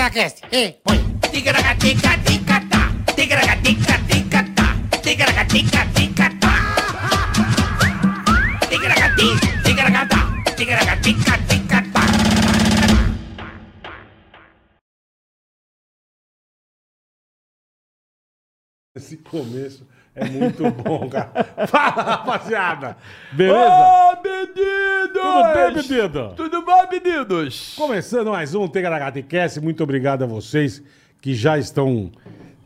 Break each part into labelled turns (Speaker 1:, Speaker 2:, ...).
Speaker 1: Tigracast. Eh, voy.
Speaker 2: Tigragatica, ticata. Tigragatica, ticata. Tigragatica, ticata. Tigragati, tigragata. Tigragatica, ticata.
Speaker 3: Esse começo é muito bom, cara. Fala, rapaziada. Beleza?
Speaker 4: Ô, meninos!
Speaker 3: Tudo bem, menino?
Speaker 4: Tudo bom, meninos?
Speaker 3: Começando mais um Tegaracatecast. Muito obrigado a vocês que já estão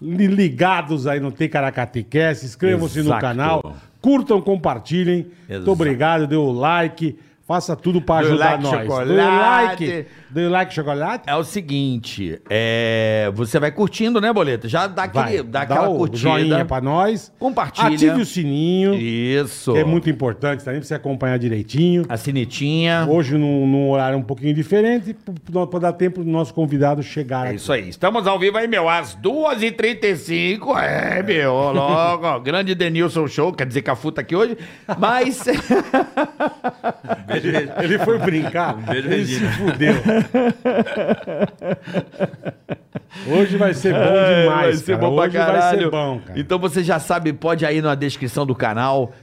Speaker 3: li- ligados aí no Tegaracatecast. Inscrevam-se no
Speaker 4: Exato.
Speaker 3: canal. Curtam, compartilhem. Muito
Speaker 4: Exato.
Speaker 3: obrigado. Dê o like. Faça tudo pra
Speaker 4: Dê o
Speaker 3: ajudar
Speaker 4: like,
Speaker 3: nós.
Speaker 4: chocolate.
Speaker 3: Dê like. Dê like, chocolate.
Speaker 4: É o seguinte, é, você vai curtindo, né, Boleto? Já dá,
Speaker 3: Vai,
Speaker 4: aquele, dá
Speaker 3: dá
Speaker 4: aquela
Speaker 3: o
Speaker 4: curtida.
Speaker 3: joinha pra nós.
Speaker 4: Compartilha.
Speaker 3: Ative o sininho.
Speaker 4: Isso.
Speaker 3: que é muito importante também pra você acompanhar direitinho.
Speaker 4: A sinetinha.
Speaker 3: Hoje num, num horário um pouquinho diferente, para dar tempo do nosso convidado chegar
Speaker 4: É
Speaker 3: aqui.
Speaker 4: isso aí. Estamos ao vivo aí, meu, às 2h35. É, meu, logo. Grande Denilson Show, quer dizer que a futa aqui hoje. Mas.
Speaker 3: Ele foi brincar,
Speaker 5: beijo,
Speaker 3: ele se
Speaker 5: Regina.
Speaker 3: fudeu. Hoje vai ser bom demais,
Speaker 4: É, vai ser
Speaker 3: cara.
Speaker 4: bom pra
Speaker 3: Hoje vai
Speaker 4: caralho.
Speaker 3: ser bom, cara.
Speaker 4: Então você já sabe, pode ir na descrição do canal,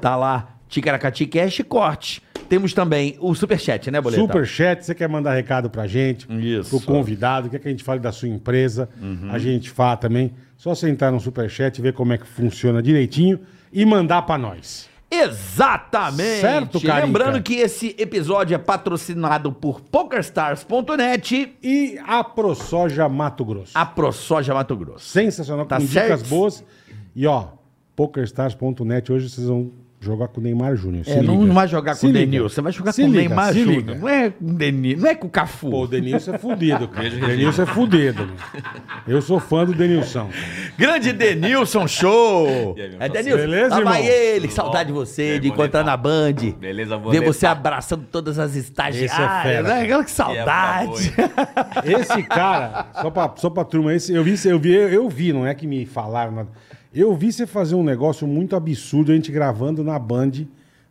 Speaker 4: tá lá, Ticaracati Cash Corte. Temos também o Superchat, né, Boleta?
Speaker 3: Superchat, você quer mandar recado pra gente,
Speaker 4: Isso. Uhum.
Speaker 3: pro convidado, quer que a gente fale da sua empresa, a gente fala também. Só você entrar no Superchat, ver como é que funciona direitinho e mandar pra nós.
Speaker 4: Exatamente!
Speaker 3: Certo, Carica?
Speaker 4: Lembrando que esse episódio é patrocinado por PokerStars.net,
Speaker 3: E a ProSoja Mato Grosso.
Speaker 4: a ProSoja Mato Grosso.
Speaker 3: Sensacional,
Speaker 4: Tá
Speaker 3: com dicas
Speaker 4: certo?
Speaker 3: boas. E ó, pokerstars.net, hoje vocês vão jogar com o Neymar Júnior. se
Speaker 4: É, não,
Speaker 3: liga.
Speaker 4: não vai jogar
Speaker 3: Se
Speaker 4: com o
Speaker 3: liga.
Speaker 4: Denilson, você vai jogar
Speaker 3: Se
Speaker 4: com o
Speaker 3: liga,
Speaker 4: Neymar
Speaker 3: se
Speaker 4: Júnior.
Speaker 3: liga.
Speaker 4: Não é com o Denilson, não é com o Cafu.
Speaker 3: Pô, o Denilson é fudido, cara.
Speaker 5: Beijo,
Speaker 3: O Denilson é fudido, mano. Eu sou fã do Denilson.
Speaker 4: Grande Denilson Show!
Speaker 5: E aí, meu
Speaker 4: é
Speaker 5: parceiro?
Speaker 4: Denilson,
Speaker 3: Beleza,
Speaker 4: lá vai
Speaker 3: irmão?
Speaker 4: ele,
Speaker 5: Tudo
Speaker 4: que saudade de
Speaker 5: bom? E
Speaker 4: você,
Speaker 5: aí,
Speaker 4: de encontrar
Speaker 5: boletar?
Speaker 4: na Band.
Speaker 5: Beleza,
Speaker 4: Ver
Speaker 5: boletar?
Speaker 4: você abraçando todas as estagiárias,
Speaker 3: é fera,
Speaker 4: né? Aquela que
Speaker 5: E
Speaker 4: saudade.
Speaker 5: é pra
Speaker 3: Esse cara, só pra, só pra turma, esse, eu, vi, eu, vi, eu vi, não é que me falaram nada. Eu vi você fazer um negócio muito absurdo, a gente gravando na Band,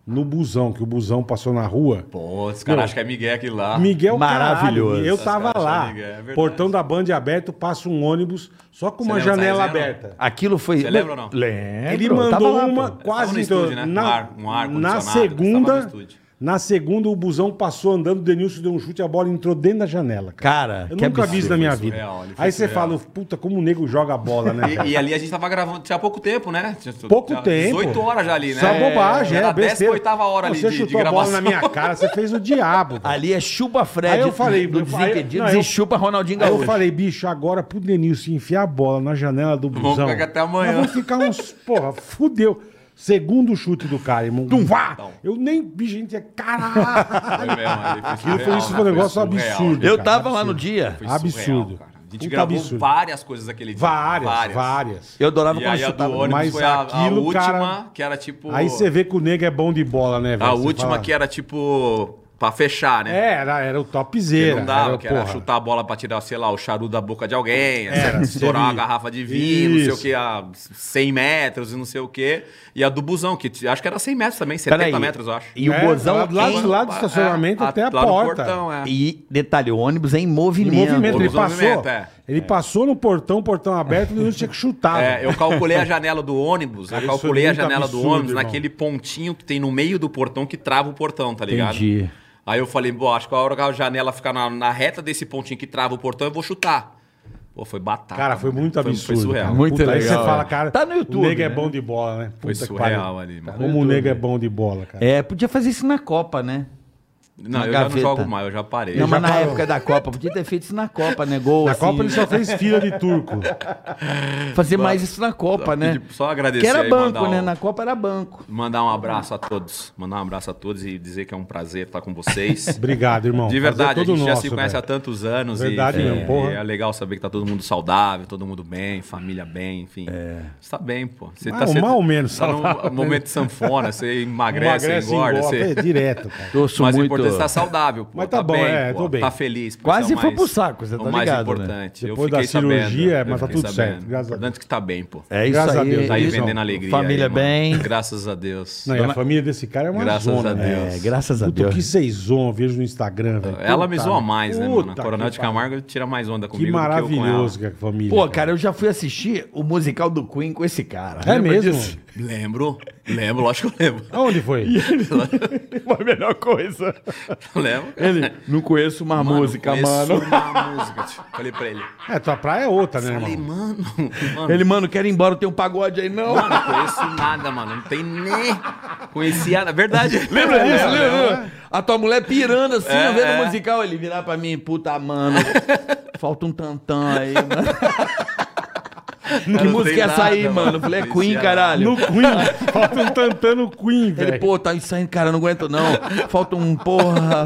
Speaker 3: no busão, que o busão passou na rua.
Speaker 5: Pô, os caras acham que é Miguel aqui lá.
Speaker 3: Miguel
Speaker 4: Ah, Maravilhoso.
Speaker 3: caralho, eu
Speaker 5: Os
Speaker 3: tava
Speaker 5: caras são
Speaker 3: lá.
Speaker 5: Miguel, é verdade.
Speaker 3: portão da Band aberto, passa um ônibus só com uma
Speaker 5: Você lembra
Speaker 3: janela
Speaker 5: dessa resenha,
Speaker 3: aberta.
Speaker 4: Aquilo foi.
Speaker 5: Você lembra ou não?
Speaker 4: Lembro.
Speaker 3: Ele
Speaker 4: É, Tava
Speaker 3: mandou
Speaker 4: lá,
Speaker 3: uma
Speaker 4: pô.
Speaker 3: quase
Speaker 5: no
Speaker 3: então,
Speaker 5: estúdio, né?
Speaker 3: na,
Speaker 5: Um ar- um ar
Speaker 3: na
Speaker 5: condicionado, tava no
Speaker 3: segunda,
Speaker 5: estúdio.
Speaker 3: na segunda o busão passou andando, o Denilson deu um chute, a bola entrou dentro da janela. Cara,
Speaker 4: Cara,
Speaker 3: eu
Speaker 4: que
Speaker 3: nunca vi
Speaker 4: absurdo.
Speaker 3: isso na minha
Speaker 5: foi
Speaker 3: vida.
Speaker 5: surreal, ele foi
Speaker 3: Aí você
Speaker 5: surreal.
Speaker 3: fala, puta, como o nego joga a bola, né? cara?
Speaker 5: E, e ali a gente tava gravando, tinha pouco tempo, né? Tinha,
Speaker 3: Pouco
Speaker 5: tinha
Speaker 3: tempo.
Speaker 5: 18 horas já ali, né?
Speaker 3: Isso é uma bobagem,
Speaker 5: Era
Speaker 3: é
Speaker 5: a
Speaker 3: besteira.
Speaker 5: 18 hora ali
Speaker 3: Você
Speaker 5: de,
Speaker 3: chutou
Speaker 5: de
Speaker 3: a bola na
Speaker 5: gravação.
Speaker 3: minha cara, você fez o diabo. cara.
Speaker 4: Ali é chupa Fred
Speaker 3: Aí eu falei,
Speaker 4: do
Speaker 3: eu falei-
Speaker 4: Desimpedidos
Speaker 3: não, eu-
Speaker 4: e chupa Ronaldinho
Speaker 3: Aí
Speaker 4: Gaúcho.
Speaker 3: eu falei, bicho, agora pro Denilson enfiar a bola na janela do
Speaker 5: Vamos
Speaker 3: busão.
Speaker 5: ficar até amanhã.
Speaker 3: Nós vamos ficar uns. Porra, fudeu. Segundo chute do cara, irmão. vá! Eu nem. Bicho, gente, é caralho.
Speaker 5: Foi mesmo, ali foi
Speaker 3: Aquilo foi
Speaker 5: surreal,
Speaker 3: isso,
Speaker 5: né?
Speaker 3: foi um negócio
Speaker 5: surreal.
Speaker 3: absurdo.
Speaker 4: Eu
Speaker 3: cara, é
Speaker 4: tava lá
Speaker 3: absurdo.
Speaker 4: no dia.
Speaker 5: Foi surreal,
Speaker 3: Absurdo.
Speaker 5: cara. A
Speaker 3: Puta
Speaker 5: gente gravou
Speaker 3: absurdo.
Speaker 5: várias coisas daquele dia.
Speaker 3: Várias, várias.
Speaker 4: Eu adorava
Speaker 5: E
Speaker 4: quando
Speaker 5: aí tá a do
Speaker 4: chutava.
Speaker 5: ônibus
Speaker 3: Mas
Speaker 5: foi a, a
Speaker 3: aquilo,
Speaker 5: última,
Speaker 3: cara-
Speaker 5: que era tipo...
Speaker 3: Aí você vê que o nego é bom de bola, né, velho?
Speaker 5: A
Speaker 3: Você
Speaker 5: última
Speaker 3: fala-
Speaker 5: que era tipo... Pra fechar, né?
Speaker 3: É, era, era o
Speaker 5: Que
Speaker 3: topzera.
Speaker 5: não dava,
Speaker 3: era,
Speaker 5: que era
Speaker 3: porra.
Speaker 5: chutar a bola pra tirar, sei lá, o charuto da boca de alguém, assim,
Speaker 3: Era,
Speaker 5: estourar
Speaker 3: teve-
Speaker 5: uma garrafa de vinho, não sei o
Speaker 3: Isso.
Speaker 5: que, a 100 metros e não sei o que. E a do busão, que t- acho que era 100 metros também, 70
Speaker 4: Peraí.
Speaker 5: metros, eu acho. É,
Speaker 4: E o
Speaker 3: É,
Speaker 4: Bozão.
Speaker 3: lá- lá-
Speaker 4: em- É,
Speaker 3: lá- do estacionamento até a
Speaker 5: lá no
Speaker 3: porta.
Speaker 5: portão, é.
Speaker 4: E detalhe, o ônibus é em
Speaker 3: Em
Speaker 4: movimento.
Speaker 3: movimento, ele
Speaker 5: Ônibus
Speaker 3: passou.
Speaker 5: movimento, é.
Speaker 3: Ele passou no portão, portão aberto, e o Denilson tinha que chutar.
Speaker 5: É,
Speaker 3: velho.
Speaker 5: eu calculei a janela do ônibus,
Speaker 3: Cara,
Speaker 5: eu
Speaker 3: isso é
Speaker 5: calculei a
Speaker 3: muito
Speaker 5: janela do
Speaker 3: absurdo,
Speaker 5: ônibus
Speaker 3: irmão.
Speaker 5: naquele pontinho que tem no meio do portão que trava o portão, tá ligado?
Speaker 4: Entendi.
Speaker 5: Aí eu falei, pô, acho que a hora que a janela ficar na, na reta desse pontinho que trava o portão, eu vou chutar. Pô, foi batata.
Speaker 3: Cara, foi
Speaker 5: mano.
Speaker 3: muito absurdo.
Speaker 5: Foi surreal.
Speaker 3: cara.
Speaker 4: Muito
Speaker 3: Aí
Speaker 4: legal,
Speaker 3: você fala,
Speaker 4: é.
Speaker 3: cara,
Speaker 4: Tá no YouTube,
Speaker 3: o nego é
Speaker 4: né?
Speaker 3: bom de bola, né?
Speaker 5: Foi
Speaker 3: Puta que
Speaker 5: surreal
Speaker 3: pariu.
Speaker 5: ali, mano.
Speaker 3: Como o nego é bom de bola, cara.
Speaker 4: É, podia fazer isso na Copa, né?
Speaker 5: Não,
Speaker 4: Na
Speaker 5: eu
Speaker 4: gaveta.
Speaker 5: já não jogo mais, eu já parei.
Speaker 4: Não,
Speaker 5: Já
Speaker 4: mas na
Speaker 3: parou.
Speaker 4: época da Copa, podia ter feito isso na Copa, né? Gol,
Speaker 3: Na
Speaker 4: assim,
Speaker 3: Copa ele só fez fila de turco.
Speaker 4: Fazer mais isso na Copa, né?
Speaker 5: pedir- só agradecer
Speaker 4: Que era
Speaker 5: aí,
Speaker 4: banco,
Speaker 5: mandar
Speaker 4: né?
Speaker 5: um-
Speaker 4: Na Copa era banco.
Speaker 5: Mandar um abraço a todos. Mandar um abraço a todos e dizer que é um prazer estar com vocês.
Speaker 3: Obrigado, irmão.
Speaker 5: De
Speaker 3: Prazer é
Speaker 5: verdade, a
Speaker 3: todo
Speaker 5: gente já
Speaker 3: nosso,
Speaker 5: se conhece
Speaker 3: velho.
Speaker 5: há tantos anos. e-
Speaker 3: Verdade
Speaker 5: e,
Speaker 3: mesmo, porra.
Speaker 5: e é legal saber que tá todo mundo saudável, todo mundo bem, família bem, enfim. É. Você tá bem, pô. Você
Speaker 3: Mal-
Speaker 5: tá sendo-
Speaker 3: mal ou menos
Speaker 5: Tá num
Speaker 3: saudável.
Speaker 5: momento de sanfona, você emagrece, engorda.
Speaker 3: Emagrece,
Speaker 5: você...
Speaker 3: engorda, é direto, cara.
Speaker 4: Torço
Speaker 5: Mas o
Speaker 4: muito
Speaker 5: Você está saudável. pô,
Speaker 3: Mas tá bom, é,
Speaker 5: pô,
Speaker 3: tô bem.
Speaker 5: Tá feliz. pô,
Speaker 4: Quase
Speaker 5: isso é o
Speaker 4: foi
Speaker 5: mais-
Speaker 4: pro saco, você tá
Speaker 5: O mais
Speaker 4: ligado, né?
Speaker 5: importante.
Speaker 3: Depois
Speaker 5: eu
Speaker 3: da
Speaker 5: fiquei
Speaker 3: cirurgia,
Speaker 5: sabendo,
Speaker 3: mas
Speaker 5: eu
Speaker 3: tá
Speaker 5: fiquei
Speaker 3: tudo
Speaker 5: sabendo.
Speaker 3: certo, graças a
Speaker 5: O importante que tá bem, pô.
Speaker 4: É isso
Speaker 3: Graças a Deus.
Speaker 4: aí.
Speaker 5: Tá aí
Speaker 3: isso.
Speaker 5: vendendo alegria.
Speaker 4: Família
Speaker 5: aí, mano.
Speaker 4: bem.
Speaker 5: Graças a Deus.
Speaker 3: Não, e a família desse cara é uma
Speaker 5: Graças
Speaker 3: zona,
Speaker 5: a
Speaker 3: né?
Speaker 5: Deus.
Speaker 4: É, graças a
Speaker 3: Puta, o
Speaker 4: Deus.
Speaker 3: que vocês zoam, eu vejo no Instagram, velho.
Speaker 5: Ela me
Speaker 3: Puta,
Speaker 5: zoa mais, né, mano? A
Speaker 3: puta
Speaker 5: Coronel
Speaker 3: que
Speaker 5: de Camargo tira mais onda
Speaker 3: Que
Speaker 5: comigo do que eu com ela.
Speaker 3: maravilhoso que é a família.
Speaker 4: Pô, cara, eu já fui assistir o musical do Queen com esse cara.
Speaker 3: É
Speaker 4: Lembra
Speaker 3: mesmo?
Speaker 4: disso?
Speaker 5: Lembro, lembro, lógico que eu lembro.
Speaker 3: Aonde foi?
Speaker 4: Foi a melhor coisa.
Speaker 5: lembro.
Speaker 4: Ele, não conheço uma música,
Speaker 5: conheço
Speaker 4: mano.
Speaker 5: Uma música. tio. Falei pra ele.
Speaker 3: É, tua praia é outra, né,
Speaker 5: Falei,
Speaker 3: irmão?
Speaker 5: mano, mano.
Speaker 4: Ele, mano, quero ir embora, tem um pagode aí, não.
Speaker 5: Mano, não conheço nada, mano. Não tem nem. Conhecia nada. Verdade.
Speaker 4: Lembra disso?
Speaker 5: É,
Speaker 4: Lembra? A tua mulher pirando assim,
Speaker 5: É,
Speaker 4: vendo
Speaker 5: é.
Speaker 4: musical, ele virar pra mim, puta, mano, falta um tantão aí, mano. que
Speaker 5: não
Speaker 4: música
Speaker 5: tem
Speaker 4: é essa aí,
Speaker 5: nada,
Speaker 4: mano?
Speaker 5: mano.
Speaker 4: Eu Falei, é
Speaker 5: Não
Speaker 4: Queen,
Speaker 5: conhecia
Speaker 4: caralho.
Speaker 3: No Queen. Falta um tantano Queen,
Speaker 4: Ele,
Speaker 3: velho.
Speaker 4: pô, tá ensaiando, cara, não aguento não. Falta um porra.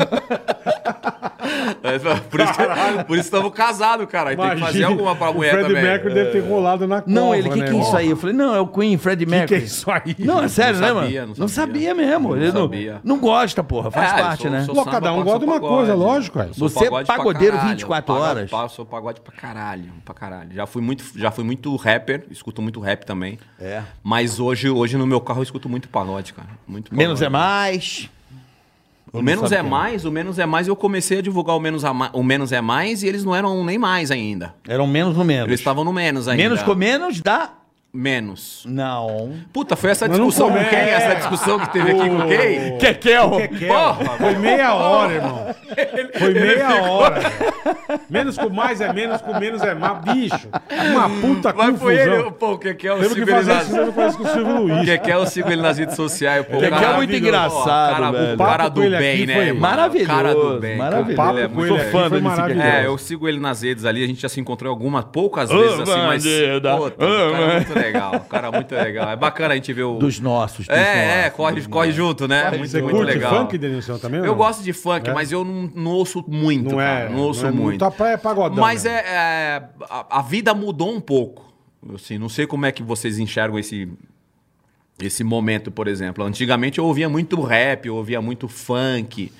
Speaker 5: Mas, ó, É, Por isso, que- por isso estamos casados, cara. E Tem que fazer
Speaker 3: Imagina,
Speaker 5: alguma É. pra mulher
Speaker 3: O Fred
Speaker 5: também.
Speaker 3: Mercury deve ter rolado na cova,
Speaker 4: Não, ele, o que,
Speaker 3: né,
Speaker 4: que é isso
Speaker 3: irmão?
Speaker 4: aí? Eu falei, não, é o Queen, Fred
Speaker 3: Que
Speaker 4: Mercury.
Speaker 3: é isso aí?
Speaker 4: Não, é sério, né,
Speaker 5: sabia,
Speaker 4: mano?
Speaker 5: não
Speaker 4: Não
Speaker 5: sabia.
Speaker 4: sabia mesmo. Ele
Speaker 5: Não
Speaker 4: não,
Speaker 5: sabia.
Speaker 4: não gosta, porra, faz
Speaker 5: É, eu
Speaker 4: parte,
Speaker 5: sou-
Speaker 4: né?
Speaker 5: sou
Speaker 3: Pô,
Speaker 5: samba,
Speaker 3: cada um
Speaker 5: sou
Speaker 3: gosta de uma
Speaker 5: pagode.
Speaker 3: coisa, lógico, ué.
Speaker 5: Sou
Speaker 4: Você é
Speaker 5: pagode pra
Speaker 4: pagodeiro
Speaker 5: caralho,
Speaker 4: 24
Speaker 5: pago-
Speaker 4: horas.
Speaker 5: pa- Sou pagode pra caralho, pra caralho. Já fui muito, já fui muito rapper, escuto muito rap também.
Speaker 4: É.
Speaker 5: Mas hoje, hoje no meu carro eu escuto muito pagode, cara. Muito pagode.
Speaker 4: Menos é mais.
Speaker 5: O menos é mais, o menos é mais, eu comecei a divulgar o menos, a ma- o menos é mais e eles não eram nem mais ainda.
Speaker 4: Eram menos no menos.
Speaker 5: Eles estavam no menos ainda.
Speaker 4: Menos com menos dá.
Speaker 5: Menos.
Speaker 4: Não.
Speaker 5: Puta, foi essa
Speaker 3: Mas não
Speaker 5: discussão com
Speaker 3: come-
Speaker 5: quem? Essa discussão que teve aqui com quem?
Speaker 4: Kekel.
Speaker 5: Porra,
Speaker 3: Foi meia hora, irmão. Foi meia hora. velho. Menos com mais é menos, com menos é mais. Bicho, uma puta
Speaker 5: Hum, mas foi ele,
Speaker 3: Tá confusão.
Speaker 5: pô, o que que é o
Speaker 3: Temos que fazer isso,
Speaker 5: civilizado?
Speaker 3: temos que fazer isso com o Silvio
Speaker 5: O
Speaker 3: Luiz.
Speaker 5: que que é eu sigo ele nas redes sociais, pô.
Speaker 4: Que que é
Speaker 5: Cara,
Speaker 4: muito
Speaker 5: maravilhoso.
Speaker 4: engraçado,
Speaker 5: Cara,
Speaker 4: velho.
Speaker 5: O cara
Speaker 3: Papo
Speaker 5: do
Speaker 3: com ele aqui
Speaker 5: bem,
Speaker 3: foi
Speaker 5: né? irmão?
Speaker 4: Maravilhoso,
Speaker 5: Cara do bem. cara.
Speaker 4: maravilhoso.
Speaker 5: O papo
Speaker 3: Sou
Speaker 5: com ele é-
Speaker 3: fã
Speaker 4: aqui,
Speaker 3: desse
Speaker 4: foi
Speaker 3: Kekel.
Speaker 5: É, eu sigo ele nas redes ali, a gente já se encontrou algumas, poucas vezes, assim, mas.
Speaker 4: bandeira.
Speaker 5: Puta, o cara
Speaker 4: Ah,
Speaker 5: é muito legal, o cara é muito legal. É bacana a gente ver o.
Speaker 4: Dos nossos. dos
Speaker 5: É, é,
Speaker 4: nossos,
Speaker 5: corre,
Speaker 4: dos
Speaker 5: corre
Speaker 4: nossos.
Speaker 5: junto, né? Muito,
Speaker 3: Você
Speaker 5: muito
Speaker 3: curte
Speaker 5: legal.
Speaker 3: funk, Denilson, também? ou
Speaker 5: Eu
Speaker 3: não?
Speaker 5: gosto de funk,
Speaker 3: É?
Speaker 5: mas eu não, não ouço muito,
Speaker 3: Não é,
Speaker 5: cara. Não ouço
Speaker 3: não é muito.
Speaker 5: muito.
Speaker 3: Tua praia é pagodão,
Speaker 5: Mas
Speaker 3: né?
Speaker 5: é, é, a, a vida mudou um pouco. Assim, não sei como é que vocês enxergam esse esse momento, por exemplo. Antigamente eu ouvia muito rap, eu ouvia muito funk.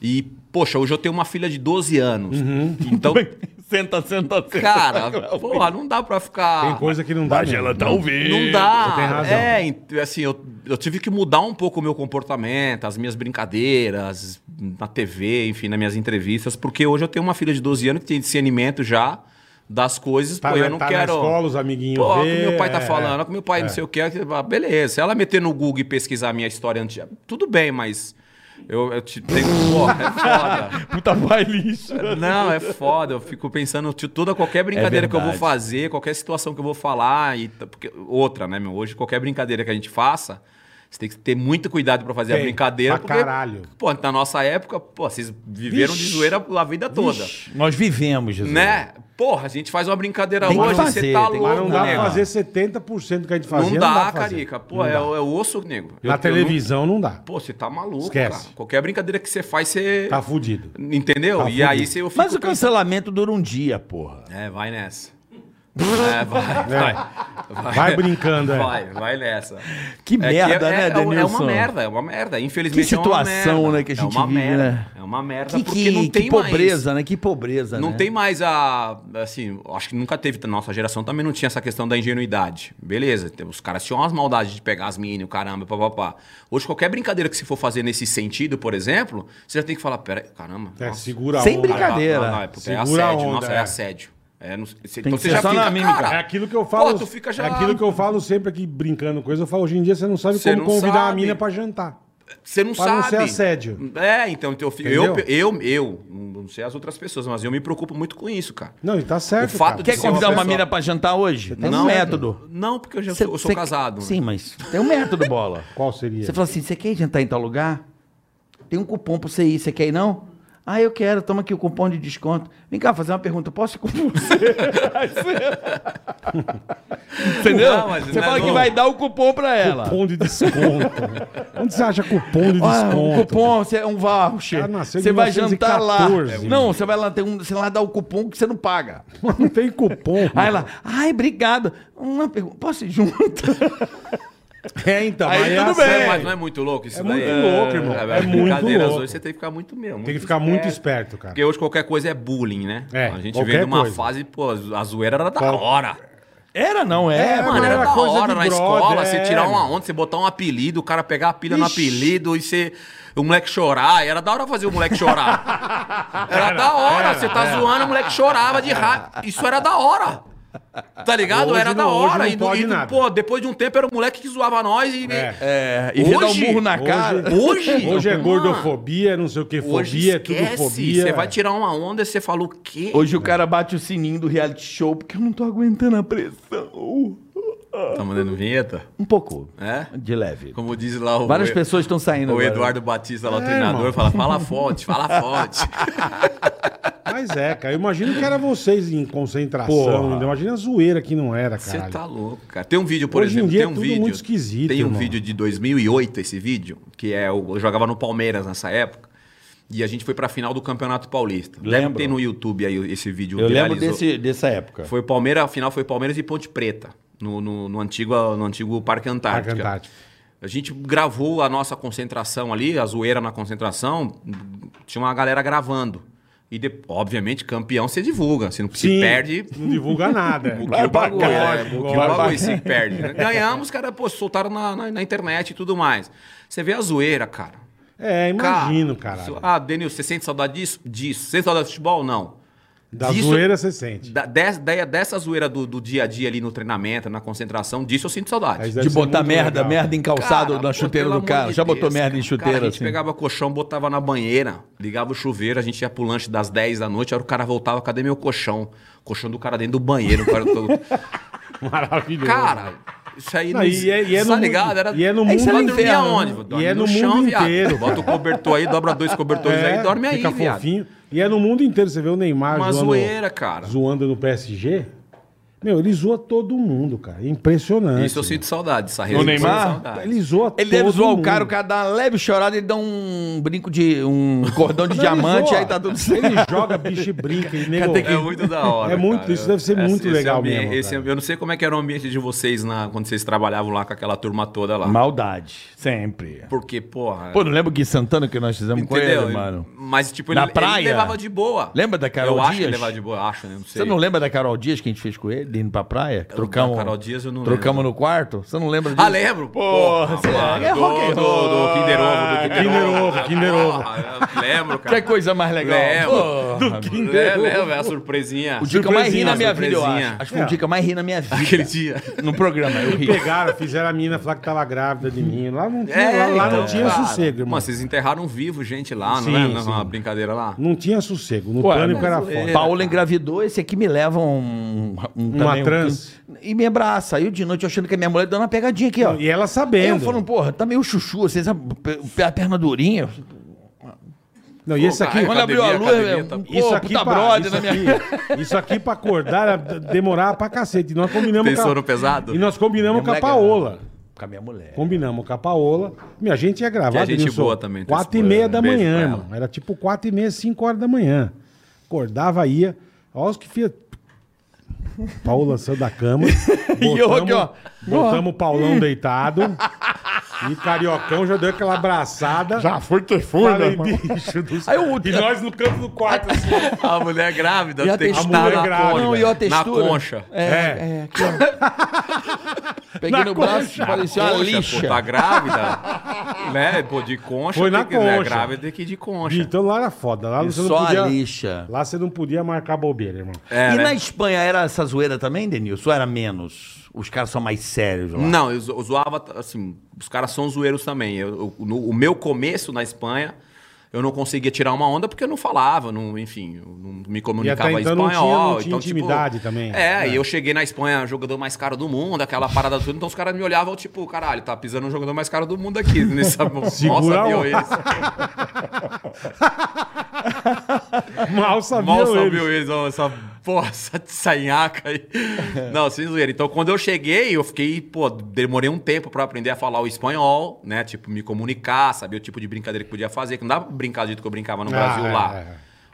Speaker 5: E poxa, hoje eu tenho uma filha de 12 anos.
Speaker 3: Uhum.
Speaker 5: Então,
Speaker 4: Senta, senta, senta.
Speaker 5: cara, porra, não dá pra ficar
Speaker 3: Tem coisa que não dá. mesmo.
Speaker 5: tá
Speaker 3: Tá
Speaker 4: ouvindo.
Speaker 5: não dá.
Speaker 3: Você tem razão.
Speaker 5: É, ent- assim, eu, eu tive que mudar um pouco o meu comportamento, as minhas brincadeiras, na TV, enfim, nas minhas entrevistas, porque hoje eu tenho uma filha de 12 anos que tem discernimento já das coisas,
Speaker 3: Tá,
Speaker 5: pô,
Speaker 3: na,
Speaker 5: eu não
Speaker 3: tá
Speaker 5: quero.
Speaker 3: na escola, os amiguinhos.
Speaker 5: Pô, o que
Speaker 3: vê,
Speaker 5: meu pai tá
Speaker 3: é,
Speaker 5: falando, olha o que meu pai não sei o que, ah, beleza. Se ela meter no Google e pesquisar a minha história antiga, tudo bem, mas eu, eu te tenho. Pô, é foda.
Speaker 4: Puta vai lixo.
Speaker 5: Não, é foda. Eu fico pensando de toda qualquer brincadeira que eu vou
Speaker 4: É verdade.
Speaker 5: fazer, qualquer situação que eu vou falar. E, t- porque, outra, né, meu? Hoje, qualquer brincadeira que a gente faça, você tem que ter muito cuidado pra fazer a
Speaker 3: Tem,
Speaker 5: brincadeira.
Speaker 3: pra caralho.
Speaker 5: Pô, na nossa época, pô, vocês viveram de
Speaker 3: Vixe.
Speaker 5: zoeira a vida toda.
Speaker 4: Nós vivemos, Jesus.
Speaker 5: Né? Porra, a gente faz uma brincadeira
Speaker 4: Tem que
Speaker 5: hoje,
Speaker 4: fazer,
Speaker 5: você tá
Speaker 4: tem-
Speaker 5: louco,
Speaker 3: Mas não dá pra
Speaker 5: nego.
Speaker 3: fazer 70% que a gente fazia.
Speaker 5: não dá,
Speaker 3: pra fazer.
Speaker 5: Carica. Pô,
Speaker 3: Não
Speaker 5: é,
Speaker 3: dá.
Speaker 5: é osso, nego. Eu-
Speaker 3: Na
Speaker 5: eu
Speaker 3: televisão não dá.
Speaker 5: não- Pô, você tá maluco,
Speaker 3: Esquece.
Speaker 5: cara. Qualquer brincadeira que você faz, você...
Speaker 3: Tá fudido.
Speaker 5: Entendeu?
Speaker 3: Tá
Speaker 5: e
Speaker 3: fudido.
Speaker 5: aí você... eu
Speaker 4: Mas
Speaker 5: fico
Speaker 4: o cancelamento dura um dia, porra.
Speaker 5: É, vai nessa. É, vai, vai, vai.
Speaker 3: Vai brincando, é.
Speaker 5: Vai, vai nessa.
Speaker 4: Que merda, né,
Speaker 5: é, é, é uma
Speaker 4: Denilson?
Speaker 5: merda, é uma merda. Infelizmente
Speaker 4: Que
Speaker 5: é
Speaker 4: situação,
Speaker 5: uma merda.
Speaker 4: né, que a gente
Speaker 5: é uma
Speaker 4: vive,
Speaker 5: merda.
Speaker 4: né?
Speaker 5: É uma merda
Speaker 4: Que,
Speaker 5: porque não
Speaker 4: que,
Speaker 5: tem
Speaker 4: que
Speaker 5: mais.
Speaker 4: pobreza, né? Que pobreza,
Speaker 5: Não
Speaker 4: né?
Speaker 5: tem mais a. Assim, acho que nunca teve. Nossa geração também não tinha essa questão da ingenuidade. Beleza, tem- os caras tinham umas maldades de pegar as meninas, o caramba, papapá. Hoje, qualquer brincadeira que você for fazer nesse sentido, por exemplo, você já tem que falar: pera, caramba.
Speaker 3: É,
Speaker 5: nossa,
Speaker 3: segura a
Speaker 4: Sem
Speaker 3: onda.
Speaker 4: brincadeira.
Speaker 5: é, puta, é
Speaker 3: Segura a
Speaker 5: assédio,
Speaker 3: onda,
Speaker 5: nossa,
Speaker 3: é.
Speaker 5: é assédio. É, não, cê,
Speaker 4: que
Speaker 5: então você
Speaker 4: ser
Speaker 5: já
Speaker 4: só
Speaker 5: fica,
Speaker 4: na mímica.
Speaker 5: cara,
Speaker 3: É aquilo que eu falo.
Speaker 5: Pô, tu fica já...
Speaker 3: É aquilo que eu falo sempre aqui brincando coisa. Eu falo, hoje em dia você não sabe
Speaker 5: Você
Speaker 3: como
Speaker 5: não
Speaker 3: convidar a
Speaker 5: sabe.
Speaker 3: mina pra jantar.
Speaker 5: Você não
Speaker 3: pra
Speaker 5: sabe.
Speaker 3: não ser assédio.
Speaker 5: É, então eu, fico- eu,
Speaker 3: Entendeu?
Speaker 5: eu, eu, não sei as outras pessoas, mas eu me preocupo muito com isso, cara.
Speaker 3: Não, e tá certo.
Speaker 5: O fato
Speaker 3: cara.
Speaker 5: de
Speaker 4: Quer
Speaker 5: ser
Speaker 4: convidar
Speaker 5: uma
Speaker 4: uma
Speaker 5: pessoa-
Speaker 4: mina pra jantar hoje?
Speaker 3: É
Speaker 4: Tem um
Speaker 5: Não. é
Speaker 4: método.
Speaker 5: Não, porque eu já
Speaker 4: Cê-
Speaker 5: sou, eu sou
Speaker 4: cê-
Speaker 5: casado. né?
Speaker 4: Sim, mas tem um método, bola.
Speaker 3: Qual seria?
Speaker 4: Você fala assim, você quer jantar em tal lugar? Tem um cupom pra você ir, você quer ir não? Ah, eu quero, toma aqui o cupom de desconto. Vem cá, fazer uma pergunta, posso ir com você? Aí você- Entendeu?
Speaker 5: Não, mas
Speaker 4: você
Speaker 5: não é
Speaker 4: fala que
Speaker 5: não.
Speaker 4: vai dar o cupom pra ela.
Speaker 3: Cupom de desconto. né? Onde você acha cupom de
Speaker 4: Ah,
Speaker 3: desconto?
Speaker 4: um cupom, você é um voucher.
Speaker 3: Cara, nasceu em
Speaker 4: Você vai jantar lá.
Speaker 3: 1914.
Speaker 4: Não, você vai lá, tem um, você lá dá o cupom que você não paga.
Speaker 3: Não tem cupom.
Speaker 4: Aí ela, ai, obrigado. Uma pergunta, posso ir junto?
Speaker 3: É, então,
Speaker 6: Aí
Speaker 3: mas é
Speaker 6: tudo
Speaker 3: a-
Speaker 6: bem.
Speaker 5: Mas não é muito louco isso
Speaker 3: É
Speaker 5: daí?
Speaker 3: muito louco, irmão. É muito
Speaker 5: brincadeiras
Speaker 3: louco.
Speaker 5: hoje você tem que ficar muito meu.
Speaker 3: Tem que ficar
Speaker 5: é.
Speaker 3: muito esperto, cara.
Speaker 5: Porque hoje qualquer coisa é bullying, né?
Speaker 3: É,
Speaker 5: a gente
Speaker 3: qualquer
Speaker 5: vem de uma
Speaker 3: coisa.
Speaker 5: fase, pô, a zoeira era da
Speaker 3: Qual-
Speaker 5: hora.
Speaker 4: Era, não é?
Speaker 3: É,
Speaker 5: Mano, era,
Speaker 3: era
Speaker 5: da
Speaker 3: coisa
Speaker 5: hora
Speaker 3: de
Speaker 5: na
Speaker 3: brother,
Speaker 5: escola, você
Speaker 3: é,
Speaker 5: tirar uma
Speaker 3: mano.
Speaker 5: onda, você botar um apelido, o cara pegar a pilha no
Speaker 3: Ixi.
Speaker 5: apelido e você. O moleque chorar, e era da hora fazer o moleque chorar. Era, da hora, você tá
Speaker 3: é.
Speaker 5: zoando, o moleque chorava de raiva. Isso era da hora. Tá ligado?
Speaker 3: Hoje
Speaker 5: era da
Speaker 3: não- hoje
Speaker 5: hora.
Speaker 3: não
Speaker 5: E, do-
Speaker 3: pode
Speaker 5: e do-
Speaker 3: nada.
Speaker 5: pô, depois de um tempo era o moleque que zoava nós e.
Speaker 3: É.
Speaker 4: É, e hoje,
Speaker 5: Hoje?
Speaker 4: dar um burro na
Speaker 3: Hoje-
Speaker 4: cara.
Speaker 5: Hoje.
Speaker 3: Hoje é
Speaker 5: mano,
Speaker 3: gordofobia, não sei o que,
Speaker 5: Hoje
Speaker 3: fobia, é tudo
Speaker 5: esquece.
Speaker 3: fobia.
Speaker 5: Você vai tirar uma onda e você fala o quê?
Speaker 4: Hoje o cara bate o sininho do reality show porque eu não tô aguentando a pressão.
Speaker 5: Tá mandando vinheta?
Speaker 4: Um pouco.
Speaker 5: É?
Speaker 4: De leve.
Speaker 5: Como diz lá o.
Speaker 4: Várias pessoas estão
Speaker 5: O
Speaker 4: saindo agora.
Speaker 5: Eduardo Batista lá, o
Speaker 3: É,
Speaker 5: treinador,
Speaker 3: irmão.
Speaker 5: fala, fala forte, fala forte.
Speaker 3: Mas é, cara. Eu imagino que era vocês em concentração.
Speaker 4: Porra.
Speaker 3: entendeu? Imagina a zoeira que não era,
Speaker 5: Você
Speaker 3: cara.
Speaker 5: tá louco, cara. Tem um vídeo, por
Speaker 3: Hoje em
Speaker 5: exemplo,
Speaker 3: dia
Speaker 5: tem
Speaker 3: é
Speaker 5: um
Speaker 3: tudo
Speaker 5: vídeo.
Speaker 3: muito esquisito,
Speaker 5: Tem um
Speaker 3: irmão.
Speaker 5: vídeo de 2008 esse vídeo, que é o- eu jogava no Palmeiras nessa época. E a gente foi pra final do Campeonato Paulista. Deve
Speaker 4: Lembro.
Speaker 5: ter no YouTube aí esse vídeo
Speaker 4: Eu lembro
Speaker 5: viralizou.
Speaker 4: desse, dessa época.
Speaker 5: Foi Palmeiras, a final foi Palmeiras e Ponte Preta, no, no, no antigo, no antigo Parque Antártica.
Speaker 3: Parque Antártico.
Speaker 5: A gente gravou a nossa concentração ali, a zoeira na concentração, tinha uma galera gravando. E, de- obviamente, campeão você divulga, você não se
Speaker 3: Sim,
Speaker 5: perde.
Speaker 3: Não divulga nada.
Speaker 5: O
Speaker 4: Vai
Speaker 5: o bagulho,
Speaker 4: pra
Speaker 5: É, né?
Speaker 3: lógico,
Speaker 5: O que o
Speaker 3: vai
Speaker 5: bagulho
Speaker 3: pra-
Speaker 5: se perde. né? Ganhamos, cara, pô, soltaram na, na- na internet e tudo mais. Você vê a zoeira, cara.
Speaker 3: É, imagino,
Speaker 5: cara.
Speaker 3: caralho.
Speaker 5: isso- Ah, Denil, você sente saudade disso? Disso. Sente saudade de futebol? Não.
Speaker 3: Da
Speaker 5: Disso-
Speaker 3: zoeira você sente.
Speaker 5: Da, des- da- dessa zoeira do, do dia a dia ali no treinamento, na concentração, disso eu sinto saudade.
Speaker 3: Mas é
Speaker 4: De botar merda, merda em calçado
Speaker 5: Cara,
Speaker 4: na
Speaker 5: pô,
Speaker 4: chuteira
Speaker 5: pelo
Speaker 4: do cara.
Speaker 5: amor de
Speaker 4: Já botou
Speaker 5: Deus,
Speaker 4: merda
Speaker 5: cara.
Speaker 4: em chuteira,
Speaker 5: Cara, a gente
Speaker 4: assim.
Speaker 5: pegava colchão, botava na banheira, ligava o chuveiro, a gente ia pro lanche das 10 da noite, aí o cara voltava, cadê meu colchão? Colchão do cara dentro do banheiro. o Cara, todo-
Speaker 3: Maravilhoso.
Speaker 5: cara isso aí
Speaker 3: Não, e é- e é
Speaker 5: tá
Speaker 3: no mu-
Speaker 5: ligado? Era...
Speaker 3: e é no
Speaker 5: Aí
Speaker 4: mundo
Speaker 5: você vai dormir
Speaker 4: inteiro,
Speaker 5: aonde?
Speaker 4: né?
Speaker 5: Vou
Speaker 3: E
Speaker 5: dormir
Speaker 3: é no mundo
Speaker 5: viado.
Speaker 3: inteiro,
Speaker 5: Bota o
Speaker 3: cara.
Speaker 5: cobertor aí, dobra dois cobertores aí e dorme aí,
Speaker 3: É, fica
Speaker 5: viado.
Speaker 3: fofinho. E é no mundo inteiro, você vê o Neymar
Speaker 5: Uma
Speaker 3: zoando,
Speaker 5: zoeira, cara.
Speaker 3: zoando no PSG. Meu, ele zoa todo mundo, cara. É Impressionante. Ah,
Speaker 5: Isso eu sinto saudade, essa
Speaker 4: O Neymar?
Speaker 5: saudade.
Speaker 3: Ele zoa
Speaker 4: Ele deve
Speaker 3: todo
Speaker 4: zoar o
Speaker 3: mundo.
Speaker 4: cara, o cara dá uma leve chorada, ele dá um brinco de. um cordão de
Speaker 3: Não,
Speaker 4: diamante,
Speaker 3: ele
Speaker 4: aí tá tudo certo.
Speaker 3: Ele joga, bicho e brinca. Ele nego...
Speaker 5: É muito da hora.
Speaker 3: É muito-
Speaker 5: cara.
Speaker 3: isso deve ser muito
Speaker 5: esse
Speaker 3: legal
Speaker 5: ambi-
Speaker 3: mesmo,
Speaker 5: esse
Speaker 3: cara.
Speaker 5: ambi- eu não sei como é que era o ambiente de vocês na, quando vocês trabalhavam lá com aquela turma toda lá.
Speaker 4: Maldade, sempre.
Speaker 5: Porque, porra.
Speaker 4: Pô, não lembra o Gui Santana que nós fizemos com ele, mano?
Speaker 5: Mas, tipo,
Speaker 4: Na
Speaker 5: ele, ele
Speaker 4: praia.
Speaker 5: levava de boa.
Speaker 4: Lembra da Carol
Speaker 5: Eu acho que
Speaker 4: Dias?
Speaker 5: ele levava de boa, acho, né? Não sei.
Speaker 4: Você não lembra da Carol Dias que a gente fez com ele, indo pra praia? Que Trocamos,
Speaker 5: Carol Dias eu não
Speaker 4: trocamos
Speaker 5: lembro.
Speaker 4: no quarto? Você não lembra disso?
Speaker 5: Ah, lembro? Porra,
Speaker 4: você-
Speaker 5: mano,
Speaker 4: é
Speaker 5: do,
Speaker 4: rock
Speaker 5: do,
Speaker 4: and
Speaker 5: do Kinder Ovo, do Kinder,
Speaker 3: Kinder Ovo, Kinder Ovo.
Speaker 5: Porra, Lembro, cara.
Speaker 4: Que é coisa mais legal.
Speaker 5: Lembro.
Speaker 4: Porra.
Speaker 5: Lembro, lembro, é a surpresinha.
Speaker 4: O dia que eu mais ri
Speaker 5: Surpresinha,
Speaker 4: na minha vida, eu
Speaker 5: surpresinha.
Speaker 4: acho. Acho que foi
Speaker 3: É.
Speaker 4: o dia que eu mais ri na minha vida.
Speaker 5: Aquele dia.
Speaker 4: No programa, eu ri.
Speaker 3: Pegaram, fizeram a menina falar que tava grávida de mim. Lá não tinha, lá, lá não
Speaker 5: então,
Speaker 3: tinha
Speaker 5: cara.
Speaker 3: sossego, irmão.
Speaker 5: Mano, vocês enterraram vivo gente lá, não
Speaker 3: Sim,
Speaker 5: é? Não,
Speaker 3: sim.
Speaker 5: Uma brincadeira lá.
Speaker 3: Não tinha sossego. No
Speaker 4: Ué,
Speaker 3: pânico
Speaker 4: mas é
Speaker 3: era
Speaker 5: zoeira.
Speaker 3: foda.
Speaker 4: Paula engravidou, esse aqui me leva um... um
Speaker 3: Uma
Speaker 4: também, um
Speaker 3: trans.
Speaker 4: quilo. e me abraça. Aí eu de noite achando que a minha mulher dando uma pegadinha aqui, ó.
Speaker 3: E é ela
Speaker 4: eu
Speaker 3: sabendo.
Speaker 4: falando, porra, tá meio chuchu, vocês a, a perna durinha.
Speaker 3: Não, e esse
Speaker 5: Pô,
Speaker 3: aqui.
Speaker 5: cara,
Speaker 4: Quando abriu a luz,
Speaker 5: academia
Speaker 4: meu,
Speaker 5: tá-
Speaker 4: pô,
Speaker 3: Isso aqui,
Speaker 4: puta
Speaker 3: pra,
Speaker 4: brother
Speaker 3: isso,
Speaker 4: na
Speaker 3: aqui,
Speaker 4: minha-
Speaker 3: isso aqui pra acordar era- demorava pra cacete. E Nós combinamos
Speaker 5: Pensou
Speaker 3: com a-
Speaker 5: no pesado?
Speaker 3: E nós combinamos
Speaker 4: Minha
Speaker 3: com a
Speaker 5: é
Speaker 4: mulher
Speaker 3: Paola.
Speaker 5: né?
Speaker 4: Com a minha mulher.
Speaker 3: Combinamos com a Paola. Minha gente ia gravar.
Speaker 5: Que é gente
Speaker 3: Denilson,
Speaker 5: boa também, tá
Speaker 3: Quatro e
Speaker 5: esse
Speaker 3: meia da
Speaker 5: programa. Beijo
Speaker 3: manhã,
Speaker 5: pra
Speaker 3: irmão. Era tipo quatro e meia, cinco horas da manhã. Acordava, ia. Olha os que fia... Paola saiu da cama.
Speaker 4: E eu aqui, ó.
Speaker 3: Botamos o Paulão deitado. E Cariocão já deu aquela abraçada. Já foi que foi, Falei, bicho do céu.
Speaker 4: Aí o-
Speaker 3: E nós no canto do quarto, assim.
Speaker 5: A mulher grávida
Speaker 4: E a
Speaker 5: tem que
Speaker 4: textura-
Speaker 5: estar
Speaker 3: A mulher
Speaker 5: na
Speaker 3: grávida.
Speaker 5: concha.
Speaker 4: Não, e a
Speaker 5: na
Speaker 4: textura.
Speaker 5: concha.
Speaker 4: É,
Speaker 3: É.
Speaker 4: é. aqui, ó. Peguei
Speaker 3: Na
Speaker 4: no
Speaker 3: concha.
Speaker 4: braço, parecia uma
Speaker 5: Concha,
Speaker 4: lixa.
Speaker 5: Pô, tá grávida? né? Pô, de concha.
Speaker 3: Foi
Speaker 5: tem
Speaker 3: na
Speaker 5: que, né,
Speaker 3: concha.
Speaker 5: grávida tem que ir de concha.
Speaker 3: Então lá era foda. Lá
Speaker 4: E
Speaker 3: você
Speaker 4: só
Speaker 3: não
Speaker 4: a
Speaker 3: podia,
Speaker 4: lixa.
Speaker 3: Lá você não podia marcar bobeira, irmão.
Speaker 5: É,
Speaker 4: e
Speaker 5: né?
Speaker 4: na Espanha era essa zoeira também, Denilson? Ou era menos? Os caras são mais sérios lá.
Speaker 5: Não, eu, zo- eu zoava, assim, os caras são zoeiros também. Eu- eu- no- o meu começo na Espanha, eu não conseguia tirar uma onda porque eu não falava, não, enfim, eu não me comunicava
Speaker 3: E até
Speaker 5: em
Speaker 3: então não
Speaker 5: espanhol.
Speaker 3: tinha- não tinha
Speaker 5: então, tipo,
Speaker 3: intimidade também.
Speaker 5: É,
Speaker 3: É.
Speaker 5: e eu cheguei na Espanha, jogador mais caro do mundo, aquela parada toda, então os caras me olhavam, tipo, caralho, tá pisando um jogador mais caro do mundo aqui. Nessa,
Speaker 3: Segura a
Speaker 5: nossa, meu
Speaker 3: onda.
Speaker 5: eles.
Speaker 3: Mal sabia
Speaker 5: Mal
Speaker 3: eles.
Speaker 5: sabiam eles, ó, essa porra, essa sanhaca aí. Não, sem zoeira. Então, quando eu cheguei, eu fiquei, pô, demorei um tempo pra aprender a falar o espanhol, né? Tipo, me comunicar, saber o tipo de brincadeira que podia fazer, que não dava pra brincar do jeito que eu brincava no
Speaker 3: Ah,
Speaker 5: Brasil
Speaker 3: é,
Speaker 5: lá.
Speaker 3: é.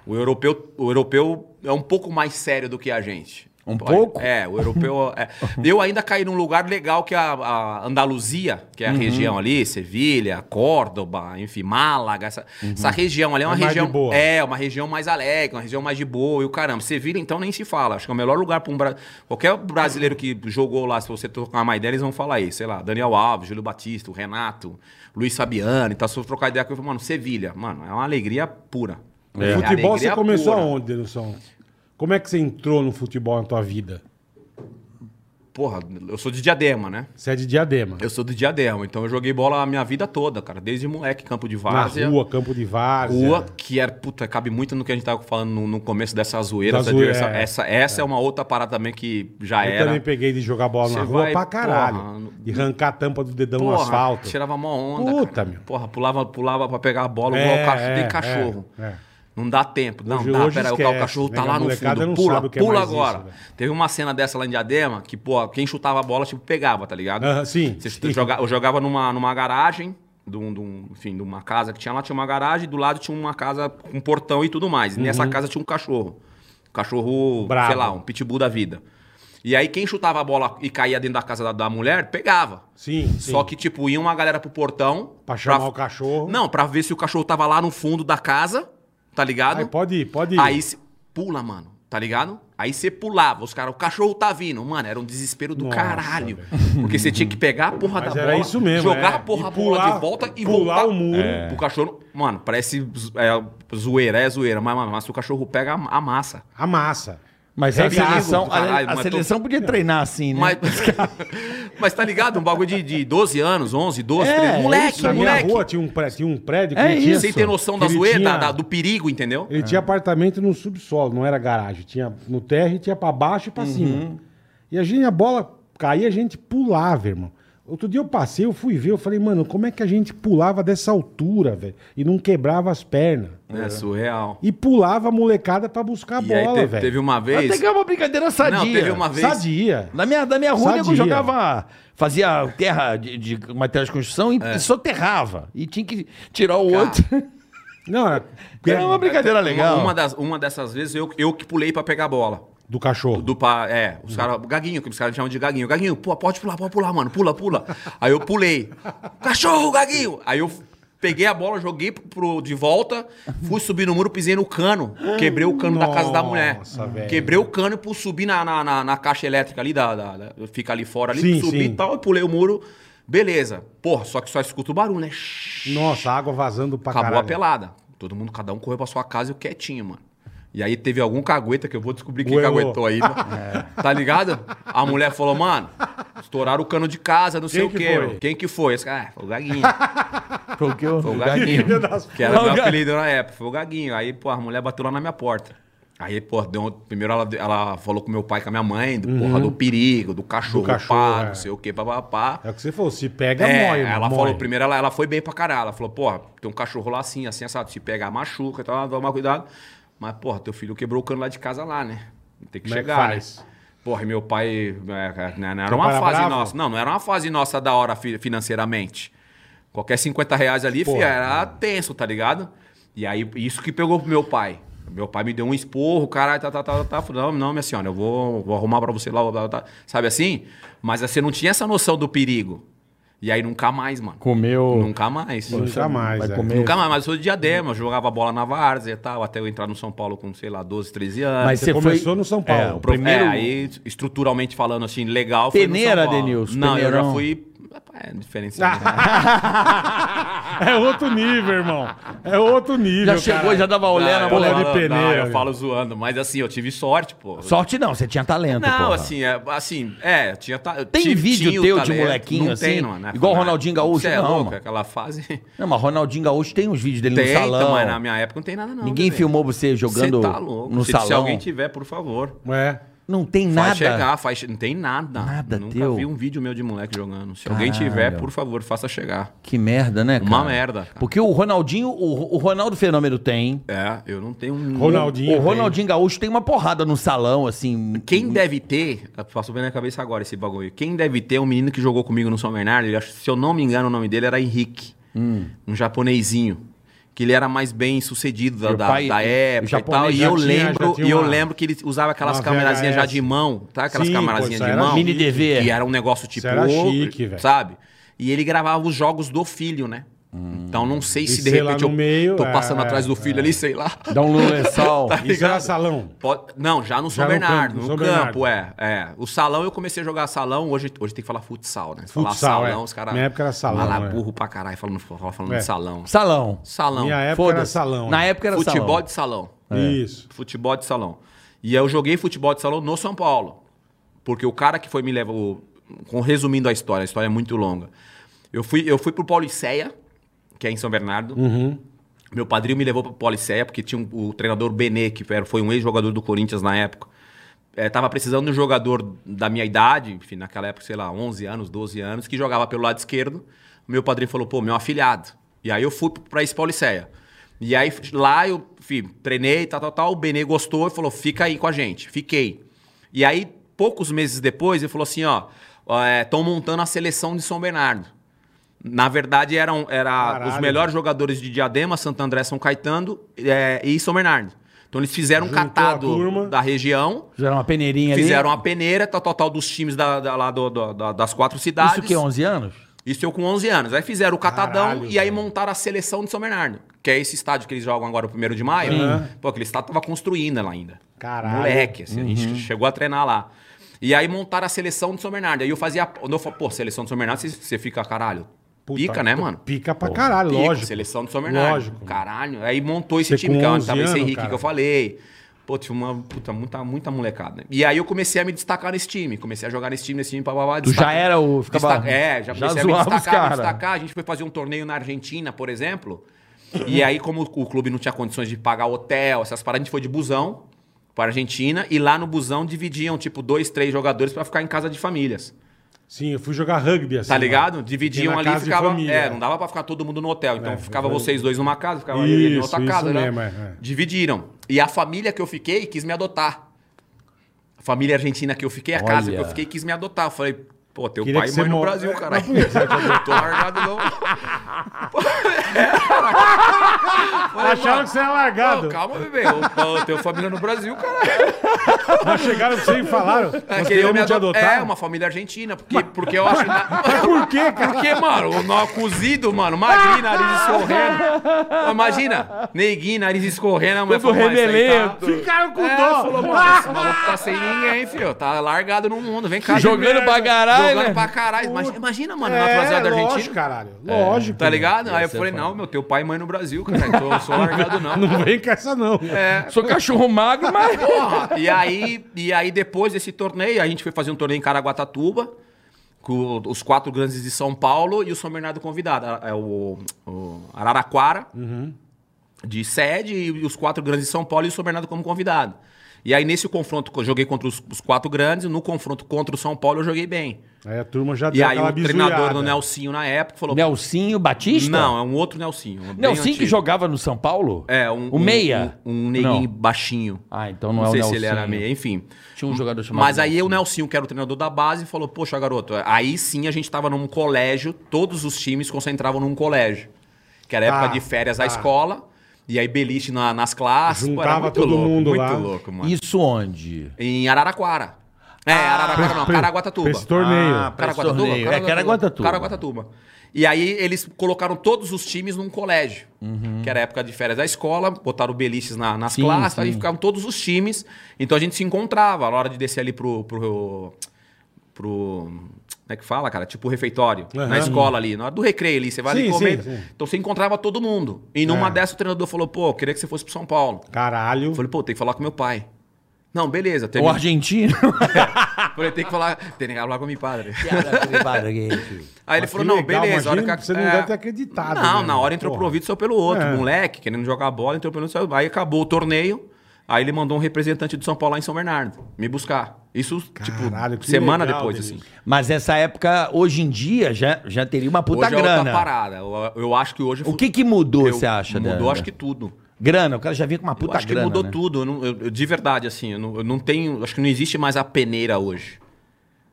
Speaker 5: O europeu, o europeu é um pouco mais sério do que a gente.
Speaker 4: Um pouco?
Speaker 5: É, o europeu. é. Eu ainda caí num lugar legal que é a, a Andaluzia, que
Speaker 4: Uhum.
Speaker 5: é a região ali, Sevilha, Córdoba, enfim, Málaga. Essa,
Speaker 4: Uhum.
Speaker 5: essa região ali é uma
Speaker 3: É mais de
Speaker 5: região.
Speaker 3: boa.
Speaker 5: É, uma região mais alegre, uma região mais de boa e o caramba. Sevilha, então, nem se fala. Acho que é o melhor lugar para um. Bra... Qualquer brasileiro que jogou lá, se você trocar uma ideia, eles vão falar aí. Sei lá, Daniel Alves, Júlio Batista, o Renato, Luiz Fabiano e tal. Se eu trocar ideia com ele, eu falo, mano, Sevilha, mano, é uma alegria pura. É.
Speaker 3: Futebol você
Speaker 5: Alegria
Speaker 3: começou
Speaker 5: pura.
Speaker 3: aonde, Denilson? Como é que você entrou no futebol na tua vida?
Speaker 5: Porra, eu sou de diadema, né?
Speaker 3: Você é de Diadema.
Speaker 5: Eu sou do Diadema, então eu joguei bola a minha vida toda, cara. Desde moleque, campo de
Speaker 3: Na
Speaker 5: várzea.
Speaker 3: rua, campo de várzea.
Speaker 5: Rua, que era, puta, cabe muito no que a gente tava falando no, no começo dessa zoeira.
Speaker 3: Da
Speaker 5: Essa,
Speaker 3: zoeira,
Speaker 5: essa,
Speaker 3: é.
Speaker 5: essa, essa é. uma outra parada também que já
Speaker 3: Eu
Speaker 5: era.
Speaker 3: também peguei de jogar bola na
Speaker 5: Você
Speaker 3: rua
Speaker 5: vai,
Speaker 3: pra caralho.
Speaker 5: porra, no-
Speaker 3: De arrancar a tampa do dedão no
Speaker 5: Porra,
Speaker 3: asfalto.
Speaker 5: Tirava mó onda.
Speaker 3: Puta,
Speaker 5: cara.
Speaker 3: meu.
Speaker 5: Porra, pulava, pulava pra pegar a bola, igual
Speaker 3: É,
Speaker 5: o cachorro,
Speaker 3: é,
Speaker 5: nem cachorro.
Speaker 3: é, é.
Speaker 5: Não dá tempo. Não,
Speaker 3: Hoje-
Speaker 5: dá,
Speaker 3: hoje
Speaker 5: pera, o
Speaker 3: esquece,
Speaker 5: ca- o cachorro
Speaker 3: né?
Speaker 5: tá
Speaker 3: A
Speaker 5: lá no
Speaker 3: molecada não
Speaker 5: fundo. Pula,
Speaker 3: sabe o que é
Speaker 5: pula
Speaker 3: mais isso,
Speaker 5: agora.
Speaker 3: velho.
Speaker 5: Teve uma cena dessa lá em Diadema que, pô, quem chutava a bola, tipo, pegava, tá ligado?
Speaker 3: Aham, sim,
Speaker 5: Você
Speaker 3: sim.
Speaker 5: joga- eu jogava numa, numa garagem, de um, de um- enfim, de uma casa que tinha lá, tinha uma garagem, do lado tinha uma casa com portão e tudo mais. E nessa casa tinha um cachorro. Um cachorro,
Speaker 3: Uhum. Bravo.
Speaker 5: sei lá, um pitbull da vida. E aí quem chutava a bola e caía dentro da casa da, da mulher, pegava.
Speaker 3: Sim, sim.
Speaker 5: Só que, tipo, ia uma galera pro portão.
Speaker 3: Pra chamar o cachorro.
Speaker 5: Não, pra ver se o cachorro tava lá no fundo da casa, tá ligado?
Speaker 3: Aí pode ir, pode ir.
Speaker 5: Aí cê- pula, mano, tá ligado? Aí você pulava, os caras, o cachorro tá vindo. Mano, era um desespero do
Speaker 3: Nossa,
Speaker 5: caralho. Porque você tinha que pegar a porra
Speaker 3: Mas
Speaker 5: da
Speaker 3: era
Speaker 5: bola,
Speaker 3: isso mesmo,
Speaker 5: jogar
Speaker 3: é.
Speaker 5: a porra
Speaker 3: E
Speaker 5: da bola
Speaker 3: pular-
Speaker 5: de volta e
Speaker 3: pular
Speaker 5: voltar É.
Speaker 3: o muro. É.
Speaker 5: pro cachorro. Mano, parece zo- é, zoeira, é zoeira. Mas, mano, mas se o cachorro pega, am- amassa.
Speaker 3: Amassa.
Speaker 4: Mas a
Speaker 5: Regaço,
Speaker 4: seleção,
Speaker 5: caralho,
Speaker 4: É a, a
Speaker 5: mas É.
Speaker 4: seleção podia treinar assim,
Speaker 3: É.
Speaker 4: né?
Speaker 5: Mas, mas tá ligado? Um bagulho de, de 12 anos, 11, 12,
Speaker 4: É,
Speaker 5: 13. Moleque,
Speaker 4: isso,
Speaker 3: Na minha
Speaker 5: moleque.
Speaker 3: rua tinha um prédio, tinha um prédio que
Speaker 4: É
Speaker 3: ele tinha-
Speaker 4: isso.
Speaker 5: Sem ter noção da
Speaker 3: ele
Speaker 5: zoeira,
Speaker 3: tinha-
Speaker 5: da- da- do perigo, entendeu?
Speaker 3: Ele tinha apartamento no subsolo, não era garagem. Tinha no térreo, e tinha pra baixo e pra
Speaker 5: Uhum.
Speaker 3: cima. E a gente, a bola caía, a gente pulava, irmão. Outro dia eu passei, eu fui ver, eu falei, mano, como é que a gente pulava dessa altura, velho? E não quebrava as pernas.
Speaker 5: É surreal.
Speaker 3: E pulava a molecada pra buscar a
Speaker 5: E aí
Speaker 3: bola,
Speaker 5: teve, teve
Speaker 3: velho.
Speaker 5: uma
Speaker 4: Até
Speaker 5: vez.
Speaker 4: que é uma brincadeira sadia.
Speaker 5: Não, teve uma vez.
Speaker 3: Sadia.
Speaker 4: Na minha, na minha rua, eu
Speaker 3: Sadia.
Speaker 4: jogava. Fazia terra de, de material de construção e soterrava. E tinha que tirar o
Speaker 5: É. Cara. é,
Speaker 4: outro.
Speaker 3: Não, era,
Speaker 4: Era uma brincadeira legal.
Speaker 5: Uma, uma das, uma dessas vezes eu, eu que pulei pra pegar a bola.
Speaker 3: do cachorro.
Speaker 5: Do pa, é, os caras, gaguinho, que os caras chamam de gaguinho. Gaguinho, pô, pode pular, pode pular, mano, pula, pula. Aí eu pulei. Cachorro, gaguinho! Aí eu peguei a bola, joguei pro, pro- de volta, fui subir no muro, pisei no cano. Quebrei o cano da casa da mulher.
Speaker 3: Nossa, velho.
Speaker 5: Quebrei o cano e subi na, na, na- na caixa elétrica ali, da, da- da- fica ali fora ali,
Speaker 3: Sim,
Speaker 5: subi
Speaker 3: sim.
Speaker 5: e tal, eu pulei o muro. Beleza. Porra, só que só escuta o barulho, né?
Speaker 3: Nossa, água vazando pra
Speaker 5: Acabou
Speaker 3: caralho.
Speaker 5: a pelada. Todo mundo, cada um correu pra sua casa e eu quietinho, mano. E aí teve algum cagueta que eu vou descobrir quem
Speaker 3: Goelô.
Speaker 5: caguetou aí. né?
Speaker 3: É.
Speaker 5: Tá ligado? A mulher falou, mano, estouraram o cano de casa, não sei
Speaker 3: Quem
Speaker 5: o
Speaker 3: que
Speaker 5: quê.
Speaker 3: foi?
Speaker 5: mano. Quem que foi? Esse cara, ah, foi o Gaguinho.
Speaker 4: Foi o que eu-
Speaker 5: Foi o Gaguinho.
Speaker 3: Filha das
Speaker 5: que era
Speaker 4: O
Speaker 5: meu
Speaker 4: Ga-
Speaker 5: apelido na época. Foi o Gaguinho. Aí, pô, a mulher bateu lá na minha porta. Aí, pô, deu um- primeiro ela, ela falou com meu pai, com a minha mãe, do, porra, do perigo, do cachorro,
Speaker 3: Uhum. cachorro,
Speaker 5: pá,
Speaker 3: é.
Speaker 5: não sei o quê, papapá.
Speaker 3: É o que você falou, se pega,
Speaker 5: É,
Speaker 3: morre, irmão,
Speaker 5: ela
Speaker 3: morre.
Speaker 5: falou, primeiro ela, ela foi bem pra caralho. Ela falou, porra, tem um cachorro lá assim, assim, assado, se pegar, machuca e tal, toma cuidado. Mas, porra, teu filho quebrou o cano lá de casa lá, né? Tem que
Speaker 3: Como é que
Speaker 5: chegar,
Speaker 3: faz?
Speaker 5: né? Porra, e meu pai, é, cara, né, não era
Speaker 3: Teu
Speaker 5: uma
Speaker 3: pai era
Speaker 5: fase
Speaker 3: bravo?
Speaker 5: nossa. Não, não era uma fase nossa da hora fi- financeiramente. Qualquer 50 reais ali,
Speaker 3: Porra,
Speaker 5: fi, era tenso, tá ligado? E aí, isso que pegou pro meu pai. Meu pai me deu um esporro, caralho, tá, tá, tá, tá. Falei, não, não, minha senhora, eu vou, vou arrumar pra você lá, blá, blá, blá, sabe assim? Mas você não tinha essa noção do perigo. E aí nunca mais, mano.
Speaker 4: Comeu.
Speaker 5: Nunca mais.
Speaker 3: Nunca mais,
Speaker 4: Vai
Speaker 3: é.
Speaker 4: comer.
Speaker 5: Nunca mais, mas eu sou de diadema, eu jogava bola na várzea e tal, até eu entrar no São Paulo com, sei lá, 12, 13 anos.
Speaker 4: Mas
Speaker 3: Você
Speaker 4: você
Speaker 3: começou
Speaker 4: foi-
Speaker 3: no São Paulo.
Speaker 4: É, o
Speaker 5: Pro-
Speaker 4: primeiro-
Speaker 5: É, aí, estruturalmente falando, assim, legal.
Speaker 4: Peneira,
Speaker 5: Paulo.
Speaker 4: Denilson,
Speaker 5: Não, eu
Speaker 4: peneirão.
Speaker 5: já fui. É, diferenciado. né?
Speaker 3: É outro nível, irmão. É outro nível,
Speaker 4: Já chegou,
Speaker 3: caralho.
Speaker 4: já dava
Speaker 5: Não,
Speaker 4: olhada
Speaker 5: eu
Speaker 4: na
Speaker 3: Olé
Speaker 4: bola.
Speaker 5: falo-
Speaker 3: de peneira,
Speaker 5: não, eu
Speaker 3: meu.
Speaker 5: falo zoando, mas assim, eu tive sorte, pô.
Speaker 4: Sorte não, você tinha talento,
Speaker 5: Não,
Speaker 4: porra.
Speaker 5: assim, é, assim, é, tinha. ta- eu
Speaker 4: Tem
Speaker 5: tive-
Speaker 4: vídeo
Speaker 5: tinha o
Speaker 4: teu de
Speaker 5: talento,
Speaker 4: molequinho,
Speaker 5: não tem,
Speaker 4: assim?
Speaker 5: não, né?
Speaker 4: Igual
Speaker 5: Não,
Speaker 4: Ronaldinho Gaúcho?
Speaker 5: você é
Speaker 4: Não,
Speaker 5: louco,
Speaker 4: mano.
Speaker 5: aquela fase.
Speaker 4: Não, mas Ronaldinho Gaúcho tem uns vídeos dele
Speaker 5: Tem,
Speaker 4: no salão.
Speaker 5: então, mas na minha época não tem nada, não.
Speaker 4: Ninguém
Speaker 5: bebê.
Speaker 4: filmou você jogando
Speaker 5: Cê tá louco.
Speaker 4: no
Speaker 5: se,
Speaker 4: salão.
Speaker 5: Se alguém tiver, por favor.
Speaker 3: É.
Speaker 4: Não tem nada.
Speaker 5: Faz chegar, faz. Não tem nada.
Speaker 4: Nada
Speaker 5: Nunca
Speaker 4: teu.
Speaker 5: vi um vídeo meu de moleque jogando. Se alguém
Speaker 4: Caralho.
Speaker 5: tiver, por favor, faça chegar.
Speaker 4: Que merda, né, cara?
Speaker 5: Uma merda, cara.
Speaker 4: Porque o Ronaldinho, o, o Ronaldo Fenômeno tem.
Speaker 5: É, eu não tenho. um-
Speaker 3: Ronaldinho.
Speaker 4: o
Speaker 3: tem.
Speaker 4: Ronaldinho Gaúcho tem uma porrada no salão, assim.
Speaker 5: Quem deve ter, passou bem na cabeça agora esse bagulho. Quem deve ter é um menino que
Speaker 3: Hum.
Speaker 5: jogou comigo no São Bernardo, ele acho- se eu não me engano, o nome dele era Henrique. Um japonesinho. que ele era mais bem sucedido da,
Speaker 3: Meu
Speaker 5: da-
Speaker 3: pai,
Speaker 5: da
Speaker 3: o
Speaker 5: época e
Speaker 3: japonês
Speaker 5: tal. E
Speaker 3: já
Speaker 5: eu
Speaker 3: tinha- já
Speaker 5: lembro,
Speaker 3: tinha
Speaker 5: e eu
Speaker 3: uma-
Speaker 5: lembro que ele usava aquelas
Speaker 3: uma
Speaker 5: camerazinhas já
Speaker 3: VHS.
Speaker 5: de mão, tá? Aquelas
Speaker 3: Sim, pô,
Speaker 5: camerazinhas
Speaker 3: isso
Speaker 5: de
Speaker 3: era
Speaker 5: mão.
Speaker 3: chique.
Speaker 4: Mini DV.
Speaker 5: Que era um negócio tipo,
Speaker 3: era chique, velho.
Speaker 5: sabe? E ele gravava os jogos do filho, né? Então não sei se de
Speaker 3: Hum. sei lá
Speaker 5: repente
Speaker 3: no
Speaker 5: eu
Speaker 3: meio,
Speaker 5: tô
Speaker 3: é,
Speaker 5: passando atrás do
Speaker 3: é.
Speaker 5: filho ali, sei lá.
Speaker 4: Dá um lulençal.
Speaker 5: Tá
Speaker 3: Isso é era
Speaker 5: ligado?
Speaker 3: salão.
Speaker 5: Pode- Não, já no São
Speaker 3: Já no
Speaker 5: Bernardo,
Speaker 3: campo, no
Speaker 5: no,
Speaker 3: São
Speaker 5: campo,
Speaker 3: Bernardo.
Speaker 5: é, é. O salão eu comecei a jogar salão, hoje, hoje tem que falar futsal, né? Se falar
Speaker 3: Futsal,
Speaker 5: salão,
Speaker 3: é.
Speaker 5: os caras.
Speaker 3: Minha época era salão,
Speaker 5: Falar
Speaker 3: é.
Speaker 5: burro pra caralho falando, falando
Speaker 3: É.
Speaker 5: de salão.
Speaker 4: Salão.
Speaker 5: Salão.
Speaker 3: Minha época era
Speaker 4: Foda-se.
Speaker 3: salão.
Speaker 4: Na
Speaker 3: né?
Speaker 4: época era
Speaker 5: futebol
Speaker 4: salão.
Speaker 5: de salão.
Speaker 3: Isso.
Speaker 5: Futebol de salão. E eu joguei futebol de salão no São Paulo. Porque o cara que foi me levar. o- com- Resumindo a história, a história é muito longa. Eu fui, eu fui pro Pauliceia, que é em São Bernardo.
Speaker 3: Uhum.
Speaker 5: Meu padrinho me levou para Policeia, porque tinha um- o treinador Benê, que era- foi um ex-jogador do Corinthians na época. É, tava precisando de um jogador da minha idade, enfim, naquela época, sei lá, 11 anos, 12 anos, que jogava pelo lado esquerdo. Meu padrinho falou, pô, meu afilhado. E aí eu fui para esse Policeia. E aí f- lá eu enfim, treinei, tal, tal, tal. O Benê gostou e falou, fica aí com a gente. Fiquei. E aí, poucos meses depois, ele falou assim, ó, estão montando a seleção de São Bernardo. Na verdade, eram era
Speaker 3: Caralho.
Speaker 5: os melhores jogadores de Diadema, Santo André, São Caetano é, e São Bernardo. Então eles fizeram um
Speaker 3: Juntou a turma.
Speaker 5: catado da região,
Speaker 4: Fizeram uma peneirinha
Speaker 5: fizeram
Speaker 4: ali.
Speaker 5: uma peneira, tal, tal, tal, dos times da, da- lá do- do- da- das quatro cidades.
Speaker 4: Isso que, é 11 anos?
Speaker 5: Isso eu com 11 anos. Aí fizeram o catadão
Speaker 3: Caralho,
Speaker 5: e aí
Speaker 3: velho.
Speaker 5: montaram a seleção de São Bernardo, que é esse estádio que eles jogam agora, o primeiro de maio.
Speaker 3: Uhum.
Speaker 5: Pô, aquele estádio tava construindo lá ainda.
Speaker 3: Caralho.
Speaker 5: Moleque, assim, a
Speaker 4: Uhum.
Speaker 5: gente chegou a treinar lá. E aí montaram a seleção de São Bernardo. Aí eu fazia. Quando eu falo, pô, seleção de São Bernardo, você- você fica, caralho.
Speaker 3: Puta,
Speaker 5: pica, né, mano?
Speaker 3: Pica pra caralho,
Speaker 5: Pica,
Speaker 3: lógico.
Speaker 5: Seleção de São Bernardo.
Speaker 3: Lógico.
Speaker 5: Caralho. Aí montou esse
Speaker 3: Você
Speaker 5: time,
Speaker 3: com
Speaker 5: que é
Speaker 3: 11
Speaker 5: onde tava esse
Speaker 3: anos,
Speaker 5: Henrique
Speaker 3: cara.
Speaker 5: que eu falei. Pô, tinha uma puta, muita, muita molecada. né? E aí eu comecei a me destacar nesse time. Comecei a jogar nesse time, nesse time, pá, pá, pá,
Speaker 4: Tu já
Speaker 5: destacar-
Speaker 4: era o... Ficava...
Speaker 5: Destaca- É, já comecei a me
Speaker 4: zoava os
Speaker 5: destacar, me
Speaker 4: cara.
Speaker 5: destacar. A gente foi fazer um torneio na Argentina, por exemplo. E aí, como o clube não tinha condições de pagar hotel, essas paradas, a gente foi de busão pra Argentina. E lá no busão dividiam, tipo, dois, três jogadores pra ficar em casa de famílias.
Speaker 3: Sim, eu fui jogar rugby assim.
Speaker 5: Tá
Speaker 3: mano.
Speaker 5: ligado?
Speaker 3: Fiquei
Speaker 5: Dividiam
Speaker 3: na
Speaker 5: ali e
Speaker 3: casa de
Speaker 5: ficava.
Speaker 3: família.
Speaker 5: É, não dava pra ficar todo mundo no hotel. Então
Speaker 3: É,
Speaker 5: ficava
Speaker 3: foi-
Speaker 5: vocês dois numa casa, ficava ele em
Speaker 3: Isso,
Speaker 5: outra
Speaker 3: isso
Speaker 5: casa,
Speaker 3: mesmo, é,
Speaker 5: né?
Speaker 3: é.
Speaker 5: Dividiram. E a família que eu fiquei quis me adotar. A família argentina que eu fiquei, a casa que
Speaker 4: Olha.
Speaker 5: eu fiquei, quis me adotar. Eu falei, pô, teu
Speaker 3: Queria
Speaker 5: pai
Speaker 3: que
Speaker 5: e
Speaker 3: você
Speaker 5: mãe no
Speaker 3: mo-
Speaker 5: Brasil,
Speaker 3: É,
Speaker 5: caralho.
Speaker 3: mas por que você
Speaker 5: Não tô largado, não.
Speaker 3: Acharam que você era largado.
Speaker 5: Não, calma, bebê. Eu, teu família no Brasil, caralho.
Speaker 3: Mas chegaram pra você e falaram.
Speaker 5: É,
Speaker 3: nós
Speaker 5: queriam me
Speaker 3: queremos te
Speaker 5: ado-
Speaker 3: um adotar.
Speaker 5: É, uma família argentina. Porque, porque eu acho.
Speaker 3: Mas por quê, cara?
Speaker 5: Porque, mano, o nó cozido, mano, magrinho, nariz escorrendo. Imagina, neguinho, nariz escorrendo, a mulher
Speaker 4: Todo
Speaker 5: "Mas isso aí
Speaker 4: rebelento.
Speaker 3: Ficaram com
Speaker 5: É,
Speaker 3: dó.
Speaker 5: falou, mano, esse maluco tá sem ninguém, filho. Tá largado no mundo, vem cá.
Speaker 4: Jogando pra caralho,
Speaker 5: Jogando
Speaker 4: né?
Speaker 5: pra caralho. Imagina, imagina, mano, na
Speaker 3: É,
Speaker 5: rapaziada
Speaker 3: lógico,
Speaker 5: argentina.
Speaker 3: caralho. Lógico.
Speaker 5: Tá ligado? Aí eu
Speaker 4: ser
Speaker 5: falei,
Speaker 4: foda.
Speaker 5: não, meu, teu pai e mãe no Brasil, cara. Então eu sou largado, não.
Speaker 3: Não vem com essa, não.
Speaker 5: É.
Speaker 4: Sou cachorro magro, mas...
Speaker 5: Porra, e aí, e aí depois desse torneio, a gente foi fazer um torneio em Caraguatatuba, com os quatro grandes de São Paulo e o São Bernardo convidado. Ara- É o, o Araraquara,
Speaker 3: Uhum.
Speaker 5: de sede, e os quatro grandes de São Paulo e o São Bernardo como convidado. E aí nesse confronto, eu joguei contra os, os quatro grandes, no confronto contra o São Paulo eu joguei bem.
Speaker 3: Aí a turma já
Speaker 5: E
Speaker 3: deu
Speaker 5: aí
Speaker 3: aquela
Speaker 5: o treinador
Speaker 3: bizuiada.
Speaker 5: do Nelsinho na época falou...
Speaker 4: Nelsinho Batista?
Speaker 5: Não, é um outro Nelsinho. um bem
Speaker 4: Nelsinho que
Speaker 5: antigo.
Speaker 4: jogava no São Paulo?
Speaker 5: É, um,
Speaker 4: O meia?
Speaker 5: Um, um neguinho
Speaker 4: Não.
Speaker 5: baixinho.
Speaker 4: Ah, então não,
Speaker 5: Não,
Speaker 4: é o
Speaker 5: sei
Speaker 4: Nelsinho.
Speaker 5: se ele era meia, enfim.
Speaker 4: Tinha um jogador chamado
Speaker 5: Mas aí o Nelsinho, que era o treinador da base, falou: Poxa, garoto, aí sim a gente tava num colégio, todos os times concentravam num colégio. Que era a
Speaker 3: Tá,
Speaker 5: época de férias da
Speaker 3: tá.
Speaker 5: escola, e aí beliche na- nas classes. pô,
Speaker 3: Juntava todo
Speaker 5: louco,
Speaker 3: mundo
Speaker 5: muito
Speaker 3: lá.
Speaker 5: louco, mano.
Speaker 4: Isso onde?
Speaker 5: Em Araraquara. É, Araraquara não,
Speaker 3: Pra- pra
Speaker 5: Caraguatatuba.
Speaker 3: Esse torneio.
Speaker 4: Ah, pra- esse
Speaker 5: Caraguatatuba?
Speaker 4: torneio. É, Caraguatatuba.
Speaker 5: Caraguatatuba. E aí eles colocaram todos os times num colégio, que era a época de férias da escola, botaram beliches na- nas
Speaker 4: Sim,
Speaker 5: classes,
Speaker 4: sim.
Speaker 5: aí ficavam todos os times. Então a gente se encontrava na hora de descer ali pro... pro, pro como é que fala, cara? Tipo refeitório.
Speaker 3: Aham.
Speaker 5: Na escola ali. Na hora do recreio ali, você vai
Speaker 3: Sim,
Speaker 5: ali comer.
Speaker 3: sim, sim.
Speaker 5: Então você encontrava todo mundo. E numa
Speaker 3: É.
Speaker 5: dessas o treinador falou, pô, eu queria que você fosse pro São Paulo.
Speaker 3: Caralho.
Speaker 5: Eu falei, pô, tem que falar com meu pai. Não, beleza.
Speaker 4: O
Speaker 5: termina-
Speaker 4: argentino?
Speaker 5: Falei, tem que falar, tem que falar com meu padre.
Speaker 4: Mas
Speaker 5: Aí ele
Speaker 3: Mas que
Speaker 5: falou, não,
Speaker 3: legal,
Speaker 5: beleza. a
Speaker 3: imagina,
Speaker 5: a-
Speaker 3: você não deve ter acreditado,
Speaker 5: Não,
Speaker 3: né,
Speaker 5: na hora entrou
Speaker 3: porra.
Speaker 5: pro ouvido, saiu pelo outro.
Speaker 3: É.
Speaker 5: Moleque, querendo jogar bola, entrou pelo outro. saiu- Aí acabou o torneio. Aí ele mandou um representante do São Paulo lá em São Bernardo me buscar. Isso,
Speaker 3: Caralho, que
Speaker 5: tipo, semana
Speaker 3: legal,
Speaker 5: depois,
Speaker 3: Denise.
Speaker 5: assim.
Speaker 4: essa época, hoje em dia, já, já teria uma puta
Speaker 5: hoje é outra
Speaker 4: grana.
Speaker 5: parada. Eu, eu acho que hoje...
Speaker 4: o que que mudou,
Speaker 5: eu-
Speaker 4: você acha?
Speaker 5: Mudou,
Speaker 4: Dan?
Speaker 5: acho que tudo.
Speaker 4: Grana, o cara já vinha com uma
Speaker 5: Eu
Speaker 4: puta
Speaker 5: acho
Speaker 4: grana,
Speaker 5: que mudou
Speaker 4: né?
Speaker 5: tudo. Eu não- eu- eu- de verdade, assim, eu não, eu não tenho. Acho que não existe mais a peneira hoje.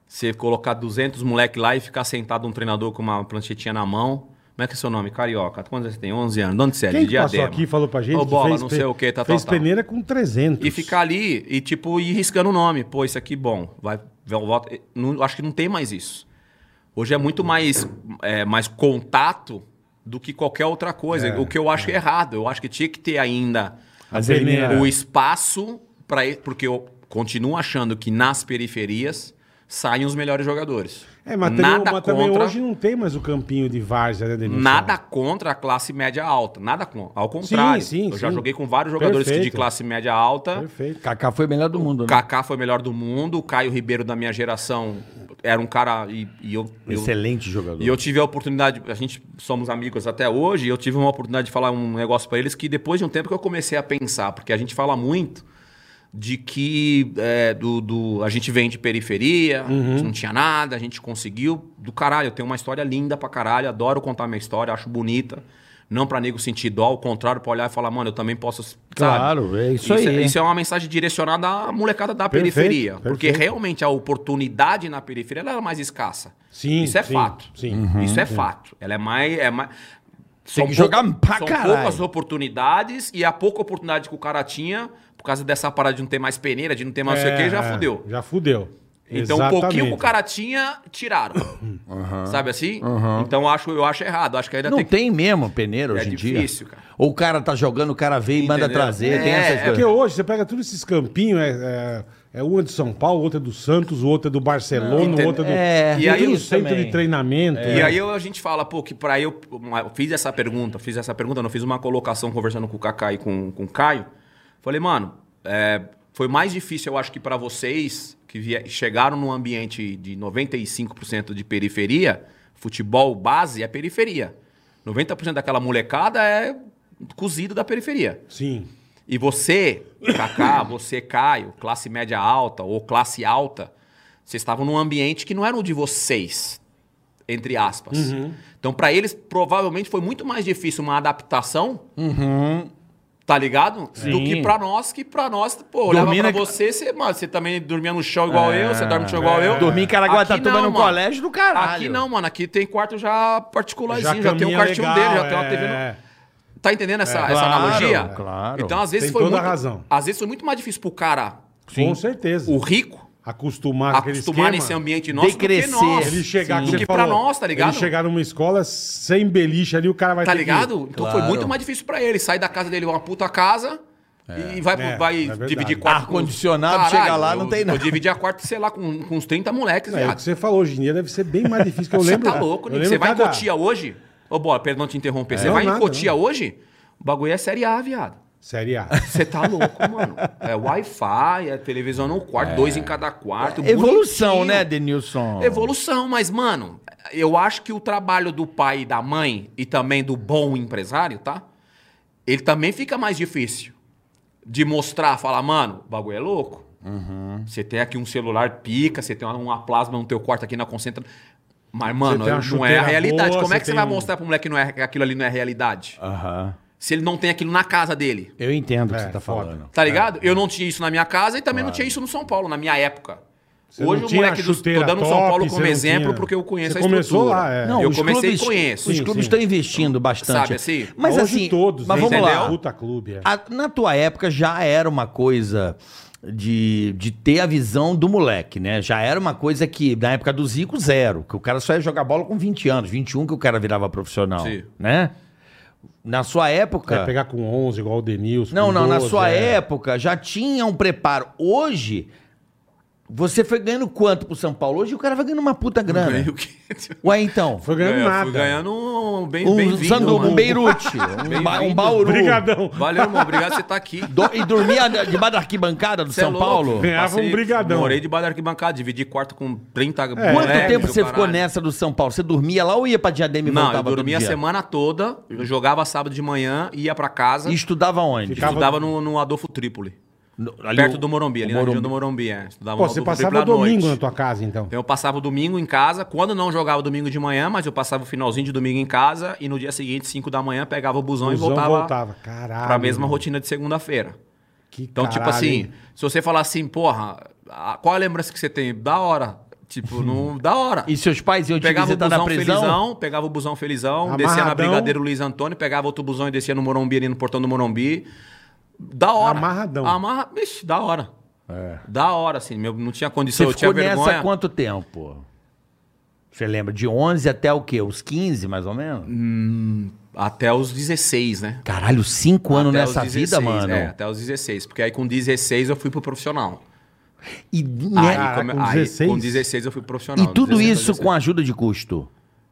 Speaker 5: Você colocar 200 moleque lá e ficar sentado um treinador com uma pranchetinha na mão, Como é que é seu nome? Carioca. Quantos você tem? 11 anos. De onde você é?
Speaker 3: Quem
Speaker 5: De
Speaker 3: que passou
Speaker 5: Diadema.
Speaker 3: aqui e falou pra gente
Speaker 5: Ô,
Speaker 3: que
Speaker 5: bola, não
Speaker 3: pe-
Speaker 5: sei o que, tá, tá,
Speaker 3: fez
Speaker 5: tá.
Speaker 3: peneira com 300.
Speaker 5: E ficar ali e, tipo, ir riscando o nome. Pô, isso aqui, bom. Vai, vai- volta. Não- acho que não tem mais isso. Hoje é muito mais, é, mais contato do que qualquer outra coisa. o que eu acho errado. Eu acho que tinha que ter ainda
Speaker 3: É, A peneira.
Speaker 5: o espaço para Porque eu continuo achando que nas periferias saem os melhores jogadores.
Speaker 3: É, mas, também, mas também hoje não tem mais o campinho de várzea, né, Denilson?
Speaker 5: Nada contra a classe média alta, nada contra. Ao contrário,
Speaker 3: sim,
Speaker 5: eu já
Speaker 3: sim.
Speaker 5: joguei com vários jogadores que de
Speaker 3: Perfeito.
Speaker 5: classe média alta.
Speaker 3: Perfeito.
Speaker 4: Kaká foi o melhor do mundo, né?
Speaker 5: Kaká foi o melhor do mundo, o Caio Ribeiro da minha geração era um cara e, e eu, eu-
Speaker 7: Excelente jogador.
Speaker 5: e eu tive a oportunidade, a gente somos amigos até hoje, e eu tive uma oportunidade de falar um negócio pra eles que depois de um tempo que eu comecei a pensar, porque a gente fala muito de que é, do, do- a gente vem de periferia, não tinha nada, a gente conseguiu do caralho. Eu tenho uma história linda pra caralho, adoro contar minha história, acho bonita. Não pra nego sentir dó, ao contrário, pra olhar e falar, mano, eu também posso. sabe?
Speaker 7: Claro, é isso aí.
Speaker 5: É, isso é uma mensagem direcionada à molecada da
Speaker 3: Perfeito,
Speaker 5: periferia. Porque
Speaker 3: perfeito.
Speaker 5: realmente a oportunidade na periferia ela era mais escassa.
Speaker 3: Sim,
Speaker 5: Isso é
Speaker 3: sim, Uhum,
Speaker 5: fato.
Speaker 3: sim.
Speaker 5: isso é fato. Ela é mais. É mais
Speaker 4: Tem que jogar pra
Speaker 5: são
Speaker 4: caralho.
Speaker 5: poucas oportunidades e a pouca oportunidade que o cara tinha, por causa dessa parada de não ter mais peneira, de não ter mais não sei o que, já
Speaker 3: É,
Speaker 5: fudeu.
Speaker 3: Já fudeu.
Speaker 5: Então, o pouquinho que o
Speaker 3: Exatamente.
Speaker 5: cara tinha, tiraram. Sabe assim? Então, acho, eu acho errado. Acho que é- ainda
Speaker 4: Não
Speaker 5: tem
Speaker 4: tem,
Speaker 5: que.
Speaker 4: mesmo peneira
Speaker 5: É
Speaker 4: hoje em dia.
Speaker 5: difícil, cara.
Speaker 4: Ou o cara tá jogando, o cara vem e manda
Speaker 5: Entendeu?
Speaker 4: trazer. tem
Speaker 5: É,
Speaker 4: essas
Speaker 5: é
Speaker 4: coisas.
Speaker 3: Porque hoje você pega todos esses campinhos, é, é, é uma de São Paulo, outra do Santos, outra do Barcelona,
Speaker 5: Entende-
Speaker 3: outra do.
Speaker 4: É,
Speaker 5: E aí
Speaker 3: Tem um
Speaker 5: eu
Speaker 3: centro
Speaker 4: também.
Speaker 3: de treinamento. né?
Speaker 5: E aí eu- a gente fala, pô, que pra eu. eu fiz essa pergunta, fiz essa pergunta, não fiz uma colocação conversando com o Kaká e com, com o Caio. Falei, mano, é, foi mais difícil, eu acho que pra vocês que vie- chegaram num ambiente de 95% de periferia, futebol base é periferia. 90% daquela molecada é cozido da periferia.
Speaker 3: Sim.
Speaker 5: E você, Kaká, você, Caio, classe média alta ou classe alta, vocês estavam num ambiente que não era o de vocês, entre aspas. Então, pra eles, provavelmente foi muito mais difícil uma adaptação.
Speaker 4: Uhum.
Speaker 5: Tá ligado? Do que pra nós, que pra nós, pô, olhava
Speaker 4: Dormir
Speaker 5: pra
Speaker 4: na-
Speaker 5: você, você, mano, você também dormia no chão igual eu, você dorme no chão igual eu.
Speaker 4: Dormir em Caraguatatuba
Speaker 5: Aqui não,
Speaker 4: num
Speaker 5: mano.
Speaker 4: um colégio do caralho.
Speaker 5: Aqui não, mano, aqui tem quarto já particularzinho, já, tem um
Speaker 3: caminha
Speaker 5: quartinho
Speaker 3: legal,
Speaker 5: dele, já tem uma TV no...
Speaker 3: é.
Speaker 5: Tá entendendo essa, essa
Speaker 4: É. claro,
Speaker 5: analogia?
Speaker 4: claro.
Speaker 5: Então, às vezes
Speaker 3: Tem
Speaker 5: foi
Speaker 3: toda a
Speaker 5: muito,
Speaker 3: razão.
Speaker 5: Às vezes foi muito mais difícil pro cara,
Speaker 3: Com certeza.
Speaker 5: o rico,
Speaker 3: Acostumar com aquele
Speaker 5: acostumar
Speaker 3: esquema.
Speaker 5: nesse ambiente nosso do que
Speaker 4: crescer.
Speaker 5: nós.
Speaker 3: Ele chegar
Speaker 5: do
Speaker 3: como você
Speaker 5: que pra
Speaker 3: falou,
Speaker 5: nós, tá ligado?
Speaker 3: Ele chegar numa escola sem beliche ali, o cara vai
Speaker 5: Tá
Speaker 3: ter que-
Speaker 5: ligado? Então foi muito mais difícil pra ele sair da casa dele, uma puta casa. E vai,
Speaker 3: É, é
Speaker 5: vai
Speaker 3: verdade.
Speaker 5: dividir quarto. com-
Speaker 4: Ar-condicionado, chega lá,
Speaker 5: eu-
Speaker 4: não tem
Speaker 5: Eu
Speaker 4: nada.
Speaker 5: dividia quarto, sei lá, com, com uns 30 moleques,
Speaker 3: É, o
Speaker 5: viado.
Speaker 3: que você falou, hoje em dia deve ser bem mais difícil que eu
Speaker 5: Você
Speaker 3: lembro.
Speaker 5: tá louco,
Speaker 3: eu
Speaker 5: Nico.
Speaker 3: lembro
Speaker 5: Você vai em
Speaker 3: cada-
Speaker 5: Cotia hoje? Ô, Bola, perdão te interromper. Você
Speaker 3: Não,
Speaker 5: vai em
Speaker 3: nada,
Speaker 5: Cotia
Speaker 3: não.
Speaker 5: hoje? O bagulho é Série A, viado.
Speaker 3: Série A.
Speaker 5: Você tá louco, mano. É Wi-Fi, é televisão no quarto, dois em cada quarto.
Speaker 4: Evolução,
Speaker 5: bonitinho.
Speaker 4: né, Denilson?
Speaker 5: Evolução, mas, mano, eu acho que o trabalho do pai e da mãe, e também do bom empresário, tá? Ele também fica mais difícil de mostrar, falar, mano, o bagulho é louco.
Speaker 3: Uhum.
Speaker 5: Você tem aqui um celular pica, você tem uma, uma plasma no teu quarto aqui na concentra. Mas, mano,
Speaker 3: tem uma
Speaker 5: não é
Speaker 3: chuteira
Speaker 5: a realidade.
Speaker 3: boa,
Speaker 5: Como é
Speaker 3: você
Speaker 5: que você
Speaker 3: tem
Speaker 5: vai
Speaker 3: um-
Speaker 5: mostrar pro moleque que não é, que aquilo ali não é realidade?
Speaker 4: Aham.
Speaker 5: Se ele não tem aquilo na casa dele.
Speaker 4: Eu entendo o que
Speaker 3: É,
Speaker 4: você tá
Speaker 3: foda.
Speaker 4: falando.
Speaker 5: Tá ligado? Eu não tinha isso na minha casa e também não tinha isso no São Paulo, na minha época.
Speaker 3: Você
Speaker 5: Hoje
Speaker 3: não
Speaker 5: o
Speaker 3: tinha
Speaker 5: moleque do.
Speaker 3: chuteira
Speaker 5: Tô dando o São
Speaker 3: top,
Speaker 5: Paulo
Speaker 3: você
Speaker 5: como
Speaker 3: não
Speaker 5: exemplo
Speaker 3: tinha.
Speaker 5: porque eu conheço
Speaker 3: Você
Speaker 5: a estrutura.
Speaker 3: começou lá, é.
Speaker 5: eu
Speaker 4: os
Speaker 5: comecei
Speaker 4: clubes-
Speaker 5: e conheço.
Speaker 4: Os
Speaker 3: Sim,
Speaker 4: clubes
Speaker 3: sim.
Speaker 4: estão investindo bastante.
Speaker 5: Sabe assim?
Speaker 4: Mas
Speaker 3: Hoje
Speaker 4: assim,
Speaker 3: todos,
Speaker 4: mas
Speaker 3: né?
Speaker 4: vamos
Speaker 5: Entendeu?
Speaker 4: lá.
Speaker 3: Puta clube, é.
Speaker 4: A- na tua época já era uma coisa de, de ter a visão do moleque, né? Já era uma coisa que, na época do Zico, zero. Que o cara só ia jogar bola com 20 anos, 21 que o cara virava profissional,
Speaker 5: Sim.
Speaker 4: né? Na sua época...
Speaker 3: Vai pegar com 11, igual o Denilson.
Speaker 4: Não,
Speaker 3: com
Speaker 4: não, na
Speaker 3: 12,
Speaker 4: sua
Speaker 3: é.
Speaker 4: época já tinha um preparo. Hoje, você foi ganhando quanto pro São Paulo? Hoje o cara vai ganhando uma puta grana.
Speaker 5: Meio que-
Speaker 4: Ué, então...
Speaker 3: Foi ganhando
Speaker 5: É, Eu
Speaker 3: nada.
Speaker 5: fui ganhando um bem,
Speaker 4: Um,
Speaker 5: bem-vindo,
Speaker 4: sandu,
Speaker 5: mano.
Speaker 4: um Beirute, um, ba- um Bauru.
Speaker 3: Brigadão.
Speaker 5: Valeu, irmão. Obrigado por você estar aqui.
Speaker 4: Do- e dormia debaixo da arquibancada do
Speaker 5: Cê é
Speaker 4: São
Speaker 5: louco.
Speaker 4: Paulo?
Speaker 3: Ganhava um brigadão. É.
Speaker 5: Morei debaixo da arquibancada, dividi quarto com 30
Speaker 4: Quanto
Speaker 5: moleques
Speaker 4: tempo
Speaker 5: do
Speaker 4: você ficou
Speaker 5: caralho.
Speaker 4: nessa do São Paulo? Você dormia lá ou ia pra Diadema e
Speaker 5: Não, eu
Speaker 4: voltava
Speaker 5: dormia a
Speaker 4: todo dia?
Speaker 5: semana toda, eu jogava sábado de manhã, ia pra casa,
Speaker 4: E estudava onde?
Speaker 3: Ficava-
Speaker 5: estudava no, no Adolfo Trípoli.
Speaker 4: No- ali
Speaker 5: perto
Speaker 4: o-
Speaker 5: do Morumbi, ali
Speaker 4: o
Speaker 5: na
Speaker 4: Morumbi.
Speaker 5: região do Morumbi, é. Estudava
Speaker 3: Pô,
Speaker 5: no
Speaker 3: você
Speaker 5: Adolfo
Speaker 3: passava
Speaker 5: Triplo à
Speaker 3: domingo
Speaker 5: noite.
Speaker 3: na tua casa, então.
Speaker 5: Então eu passava o domingo em casa, quando não jogava domingo de manhã, mas eu passava o finalzinho de domingo em casa e no dia seguinte, 5 da manhã, pegava o busão,
Speaker 3: Busão
Speaker 5: e voltava,
Speaker 3: voltava. Caralho.
Speaker 5: pra mesma rotina de segunda-feira.
Speaker 3: Que
Speaker 5: Então, tipo
Speaker 3: caralho,
Speaker 5: assim,
Speaker 3: hein?
Speaker 5: se você falar assim, porra, a- qual a lembrança que você tem? Da hora. Tipo, não, da hora.
Speaker 4: E seus pais iam te
Speaker 5: Pegava o
Speaker 4: visitar na
Speaker 5: busão
Speaker 4: prisão?
Speaker 5: felizão, pegava o busão felizão, descia na
Speaker 3: Amarradão.
Speaker 5: Brigadeiro Luiz Antônio, pegava outro busão e descia no Morumbi, ali no portão do Morumbi. Da hora.
Speaker 3: Amarradão.
Speaker 5: Amarra... Ixi, da hora.
Speaker 4: É.
Speaker 5: Da hora, assim. Meu, não tinha condição,
Speaker 4: Você
Speaker 5: eu tinha
Speaker 4: ficou nessa
Speaker 5: vergonha.
Speaker 4: quanto tempo? Você lembra? De 11 até o quê? Os 15, mais ou menos?
Speaker 5: Hum. Até os 16, né?
Speaker 4: Caralho, 5 anos
Speaker 5: Até
Speaker 4: Um nessa
Speaker 5: os 16,
Speaker 4: vida, mano.
Speaker 5: É, até os 16. Porque aí com 16 eu fui pro profissional.
Speaker 4: E,
Speaker 5: Aí,
Speaker 4: né?
Speaker 3: Caraca,
Speaker 5: Ah, come-
Speaker 3: com
Speaker 5: aí,
Speaker 3: 16?
Speaker 5: com 16 eu fui pro profissional.
Speaker 4: e tudo
Speaker 5: 16,
Speaker 4: isso
Speaker 5: 16.
Speaker 4: com ajuda de custo.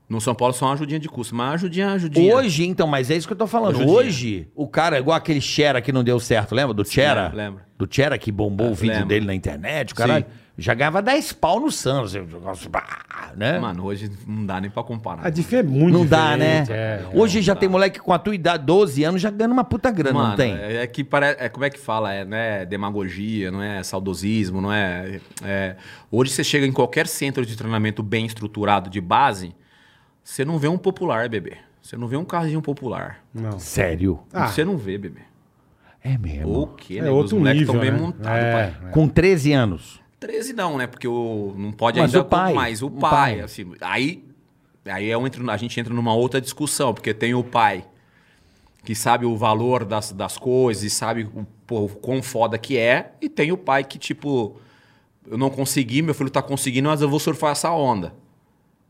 Speaker 5: No São Paulo só uma ajudinha de curso, mas ajudinha, ajudinha.
Speaker 4: Hoje, então, mas é isso que eu tô falando.
Speaker 5: Hoje em
Speaker 4: Hoje, o cara, igual aquele Chera que não deu certo, lembra? Do Chera?
Speaker 5: lembro, lembro. Ah,
Speaker 4: Do Chera que bombou o vídeo
Speaker 5: lembro.
Speaker 4: dele na internet, o cara
Speaker 5: Sim.
Speaker 4: já ganhava 10 pau no Santos. eu- nossa, bah, Né?
Speaker 5: Mano, hoje não dá nem pra comparar.
Speaker 3: A dif é muito
Speaker 4: não dá, né?
Speaker 3: diferente, é.
Speaker 4: Hoje já tem moleque com a tua idade, 12 anos, já ganha uma puta grana,
Speaker 5: Mano,
Speaker 4: não tem?
Speaker 5: É, é que parece. É, como é que fala? É, não é demagogia, não é saudosismo, não é, é- Hoje você chega em qualquer centro de treinamento bem estruturado de base, você não vê um popular, bebê. Você não vê um carrinho popular.
Speaker 3: Não.
Speaker 4: Sério?
Speaker 3: Ah.
Speaker 5: Você não vê, bebê.
Speaker 4: É mesmo.
Speaker 5: O quê,
Speaker 3: É
Speaker 5: né?
Speaker 3: outro
Speaker 5: Os moleques
Speaker 3: nível,
Speaker 5: estão bem
Speaker 3: né?
Speaker 5: montados,
Speaker 3: É,
Speaker 5: pai.
Speaker 3: é.
Speaker 4: Com 13 anos.
Speaker 5: 13 não, né? Porque o, não pode
Speaker 4: Mas
Speaker 5: ainda
Speaker 4: o pai,
Speaker 5: mais. O
Speaker 4: o
Speaker 5: pai,
Speaker 4: pai.
Speaker 5: assim. Aí, aí eu entro, a gente entra numa outra discussão, porque tem o pai que sabe o valor das, das coisas e sabe o, pô, o quão foda que é, e tem o pai que, tipo, eu não consegui, meu filho tá conseguindo, mas eu vou surfar essa onda.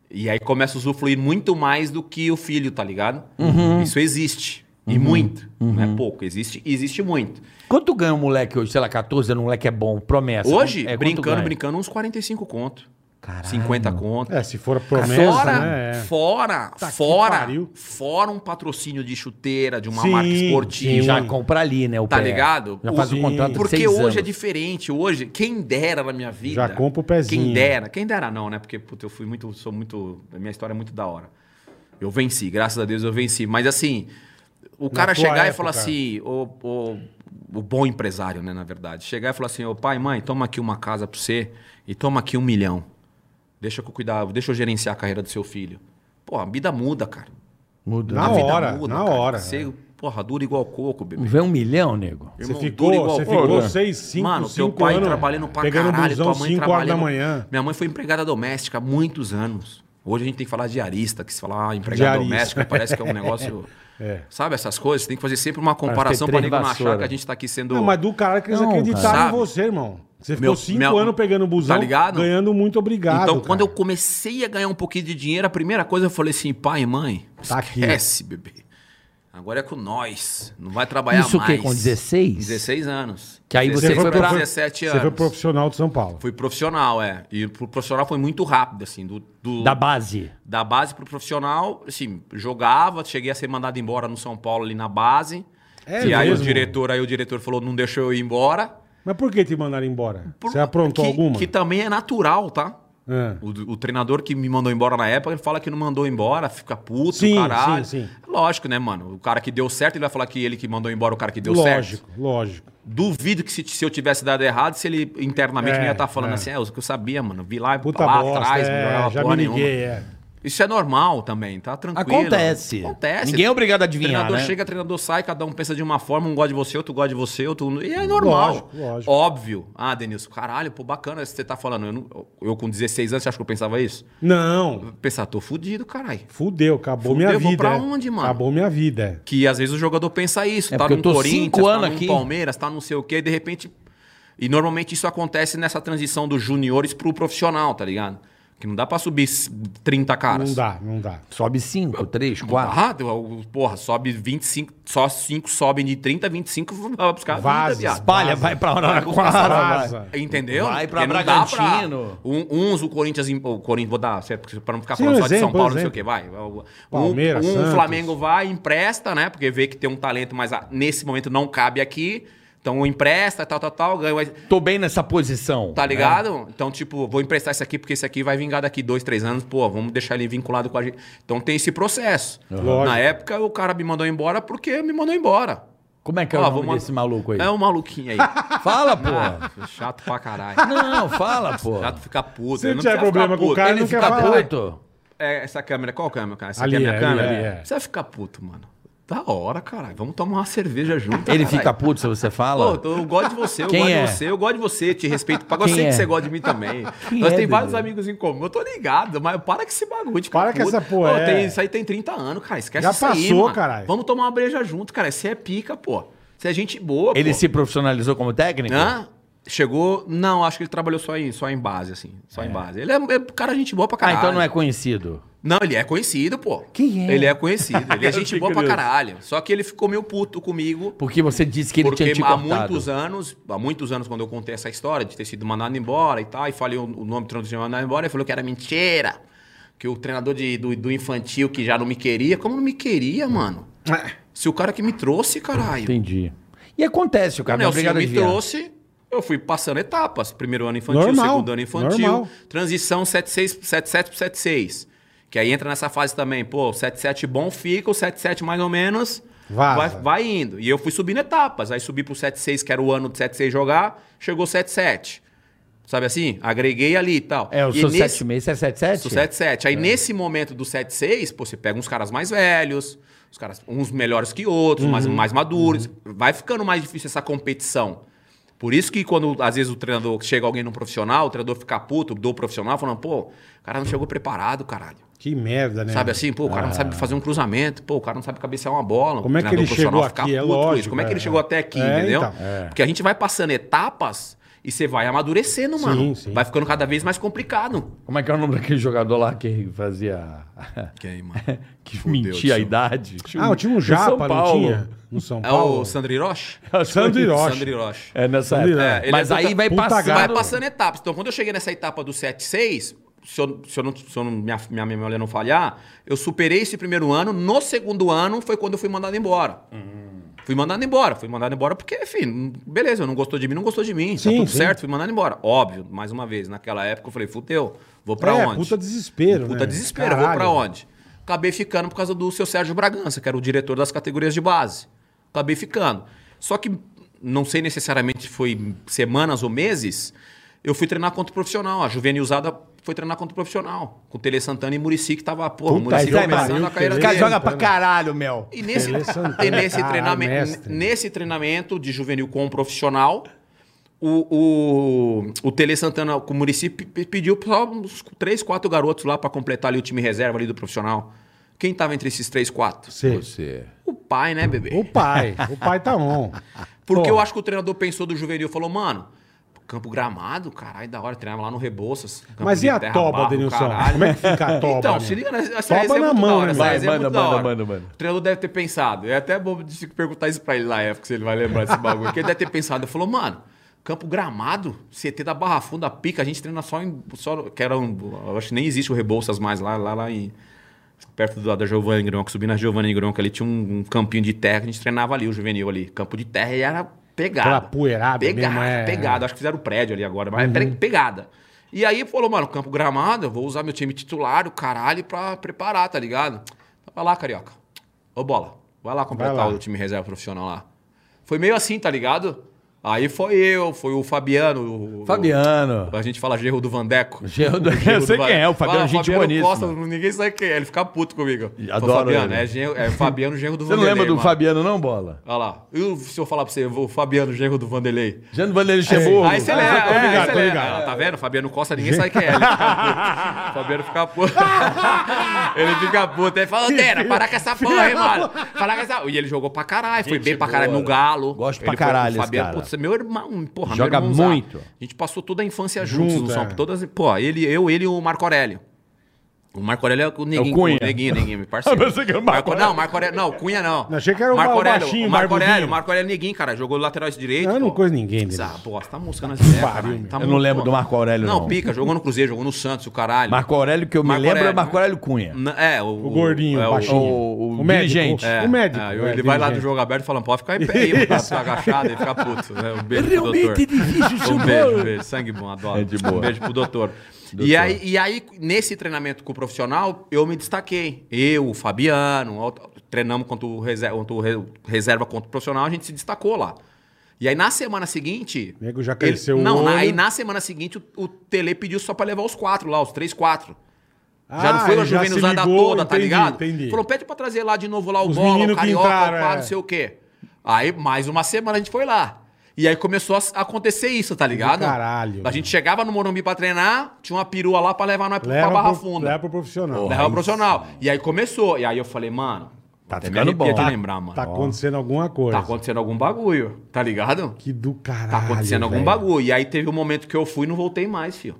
Speaker 5: E aí começa a usufruir muito mais do que o filho, tá ligado?
Speaker 4: Uhum.
Speaker 5: Isso existe. E muito. Não é pouco, existe existe muito.
Speaker 4: Quanto ganha um moleque hoje? Sei lá, 14 anos, um moleque é bom, promessa.
Speaker 5: Hoje,
Speaker 4: Quanto- é, quanto
Speaker 5: brincando,
Speaker 4: ganha?
Speaker 5: brincando, uns 45 conto.
Speaker 4: Caralho.
Speaker 5: 50 conto.
Speaker 3: É, se for promessa,
Speaker 5: fora,
Speaker 3: né? é.
Speaker 5: fora,
Speaker 3: Tá que
Speaker 5: fora,
Speaker 3: pariu.
Speaker 5: fora um patrocínio de chuteira, de uma
Speaker 3: Sim,
Speaker 5: marca
Speaker 4: E
Speaker 5: esportiva.
Speaker 4: já compra ali, né? O
Speaker 5: Tá
Speaker 4: pé.
Speaker 5: ligado?
Speaker 4: Já faz o
Speaker 3: Sim.
Speaker 4: contrato de
Speaker 5: Porque
Speaker 4: seis
Speaker 5: hoje
Speaker 4: anos.
Speaker 5: é diferente. Hoje, quem dera na minha vida.
Speaker 3: Já compra o pezinho.
Speaker 5: Quem dera. Quem dera não, né? Porque puta, eu fui muito, sou muito, a minha história é muito da hora. Eu venci, graças a Deus eu venci. Mas assim, o cara
Speaker 3: tua
Speaker 5: chegar e
Speaker 3: época.
Speaker 5: falar assim, o, o, o bom empresário, né, na verdade, chegar e falar assim, ô pai, mãe, toma aqui uma casa pra você e toma aqui um milhão. Deixa que eu cuidar, deixa eu gerenciar a carreira do seu filho. Pô, a vida muda, cara.
Speaker 4: Muda.
Speaker 3: Na
Speaker 5: a vida
Speaker 3: hora, na hora. é.
Speaker 5: Você, porra, dura igual coco, bebê.
Speaker 4: Vê um milhão, nego?
Speaker 3: Você
Speaker 5: Irmão,
Speaker 3: ficou,
Speaker 5: dura igual
Speaker 3: você
Speaker 5: porco.
Speaker 3: ficou 6, 5,
Speaker 5: Mano,
Speaker 3: 5
Speaker 5: teu pai
Speaker 3: anos,
Speaker 5: trabalhando pra
Speaker 3: pegando
Speaker 5: caralho,
Speaker 3: busão
Speaker 5: tua mãe
Speaker 3: 5 horas
Speaker 5: trabalhando.
Speaker 3: da manhã.
Speaker 5: Minha mãe foi empregada doméstica há muitos anos. Hoje a gente tem que falar de arista, que se falar ah, empregada
Speaker 3: Diarista.
Speaker 5: doméstica parece que é um negócio...
Speaker 3: É.
Speaker 5: Sabe essas coisas? Tem que fazer sempre uma comparação pra
Speaker 4: três
Speaker 5: ninguém não achar
Speaker 4: vassoura.
Speaker 5: que a gente tá aqui sendo...
Speaker 3: Não, mas do cara que eles
Speaker 4: Não,
Speaker 3: acreditaram
Speaker 5: cara.
Speaker 3: em você, irmão. Você ficou
Speaker 5: Meu-
Speaker 3: 5
Speaker 5: minha-
Speaker 3: anos pegando busão,
Speaker 5: Tá ligado?
Speaker 3: ganhando muito obrigado.
Speaker 5: Então, quando eu
Speaker 3: cara.
Speaker 5: comecei a ganhar um pouquinho de dinheiro, a primeira coisa eu falei assim, pai e mãe,
Speaker 3: Tá aqui.
Speaker 5: esquece, bebê. Agora é com nós. Não vai trabalhar
Speaker 4: Isso o
Speaker 5: mais.
Speaker 4: quê? Com 16?
Speaker 5: 16 anos.
Speaker 4: Que aí você
Speaker 5: você
Speaker 4: foi
Speaker 5: foi
Speaker 4: pra-
Speaker 5: para 17 anos.
Speaker 3: Você foi profissional de São Paulo.
Speaker 5: Fui profissional, é. E pro profissional foi muito rápido, assim, do, do-
Speaker 4: Da
Speaker 5: da...
Speaker 4: base.
Speaker 5: base pro profissional, assim, jogava, cheguei a ser mandado embora no São Paulo ali na base.
Speaker 3: É
Speaker 5: e aí o
Speaker 3: mesmo?
Speaker 5: diretor, aí o diretor falou, não deixa eu ir embora.
Speaker 3: Mas por que te mandaram embora?
Speaker 5: Por-
Speaker 3: Você aprontou
Speaker 5: que,
Speaker 3: alguma?
Speaker 5: Que também é natural, tá?
Speaker 3: Ah.
Speaker 5: O, o treinador que me mandou embora na época, ele fala que não mandou embora, fica puto,
Speaker 3: Sim,
Speaker 5: caralho.
Speaker 3: sim, sim.
Speaker 5: Lógico, né, mano? O cara que deu certo, ele vai falar que ele que mandou embora o cara que deu certo. Tá
Speaker 3: lógico, lógico.
Speaker 5: Duvido que se, se eu tivesse dado errado, se ele internamente
Speaker 3: É,
Speaker 5: não ia estar falando
Speaker 3: é.
Speaker 5: assim, é, o que eu sabia, mano. Vi lá,
Speaker 3: Puta
Speaker 5: lá
Speaker 3: bosta,
Speaker 5: atrás, não
Speaker 3: é,
Speaker 5: jogava
Speaker 3: já
Speaker 5: porra
Speaker 3: me
Speaker 5: nenhuma.
Speaker 3: liguei, é.
Speaker 5: Isso é normal também, tá tranquilo.
Speaker 4: Acontece.
Speaker 5: Acontece.
Speaker 4: Ninguém é obrigado a adivinhar,
Speaker 5: Treinador
Speaker 4: né?
Speaker 5: chega, treinador sai, cada um pensa de uma forma, um gosta de você, outro gosta de você, outro... E é normal.
Speaker 3: Lógico, lógico.
Speaker 5: Óbvio. Ah, Denilson, caralho, pô, bacana isso que você tá falando. Eu, não- eu com 16 anos, você acha que eu pensava isso?
Speaker 3: Não,
Speaker 5: Eu pensava, tô fudido, caralho.
Speaker 3: fudeu, acabou
Speaker 5: Fudeu,
Speaker 3: minha
Speaker 5: vou
Speaker 3: vida.
Speaker 5: pra
Speaker 3: é.
Speaker 5: onde, mano?
Speaker 3: Acabou minha vida. é.
Speaker 5: Que às vezes o jogador pensa isso.
Speaker 4: É
Speaker 5: tá
Speaker 4: porque eu
Speaker 5: no
Speaker 4: tô
Speaker 5: Corinthians,
Speaker 4: cinco anos
Speaker 5: tá no
Speaker 4: aqui.
Speaker 5: Palmeiras, tá não sei o quê, e de repente. E normalmente isso acontece nessa transição dos juniores pro profissional, tá ligado? Que não dá pra subir s- 30 caras.
Speaker 3: Não dá, não dá.
Speaker 4: Sobe 5, 3,
Speaker 5: Tá
Speaker 4: 4.
Speaker 5: errado? O- Porra, sobe 25, só 5 sobem de 30, 25 vai buscar a vida,
Speaker 3: Vaza,
Speaker 5: viado.
Speaker 4: Palha, vai pra Araraquara. vai.
Speaker 3: Vaza.
Speaker 5: Entendeu?
Speaker 4: Vai pra
Speaker 5: Porque não dá
Speaker 4: Bragantino.
Speaker 5: Um- uns o Corinthians, em- o Corinthians vou dar, certo, pra não ficar
Speaker 3: Sim,
Speaker 5: falando
Speaker 3: um
Speaker 5: só de São
Speaker 3: exemplo,
Speaker 5: Paulo,
Speaker 3: um
Speaker 5: não sei o
Speaker 3: exemplo.
Speaker 5: que, vai. Um-
Speaker 3: Palmeiras,
Speaker 5: um,
Speaker 3: Santos.
Speaker 5: Flamengo vai, empresta, né? Porque vê que tem um talento, mas ah, nesse momento não cabe aqui. Então empresta, tal, tal, tal, ganha, mas-
Speaker 4: Ah, Tô bem nessa posição.
Speaker 3: É.
Speaker 5: tá ligado? Então, tipo, vou emprestar esse aqui porque esse aqui vai vingar daqui dois, três anos, pô, vamos deixar ele vinculado com a gente. Então tem esse processo.
Speaker 3: Lógico.
Speaker 5: Na época, o cara me mandou embora porque me mandou embora.
Speaker 4: Como é que é
Speaker 5: Ó,
Speaker 4: o nome
Speaker 5: vou
Speaker 4: desse maluco aí?
Speaker 5: É um maluquinho aí.
Speaker 4: Fala, pô.
Speaker 5: Ah, chato pra caralho.
Speaker 4: Não, fala, pô.
Speaker 5: Chato ficar puto.
Speaker 3: Se
Speaker 5: Eu não
Speaker 3: tiver
Speaker 5: precisava ficar
Speaker 3: problema com o
Speaker 5: puto.
Speaker 3: cara,
Speaker 5: Ele
Speaker 3: não quer
Speaker 5: fica
Speaker 3: falar.
Speaker 5: puto.
Speaker 4: Puto.
Speaker 5: É, essa câmera, qual câmera, cara? Essa
Speaker 3: Ali
Speaker 5: aqui é a minha
Speaker 3: é, ali
Speaker 5: câmera?
Speaker 3: é, ali é.
Speaker 5: Você vai ficar puto, mano. Da hora, caralho. Vamos tomar uma cerveja junto.
Speaker 4: Ele
Speaker 5: caralho.
Speaker 4: fica puto se você
Speaker 5: Tá, Pô,
Speaker 4: fala?
Speaker 5: tô- eu gosto de você, eu
Speaker 4: Quem
Speaker 5: gosto
Speaker 4: é?
Speaker 5: de você, eu gosto de você, te respeito. pra- Eu
Speaker 4: Quem
Speaker 5: sei
Speaker 4: é?
Speaker 5: que você gosta de mim também.
Speaker 4: Quem
Speaker 5: Nós
Speaker 4: é,
Speaker 5: tem vários
Speaker 4: Dudu?
Speaker 5: amigos em comum. Eu tô ligado, mas para com esse bagulho. de
Speaker 3: Para
Speaker 5: ficar
Speaker 3: com
Speaker 5: puto.
Speaker 3: essa porra,
Speaker 5: Pô,
Speaker 3: é.
Speaker 5: tem- Isso aí tem 30 anos, cara. Esquece
Speaker 3: Já
Speaker 5: isso aí,
Speaker 3: passou,
Speaker 5: mano.
Speaker 3: caralho.
Speaker 5: Vamos tomar uma breja junto, cara. Você é pica, pô. Você é gente boa,
Speaker 4: Ele
Speaker 5: pô.
Speaker 4: se profissionalizou como técnico?
Speaker 5: Hã? Chegou... Não, acho que ele trabalhou só em, só em base, assim. Só em base. Ele é, é cara gente boa pra
Speaker 4: Ah,
Speaker 5: caralho.
Speaker 4: então não é conhecido.
Speaker 5: Não, ele é conhecido, pô.
Speaker 4: Quem é?
Speaker 5: Ele é conhecido. Ele é gente
Speaker 7: fiquei
Speaker 5: boa pra
Speaker 7: curioso.
Speaker 5: caralho. Só que ele ficou meio puto comigo.
Speaker 4: Porque você disse que ele
Speaker 5: porque
Speaker 4: tinha te
Speaker 5: há
Speaker 4: cortado.
Speaker 5: muitos anos, há muitos anos, quando eu contei essa história de ter sido mandado embora e tal, e falei o, o nome do treinador que tinha mandado embora, ele falou que era mentira. Que o treinador de- do, do infantil que já não me queria. Como não me queria, mano? Se o cara que me trouxe, caralho.
Speaker 4: Entendi. E acontece, o cara não é
Speaker 5: Nelson
Speaker 4: obrigado a
Speaker 5: me
Speaker 4: desviar.
Speaker 5: trouxe, eu fui passando etapas. Primeiro ano infantil,
Speaker 3: Normal,
Speaker 5: segundo ano infantil.
Speaker 3: normal.
Speaker 5: Transição 76, 77 para 76. Que aí entra nessa fase também, pô, o 77 bom fica, o 77 mais ou menos
Speaker 3: Vaza.
Speaker 5: vai, vai indo. E eu fui subindo etapas. Aí subi pro 76, que era o ano do 76 jogar, chegou o 77. Sabe assim? Agreguei ali e tal.
Speaker 4: É, eu
Speaker 5: e
Speaker 4: sou
Speaker 5: nesse-
Speaker 4: 76, você é 77?
Speaker 5: Sou 77.
Speaker 3: É.
Speaker 5: Aí nesse momento do 76, pô, você pega uns caras mais velhos, os caras uns melhores que outros,
Speaker 3: Uhum.
Speaker 5: mais, mais maduros. Vai ficando mais difícil essa competição. Por isso que quando às vezes o treinador chega alguém num profissional, o treinador fica puto do profissional falando, pô, o cara não chegou preparado, caralho.
Speaker 3: Que merda, né?
Speaker 5: Sabe assim, pô, o cara não sabe fazer um cruzamento, pô, o cara não sabe cabecear uma bola.
Speaker 3: Ah. Como é que
Speaker 5: O treinador
Speaker 3: ele chegou
Speaker 5: profissional fica
Speaker 3: aqui? É
Speaker 5: puto com isso.
Speaker 3: lógico,
Speaker 5: Como é que
Speaker 3: é.
Speaker 5: ele chegou até aqui,
Speaker 3: É,
Speaker 5: entendeu?
Speaker 3: então, é.
Speaker 5: Porque a gente vai passando etapas e você vai amadurecendo, mano.
Speaker 3: sim.
Speaker 5: Vai ficando cada vez mais complicado.
Speaker 4: Como é que é o nome daquele jogador lá que fazia...
Speaker 5: Quem, mano?
Speaker 4: que
Speaker 5: Fudeu,
Speaker 4: mentia a
Speaker 5: tio.
Speaker 4: idade? Tinha
Speaker 3: Ah, eu tinha um
Speaker 4: em São
Speaker 3: japa, não
Speaker 4: Paulo.
Speaker 3: tinha? No São
Speaker 5: É o
Speaker 3: Paulo.
Speaker 5: Sandro Hiroshi?
Speaker 3: Sandro Hiroshi.
Speaker 5: Sandro Hiroshi.
Speaker 4: É nessa
Speaker 3: Ele
Speaker 4: época.
Speaker 3: é-
Speaker 5: ele
Speaker 4: Mas
Speaker 5: é
Speaker 4: aí
Speaker 5: puta-
Speaker 4: vai
Speaker 3: puta
Speaker 4: passando...
Speaker 5: Vai
Speaker 3: gado.
Speaker 5: passando etapas. Então, quando eu cheguei nessa etapa do 7-6, se, eu, se, eu não, se eu não- minha, minha memória não falhar, eu superei esse primeiro ano. No segundo ano foi quando eu fui mandado embora.
Speaker 3: Hum.
Speaker 5: Fui mandado embora. Fui mandado embora porque, enfim, beleza, não gostou de mim, não gostou de mim.
Speaker 3: Sim,
Speaker 5: tá tudo
Speaker 3: sim.
Speaker 5: certo, fui mandado embora. Óbvio, mais uma vez, naquela época eu falei, fudeu, vou pra
Speaker 3: É,
Speaker 5: onde? Um
Speaker 3: puta desespero,
Speaker 5: Puta
Speaker 3: né?
Speaker 5: desespero, vou
Speaker 3: Caralho.
Speaker 5: pra onde? Acabei ficando por causa do seu Sérgio Bragança, que era o diretor das categorias de base. Acabei ficando. Só que, não sei necessariamente se foi semanas ou meses, eu fui treinar contra o profissional. A juvenilzada foi treinar contra o profissional. Com o Tele Santana e Murici, que tava, porra,
Speaker 3: Puta,
Speaker 5: Murici
Speaker 3: aí tá vai
Speaker 5: começando
Speaker 3: pariu,
Speaker 5: a carreira
Speaker 4: O
Speaker 3: Tele.
Speaker 5: dele.
Speaker 4: cara joga pra caralho, Mel.
Speaker 5: E nesse,
Speaker 3: Tele Santana,
Speaker 5: e nesse
Speaker 3: caralho,
Speaker 5: treinamento,
Speaker 3: né? Ah, mestre.
Speaker 5: nesse treinamento de juvenil com o profissional, o, o, o Tele Santana, o município, pe- pediu só uns três, quatro garotos lá pra completar ali o time reserva ali do profissional. Quem tava entre esses três, quatro?
Speaker 3: Você.
Speaker 7: Você.
Speaker 5: O pai, né, bebê?
Speaker 3: O pai. O pai tá on.
Speaker 5: Porque eu
Speaker 3: Porra.
Speaker 5: acho que o treinador pensou do juvenil, falou, mano, campo gramado, caralho, da hora, treinava lá no Rebouças. campo
Speaker 3: Mas
Speaker 5: de
Speaker 3: e a
Speaker 5: terra,
Speaker 3: toba,
Speaker 5: barro,
Speaker 3: Denilson?
Speaker 5: caralho.
Speaker 3: Como é que fica a toba?
Speaker 5: Então,
Speaker 3: né?
Speaker 5: se liga, né? essa
Speaker 3: Toba
Speaker 5: resenha é
Speaker 3: na
Speaker 5: muito
Speaker 3: mão,
Speaker 5: da hora.
Speaker 3: né,
Speaker 5: Essa
Speaker 3: mano?
Speaker 5: resenha é
Speaker 4: Manda,
Speaker 5: muito da
Speaker 4: manda,
Speaker 5: hora.
Speaker 4: manda, manda.
Speaker 5: O treinador deve ter pensado. É até bobo de se perguntar isso pra ele na época, se ele vai lembrar desse bagulho. Porque ele deve ter pensado. Ele falou, mano, campo gramado, CT da Barra Funda, pica, a gente treina só em... Só, que era um, eu acho que nem existe o Rebouças mais lá, lá, lá em... Perto do, da Giovanna Gronk, subindo na Giovanna Gronk, ali tinha um, um campinho de terra que a gente treinava ali, o juvenil ali. Campo de terra e era pegada.
Speaker 3: Aquela poeirada
Speaker 5: pegada,
Speaker 3: mesmo, é. Uhum.
Speaker 5: Pegada, acho que fizeram o prédio ali agora, mas é pre- pegada. E aí falou, mano, campo gramado, eu vou usar meu time titular, o caralho, pra preparar, tá ligado? Vai lá, carioca. Ô, bola, vai lá completar
Speaker 3: Vai lá.
Speaker 5: o time reserva profissional lá. Foi meio assim, tá ligado? Aí foi eu, foi o Fabiano. o-
Speaker 4: Fabiano.
Speaker 5: a gente fala gerro do Vandeco.
Speaker 4: Gerro do- Eu
Speaker 5: Gerro
Speaker 4: sei
Speaker 5: Van-
Speaker 4: quem é, o Fabiano,
Speaker 5: Fala,
Speaker 4: gente
Speaker 5: Fabiano
Speaker 4: boníssima.
Speaker 5: Costa, ninguém sabe quem é, ele fica puto comigo. Fala,
Speaker 4: Adoro
Speaker 5: Fabiano,
Speaker 4: ele.
Speaker 5: é, genro, é Fabiano Gerro do
Speaker 4: Você não
Speaker 5: Vanderlei.
Speaker 4: lembra do
Speaker 5: mano.
Speaker 4: Fabiano, não, bola?
Speaker 5: Olha lá. E o- se eu falar pra você, eu vou Fabiano Gerro do Vanderlei?
Speaker 4: Jano Vanderlei chegou.
Speaker 5: Aí você lembra,
Speaker 3: tô ligado,
Speaker 5: é, aí você
Speaker 3: tô
Speaker 5: lembra.
Speaker 3: ligado.
Speaker 5: Ah, Tá vendo? Fabiano Costa, ninguém sabe quem é. Ele fica puto. Fabiano fica puto. ele fica puto. Ele fala, Dera, para com essa porra, hein, mano? Para com essa... E ele jogou pra caralho, foi bem pra caralho no Galo.
Speaker 4: Gosto
Speaker 5: Ele
Speaker 4: pra
Speaker 5: foi com o
Speaker 4: caralho esse
Speaker 5: Fabiano,
Speaker 4: cara.
Speaker 5: putz, é meu irmão, porra,
Speaker 4: Joga
Speaker 5: meu irmãozão.
Speaker 4: muito.
Speaker 5: A gente passou toda a infância juntos
Speaker 3: Junto,
Speaker 5: no
Speaker 3: é.
Speaker 5: São Paulo. Todas, pô, ele, eu, ele e o Marco Aurélio. O Marco Aurélio é o neguinho.
Speaker 4: Cunha.
Speaker 5: O neguinho, neguinho, meu parceiro.
Speaker 4: Eu pensei que era o Marco
Speaker 5: Não, Marco Aurélio, não, Cunha não.
Speaker 3: Não, achei que era o ba- o
Speaker 5: Aurélio,
Speaker 3: baixinho,
Speaker 5: o Marco
Speaker 3: barbudinho.
Speaker 5: Aurélio, o Marco Aurélio é Neguinho, cara, jogou lateral direito.
Speaker 3: Eu não
Speaker 5: pô.
Speaker 3: conheço ninguém, Denis.
Speaker 5: Ah, pô, você tá moscando as ideias,
Speaker 3: pariu,
Speaker 5: caralho.
Speaker 3: meu.
Speaker 5: Tá
Speaker 4: Eu
Speaker 5: muito-
Speaker 4: não lembro
Speaker 5: pô.
Speaker 4: do Marco Aurélio, não.
Speaker 5: Não, pica, jogou no Cruzeiro, jogou no Santos, o caralho.
Speaker 4: Marco Aurélio, que eu me
Speaker 5: Marco
Speaker 4: lembro, é
Speaker 5: Aurélio. né?
Speaker 4: Marco Aurélio Cunha.
Speaker 5: N- É, o,
Speaker 3: O gordinho,
Speaker 5: é,
Speaker 3: o baixinho.
Speaker 4: o- o dirigente.
Speaker 3: O,
Speaker 5: É,
Speaker 3: o médico.
Speaker 5: é,
Speaker 3: é,
Speaker 5: ele vai lá do
Speaker 3: dirigente.
Speaker 5: jogo aberto e fala, pode ficar em pé aí, tá, tá agachado, ele fica puto. Né? Um beijo pro doutor.
Speaker 4: Realmente difícil,
Speaker 5: Um
Speaker 4: senhor.
Speaker 5: beijo, um beijo. Sangue bom, adoro.
Speaker 4: É de boa.
Speaker 5: Um beijo pro doutor. E, aí, e aí, nesse treinamento com o profissional, eu me destaquei. Eu, o Fabiano, outro- treinamos contra o, reserva, contra o re- reserva contra o profissional, a gente se destacou lá. E aí, na semana seguinte...
Speaker 3: O nego já cresceu o
Speaker 5: Não, na-
Speaker 3: olho.
Speaker 5: aí na semana seguinte, o, o Tele pediu só pra levar os quatro lá, os três, quatro. já não foi uma
Speaker 3: Ah, ele já se
Speaker 5: juvenilzada
Speaker 3: ligou,
Speaker 5: toda, tá
Speaker 3: entendi,
Speaker 5: ligado?
Speaker 3: entendi.
Speaker 5: Falou, pede pra trazer lá de novo lá o
Speaker 3: Os
Speaker 5: bola,
Speaker 3: menino
Speaker 5: o
Speaker 3: que
Speaker 5: carioca,
Speaker 3: entraram,
Speaker 5: o pá,
Speaker 3: é.
Speaker 5: não sei o quê. Aí, mais uma semana, a gente foi lá. E aí começou a s- acontecer isso, tá ligado?
Speaker 3: caralho,
Speaker 5: A
Speaker 3: mano.
Speaker 5: gente chegava no Morumbi pra treinar, tinha uma perua lá pra levar nós pra-
Speaker 3: Leva
Speaker 5: pra tá Barra
Speaker 3: pro-
Speaker 5: Funda.
Speaker 3: Leva pro profissional.
Speaker 5: Porra, Leva o profissional. E aí começou. E aí eu falei, mano,
Speaker 4: Tá
Speaker 5: até me
Speaker 4: ficando
Speaker 5: arrepia
Speaker 4: bom.
Speaker 5: de
Speaker 4: Tá-
Speaker 5: lembrar, mano.
Speaker 3: Tá
Speaker 5: Tá,
Speaker 3: acontecendo alguma coisa.
Speaker 5: acontecendo algum bagulho, tá ligado?
Speaker 3: Que do caralho.
Speaker 5: Tá acontecendo algum
Speaker 3: velho.
Speaker 5: bagulho. E aí teve um momento que eu fui e não voltei mais, filho.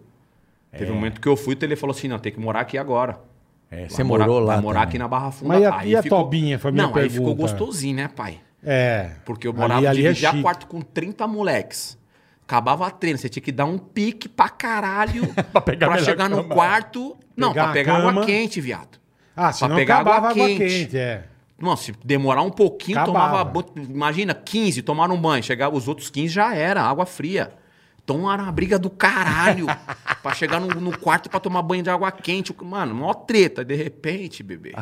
Speaker 5: Teve
Speaker 3: É.
Speaker 5: um momento que eu fui e ele falou assim: não, tem que morar aqui agora.
Speaker 4: É,
Speaker 5: Vai
Speaker 4: você morou
Speaker 5: vai
Speaker 4: lá.
Speaker 5: morar
Speaker 4: também.
Speaker 5: aqui na Barra Funda.
Speaker 3: Mas e a- e a Tobinha? Foi a minha
Speaker 5: Não, aí ficou
Speaker 3: pergunta.
Speaker 5: gostosinho, né, pai?
Speaker 3: É.
Speaker 5: Porque eu
Speaker 3: Ali-
Speaker 5: morava,
Speaker 3: ali é
Speaker 5: dividia
Speaker 3: chique.
Speaker 5: quarto com 30 moleques. Acabava a treino, você tinha que dar um pique pra caralho pra,
Speaker 4: pegar a melhor
Speaker 5: chegar no
Speaker 4: cama.
Speaker 5: quarto. Não,
Speaker 3: Pegar
Speaker 5: pra
Speaker 3: a
Speaker 5: pegar água
Speaker 3: cama.
Speaker 5: quente, viado.
Speaker 3: Ah, se não
Speaker 5: pegar
Speaker 3: acabava
Speaker 5: água
Speaker 3: a água
Speaker 5: quente.
Speaker 3: quente. é.
Speaker 5: Não, se demorar um pouquinho,
Speaker 3: Acabava.
Speaker 5: tomava banho. Imagina, 15 tomaram banho. Chegava os outros 15, já era, água fria. Então era uma briga do caralho pra chegar no, no quarto pra tomar banho de água quente. Mano, mó treta. De repente, bebê.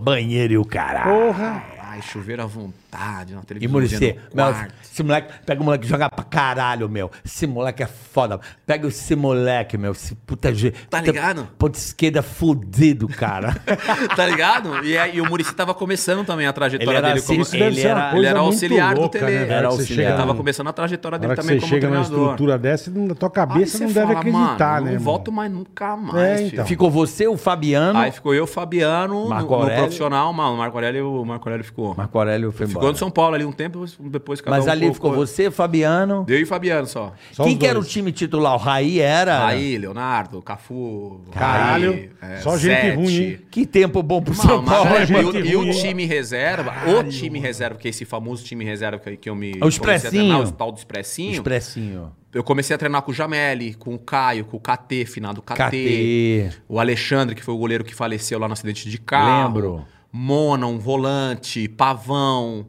Speaker 4: Banheiro e o caralho.
Speaker 3: Porra.
Speaker 5: Ai, chuveiro à vontade, na
Speaker 4: E
Speaker 5: televisão. é
Speaker 4: Muricy,
Speaker 5: no
Speaker 4: meu,
Speaker 5: quarto.
Speaker 4: esse moleque, pega o moleque e joga pra caralho, meu. Esse moleque é foda. Pega esse moleque, meu. Esse puta G.
Speaker 5: Tá ligado?
Speaker 4: Ponto esquerda fudido, cara.
Speaker 5: tá ligado? E, aí, o Murici tava começando também a trajetória
Speaker 4: Ele era
Speaker 5: dele como
Speaker 4: assistente, ele
Speaker 5: ele,
Speaker 4: era-
Speaker 3: uma assim, coisa
Speaker 4: ele
Speaker 5: era
Speaker 3: muito
Speaker 5: auxiliar do Tele.
Speaker 3: Né? Era
Speaker 4: Era
Speaker 3: auxiliar.
Speaker 4: auxiliar.
Speaker 5: tava começando a trajetória
Speaker 3: Na
Speaker 5: dele
Speaker 3: hora que
Speaker 5: também
Speaker 3: você
Speaker 5: como
Speaker 3: chega na
Speaker 5: treinador.
Speaker 3: estrutura dessa, na tua cabeça
Speaker 5: Aí
Speaker 3: não
Speaker 5: você
Speaker 3: deve
Speaker 5: fala,
Speaker 3: acreditar,
Speaker 5: mano,
Speaker 3: né?
Speaker 5: Não
Speaker 3: mano?
Speaker 5: volto mais nunca
Speaker 3: É,
Speaker 5: mais, filho.
Speaker 3: então.
Speaker 4: Ficou você, o Fabiano.
Speaker 5: Aí ficou eu, Fabiano,
Speaker 4: Marco
Speaker 5: no, no
Speaker 4: Aurélio.
Speaker 5: profissional, mano, o Marco Aurélio, o Marco Aurélio ficou.
Speaker 4: Marco Aurélio foi
Speaker 5: ficou
Speaker 4: embora.
Speaker 5: no São Paulo ali um tempo, depois cada
Speaker 4: Mas
Speaker 5: um
Speaker 4: ali
Speaker 5: foi-
Speaker 4: ficou
Speaker 5: foi-
Speaker 4: você, Fabiano.
Speaker 5: Eu e o Fabiano só.
Speaker 3: Só
Speaker 4: Quem
Speaker 3: os
Speaker 4: que era o
Speaker 3: dois.
Speaker 4: time titular? O Raí era.
Speaker 5: Aí, Leonardo, Cafu,
Speaker 3: Caralho,
Speaker 5: Raí, é,
Speaker 3: só gente ruim, hein?
Speaker 4: Que tempo bom pro
Speaker 5: Não,
Speaker 4: São
Speaker 5: mas
Speaker 4: Paulo.
Speaker 5: olha,
Speaker 3: gente
Speaker 5: é, e o-
Speaker 3: ruim,
Speaker 5: e o
Speaker 3: hein?
Speaker 5: time reserva, o time reserva, que é esse famoso time reserva que, que eu
Speaker 4: É
Speaker 5: me.
Speaker 4: o
Speaker 5: comecei a
Speaker 4: Expressinho.
Speaker 5: treinar, o tal do Expressinho.
Speaker 4: Expressinho.
Speaker 5: Eu comecei a treinar com o Jameli, com o Caio, com o KT, finado KT.
Speaker 4: KT.
Speaker 5: O Alexandre, que foi o goleiro que faleceu lá no acidente de carro.
Speaker 4: Lembro.
Speaker 5: Mona, um volante, Pavão,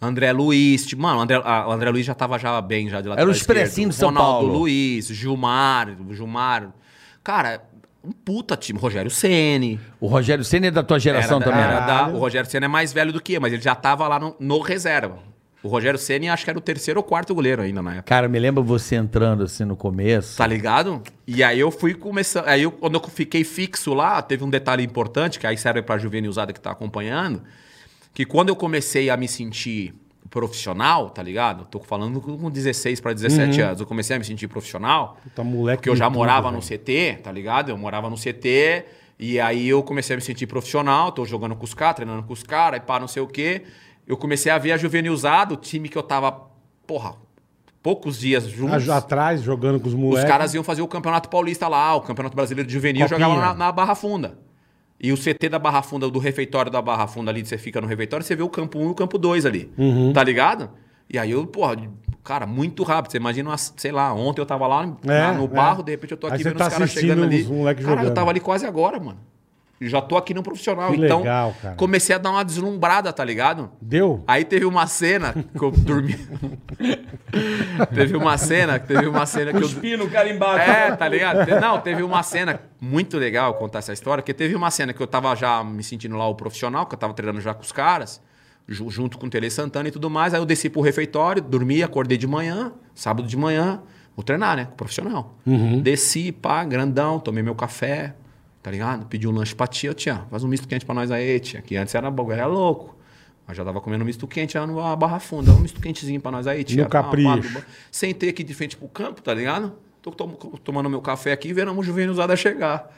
Speaker 5: André Luiz. tipo, Mano, o André, a- o André Luiz já tava já bem já de lateral
Speaker 4: Era o
Speaker 5: esquerdo.
Speaker 4: expressinho de São
Speaker 5: Ronaldo
Speaker 4: Paulo.
Speaker 5: Luiz, Gilmar, Gilmar. Cara, um puta time. Rogério Ceni.
Speaker 4: O Rogério Senna é da tua geração
Speaker 5: Era-
Speaker 4: também.
Speaker 5: era
Speaker 4: né?
Speaker 5: da- o Rogério Senna é mais velho do que eu, mas ele já tava lá no, no reserva. O Rogério Senna acho que era o terceiro ou quarto goleiro ainda na época.
Speaker 4: Cara, me lembra você entrando assim no começo.
Speaker 5: Tá ligado? E aí eu fui começando. Aí eu- quando eu fiquei fixo lá, teve um detalhe importante, que aí serve pra juvenilzada que tá acompanhando, que quando eu comecei a me sentir profissional, tá ligado? Tô falando com 16 pra 17
Speaker 4: Uhum.
Speaker 5: anos. Eu comecei a me sentir profissional.
Speaker 4: Então
Speaker 3: Puta, moleque
Speaker 5: Porque eu
Speaker 3: de
Speaker 5: já
Speaker 3: tudo,
Speaker 5: morava no
Speaker 3: velho.
Speaker 5: CT, tá ligado? Eu morava no CT e aí eu comecei a me sentir profissional, tô jogando com os caras, treinando com os caras, e pá, não sei o quê. Eu comecei a ver a Juvenilzada, o time que eu tava, porra, poucos dias juntos.
Speaker 3: Ah, Atrás, jogando com os
Speaker 5: os
Speaker 3: moleques.
Speaker 5: caras iam fazer o Campeonato Paulista lá, o Campeonato Brasileiro de Juvenil,
Speaker 3: é Copinha.
Speaker 5: jogavam na, na Barra Funda. E o CT da Barra Funda, do refeitório da Barra Funda ali, você fica no refeitório, você vê o campo 1 e o campo 2 ali.
Speaker 3: Uhum.
Speaker 5: Tá ligado? E aí eu, porra, cara, muito rápido. Você imagina, umas, sei lá, ontem eu tava lá
Speaker 3: É,
Speaker 5: na- no
Speaker 3: é.
Speaker 5: barro, de repente eu tô
Speaker 3: Aí
Speaker 5: aqui
Speaker 3: você
Speaker 5: vendo
Speaker 3: tá
Speaker 5: os caras
Speaker 3: assistindo
Speaker 5: chegando ali.
Speaker 3: os moleque
Speaker 5: Caralho, eu
Speaker 3: jogando.
Speaker 5: tava ali quase agora, mano. Eu já tô aqui no profissional.
Speaker 3: Que
Speaker 5: então,
Speaker 3: legal, cara.
Speaker 5: comecei a dar uma deslumbrada, tá ligado?
Speaker 3: Deu?
Speaker 5: Aí teve uma cena que eu dormi. teve uma cena, teve uma cena que eu.
Speaker 4: no cara embaixo.
Speaker 5: É, tá ligado? Te- Não, teve uma cena muito legal contar essa história, porque teve uma cena que eu tava já me sentindo lá o profissional, que eu tava treinando já com os caras, ju- junto com o Tele Santana e tudo mais. Aí eu desci pro refeitório, dormi, acordei de manhã, sábado de manhã, vou treinar, né? Com o profissional.
Speaker 3: Uhum.
Speaker 5: Desci, pá, grandão, tomei meu café, tá ligado? Pedi um lanche pra tia, tia, faz um misto quente pra nós aí, tia, que antes era bagulho, era louco. Mas já tava comendo misto quente lá no Barra Funda. Um misto quentezinho pra nós aí, tia.
Speaker 3: No
Speaker 5: pá, um
Speaker 3: capricho.
Speaker 5: pá, sentei aqui de frente pro campo, tá ligado? Tô tom- tomando meu café aqui e vendo a Juvenilzada chegar.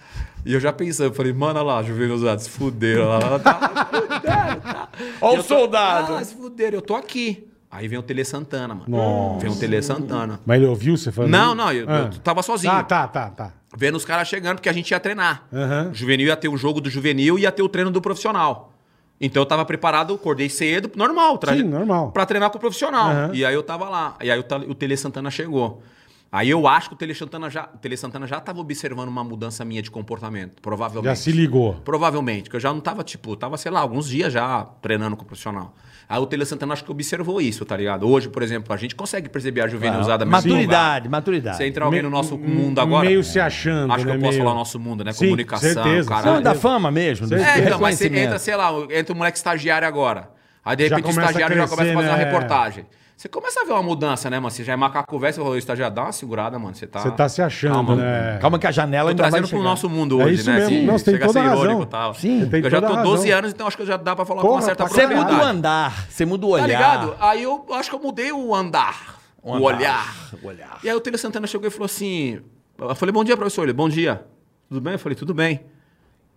Speaker 5: E eu já pensando, falei, mano, olha lá, Juvenilzada, se fuderam. Lá, lá, lá, tá, fuderam, tá.
Speaker 4: Olha o
Speaker 5: E eu tô-
Speaker 4: soldado.
Speaker 5: Ah, se fuderam, eu tô aqui. Aí vem o Tele Santana, mano.
Speaker 3: Nossa.
Speaker 5: Vem o Tele Santana.
Speaker 3: Mas ele ouviu você falando?
Speaker 5: Não, não, eu,
Speaker 3: Ah.
Speaker 5: eu tava sozinho.
Speaker 3: Ah, tá, tá, tá.
Speaker 5: Vendo os caras chegando, porque a gente ia treinar.
Speaker 3: Aham.
Speaker 5: O juvenil ia ter o jogo do juvenil e ia ter o treino do profissional. Então eu tava preparado, acordei cedo, normal,
Speaker 3: Sim, normal.
Speaker 5: Pra treinar com o profissional.
Speaker 3: Aham.
Speaker 5: E aí eu tava lá. E aí o, Tal- o Tele Santana chegou. Aí eu acho que o Tele Santana já, o Tele Santana já tava observando uma mudança minha de comportamento, provavelmente.
Speaker 3: Já se ligou.
Speaker 5: Provavelmente, porque eu já não tava, tipo, tava, sei lá, alguns dias já treinando com o profissional. Aí o Tele Santana acho que observou isso, tá ligado? Hoje, por exemplo, a gente consegue perceber a juvenilizada mesmo.
Speaker 4: Tá. Maturidade, maturidade.
Speaker 5: Se entra alguém no nosso
Speaker 3: Me- um
Speaker 5: mundo agora.
Speaker 3: Meio se achando,
Speaker 5: Acho que
Speaker 3: né,
Speaker 5: eu posso
Speaker 3: meio-
Speaker 5: falar nosso mundo, né?
Speaker 3: Sim,
Speaker 5: Comunicação,
Speaker 3: certeza.
Speaker 4: Não,
Speaker 5: caralho.
Speaker 4: da fama mesmo. do
Speaker 5: Ah, É, então, mas você
Speaker 4: reconhecimento.
Speaker 5: entra, sei lá, entra um moleque estagiário agora. Aí de
Speaker 3: Já
Speaker 5: repente o
Speaker 3: começa a
Speaker 5: estagiário já
Speaker 3: crescer,
Speaker 5: começa a fazer uma
Speaker 3: né?
Speaker 5: reportagem. Você começa a ver uma mudança, né, mano? Você já é macaco velho, você falou, estagiário, dá uma segurada, mano. Você tá.
Speaker 3: Você tá se achando,
Speaker 5: Calma.
Speaker 3: né?
Speaker 4: Calma que a janela
Speaker 5: Tô
Speaker 4: ainda vai
Speaker 5: trazendo pro
Speaker 4: chegar.
Speaker 5: nosso mundo hoje,
Speaker 3: É isso
Speaker 5: né?
Speaker 3: mesmo. Não, você tem
Speaker 5: chega a ser
Speaker 3: toda a
Speaker 5: irônico
Speaker 3: razão.
Speaker 5: e tal.
Speaker 4: Sim. Você
Speaker 3: tem
Speaker 5: eu já
Speaker 3: toda
Speaker 5: tô
Speaker 3: a
Speaker 5: 12
Speaker 3: razão.
Speaker 5: anos, então acho que já dá pra falar com
Speaker 3: Porra,
Speaker 5: uma certa
Speaker 3: pra
Speaker 4: Você é
Speaker 3: caralho.
Speaker 5: propriedade.
Speaker 4: muda o andar, você muda o olhar.
Speaker 5: Tá ligado? Aí eu acho que eu mudei o andar, o,
Speaker 4: andar,
Speaker 5: olhar.
Speaker 4: o olhar.
Speaker 5: E aí o Tele Santana chegou e falou assim: Eu falei, bom dia, professor. Ele, bom dia. Tudo bem? Eu falei, tudo bem.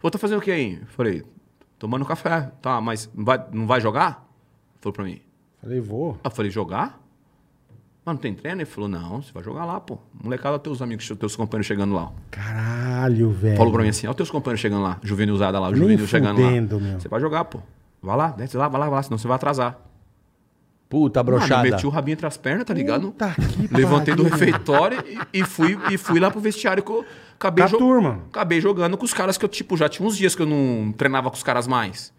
Speaker 5: Vou tá fazendo o que aí? Eu falei, tomando café. Tá, mas não vai, não vai jogar? Ele Falou pra mim.
Speaker 3: Falei, vou.
Speaker 5: Eu falei, jogar? Mas não tem treino? Ele falou, não, você vai jogar lá, pô. Molecada, olha teus amigos, teus companheiros chegando lá.
Speaker 3: Caralho, velho.
Speaker 5: Falou pra mim assim, olha teus companheiros chegando lá, juvenil usada lá, o
Speaker 3: Nem
Speaker 5: juvenil chegando lá.
Speaker 3: fudendo, meu.
Speaker 5: Você vai jogar, pô. Vai lá, desce lá, vai lá, vai lá, senão você vai atrasar.
Speaker 4: Puta
Speaker 5: Mano,
Speaker 4: brochada.
Speaker 5: meti o rabinho entre as pernas, tá ligado?
Speaker 3: Puta que
Speaker 5: Levantei do
Speaker 3: pariu.
Speaker 5: refeitório e, e fui, e fui lá pro vestiário que eu acabei,
Speaker 3: Com a turma.
Speaker 5: acabei jogando com os caras que eu, tipo, já tinha uns dias que eu não treinava com os caras mais.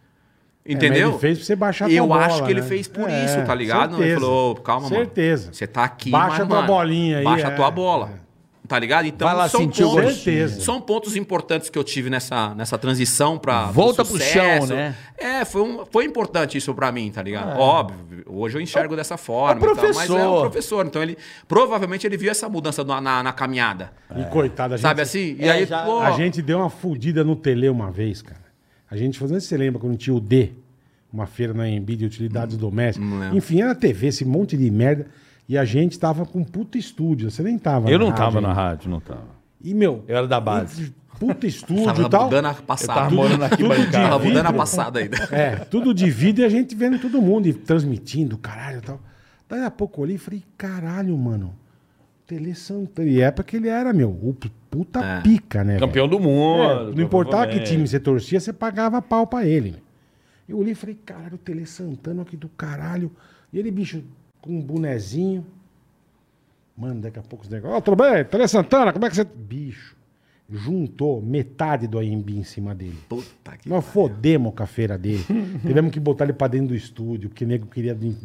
Speaker 3: É, mas
Speaker 5: Entendeu?
Speaker 3: ele fez pra você baixar a tua
Speaker 5: Eu acho
Speaker 3: bola,
Speaker 5: que ele
Speaker 3: né?
Speaker 5: fez por
Speaker 3: É,
Speaker 5: isso, tá ligado? Ele
Speaker 3: certeza.
Speaker 5: falou, "Ô, calma, mano.
Speaker 3: Certeza.
Speaker 5: Você tá aqui,
Speaker 3: Baixa
Speaker 5: mas,
Speaker 3: tua
Speaker 5: mano,
Speaker 3: bolinha aí,
Speaker 5: Baixa
Speaker 3: é.
Speaker 5: a tua bola. Tá ligado? Então,
Speaker 4: Vai lá sentir o
Speaker 5: pontos,
Speaker 3: gostinho.
Speaker 5: são pontos importantes que eu tive nessa, nessa transição pra pro
Speaker 4: Volta pro
Speaker 5: sucesso.
Speaker 4: chão, né?
Speaker 5: É, foi, um- foi importante isso pra mim, tá
Speaker 3: É.
Speaker 5: ligado? Óbvio, hoje eu enxergo dessa forma.
Speaker 4: é
Speaker 5: e tal, mas é um
Speaker 4: professor.
Speaker 5: professor. Então ele provavelmente ele viu essa mudança na, na- na caminhada.
Speaker 3: E coitado, a gente.
Speaker 5: Sabe assim? E
Speaker 4: É,
Speaker 5: aí,
Speaker 4: já-
Speaker 5: pô,
Speaker 3: A gente deu uma fudida no Tele uma vez, cara. A gente, não sei se você lembra, quando tinha o D, uma feira na Embi de
Speaker 5: Hum,
Speaker 3: utilidades domésticas. Enfim, era TV, esse monte de merda. E a gente tava com um puto estúdio. Você nem tava
Speaker 4: Eu
Speaker 3: na
Speaker 4: não tava
Speaker 3: rádio.
Speaker 4: na rádio, não tava.
Speaker 3: E, meu...
Speaker 4: Eu era da base.
Speaker 3: Puto estúdio
Speaker 5: tava
Speaker 3: e tal.
Speaker 5: mudando a
Speaker 4: Tava
Speaker 3: tá
Speaker 5: passada.
Speaker 4: morando aqui
Speaker 5: Tava
Speaker 4: bancada.
Speaker 5: mudando a passada ainda.
Speaker 3: É, tudo de vida e a gente vendo todo mundo e transmitindo, caralho e tal. Daí a pouco eu olhei e falei, caralho, mano. Tele Santana. E época que ele era, meu, o puta
Speaker 5: É.
Speaker 3: pica, né? velho?
Speaker 4: Campeão do
Speaker 3: É,
Speaker 4: mundo.
Speaker 3: não importava que time você torcia, você pagava pau pra ele. né? Eu olhei e falei, caralho, o Tele Santana aqui do caralho. E ele, bicho, com um bonezinho. Mano, daqui a pouco os negócios. Ó, tudo bem? Tele Santana, como é que você. Bicho, juntou metade do AMB em cima dele.
Speaker 5: Puta que
Speaker 3: Nós fodemos com a feira dele. Tivemos que botar ele pra dentro do estúdio, porque o nego queria vir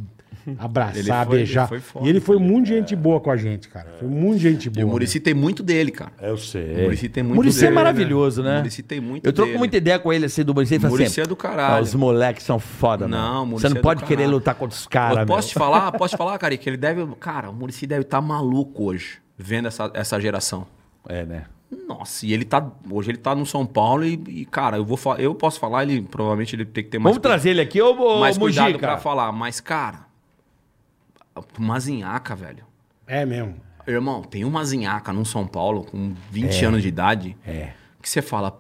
Speaker 3: abraçar,
Speaker 5: Ele foi-
Speaker 3: beijar.
Speaker 5: ele foi foda, né,
Speaker 3: e ele foi muito gente boa com a gente, cara. Foi muito gente boa.
Speaker 5: E o
Speaker 3: né?
Speaker 5: Murici tem muito dele, cara.
Speaker 4: Eu sei.
Speaker 5: O Murici tem muito
Speaker 4: Muricy é
Speaker 5: dele, né?
Speaker 4: maravilhoso, né?
Speaker 5: O Muricy tem muito
Speaker 4: Eu troco
Speaker 5: dele.
Speaker 4: muita ideia com ele assim do Murici.
Speaker 5: Muricy é do caralho.
Speaker 4: os moleques são foda,
Speaker 5: Não,
Speaker 4: mano.
Speaker 5: Muricy
Speaker 4: Você
Speaker 5: é
Speaker 4: não
Speaker 5: do
Speaker 4: pode querer
Speaker 5: caralho.
Speaker 4: lutar contra os
Speaker 5: Eu
Speaker 4: caras,
Speaker 5: posso te
Speaker 4: meu.
Speaker 5: falar, posso te falar, cara, que ele deve. Cara, o Murici deve estar maluco hoje, vendo essa, essa geração.
Speaker 4: É, né?
Speaker 5: Nossa, e ele tá. Hoje ele tá no São Paulo e, e, cara, eu, vou, fa- eu posso falar, ele provavelmente ele tem que ter mais.
Speaker 4: Vamos trazer ele aqui, ô, ô
Speaker 5: mais cuidado pra
Speaker 4: Mujica.
Speaker 5: falar. Mas, cara, Mazinhaca, velho.
Speaker 3: É mesmo.
Speaker 5: Irmão, tem uma Mazinhaca no São Paulo com 20
Speaker 3: É.
Speaker 5: anos de idade. Que você fala,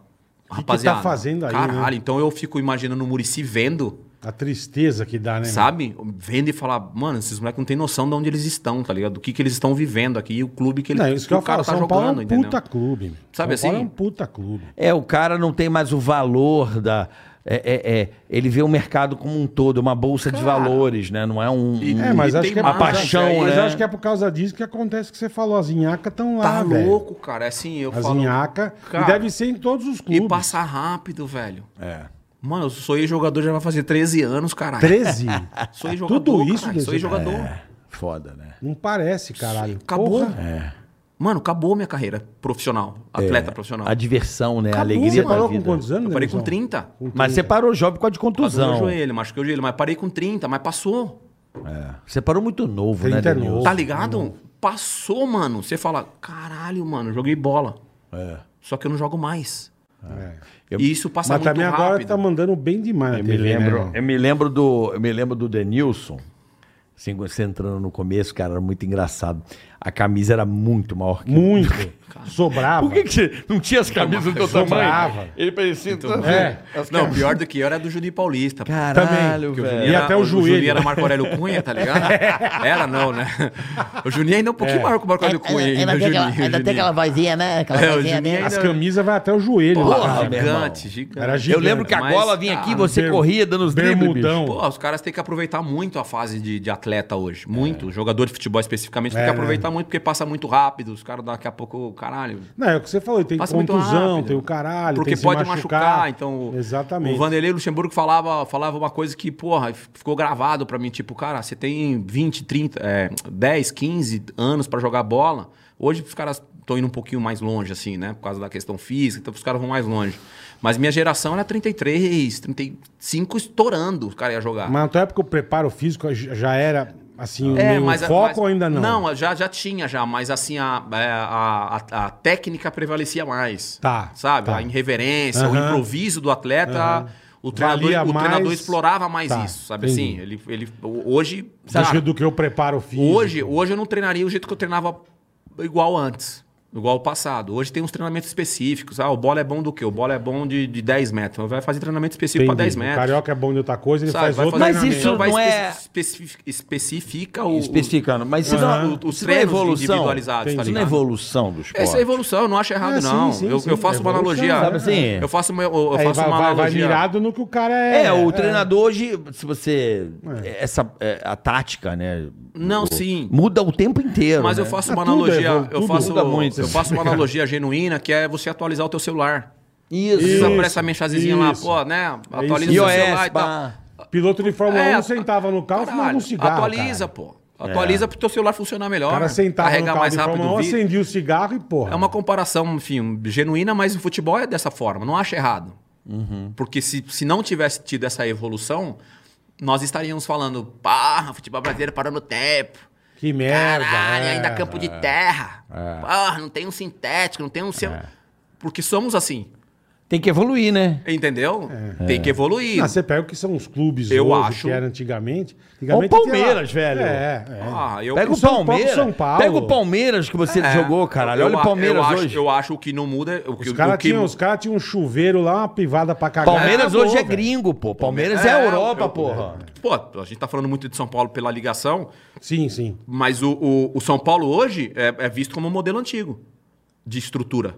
Speaker 5: rapaziada.
Speaker 3: tá fazendo aí,
Speaker 5: Caralho,
Speaker 3: né?
Speaker 5: então eu fico imaginando o Murici vendo.
Speaker 3: A tristeza que dá, né? meu?
Speaker 5: Sabe? Vendo e falar, mano, esses moleques não têm noção de onde eles estão, tá ligado? Do que, que eles estão vivendo aqui e o clube que, ele, tá-
Speaker 3: Não, isso que,
Speaker 5: o
Speaker 3: eu falo, São Paulo é um puta clube. meu.
Speaker 5: Sabe
Speaker 3: São Paulo
Speaker 5: assim?
Speaker 3: é um puta clube.
Speaker 4: É, o cara não tem mais o valor da. É, é, é, ele vê o mercado como um todo, uma bolsa de valores, né? Não é um. um-
Speaker 3: É, mas
Speaker 5: E
Speaker 3: acho
Speaker 5: tem
Speaker 3: que é
Speaker 5: mais,
Speaker 4: A paixão,
Speaker 5: aí,
Speaker 3: mas
Speaker 4: né?
Speaker 3: acho que é por causa disso que acontece o que você falou. As inhacas estão lá,
Speaker 5: Tá
Speaker 3: velho.
Speaker 5: louco, cara. É assim, eu
Speaker 3: As
Speaker 5: falo.
Speaker 3: inhacas. E
Speaker 5: Cara,
Speaker 3: deve ser em todos os
Speaker 5: E
Speaker 3: clubes.
Speaker 5: passa rápido, velho. É. Mano, eu sou ex-jogador, já vai fazer 13 anos, caralho.
Speaker 3: 13.
Speaker 5: Sou ex-jogador.
Speaker 3: É Tudo isso,
Speaker 5: caralho,
Speaker 3: Dezinho?
Speaker 5: Sou
Speaker 3: É.
Speaker 5: ex-jogador.
Speaker 4: Foda, né?
Speaker 3: Não parece, caralho.
Speaker 5: Acabou.
Speaker 3: Porra.
Speaker 4: É,
Speaker 5: Mano, acabou minha carreira profissional.
Speaker 3: É.
Speaker 5: Atleta profissional.
Speaker 4: A diversão, né? A
Speaker 5: Acabou,
Speaker 4: alegria
Speaker 3: Você
Speaker 5: mano.
Speaker 4: da
Speaker 3: parou com
Speaker 4: vida.
Speaker 3: quantos anos?
Speaker 5: Eu parei
Speaker 3: Denizão?
Speaker 5: com 30.
Speaker 4: Mas você parou jovem por causa de
Speaker 5: Passou meu
Speaker 4: contusão.
Speaker 5: joelho, machuquei o joelho, mas parei com 30, mas passou.
Speaker 4: É. Você parou muito novo,
Speaker 3: 30 é
Speaker 4: né, Denilson?
Speaker 3: novo.
Speaker 5: Tá ligado? Passou, mano. Você fala, caralho, mano, eu joguei bola. Só que eu não jogo mais.
Speaker 3: É.
Speaker 4: Eu-
Speaker 5: E isso passa
Speaker 3: Mas
Speaker 5: muito
Speaker 3: também
Speaker 5: rápido.
Speaker 3: agora tá mandando bem demais. na
Speaker 4: Eu me
Speaker 3: TV, né,
Speaker 4: lembro,
Speaker 3: irmão?
Speaker 4: eu me lembro do, eu me lembro do Denilson. Assim, você entrando no começo, cara, era muito engraçado. A camisa era muito maior que
Speaker 3: Muito. Sobrava.
Speaker 4: Por que, que você não tinha as camisas do teu
Speaker 3: Sobrava.
Speaker 4: tamanho? Ele parecia então,
Speaker 3: É.
Speaker 5: Não, pior do que eu era do Juninho Paulista. pô.
Speaker 4: Caralho,
Speaker 5: Porque o
Speaker 4: velho.
Speaker 5: Juninho
Speaker 3: E
Speaker 5: era-
Speaker 3: até o joelho.
Speaker 5: Juninho era Marco Aurélio Cunha, tá ligado? era não, né? O Juninho ainda é um pouquinho maior que o Marco Aurélio Cunha.
Speaker 2: É,
Speaker 5: ainda, o Juninho, o Juninho.
Speaker 2: vozinha, né? Aquela
Speaker 5: É, o Juninho
Speaker 3: As
Speaker 5: ainda...
Speaker 3: camisas vai até o joelho.
Speaker 4: Porra,
Speaker 3: lá.
Speaker 4: meu irmão.
Speaker 5: gigante, gigante.
Speaker 3: Era
Speaker 4: Eu
Speaker 3: gigante.
Speaker 4: lembro que a
Speaker 5: Mas,
Speaker 4: bola vinha aqui,
Speaker 5: cara,
Speaker 4: você
Speaker 3: Ber-
Speaker 4: corria dando os dribles, bicho.
Speaker 3: Bermudão.
Speaker 5: Pô, os caras têm que aproveitar muito a fase de, de atleta hoje.
Speaker 4: É.
Speaker 5: Muito. O Jogador de futebol especificamente tem que aproveitar muito, porque passa muito rápido. Os caras daqui a pouco, caralho.
Speaker 3: Não, é o que você falou, tem
Speaker 5: Passa muito
Speaker 3: contusão,
Speaker 5: rápido.
Speaker 3: tem o caralho,
Speaker 5: Porque
Speaker 3: tem se
Speaker 5: pode machucar. então. o-
Speaker 3: Exatamente.
Speaker 5: O Vanderlei Luxemburgo falava, falava uma coisa que, porra, ficou gravado pra mim. Tipo, cara, você tem 20, 30, é, 10, 15 anos pra jogar bola. Hoje os caras estão indo um pouquinho mais longe, assim, né? Por causa da questão física, então os caras vão mais longe. Mas minha geração era 33, 35 estourando, os caras iam jogar.
Speaker 3: Mas na tua época o preparo físico já era Assim, o
Speaker 5: É,
Speaker 3: meu
Speaker 5: mas-
Speaker 3: foco
Speaker 5: mas-
Speaker 3: ainda não.
Speaker 5: Não, já, já tinha já, mas assim, a, é, a, a- a técnica prevalecia mais.
Speaker 3: Tá,
Speaker 5: Sabe?
Speaker 3: tá.
Speaker 5: A irreverência, o
Speaker 3: Aham.
Speaker 5: improviso do atleta. O,
Speaker 3: Valia
Speaker 5: treinador, o
Speaker 3: mais-
Speaker 5: treinador explorava mais
Speaker 3: Tá,
Speaker 5: isso, sabe
Speaker 3: entendi.
Speaker 5: assim? Ele, ele, hoje.
Speaker 3: Você acha
Speaker 5: cara,
Speaker 3: que do que eu preparo físico?
Speaker 5: Hoje, hoje eu não treinaria o jeito que eu treinava igual antes, igual o passado. Hoje tem uns treinamentos específicos. Ah, o bola é bom do quê? O bola é bom de, de 10 metros. Então Vai fazer treinamento específico para
Speaker 3: Entendi.
Speaker 5: 10
Speaker 3: O
Speaker 5: metros.
Speaker 3: carioca é bom de outra coisa, ele
Speaker 5: sabe?
Speaker 3: faz outra.
Speaker 4: fazer Mas
Speaker 5: treinamento.
Speaker 4: isso
Speaker 5: Então vai
Speaker 4: não é-
Speaker 5: espe- especifica- especifica o.
Speaker 4: Especificando, mas se
Speaker 5: Aham.
Speaker 4: não,
Speaker 5: Os
Speaker 4: se não é
Speaker 5: treinos
Speaker 4: evolução,
Speaker 5: individualizados,
Speaker 4: se
Speaker 5: tá
Speaker 4: não é
Speaker 5: ligado?
Speaker 4: evolução do esporte.
Speaker 5: Essa é a evolução, eu não acho errado,
Speaker 3: É, sim,
Speaker 5: não.
Speaker 3: sim,
Speaker 5: eu,
Speaker 3: sim.
Speaker 5: eu faço uma
Speaker 3: Evolução,
Speaker 5: analogia.
Speaker 4: sabe assim?
Speaker 5: Eu faço uma, eu
Speaker 3: Aí
Speaker 5: faço
Speaker 3: vai,
Speaker 5: uma
Speaker 3: vai, vai
Speaker 5: analogia.
Speaker 3: mirado no que o cara é.
Speaker 4: É, o treinador hoje, se você. Essa, é, a tática, né?
Speaker 5: Não,
Speaker 4: o-
Speaker 5: sim.
Speaker 4: Muda o tempo inteiro.
Speaker 5: Mas eu
Speaker 4: né?
Speaker 5: faço
Speaker 3: Ah,
Speaker 5: uma
Speaker 3: tudo
Speaker 5: analogia.
Speaker 3: evolui,
Speaker 5: eu,
Speaker 3: tudo
Speaker 5: faço,
Speaker 3: muda muito.
Speaker 5: eu faço uma analogia genuína que é você atualizar o teu celular.
Speaker 4: Isso.
Speaker 5: Precisa
Speaker 3: Isso,
Speaker 5: aparece a mensagenzinha lá,
Speaker 3: isso.
Speaker 5: pô, né? Atualiza
Speaker 3: isso.
Speaker 5: o seu celular
Speaker 4: iOS,
Speaker 5: e tal.
Speaker 4: pá.
Speaker 3: Piloto de Fórmula
Speaker 5: É,
Speaker 3: 1 sentava um no carro e fumava
Speaker 5: Caralho,
Speaker 3: um cigarro. cara.
Speaker 5: Atualiza,
Speaker 3: É.
Speaker 5: pô. Atualiza pro teu celular funcionar melhor.
Speaker 3: O cara sentava no
Speaker 5: carregar
Speaker 3: carro
Speaker 5: mais
Speaker 3: de
Speaker 5: rápido
Speaker 3: Fórmula 1,
Speaker 5: o vídeo.
Speaker 3: acendia o cigarro e porra.
Speaker 5: É uma comparação, enfim, genuína, mas o futebol é dessa forma. Não acho errado. Porque se, se não tivesse tido essa evolução, nós estaríamos falando, pá, futebol brasileiro parou no tempo.
Speaker 3: Que merda.
Speaker 5: Caralho,
Speaker 3: é.
Speaker 5: ainda campo de terra. Porra, não tem um sintético, não tem um... cel-" Porque somos assim,
Speaker 4: Tem que evoluir, né?
Speaker 5: entendeu? Tem que evoluir.
Speaker 3: Ah, você pega o que são os clubes
Speaker 5: Eu
Speaker 3: hoje,
Speaker 5: acho.
Speaker 3: que era antigamente.
Speaker 4: Olha o
Speaker 3: antigamente
Speaker 4: Palmeiras,
Speaker 3: tinha lá-
Speaker 4: velho.
Speaker 3: É, é.
Speaker 5: Ah, eu...
Speaker 4: Pega o,
Speaker 3: o São Paulo,
Speaker 4: Palmeiras.
Speaker 3: São Paulo.
Speaker 4: Pega o Palmeiras que você
Speaker 5: É,
Speaker 4: jogou, caralho.
Speaker 5: eu
Speaker 4: Olha
Speaker 5: a-
Speaker 4: o Palmeiras
Speaker 5: eu
Speaker 4: hoje.
Speaker 5: Acho, eu acho que não muda. O que,
Speaker 3: Os caras
Speaker 5: o que-
Speaker 3: tinham cara tinha um chuveiro lá, uma privada pra cagar.
Speaker 4: Palmeiras
Speaker 3: Acabou,
Speaker 4: hoje é
Speaker 3: velho.
Speaker 4: gringo, pô. Palmeiras é, a
Speaker 5: É,
Speaker 4: Europa,
Speaker 5: eu-
Speaker 4: porra.
Speaker 5: Pô, a gente tá falando muito de São Paulo pela ligação,
Speaker 3: Sim, sim.
Speaker 5: mas o, o, o São Paulo hoje é, é visto como um modelo antigo de estrutura.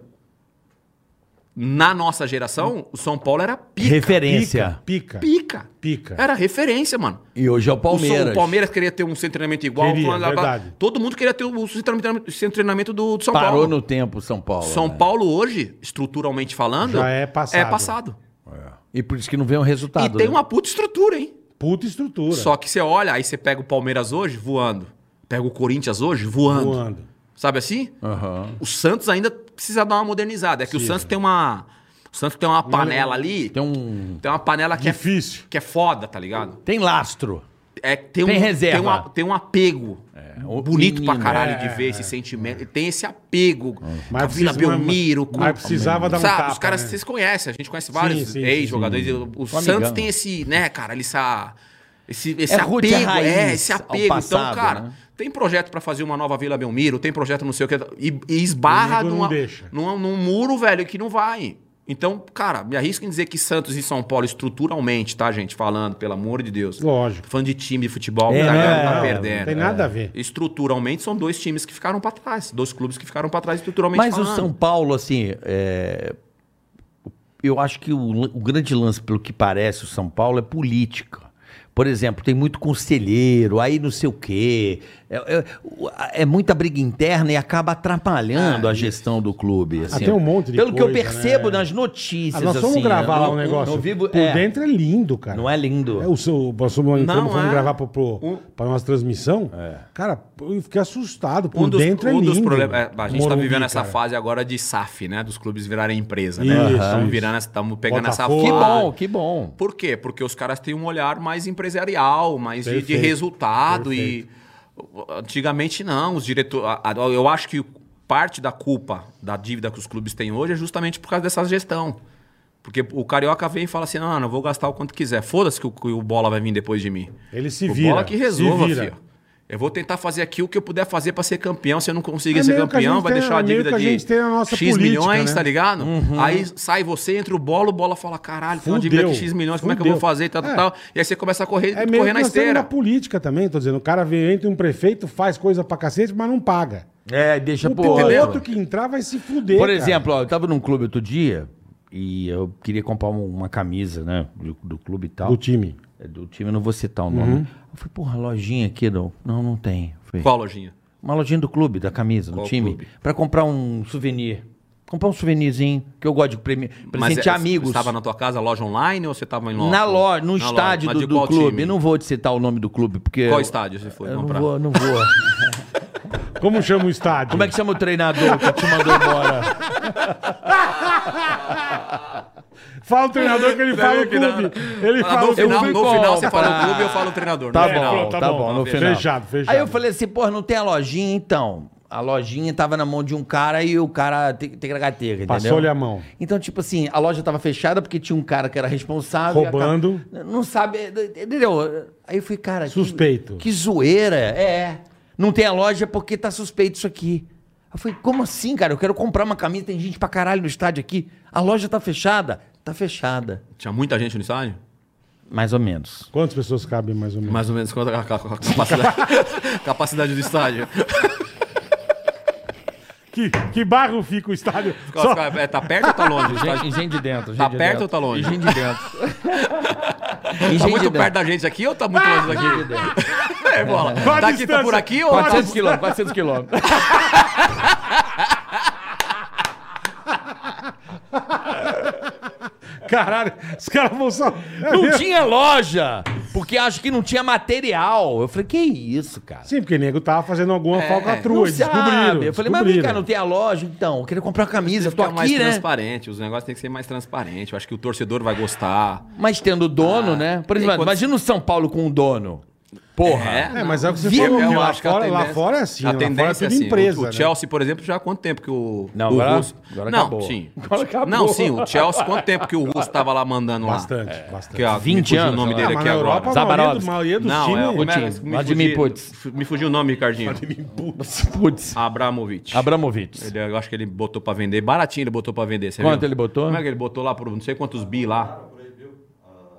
Speaker 5: Na nossa geração, o São Paulo era pica.
Speaker 4: Referência.
Speaker 3: Pica. Pica.
Speaker 5: pica.
Speaker 3: Pica.
Speaker 5: Era referência, mano.
Speaker 4: E hoje é o
Speaker 5: O São-
Speaker 4: Palmeiras.
Speaker 5: O Palmeiras queria ter um centro de treinamento igual.
Speaker 3: Queria,
Speaker 5: blá, blá, blá.
Speaker 3: verdade.
Speaker 5: Todo mundo queria ter o centro de treinamento- centro de treinamento do, do São
Speaker 4: Parou
Speaker 5: Paulo.
Speaker 4: no tempo, São é Paulo.
Speaker 5: São
Speaker 4: né?
Speaker 5: Paulo hoje, estruturalmente falando,
Speaker 3: Já é passado.
Speaker 5: É passado.
Speaker 4: E por isso que não vem o
Speaker 5: E
Speaker 4: resultado.
Speaker 5: tem
Speaker 4: né?
Speaker 5: uma puta estrutura, hein?
Speaker 3: Puta estrutura.
Speaker 5: Só que você olha, aí você pega o Palmeiras hoje voando. Pega o Corinthians hoje voando.
Speaker 3: voando.
Speaker 5: Sabe assim?
Speaker 4: Aham.
Speaker 5: O Santos ainda precisa dar uma modernizada. É que o Santos tem uma. O Santos tem uma panela ali.
Speaker 4: né? Tem um.
Speaker 5: Tem uma panela que é,
Speaker 3: Difícil.
Speaker 5: que é foda, tá ligado?
Speaker 4: Tem lastro.
Speaker 5: É, que tem,
Speaker 4: Tem
Speaker 5: um,
Speaker 4: reserva. É.
Speaker 5: Tem, uma- tem um apego.
Speaker 4: o-
Speaker 5: Bonito pra
Speaker 4: menino. é,
Speaker 5: caralho de ver esse sentimento. Tem esse apego.
Speaker 3: Mas
Speaker 5: a Vila
Speaker 3: precisa-
Speaker 5: Belmiro.
Speaker 3: mas- é mas precisava dar um
Speaker 5: Sabe,
Speaker 3: tapa,
Speaker 5: os caras
Speaker 3: né?
Speaker 5: vocês conhecem. A gente conhece vários
Speaker 3: sim,
Speaker 5: ex-jogadores. O Santos
Speaker 4: amigão.
Speaker 5: tem esse, né, cara, ele essa... Esse, esse
Speaker 4: É
Speaker 5: apego,
Speaker 4: roots, é raiz
Speaker 5: é, esse
Speaker 4: ao
Speaker 5: apego.
Speaker 4: passado,
Speaker 5: então, cara,
Speaker 4: né?
Speaker 5: tem projeto pra fazer uma nova Vila Belmiro, tem projeto não sei o que. E, e esbarra
Speaker 3: O nego não
Speaker 5: numa,
Speaker 3: deixa.
Speaker 5: num, num muro, velho, que não vai. Então, cara, me arrisco em dizer que Santos e São Paulo, estruturalmente, tá, gente? Falando, pelo amor de Deus.
Speaker 3: Lógico.
Speaker 5: Fã de time de futebol,
Speaker 4: É,
Speaker 5: tá,
Speaker 4: né?
Speaker 5: galera tá
Speaker 4: Não,
Speaker 5: perdendo.
Speaker 3: Não tem nada a ver.
Speaker 5: Estruturalmente, são dois times que ficaram pra trás. Dois clubes que ficaram pra trás estruturalmente
Speaker 4: Mas
Speaker 5: falando.
Speaker 4: o São Paulo, assim, é, eu acho que o, lan- o grande lance, pelo que parece, o São Paulo é política. Por exemplo, tem muito conselheiro, aí não sei o quê. É, é- o- a- é muita briga interna e acaba atrapalhando a gestão do clube. assim.
Speaker 3: tem um monte de
Speaker 4: Pelo que eu
Speaker 3: coisa,
Speaker 4: percebo
Speaker 3: né?
Speaker 4: nas notícias.
Speaker 3: Ah, nós vamos
Speaker 4: assim,
Speaker 3: gravar
Speaker 4: né?
Speaker 3: lá
Speaker 4: No-
Speaker 3: um negócio.
Speaker 4: no vivo,
Speaker 3: Por
Speaker 4: é.
Speaker 3: dentro é lindo, cara.
Speaker 4: Não é lindo.
Speaker 3: É, o seu, nós fomos,
Speaker 5: Não,
Speaker 3: entramos, fomos
Speaker 5: é.
Speaker 3: gravar pro, pro,
Speaker 5: Um-
Speaker 3: pra nossa transmissão.
Speaker 4: É.
Speaker 3: Cara, eu fiquei assustado. Por
Speaker 5: Um dos,
Speaker 3: dentro é
Speaker 5: um
Speaker 3: lindo.
Speaker 5: dos problemas. é, a gente
Speaker 3: Morumbi,
Speaker 5: tá vivendo essa
Speaker 3: cara.
Speaker 5: fase agora de SAF, né? Dos clubes virarem empresa,
Speaker 3: Isso,
Speaker 5: né?
Speaker 3: isso.
Speaker 5: Estamos virando, estamos pegando
Speaker 3: Botafogo.
Speaker 4: Que
Speaker 5: essa fase.
Speaker 4: bom, que bom.
Speaker 5: Por quê? Porque os caras têm um olhar mais empresarial, mais de- de,
Speaker 3: Perfeito.
Speaker 5: resultado e antigamente não, os diretores, eu acho que parte da culpa da dívida que os clubes têm hoje é justamente por causa dessa gestão. Porque o carioca vem e fala assim: "Não, não, eu vou gastar o quanto quiser. Foda-se que o, que o bola vai vir depois de mim".
Speaker 3: Ele se
Speaker 5: o
Speaker 3: vira.
Speaker 5: bola que resolva,
Speaker 3: se vira.
Speaker 5: filho. Eu vou tentar fazer aqui o que eu puder fazer pra ser campeão. Se eu não conseguir
Speaker 3: É
Speaker 5: ser
Speaker 3: meio que a
Speaker 5: campeão,
Speaker 3: gente
Speaker 5: vai
Speaker 3: tem-
Speaker 5: deixar a
Speaker 3: é meio
Speaker 5: dívida
Speaker 3: que a
Speaker 5: de
Speaker 3: gente tem a nossa
Speaker 5: X
Speaker 3: política,
Speaker 5: milhões,
Speaker 3: né?
Speaker 5: tá ligado? Aí sai você, entra o bolo, o bola fala: caralho, tem uma dívida
Speaker 3: Fudeu.
Speaker 5: de X milhões, como é que eu
Speaker 3: Fudeu.
Speaker 5: vou fazer e tal, tal,
Speaker 3: É.
Speaker 5: tal. E aí você começa a correr,
Speaker 3: É meio
Speaker 5: correr
Speaker 3: que
Speaker 5: na
Speaker 3: nós estamos na
Speaker 5: esteira.
Speaker 3: política também, tô dizendo. O cara vem, entra um prefeito, faz coisa pra cacete, mas não paga.
Speaker 4: É, deixa
Speaker 3: O
Speaker 4: pro
Speaker 3: outro,
Speaker 4: outro.
Speaker 3: que entrar vai se fuder.
Speaker 4: Por
Speaker 3: cara.
Speaker 4: exemplo, ó, eu tava num clube outro dia e eu queria comprar um- uma camisa, né? Do, do clube e tal.
Speaker 3: do time.
Speaker 4: É, Do time, eu não vou citar o nome. Eu falei, porra, lojinha aqui, não. Não, não tem. Eu falei,
Speaker 5: Uhum. Qual lojinha?
Speaker 4: Uma lojinha do clube, da camisa, do
Speaker 5: Qual
Speaker 4: time.
Speaker 5: clube?
Speaker 4: Pra comprar um souvenir. Comprar um souvenirzinho, que eu gosto de premi- presente
Speaker 5: é-
Speaker 4: amigos.
Speaker 5: Você estava na tua casa, loja online ou você estava em loja?
Speaker 4: na loja, no estádio do, do clube. Não vou te citar o nome do clube, porque.
Speaker 5: Qual
Speaker 4: eu-
Speaker 5: estádio você foi
Speaker 4: Eu não
Speaker 5: comprar?
Speaker 4: vou, não vou.
Speaker 3: Como chama o estádio?
Speaker 4: Como é que chama o treinador que te mandou embora?
Speaker 3: Fala o treinador que ele
Speaker 5: Você
Speaker 3: fala o
Speaker 5: viu que da hora?
Speaker 3: clube. Ele
Speaker 5: Ah,
Speaker 3: fala o
Speaker 5: no final,
Speaker 3: clube.
Speaker 5: no final você fala o clube e eu falo o treinador.
Speaker 4: Tá
Speaker 5: no
Speaker 4: bom,
Speaker 5: final.
Speaker 3: pronto,
Speaker 4: tá,
Speaker 3: tá
Speaker 4: bom,
Speaker 3: bom,
Speaker 4: no
Speaker 3: tá
Speaker 4: final.
Speaker 3: fechado, fechado.
Speaker 4: Aí eu falei assim, pô, não tem a lojinha então? A lojinha tava na mão de um cara e o cara te- tegragateca, entendeu?
Speaker 3: Passou-lhe a mão.
Speaker 4: Então, tipo assim, a loja tava fechada porque tinha um cara que era responsável. e a ca-
Speaker 3: Roubando.
Speaker 4: Não sabe, entendeu? Aí eu fui, cara... que-
Speaker 3: Suspeito.
Speaker 4: Que, zoeira, é. Não tem a loja porque tá suspeito isso aqui. Eu falei, como assim, cara? Eu quero comprar uma camisa, tem gente pra caralho no estádio aqui. A loja tá fechada? Tá fechada.
Speaker 5: Tinha muita gente no estádio?
Speaker 4: Mais ou menos.
Speaker 3: Quantas pessoas cabem mais ou menos?
Speaker 5: Mais ou menos quanto a, a- a capacidade, capacidade do estádio?
Speaker 3: Que, que bairro fica o estádio? Só-
Speaker 5: É, tá perto ou tá longe? do estádio?
Speaker 6: Gente, gente de dentro. Gente
Speaker 5: Tá
Speaker 6: de
Speaker 5: perto
Speaker 6: dentro.
Speaker 5: ou tá longe?
Speaker 6: Gente de dentro.
Speaker 5: Tá muito perto da gente aqui ou tá muito longe daqui? É, bola.
Speaker 3: Qual a
Speaker 5: Tá, aqui, tá
Speaker 3: distância?
Speaker 5: por aqui ou
Speaker 6: 400 quilômetros, 400 quilômetros.
Speaker 3: Caralho, os caras vão só. É
Speaker 4: Não
Speaker 3: mesmo?
Speaker 4: tinha loja, porque acho que não tinha material. Eu falei, que isso, cara?
Speaker 3: Sim, porque o nego tava fazendo alguma
Speaker 4: É. Não
Speaker 3: falcatrua. é Descobriram.
Speaker 4: sabe. Eu falei, mas vem cá,
Speaker 3: descobriram.
Speaker 4: não tem a loja? Então, eu queria comprar uma camisa, eu tô
Speaker 5: Fica é mais
Speaker 4: aqui, né?
Speaker 5: transparente, os negócios têm que ser mais transparentes. Eu acho que o torcedor vai gostar.
Speaker 4: Mas tendo dono, né? Por
Speaker 5: e
Speaker 4: exemplo,
Speaker 5: quando-
Speaker 4: imagina o São Paulo com um dono. Porra.
Speaker 3: É, mas é o que você
Speaker 5: Viu?
Speaker 3: falou,
Speaker 5: Eu
Speaker 3: meu, lá
Speaker 5: acho que a
Speaker 3: fora- lá
Speaker 5: tendência-
Speaker 3: fora é assim,
Speaker 5: A
Speaker 3: lá fora é
Speaker 5: tendência é
Speaker 3: tudo
Speaker 5: assim.
Speaker 3: empresa,
Speaker 5: o,
Speaker 3: né?
Speaker 5: o Chelsea, por exemplo, já há quanto tempo que o,
Speaker 4: Não,
Speaker 5: o
Speaker 4: agora-
Speaker 5: Russo...
Speaker 4: agora
Speaker 5: não,
Speaker 4: acabou.
Speaker 5: sim.
Speaker 4: Agora acabou.
Speaker 5: Não, sim, o Chelsea, quanto tempo que o Russo estava lá mandando
Speaker 3: Bastante,
Speaker 5: lá? É.
Speaker 3: bastante.
Speaker 5: Que, ó,
Speaker 4: 20
Speaker 5: me fugiu
Speaker 4: anos,
Speaker 5: o nome
Speaker 4: sei
Speaker 5: dele
Speaker 3: mas
Speaker 5: aqui
Speaker 3: na Europa, um a
Speaker 5: agora.
Speaker 3: maioria, do-
Speaker 4: Zabarovski.
Speaker 3: maioria dos
Speaker 5: Não, é
Speaker 3: times.
Speaker 5: o... como é-
Speaker 4: Putin.
Speaker 5: me
Speaker 4: Vladimir
Speaker 5: fugiu-
Speaker 4: Putin.
Speaker 5: fu- Me fugiu o nome, Ricardinho.
Speaker 4: Putz.
Speaker 5: Abramovic.
Speaker 4: Abramovic.
Speaker 5: Ele- eu acho que ele botou pra vender. Baratinho ele botou pra vender. você
Speaker 4: Quanto
Speaker 5: viu?
Speaker 4: ele botou?
Speaker 5: Como é que ele botou lá por não sei quantos bi lá?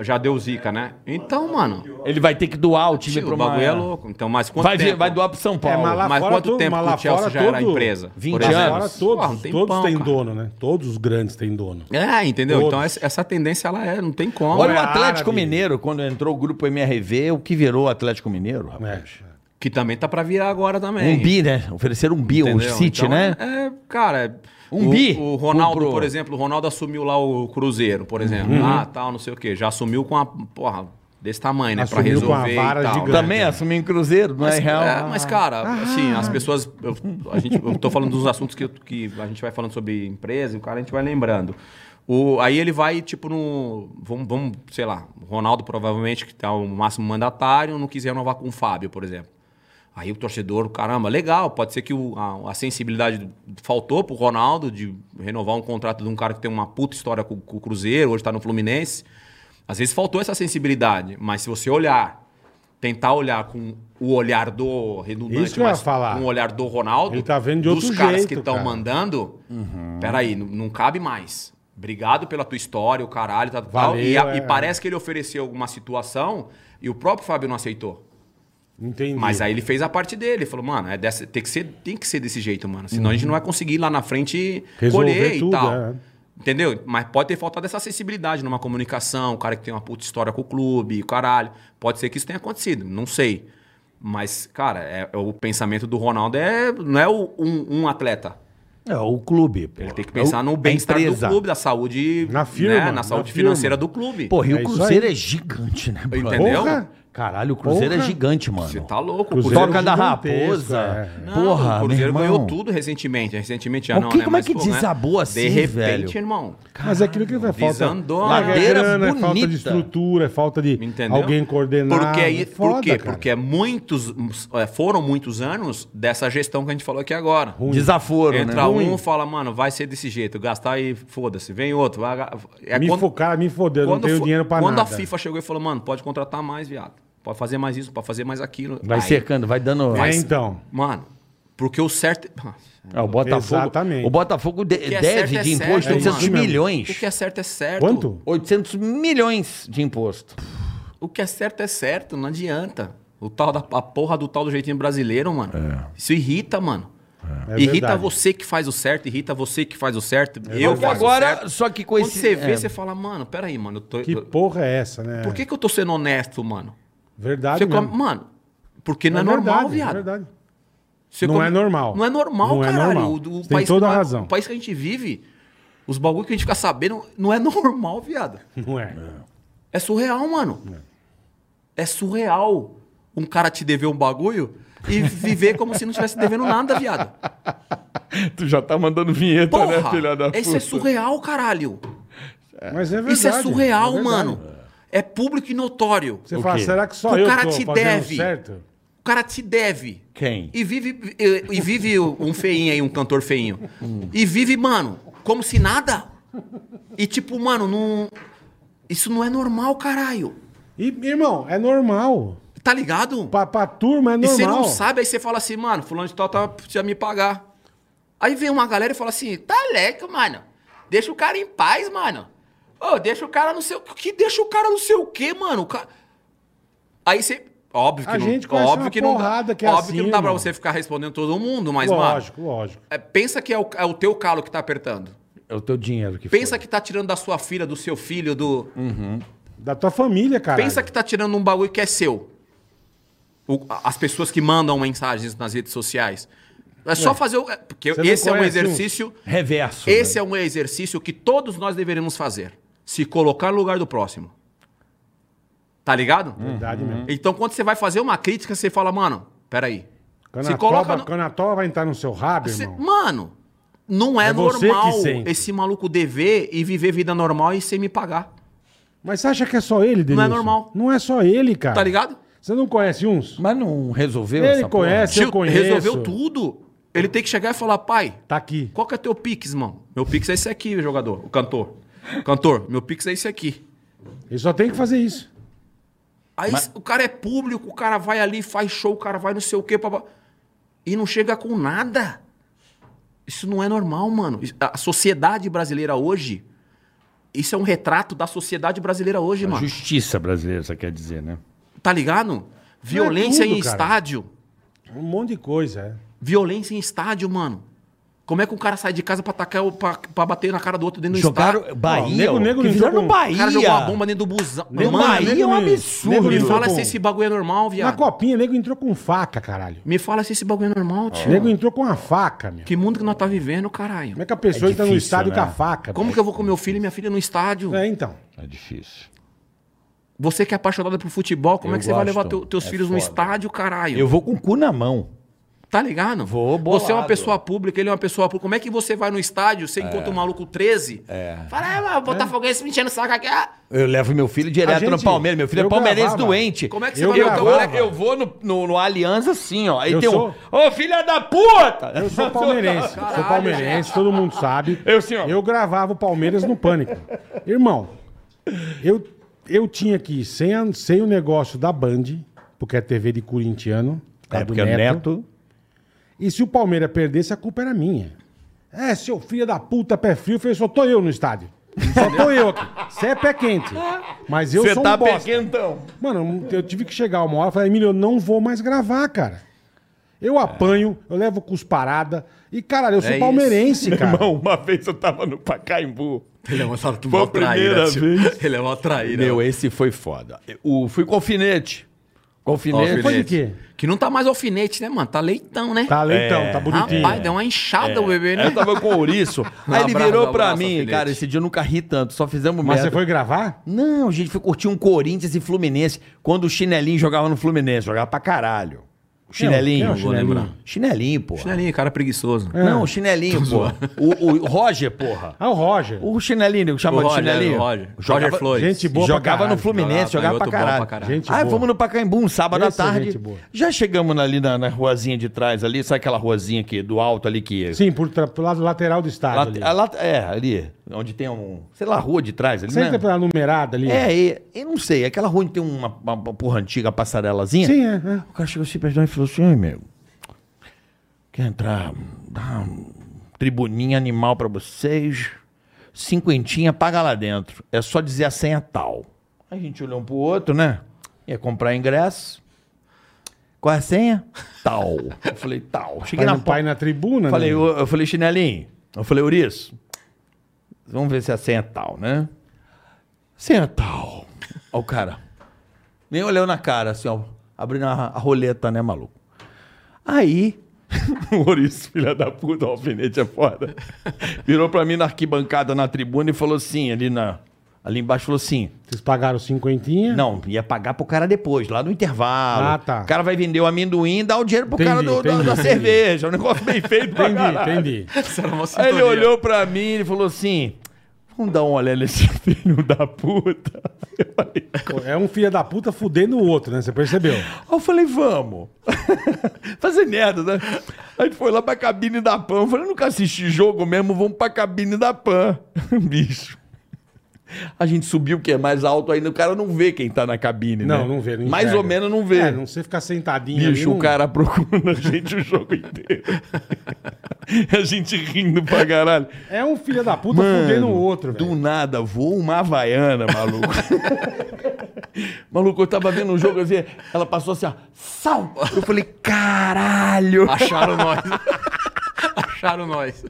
Speaker 5: Já deu zica, né? Então, mano.
Speaker 4: Ele vai ter que doar o time
Speaker 5: O
Speaker 4: pro
Speaker 5: bagulho é
Speaker 4: Maiano.
Speaker 5: louco. Então, mas quanto
Speaker 4: Vai, vir-
Speaker 5: tempo?
Speaker 4: vai doar pro São Paulo.
Speaker 3: mas lá-
Speaker 5: É, Mas
Speaker 3: fora
Speaker 5: quanto
Speaker 3: todo-
Speaker 5: tempo
Speaker 3: mas
Speaker 5: que
Speaker 3: lá
Speaker 5: o Chelsea
Speaker 3: fora
Speaker 5: já era
Speaker 3: todo-
Speaker 5: empresa?
Speaker 4: 20
Speaker 5: por exemplo?
Speaker 3: Agora
Speaker 4: anos.
Speaker 3: todos,
Speaker 5: Porra, um tempão,
Speaker 3: todos têm
Speaker 5: cara.
Speaker 3: dono, né? Todos os grandes têm dono.
Speaker 5: É, entendeu?
Speaker 3: Todos.
Speaker 5: Então essa, essa tendência ela é, não tem como.
Speaker 4: Olha o
Speaker 3: é
Speaker 4: Atlético
Speaker 3: árabe.
Speaker 4: Mineiro, quando entrou o grupo MRV, o que virou o Atlético Mineiro, rapaz?
Speaker 3: É.
Speaker 5: Que também tá pra virar agora também.
Speaker 4: Um bi, né? Ofereceram um bi, um
Speaker 5: entendeu?
Speaker 4: City,
Speaker 5: Então,
Speaker 4: né?
Speaker 5: É, é, cara.
Speaker 4: Um
Speaker 5: o,
Speaker 4: bi?
Speaker 5: O Ronaldo,
Speaker 4: Comprou. Uhum.
Speaker 5: por exemplo, o Ronaldo assumiu lá o Cruzeiro, por exemplo. Ah, tal, não sei o quê. Já assumiu com a. Porra, desse tamanho, né? pra
Speaker 3: Assumiu com uma
Speaker 5: resolver.
Speaker 3: vara
Speaker 5: e tal.
Speaker 3: gigante.
Speaker 4: Também assumiu em Cruzeiro, não é
Speaker 5: É. Mas,
Speaker 4: real.
Speaker 5: é, mas, cara, assim, as pessoas. Eu, a gente, eu tô falando dos assuntos que, eu- que a gente vai falando sobre empresa, e o cara a gente vai lembrando. O, aí ele vai, tipo, no. Vamos, vamos, sei lá, o Ronaldo provavelmente, que tá o máximo mandatário, não quis renovar com o Fábio, por exemplo. Aí o torcedor, caramba, legal, pode ser que o- a, a sensibilidade do- faltou pro Ronaldo de renovar um contrato de um cara que tem uma puta história com, com o Cruzeiro, hoje tá no Fluminense. Às vezes faltou essa sensibilidade, mas se você olhar tentar olhar com o olhar do redundante,
Speaker 3: Isso que eu ia falar.
Speaker 5: com o olhar do Ronaldo,
Speaker 3: Ele tá vendo de
Speaker 5: dos
Speaker 3: outro
Speaker 5: caras
Speaker 3: jeito,
Speaker 5: que estão
Speaker 3: cara. Uhum.
Speaker 5: mandando, peraí, não, não cabe mais. Obrigado pela tua história, o caralho, tal, tal, tal. E,
Speaker 3: Valeu,
Speaker 5: a-
Speaker 3: é.
Speaker 5: e parece que ele ofereceu alguma situação e o próprio Fábio não aceitou.
Speaker 3: Entendi.
Speaker 5: Mas aí ele fez a parte dele, falou, mano, é dessa, tem, que ser, tem que ser desse jeito, mano. Senão a gente não vai conseguir lá na frente
Speaker 3: Uhum. Resolver
Speaker 5: colher
Speaker 3: tudo,
Speaker 5: e tal.
Speaker 3: é.
Speaker 5: Entendeu? Mas pode ter faltado essa acessibilidade numa comunicação, o cara que tem uma puta história com o clube, o caralho. Pode ser que isso tenha acontecido, não sei. Mas, cara, é- é o pensamento do Ronaldo é, não é o- um, um atleta.
Speaker 4: É, o clube. pô.
Speaker 5: Ele tem que pensar
Speaker 4: É o-
Speaker 5: no bem-estar
Speaker 4: a
Speaker 5: do
Speaker 4: empresa.
Speaker 5: clube, da saúde. né,
Speaker 3: Na firma,
Speaker 5: na
Speaker 3: na
Speaker 5: saúde
Speaker 3: firma.
Speaker 5: financeira do clube.
Speaker 4: Porra, e
Speaker 3: É
Speaker 4: o
Speaker 3: isso
Speaker 4: Cruzeiro
Speaker 3: aí.
Speaker 4: é gigante, né, brother?
Speaker 5: Entendeu?
Speaker 3: Porra! é
Speaker 4: Caralho, é o Cruzeiro é
Speaker 3: Porra!
Speaker 4: gigante,
Speaker 5: Você
Speaker 4: mano.
Speaker 5: tá louco, o
Speaker 3: Cruzeiro
Speaker 4: Toca da
Speaker 3: gigantesco,
Speaker 4: Raposa.
Speaker 3: é.
Speaker 5: Não,
Speaker 4: Porra,
Speaker 5: o Cruzeiro
Speaker 4: meu irmão.
Speaker 5: ganhou tudo recentemente. Recentemente já
Speaker 4: Mas
Speaker 5: não,
Speaker 4: que-
Speaker 5: né?
Speaker 4: como é que
Speaker 5: pô,
Speaker 4: desabou assim,
Speaker 5: De repente,
Speaker 4: velho?
Speaker 5: irmão.
Speaker 3: Mas é aquilo que vai falta.
Speaker 5: Desandou,
Speaker 3: é
Speaker 4: Ladeira
Speaker 3: grana, é falta
Speaker 4: bonita.
Speaker 3: de estrutura, é falta de
Speaker 5: Entendeu?
Speaker 3: alguém coordenar.
Speaker 5: Porque, aí-
Speaker 3: é foda,
Speaker 5: por quê?
Speaker 3: cara.
Speaker 5: Porque é muitos, é, foram muitos anos dessa gestão que a gente falou aqui agora.
Speaker 4: Desaforo,
Speaker 5: Entra
Speaker 4: né?
Speaker 5: um, fala, mano, vai ser desse jeito, gastar e foda-se. Vem outro. Vai, é
Speaker 3: me focar, me foder, não tenho
Speaker 5: fo-
Speaker 3: dinheiro pra
Speaker 5: quando
Speaker 3: nada.
Speaker 5: a FIFA chegou e falou, mano, pode contratar mais, viado. Pode fazer mais isso, pode fazer mais aquilo.
Speaker 4: Vai
Speaker 5: Aí,
Speaker 4: cercando, vai dando.
Speaker 3: É, então.
Speaker 5: Mano, porque o certo.
Speaker 4: É, o Botafogo.
Speaker 3: Exatamente.
Speaker 4: O Botafogo de-
Speaker 5: é
Speaker 4: deve
Speaker 5: certo é
Speaker 4: de imposto
Speaker 5: certo,
Speaker 4: 800
Speaker 3: mano.
Speaker 5: O
Speaker 4: milhões.
Speaker 5: que é certo é certo.
Speaker 3: Quanto?
Speaker 4: 800 milhões de imposto.
Speaker 5: O que é certo é certo, não adianta. O tal da, a porra do tal do jeitinho brasileiro, mano. Isso irrita, mano.
Speaker 3: É
Speaker 5: irrita
Speaker 3: verdade.
Speaker 5: você que faz o certo, irrita você que faz o certo. eu
Speaker 4: Porque
Speaker 5: faço o
Speaker 4: agora,
Speaker 5: certo.
Speaker 4: só que com
Speaker 5: Quando
Speaker 4: esse.
Speaker 5: você vê,
Speaker 4: é.
Speaker 5: você fala, mano, peraí, mano. eu tô-
Speaker 3: Que
Speaker 5: eu-
Speaker 3: porra é essa, né?
Speaker 5: Por que, que eu tô sendo honesto, mano?
Speaker 3: Verdade
Speaker 5: Você
Speaker 3: mesmo.
Speaker 5: come- Mano, porque não é,
Speaker 3: verdade,
Speaker 5: normal,
Speaker 3: É
Speaker 5: viado.
Speaker 3: verdade.
Speaker 5: Você
Speaker 3: Não é normal.
Speaker 5: Não é normal,
Speaker 3: Não é
Speaker 5: caralho.
Speaker 3: normal.
Speaker 5: O, o
Speaker 3: Você tem
Speaker 5: país,
Speaker 3: toda a
Speaker 5: o-
Speaker 3: razão.
Speaker 5: O país que a gente vive, os bagulho que a gente fica sabendo, não é normal, viado.
Speaker 3: Não é.
Speaker 5: É surreal, mano. É surreal um cara te dever um bagulho e viver como se não tivesse devendo nada, viado.
Speaker 3: né,
Speaker 4: Tu já tá mandando vinheta,
Speaker 5: Porra!
Speaker 4: filha da
Speaker 5: Isso é surreal, caralho.
Speaker 3: Mas é verdade.
Speaker 5: Isso é surreal,
Speaker 3: verdade.
Speaker 5: mano. É público e notório.
Speaker 3: Você
Speaker 4: O
Speaker 3: fala,
Speaker 4: quê?
Speaker 3: será que só
Speaker 5: O
Speaker 3: eu
Speaker 5: cara
Speaker 3: tô
Speaker 5: te
Speaker 3: fazendo
Speaker 5: deve.
Speaker 3: certo?
Speaker 5: O cara te deve.
Speaker 4: Quem?
Speaker 5: E vive, e, e vive um feinho aí, um cantor feinho. E vive, mano, como se nada. E tipo, mano, não. Isso não é normal, caralho.
Speaker 3: E, irmão, é normal.
Speaker 5: Tá ligado?
Speaker 3: Pra, pra turma é
Speaker 5: E
Speaker 3: normal.
Speaker 5: você não sabe, aí você fala assim, mano, fulano de tal tá, precisa me pagar. Aí vem uma galera e fala assim, tá leco, mano. Deixa o cara em paz, mano. Ô, deixa o cara não sei o que. Deixa o cara não sei o que, mano. O ca- Aí você. Óbvio que
Speaker 3: A
Speaker 5: não.
Speaker 3: gente conhece
Speaker 5: óbvio
Speaker 3: uma
Speaker 5: que não
Speaker 3: porrada
Speaker 5: dá,
Speaker 3: que é
Speaker 5: óbvio
Speaker 3: assim,
Speaker 5: que não dá pra
Speaker 3: irmão.
Speaker 5: você ficar respondendo todo mundo, mas, mano.
Speaker 3: Lógico, lógico.
Speaker 5: é, pensa que é o, é o teu calo que tá apertando.
Speaker 4: É o teu dinheiro que
Speaker 5: Pensa que tá tirando da sua filha, do seu filho, do.
Speaker 3: Da tua família, cara.
Speaker 5: Pensa que tá tirando um bagulho que é seu. O- a- as pessoas que mandam mensagens nas redes sociais. É só fazer o. é, Porque
Speaker 3: Você não
Speaker 5: esse é um
Speaker 3: conhece um?
Speaker 5: exercício.
Speaker 4: Reverso. né?
Speaker 5: Esse é um exercício que todos nós deveríamos fazer. Se colocar no lugar do próximo. Tá ligado?
Speaker 3: Verdade mesmo.
Speaker 5: Então, quando você vai fazer uma crítica, você fala, mano, peraí.
Speaker 3: Quando,
Speaker 5: se
Speaker 3: a
Speaker 5: coloca
Speaker 3: toba,
Speaker 5: no-
Speaker 3: quando a toba vai entrar no seu rabo,
Speaker 5: Cê-
Speaker 3: irmão.
Speaker 5: mano, não é,
Speaker 3: É você
Speaker 5: normal
Speaker 3: que sente.
Speaker 5: esse maluco dever e viver vida normal e sem me pagar.
Speaker 3: Mas você acha que é só ele, Denilson?
Speaker 5: normal.
Speaker 3: Não é só ele, cara.
Speaker 5: Tá ligado?
Speaker 3: Você não conhece uns?
Speaker 4: Mas não resolveu
Speaker 3: Ele
Speaker 4: essa porra?
Speaker 3: conhece. Se eu
Speaker 5: Tio,
Speaker 3: conheço-
Speaker 5: resolveu tudo. Ele tem que chegar e falar, pai,
Speaker 3: Tá aqui.
Speaker 5: Qual que é teu pix, mano? Meu pix é esse aqui, jogador. O cantor. Cantor, meu pix é esse aqui.
Speaker 3: Ele só tem que fazer isso.
Speaker 5: Aí o cara é público, o cara vai ali, faz show, o cara vai não sei o quê. Papá, e não chega com nada. Isso não é normal, mano. Isso- A sociedade brasileira hoje. Isso é um retrato da sociedade brasileira hoje,
Speaker 3: É
Speaker 4: A
Speaker 5: mano.
Speaker 4: Justiça brasileira, você quer dizer, né?
Speaker 5: Tá ligado? Violência
Speaker 3: é tudo,
Speaker 5: em
Speaker 3: cara.
Speaker 5: estádio.
Speaker 3: Um monte de coisa, é.
Speaker 5: Violência em estádio, mano. Como é que um cara sai de casa pra, atacar, o- pra, pra bater na cara do outro dentro do
Speaker 4: Jogaram
Speaker 5: estádio?
Speaker 4: Bahia.
Speaker 3: Ó, o nego-
Speaker 4: ó,
Speaker 3: nego
Speaker 4: que
Speaker 3: não
Speaker 4: fizeram
Speaker 3: entrou
Speaker 4: no
Speaker 3: com-
Speaker 4: Bahia.
Speaker 5: O cara jogou a bomba dentro do busão.
Speaker 4: No
Speaker 5: Mano,
Speaker 4: Bahia é um
Speaker 3: nego- nego
Speaker 4: absurdo.
Speaker 5: Me
Speaker 3: entrou
Speaker 5: fala
Speaker 3: com-
Speaker 5: se esse bagulho é normal,
Speaker 3: é. Na
Speaker 5: viado.
Speaker 3: copinha, nego entrou com faca, caralho.
Speaker 5: Me fala se esse bagulho é normal, tio.
Speaker 3: Nego entrou com uma faca, meu.
Speaker 5: Que mundo que nós tá vivendo, caralho.
Speaker 3: Como é que a pessoa
Speaker 4: É
Speaker 3: entra no
Speaker 4: difícil,
Speaker 3: estádio
Speaker 4: né?
Speaker 3: com a faca?
Speaker 5: Como que eu vou com meu filho e minha filha no estádio?
Speaker 3: É, então.
Speaker 4: É difícil.
Speaker 5: Você que é apaixonado por futebol, como
Speaker 4: Eu
Speaker 5: é que você vai
Speaker 4: gosto.
Speaker 5: levar teu- teus
Speaker 4: É
Speaker 5: filhos no
Speaker 4: foda.
Speaker 5: estádio, caralho?
Speaker 4: Eu vou com o cu na mão.
Speaker 5: Tá ligado?
Speaker 4: Vou bolado.
Speaker 5: Você é uma pessoa pública, ele é uma pessoa pública. Como é que você vai no estádio, você encontra um maluco 13? Fala, é, mano, Botafoguense me enchendo o saco aqui. ah."
Speaker 4: Eu levo meu filho
Speaker 3: A
Speaker 4: direto
Speaker 3: gente-
Speaker 4: no Palmeiras. Meu filho
Speaker 3: eu
Speaker 4: é palmeirense
Speaker 3: gravava.
Speaker 4: doente.
Speaker 5: Como é que você
Speaker 3: Eu
Speaker 5: vai
Speaker 4: Eu
Speaker 5: botar o
Speaker 3: gravava.
Speaker 5: moleque?
Speaker 4: vou, eu vou no, no, no Aliança assim, ó. Aí
Speaker 3: Eu
Speaker 4: tem
Speaker 3: sou-
Speaker 4: um. Ô, filha da puta!
Speaker 3: Eu sou palmeirense. sou palmeirense, todo mundo sabe.
Speaker 4: Eu, senhor.
Speaker 3: Eu gravava o Palmeiras no Pânico. Irmão, eu, eu tinha que ir sem, a- sem o negócio da Band, porque é TV de corintiano.
Speaker 4: É,
Speaker 3: do
Speaker 4: porque o Neto.
Speaker 3: E se o Palmeiras perdesse, a culpa era minha. É, seu filho da puta, pé frio, eu falei, só tô eu no estádio. Só tô eu aqui. Você é pé quente. Mas eu
Speaker 4: tá
Speaker 3: sou um bosta.
Speaker 4: pequentão.
Speaker 3: Mano, eu tive que chegar uma hora e falar, Emílio, eu não vou mais gravar, cara. Eu apanho, eu levo cusparada. E, caralho, eu sou
Speaker 4: É
Speaker 5: isso.
Speaker 3: palmeirense, cara.
Speaker 4: Uma vez eu tava no Pacaembu.
Speaker 5: Ele é uma traíra.
Speaker 4: Foi a primeira
Speaker 5: tio.
Speaker 4: vez.
Speaker 5: Ele é uma traíra.
Speaker 4: Meu, esse foi foda. O, fui com alfinete. Com alfinete.
Speaker 5: Alfinete.
Speaker 3: Foi de quê?
Speaker 5: Que não tá mais alfinete, né, mano? Tá leitão, né?
Speaker 3: Tá leitão, tá bonitinho.
Speaker 5: Rapaz, deu uma inchada o bebê, né?
Speaker 4: Eu tava com o ouriço.
Speaker 5: Um
Speaker 4: Aí ele
Speaker 5: abraço,
Speaker 4: virou
Speaker 5: um
Speaker 4: pra
Speaker 5: abraço,
Speaker 4: mim,
Speaker 5: alfinete.
Speaker 4: cara, esse dia eu nunca ri tanto, só fizemos
Speaker 3: Mas você
Speaker 4: merda.
Speaker 3: foi gravar?
Speaker 4: Não, a gente foi curtir um Corinthians e Fluminense quando o chinelinho jogava no Fluminense, jogava pra caralho. O
Speaker 3: Quem é
Speaker 4: chinelinho.
Speaker 3: o chinelinho?
Speaker 5: lembrar.
Speaker 4: Chinelinho, porra.
Speaker 5: Chinelinho, cara preguiçoso.
Speaker 4: Não, o chinelinho, porra. O, o Roger, porra.
Speaker 3: Ah, o Roger.
Speaker 4: O chinelinho, que chama
Speaker 5: O
Speaker 4: de
Speaker 5: Roger,
Speaker 4: chinelinho.
Speaker 5: o Roger.
Speaker 4: Jogava,
Speaker 5: Roger Flores.
Speaker 3: Gente boa pra
Speaker 4: jogava
Speaker 3: caralho.
Speaker 4: no Fluminense,
Speaker 5: Jogava,
Speaker 4: jogava, pra
Speaker 5: canhoto bom
Speaker 4: caralho.
Speaker 5: pra caralho.
Speaker 3: Gente
Speaker 4: Aí
Speaker 3: boa.
Speaker 4: fomos no Pacaembu um sábado à
Speaker 3: Esse é
Speaker 4: tarde.
Speaker 3: gente boa.
Speaker 4: Já chegamos ali na, na ruazinha de trás ali, sabe aquela ruazinha aqui do alto ali que
Speaker 3: Sim, por tra- pro lado lateral do estádio
Speaker 4: Lá-
Speaker 3: ali.
Speaker 4: a lata- é, ali, onde tem um. Sei lá, rua de trás ali,
Speaker 3: Você entra
Speaker 4: né?
Speaker 3: pela numerada ali?
Speaker 4: É, e, eu não sei, aquela rua onde tem uma, uma- uma porra antiga, uma passarelazinha.
Speaker 3: Sim, é. é.
Speaker 4: O cara chegou assim pra gente e falou assim: ai, meu, quer entrar? Dá uma tribuninha animal pra vocês, cinquentinha, paga lá dentro. É só dizer a senha tal. A gente olhou um pro outro, né? Ia comprar ingresso. Qual é a senha? Tal. Eu falei, tal. Cheguei
Speaker 3: Pai,
Speaker 4: na
Speaker 3: no, pai na tribuna,
Speaker 4: Falei,
Speaker 3: né?
Speaker 4: eu, eu falei, chinelinho. Eu falei, Uriço, vamos ver se a senha é tal, né? Senha é tal. Ó, o cara. Nem olhou na cara, assim, ó. Abrindo a, a roleta, né, maluco? Aí. o Uriço, filha da puta, o alfinete é foda. Virou pra mim na arquibancada, na tribuna, e falou assim, ali na. Ali embaixo falou assim:
Speaker 3: Vocês pagaram cinquentinha?
Speaker 4: não, ia pagar pro cara depois, lá no intervalo.
Speaker 3: Ah, tá.
Speaker 4: O cara vai vender o amendoim e dá o dinheiro pro
Speaker 3: Entendi,
Speaker 4: cara do- da-
Speaker 3: entendi,
Speaker 4: da
Speaker 3: entendi.
Speaker 4: cerveja. Um negócio bem feito pra
Speaker 3: Entendi,
Speaker 4: caralho.
Speaker 3: entendi.
Speaker 5: Isso era é uma
Speaker 4: Aí ele
Speaker 5: sintonia.
Speaker 4: olhou pra mim e falou assim: Vamos dar uma olhada nesse filho da puta. Eu falei,
Speaker 3: É um filho da puta fudendo o outro, né? Você percebeu?
Speaker 4: Aí eu falei, vamos. Fazer merda, né? A gente foi lá pra cabine da PAN. Eu falei, nunca assisti jogo mesmo, vamos pra cabine da PAN. Bicho. A gente subiu, que é mais alto ainda, o cara não vê quem tá na cabine, né?
Speaker 3: Não, não vê. Não
Speaker 4: Mais
Speaker 3: enxerga.
Speaker 4: ou menos não vê.
Speaker 3: É, não sei ficar sentadinho ali,
Speaker 4: Bicho,
Speaker 3: não-
Speaker 4: o cara procurando a gente o jogo inteiro. a gente rindo pra caralho.
Speaker 3: É um filho da puta fudendo o outro,
Speaker 4: Do
Speaker 3: velho.
Speaker 4: nada, voa uma Havaiana, maluco. maluco, eu tava vendo um jogo assim, ela passou assim, ó, sal! Eu falei, caralho!
Speaker 5: Acharam nós. Acharam nós.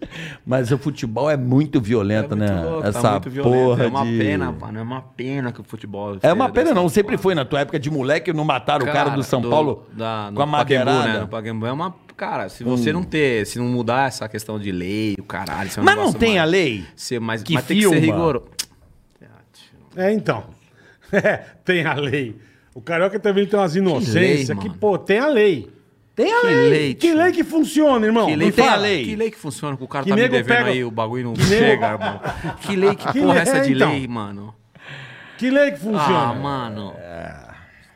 Speaker 4: Mas o futebol é muito violento,
Speaker 5: É muito
Speaker 4: né?
Speaker 5: louco, tá
Speaker 4: Essa
Speaker 5: muito violento.
Speaker 4: porra
Speaker 5: É uma
Speaker 4: de...
Speaker 5: pena, mano. É uma pena que o futebol...
Speaker 4: É uma pena,
Speaker 5: dessa
Speaker 4: não. Sempre
Speaker 5: forma.
Speaker 4: foi na tua época de moleque, não mataram o cara do São Paulo
Speaker 5: da- no
Speaker 4: com a
Speaker 5: Pacaembu,
Speaker 4: madeirada. Hum.
Speaker 5: né? No Pacaembu é uma... Cara, se você não ter... Se não mudar essa questão de lei, o caralho... isso é um
Speaker 4: Mas não
Speaker 5: negócio
Speaker 4: tem
Speaker 5: mais-
Speaker 4: a lei?
Speaker 5: Ser mais,
Speaker 4: que
Speaker 5: mas tem que ser
Speaker 4: filma?
Speaker 5: rigoroso.
Speaker 3: É, então. É, tem a lei. O carioca também tem umas
Speaker 5: lei,
Speaker 3: inocências que,
Speaker 5: mano.
Speaker 3: pô, tem a lei.
Speaker 4: Tem a
Speaker 5: Que
Speaker 4: lei.
Speaker 5: lei,
Speaker 3: Que
Speaker 5: tio.
Speaker 3: lei que funciona, irmão?
Speaker 5: Que
Speaker 3: Me
Speaker 5: lei,
Speaker 4: tem a
Speaker 3: fala.
Speaker 4: lei.
Speaker 5: que lei que funciona? Que o cara
Speaker 3: Que
Speaker 5: tá me
Speaker 3: nego
Speaker 5: devendo
Speaker 3: pega-
Speaker 5: aí, o bagulho não
Speaker 3: Que nego-
Speaker 5: chega, irmão. Que lei, que,
Speaker 3: Que
Speaker 5: porra
Speaker 3: lei-
Speaker 5: é essa de
Speaker 3: é, então.
Speaker 5: lei, mano?
Speaker 3: Que lei que funciona?
Speaker 5: Ah, mano.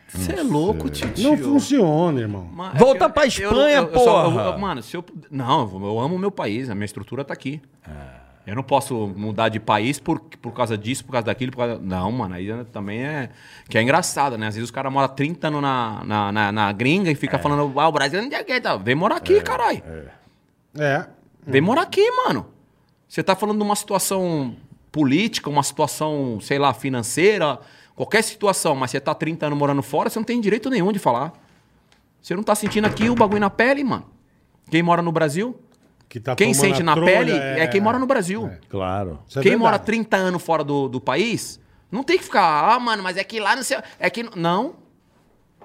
Speaker 5: Você é louco, tio.
Speaker 3: não funciona, irmão.
Speaker 5: Mano,
Speaker 4: Volta
Speaker 5: eu-
Speaker 4: pra
Speaker 5: eu-
Speaker 4: Espanha,
Speaker 5: eu- eu só-
Speaker 4: porra.
Speaker 5: eu- eu- mano, se eu. pud- Não, eu, vou- eu amo o meu país, a minha estrutura tá aqui.
Speaker 4: É.
Speaker 5: Eu não posso mudar de país por, por causa disso, por causa daquilo, por causa. Não, mano, aí também é. Que é engraçado, né? Às vezes os caras moram 30 anos na, na, na, na gringa e
Speaker 4: É.
Speaker 5: fica falando, ah, o Brasil não tem que. tá?" Vem morar aqui, caralho.
Speaker 3: É.
Speaker 5: Vem morar aqui, mano. Você tá falando de uma situação política, uma situação, sei lá, financeira, qualquer situação, mas você tá 30 anos morando fora, você não tem direito nenhum de falar. Você não tá sentindo aqui o bagulho na pele, mano. Quem mora no Brasil,
Speaker 3: Que tá
Speaker 5: quem
Speaker 3: tomando
Speaker 5: sente
Speaker 3: a
Speaker 5: na
Speaker 3: trolha,
Speaker 5: pele é... quem mora no Brasil.
Speaker 4: Claro.
Speaker 3: Isso é
Speaker 5: quem
Speaker 3: verdade.
Speaker 5: mora 30 anos fora do, do país, não tem que ficar, ah, mano, mas é que lá não sei. É que. Não.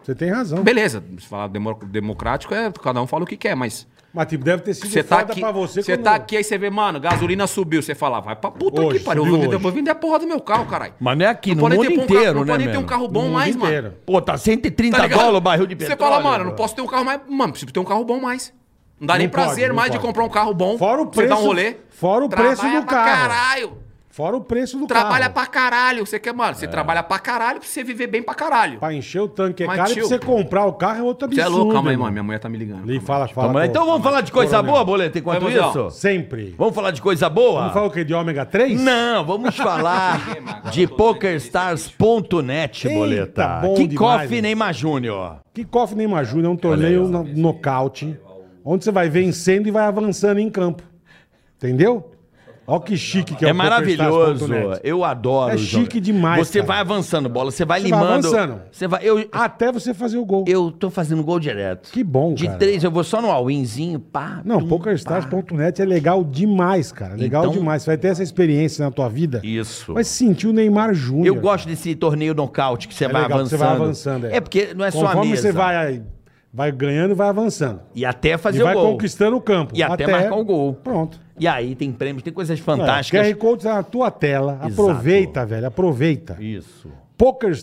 Speaker 3: Você tem razão.
Speaker 5: Beleza, se falar demo- democrático, é, cada um fala o que quer, mas.
Speaker 3: Mas tipo, deve ter sido
Speaker 5: Você tá
Speaker 3: foda
Speaker 5: aqui,
Speaker 3: pra você é.
Speaker 5: você tá aqui, aí você vê, mano, gasolina subiu. Você fala, vai pra puta
Speaker 3: Hoje,
Speaker 5: que pariu.
Speaker 3: subiu
Speaker 5: Eu vou vender,
Speaker 3: hoje.
Speaker 5: vou vender a porra do meu carro, caralho.
Speaker 4: Mas não é aqui, no
Speaker 5: pode
Speaker 4: mundo
Speaker 5: nem ter um
Speaker 4: inteiro,
Speaker 5: carro, Não
Speaker 4: né,
Speaker 5: pode nem ter um
Speaker 4: mesmo?
Speaker 5: carro bom
Speaker 3: No mundo
Speaker 5: mais,
Speaker 3: inteiro.
Speaker 5: mano.
Speaker 4: Pô, tá 130
Speaker 5: Tá ligado?
Speaker 4: dólares o barril de
Speaker 5: Você
Speaker 4: petróleo.
Speaker 5: fala, mano,
Speaker 4: bro.
Speaker 5: não posso ter um carro mais. Mano, preciso ter um carro bom mais. Não dá
Speaker 3: Não
Speaker 5: nem
Speaker 3: pode,
Speaker 5: prazer
Speaker 3: não
Speaker 5: mais de
Speaker 3: pode.
Speaker 5: comprar um carro bom.
Speaker 3: Fora o
Speaker 5: Você dá um
Speaker 3: preço-
Speaker 5: rolê.
Speaker 3: fora o preço
Speaker 5: Trabalha
Speaker 3: do
Speaker 5: pra
Speaker 3: carro.
Speaker 5: caralho.
Speaker 3: Fora o preço do
Speaker 5: Trabalha
Speaker 3: carro.
Speaker 5: pra caralho. Você quer, mano, você trabalha pra caralho pra você viver bem pra caralho.
Speaker 3: Pra encher o tanque é
Speaker 5: Mas,
Speaker 3: caro e pra
Speaker 5: tio,
Speaker 3: você comprar o carro é outro
Speaker 5: Você
Speaker 3: absurdo.
Speaker 5: é louco, calma aí,
Speaker 3: irmão.
Speaker 5: mano. Minha mulher tá me ligando.
Speaker 3: Ali
Speaker 5: calma
Speaker 3: fala,
Speaker 5: aí.
Speaker 3: fala.
Speaker 4: Vamos lá,
Speaker 3: pô,
Speaker 4: então vamos falar de coisa
Speaker 3: coronel.
Speaker 4: boa, Boleta, enquanto
Speaker 5: Vai, Mozão.
Speaker 4: isso?
Speaker 3: Sempre.
Speaker 4: Vamos falar de coisa boa?
Speaker 3: Não fala o quê? De ômega 3?
Speaker 4: Não, vamos falar de pokerstars.net,
Speaker 3: Eita,
Speaker 4: Boleta.
Speaker 3: bom demais,
Speaker 4: Kickoff
Speaker 3: hein?
Speaker 4: Neymar Júnior.
Speaker 3: Kickoff Neymar Júnior é um torneio no- nocaute, onde você vai vencendo e vai avançando em campo. Entendeu? Olha que chique que é,
Speaker 4: É
Speaker 3: o
Speaker 4: maravilhoso.
Speaker 3: PokerStars.net.
Speaker 4: Eu adoro.
Speaker 3: É
Speaker 4: os jogos.
Speaker 3: chique demais,
Speaker 4: Você
Speaker 3: cara.
Speaker 4: vai avançando, bola. Você vai
Speaker 3: Você vai
Speaker 4: limando.
Speaker 3: avançando.
Speaker 4: Você vai. Eu, ah,
Speaker 3: Até você fazer o gol.
Speaker 4: eu tô fazendo gol direto.
Speaker 3: Que bom,
Speaker 4: De
Speaker 3: cara.
Speaker 4: três, eu vou só no all-inzinho, pá.
Speaker 3: Não,
Speaker 4: tum, pá.
Speaker 3: PokerStars.net é legal demais, cara. Legal
Speaker 4: Então-
Speaker 3: demais. Você vai ter essa experiência na tua vida.
Speaker 4: Isso.
Speaker 3: Vai sentir o Neymar Júnior.
Speaker 4: Eu gosto desse torneio nocaute que você
Speaker 3: É
Speaker 4: vai
Speaker 3: legal que
Speaker 4: avançando.
Speaker 3: você vai avançando,
Speaker 4: É.
Speaker 3: é.
Speaker 4: porque não é só a
Speaker 3: Conforme
Speaker 4: mesa.
Speaker 3: você vai, vai ganhando, vai avançando.
Speaker 4: E até fazer
Speaker 3: e vai
Speaker 4: o gol.
Speaker 3: conquistando o campo.
Speaker 4: E até marcar o gol.
Speaker 3: Pronto.
Speaker 4: E aí tem prêmios, tem coisas
Speaker 3: É,
Speaker 4: fantásticas.
Speaker 3: QR Code tá na tua tela.
Speaker 4: Exato.
Speaker 3: Aproveita, velho. Aproveita.
Speaker 4: Isso.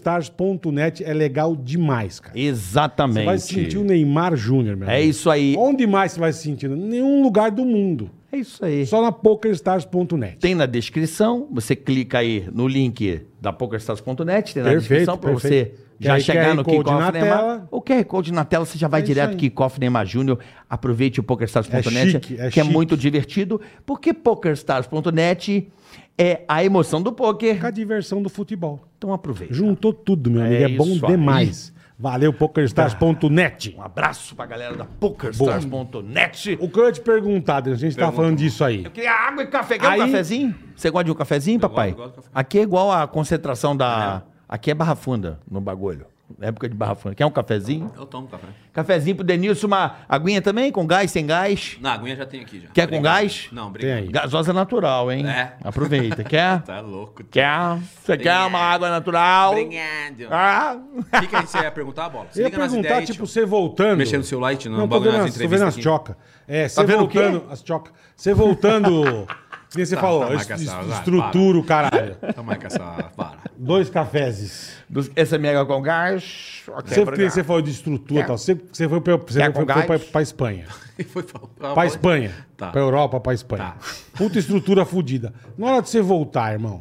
Speaker 3: PokerStars.net é legal demais, cara.
Speaker 4: Exatamente.
Speaker 3: Você vai sentir um o Neymar Júnior, meu
Speaker 4: É
Speaker 3: amigo.
Speaker 4: isso aí.
Speaker 3: Onde mais você vai se sentir? Em Nenhum lugar do mundo.
Speaker 4: É isso aí.
Speaker 3: Só na PokerStars.net.
Speaker 4: Tem na descrição, você clica aí no link da PokerStars.net, tem na
Speaker 3: Perfeito,
Speaker 4: descrição pra
Speaker 3: perfeito.
Speaker 4: você já
Speaker 3: Tem aí
Speaker 4: chegar
Speaker 3: QR
Speaker 4: no
Speaker 3: Code
Speaker 4: Kickoff
Speaker 3: na
Speaker 4: Neymar.
Speaker 3: tela.
Speaker 4: O QR Code na tela, você já vai
Speaker 3: É isso
Speaker 4: direto
Speaker 3: aí.
Speaker 4: Kickoff Neymar Júnior. Aproveite o PokerStars.net,
Speaker 3: É chique, é
Speaker 4: que
Speaker 3: chique.
Speaker 4: é muito divertido, porque PokerStars.net é a emoção do
Speaker 3: Com
Speaker 4: poker.
Speaker 3: a diversão do futebol.
Speaker 4: Então aproveita.
Speaker 3: Juntou tudo, meu amigo.
Speaker 4: É
Speaker 3: É, bom
Speaker 4: isso aí.
Speaker 3: demais. Valeu, PokerStars.net.
Speaker 4: Um abraço pra galera da PokerStars.net.
Speaker 3: O que eu ia te perguntar, Denis, a gente tava falando disso aí.
Speaker 4: Quer água e café. Quer
Speaker 3: Aí-
Speaker 4: um cafezinho? Você gosta de um cafezinho, papai?
Speaker 5: gosto, eu gosto de café.
Speaker 4: Aqui é igual a concentração da... Aqui é Barra Funda, no bagulho. Época de Barra Funda. Quer um cafezinho?
Speaker 5: Eu tomo café.
Speaker 4: Cafezinho pro Denilson, uma aguinha também, com gás, sem gás.
Speaker 5: Na aguinha já tem aqui já.
Speaker 4: Quer com
Speaker 5: Obrigado.
Speaker 4: gás?
Speaker 5: Não,
Speaker 3: Tem
Speaker 5: obrigado.
Speaker 3: aí.
Speaker 4: Gasosa natural, hein?
Speaker 5: É.
Speaker 4: Aproveita. Quer?
Speaker 5: Tá louco. tio.
Speaker 4: Quer? Você quer uma água natural?
Speaker 5: Obrigado.
Speaker 4: Ah.
Speaker 5: O que, que aí você ia perguntar, Bola? Você
Speaker 3: Eu ia
Speaker 5: liga nas
Speaker 3: perguntar,
Speaker 5: ideias aí,
Speaker 3: tipo,
Speaker 5: tio.
Speaker 3: você voltando.
Speaker 5: Mexendo no seu light, no
Speaker 3: Não, tô
Speaker 5: bagulho
Speaker 3: vendo,
Speaker 5: nas
Speaker 3: as- tô
Speaker 5: entrevistas
Speaker 3: vendo as
Speaker 5: aqui.
Speaker 3: chocas. É, você
Speaker 4: vendo o quê?
Speaker 3: voltando. As chocas. Você voltando. que nem você
Speaker 5: Tá,
Speaker 3: falou,
Speaker 5: tá,
Speaker 3: eu
Speaker 5: marca
Speaker 3: est-
Speaker 5: essa, vai,
Speaker 3: estruturo, caralho.
Speaker 5: Toma aí com tipo, Então essa vara.
Speaker 3: Dois cafezes.
Speaker 6: Dos-
Speaker 4: é
Speaker 6: Essa mega com gás. ok,
Speaker 3: Você,
Speaker 6: obrigado.
Speaker 3: você falou de estrutura e
Speaker 6: Quer?
Speaker 3: tal. Você, você foi pra, você
Speaker 6: Quer com
Speaker 3: foi, foi
Speaker 6: gás?
Speaker 3: pra, pra Espanha.
Speaker 5: E foi um, falar-
Speaker 3: Pra Espanha.
Speaker 5: Então Tá.
Speaker 3: Pra Europa, pra Espanha.
Speaker 5: Tá.
Speaker 3: Puta estrutura fodida. Na hora de você voltar, irmão,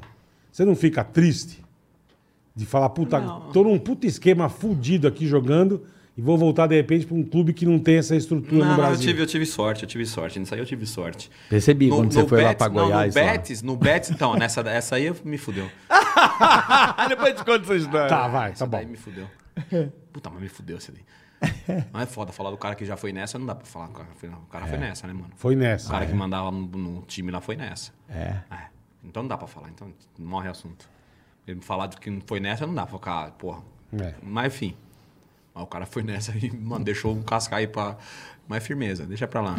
Speaker 3: você não fica triste? De falar, puta, tô num puta esquema fudido aqui jogando e vou voltar de repente pra um clube que não tem essa estrutura no
Speaker 5: Não, não, eu
Speaker 3: Brasil.
Speaker 5: tive, eu tive sorte, eu tive sorte. Nisso aí eu tive sorte.
Speaker 4: Percebi quando você foi lá
Speaker 5: Betis-
Speaker 4: pra Goiás,
Speaker 5: Não,
Speaker 4: lá.
Speaker 5: no Betis, no Betis, então, nessa, essa aí eu- me fudeu.
Speaker 6: Ah, depois te conto essa história.
Speaker 3: Tá, vai, tá
Speaker 5: Essa daí
Speaker 3: bom.
Speaker 5: me fudeu. Puta, mas me fudeu essa daí. Mas é foda falar do cara que já foi nessa, não dá pra falar. O cara foi, o
Speaker 3: É.
Speaker 5: cara foi nessa, né, mano?
Speaker 3: Foi
Speaker 5: O
Speaker 3: nessa.
Speaker 5: cara que mandava no, no time lá foi nessa. É. Então não dá pra falar, então morre o assunto. Ele falar do que não foi nessa, não dá pra ficar, porra.
Speaker 3: É.
Speaker 5: Mas enfim. Mas o cara foi nessa e, mano, deixou um cascar aí pra. Mas firmeza, deixa pra lá.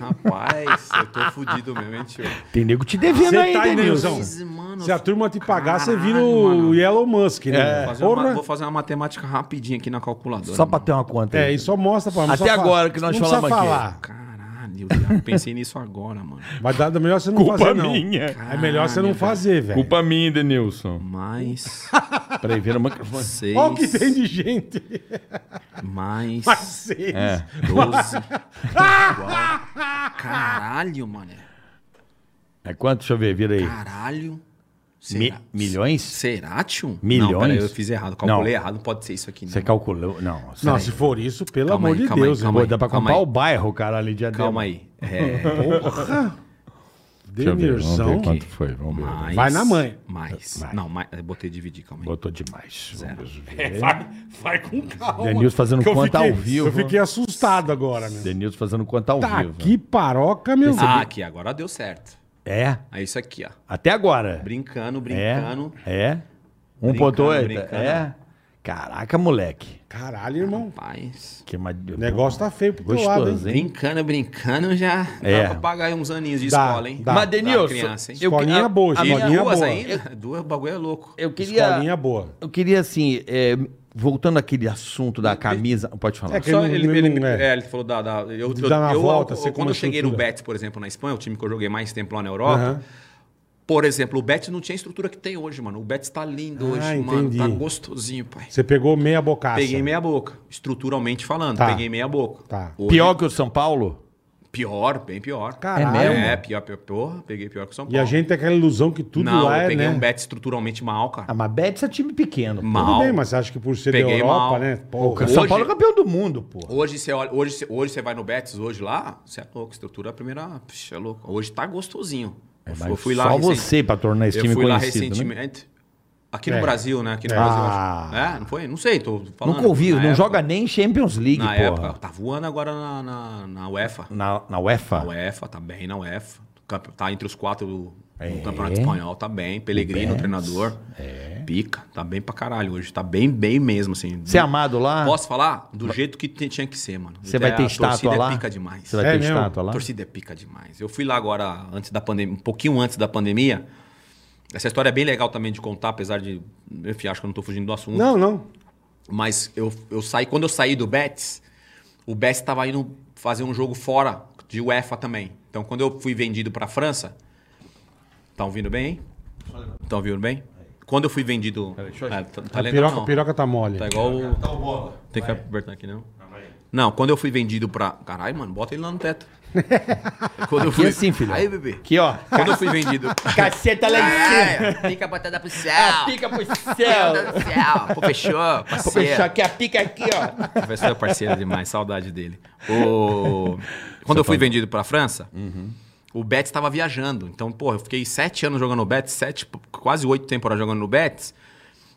Speaker 5: Rapaz, eu tô fudido mesmo, hein, tio?
Speaker 4: Tem nego te devendo
Speaker 3: Você
Speaker 4: aí,
Speaker 3: tá aí,
Speaker 4: Denilson.
Speaker 3: Nilson.
Speaker 5: Mas, mano,
Speaker 3: Se a turma te pagar, você vira
Speaker 5: caralho,
Speaker 3: o
Speaker 5: mano.
Speaker 3: Elon Musk, né?
Speaker 5: Vou fazer
Speaker 3: Porra.
Speaker 5: uma- vou fazer uma matemática rapidinha aqui na calculadora.
Speaker 4: Só
Speaker 5: mano.
Speaker 4: pra ter uma conta
Speaker 3: É,
Speaker 4: aí.
Speaker 3: e só mostra pra não
Speaker 4: Até
Speaker 3: precisa
Speaker 4: agora
Speaker 3: falar.
Speaker 4: que nós
Speaker 3: não precisa
Speaker 4: falamos aqui.
Speaker 3: falar.
Speaker 5: Caralho, eu pensei nisso agora, mano.
Speaker 3: Mas dá, melhor você não fazer, não. É melhor você não
Speaker 5: Caralho,
Speaker 3: fazer, velho.
Speaker 7: Culpa minha, Denilson.
Speaker 5: Mais.
Speaker 7: Peraí, vira o microfone.
Speaker 5: seis.
Speaker 3: Olha o que tem de gente.
Speaker 5: Mais.
Speaker 3: Parceiro.
Speaker 4: É.
Speaker 5: É. Doze. igual- Caralho, mané.
Speaker 4: É quanto? Deixa eu ver, vira aí.
Speaker 5: Caralho.
Speaker 4: Mi-
Speaker 5: Será?
Speaker 4: milhões?
Speaker 5: Será, tio?
Speaker 4: Milhões?
Speaker 5: Não, peraí, eu fiz errado. Calculei
Speaker 4: Não.
Speaker 5: errado. Não pode ser isso aqui, né? não.
Speaker 4: Você calculou? Não.
Speaker 3: Não, se for isso, pelo
Speaker 5: Calma
Speaker 3: amor
Speaker 5: aí,
Speaker 3: de
Speaker 5: calma aí,
Speaker 3: Deus.
Speaker 5: calma
Speaker 4: Pô,
Speaker 5: aí.
Speaker 4: dá pra
Speaker 5: calma
Speaker 4: comprar
Speaker 5: aí.
Speaker 4: o bairro, caralho, ali de
Speaker 5: Calma aí. É,
Speaker 7: Deixa eu ver, vamos ver
Speaker 3: Demirzão.
Speaker 7: quanto foi. Vamos ver.
Speaker 5: mais,
Speaker 3: Vai na mãe.
Speaker 5: Mais. Não, mais. eu Botei dividir, calma aí.
Speaker 7: Botou demais. Vamos ver.
Speaker 4: Denilson fazendo
Speaker 3: Que eu
Speaker 4: conta
Speaker 3: fiquei,
Speaker 4: ao vivo.
Speaker 3: Eu fiquei assustado agora,
Speaker 4: É.
Speaker 3: meu.
Speaker 7: Denilson fazendo conta ao
Speaker 3: Tá
Speaker 7: vivo.
Speaker 3: que paroca, meu.
Speaker 5: Ah, aqui, agora deu certo.
Speaker 4: É,
Speaker 5: É isso aqui, ó.
Speaker 4: até agora.
Speaker 5: Brincando,
Speaker 4: É,
Speaker 5: brincando.
Speaker 4: é.
Speaker 5: Brincando,
Speaker 4: 1.8,
Speaker 5: brincando.
Speaker 4: é. Caraca, moleque.
Speaker 3: Caralho, irmão.
Speaker 5: Rapaz.
Speaker 4: Que ma-
Speaker 3: O negócio tá feio pro teu lado, hein?
Speaker 4: gostoso, hein?
Speaker 5: Brincando, brincando, já
Speaker 4: É.
Speaker 5: dá pra pagar aí uns aninhos de
Speaker 3: Dá,
Speaker 5: escola, hein?
Speaker 3: dá.
Speaker 4: Mas, Denilson,
Speaker 5: criança, hein?
Speaker 4: eu,
Speaker 3: Escolinha
Speaker 4: a-
Speaker 3: boa,
Speaker 4: a minha-
Speaker 3: escolinha
Speaker 5: duas
Speaker 3: boa.
Speaker 5: ainda? Duas, o bagulho é louco.
Speaker 4: eu queria,
Speaker 3: Escolinha boa.
Speaker 4: eu queria assim, é, voltando àquele assunto da camisa, pode falar.
Speaker 3: É que ele, não- ele não é.
Speaker 5: é, ele falou da... da- eu,
Speaker 3: De dar na volta, assim, ser com
Speaker 5: quando
Speaker 3: uma
Speaker 5: eu cheguei no
Speaker 3: estrutura.
Speaker 5: Betis, por exemplo, na Espanha, o time que eu joguei mais tempo lá na Europa,
Speaker 3: né? Aham.
Speaker 5: por exemplo, o Betis não tinha a estrutura que tem hoje, mano. O Betis tá lindo
Speaker 3: Ah,
Speaker 5: hoje, mano.
Speaker 3: entendi.
Speaker 5: Tá gostosinho, pai.
Speaker 3: Você pegou meia bocaça.
Speaker 5: Peguei meia boca, estruturalmente falando.
Speaker 3: Tá.
Speaker 5: Peguei meia boca.
Speaker 3: Tá.
Speaker 5: Hoje-
Speaker 4: Pior que o São Paulo?
Speaker 5: Pior, bem pior.
Speaker 3: Caralho.
Speaker 4: É mesmo?
Speaker 5: É, pior, pior, pior. Peguei pior que o São
Speaker 3: E
Speaker 5: Paulo.
Speaker 3: a gente tem aquela ilusão que tudo
Speaker 5: não,
Speaker 3: lá
Speaker 5: eu
Speaker 3: é,
Speaker 5: peguei
Speaker 3: né?
Speaker 5: um bet estruturalmente mal,
Speaker 4: Ah,
Speaker 5: cara.
Speaker 4: mas Betis é time pequeno. pô.
Speaker 5: Mal.
Speaker 3: Tudo bem, mas você acha que por ser da
Speaker 5: Peguei
Speaker 3: Europa,
Speaker 5: mal.
Speaker 3: né? Porra.
Speaker 4: O São
Speaker 5: Hoje-
Speaker 4: Paulo é campeão do mundo, pô.
Speaker 5: Hoje você, olha, hoje, você- hoje você vai no Betis, hoje lá, você é louco, estrutura é a primeira. Puxa, é louco. Hoje tá gostosinho.
Speaker 3: É,
Speaker 5: eu, fui- eu fui lá.
Speaker 4: É, só
Speaker 5: recen-
Speaker 4: você pra tornar esse
Speaker 5: eu
Speaker 4: time
Speaker 5: fui lá
Speaker 4: conhecido, né?
Speaker 5: recentemente. Aqui no
Speaker 3: É.
Speaker 5: Brasil, né? Aqui no
Speaker 3: É.
Speaker 5: Brasil. eu
Speaker 4: Ah.
Speaker 5: acho. É, não foi? Não sei, tô falando.
Speaker 4: Nunca ouvi,
Speaker 5: Na
Speaker 4: não
Speaker 5: época-
Speaker 4: joga nem Champions League,
Speaker 5: Na
Speaker 4: porra.
Speaker 5: época, tá voando agora na, na, na UEFA.
Speaker 4: Na, na UEFA?
Speaker 5: Na UEFA, tá bem na UEFA. Campe- Tá entre os quatro do
Speaker 4: É. É.
Speaker 5: do Campeonato Espanhol, tá bem. Pelegrino,
Speaker 4: Betis,
Speaker 5: treinador. Pica, tá bem pra caralho hoje. Tá bem, bem mesmo, assim.
Speaker 4: Você é amado lá?
Speaker 5: Posso falar? Do jeito que te- tinha que ser, mano.
Speaker 4: Você vai
Speaker 5: A
Speaker 4: ter estátua
Speaker 5: torcida
Speaker 4: lá?
Speaker 5: é pica demais.
Speaker 4: Você vai
Speaker 3: É
Speaker 4: ter
Speaker 3: mesmo?
Speaker 4: estátua lá?
Speaker 5: A torcida é pica demais. Eu fui lá agora, antes da pandemia, um pouquinho antes da pandemia. Essa história é bem legal também de contar, apesar de. Enfim, acho que eu não tô fugindo do assunto.
Speaker 3: Não, não.
Speaker 5: Mas eu, eu saí, quando eu saí do Betis, o Betis estava indo fazer um jogo fora de UEFA também. Então, quando eu fui vendido para a França. Estão ouvindo bem, hein? Estão ouvindo bem? Quando eu fui vendido. É, tá, tá
Speaker 3: a
Speaker 5: legal,
Speaker 3: piroca,
Speaker 5: não.
Speaker 3: a piroca tá mole.
Speaker 5: Tá igual o. Tem que apertar aqui, não? Não, quando eu fui vendido pra. Caralho, mano, bota ele lá no teto. quando eu
Speaker 4: Aqui assim, filho.
Speaker 5: Aí, bebê.
Speaker 4: Aqui, ó.
Speaker 5: Quando eu É! Ah! fui vendido.
Speaker 4: Caceta lá É
Speaker 5: Fica botada pro céu.
Speaker 4: Pica pro
Speaker 5: Botada pro céu. Pô, fechou. Parceiro.
Speaker 4: que a pica aqui, ó.
Speaker 5: O professor é parceiro demais, saudade dele. O- Quando eu fui vendido pra França, o Betis estava viajando. Então, porra, eu fiquei sete anos jogando no Betis, sete, quase oito temporadas jogando no Betis.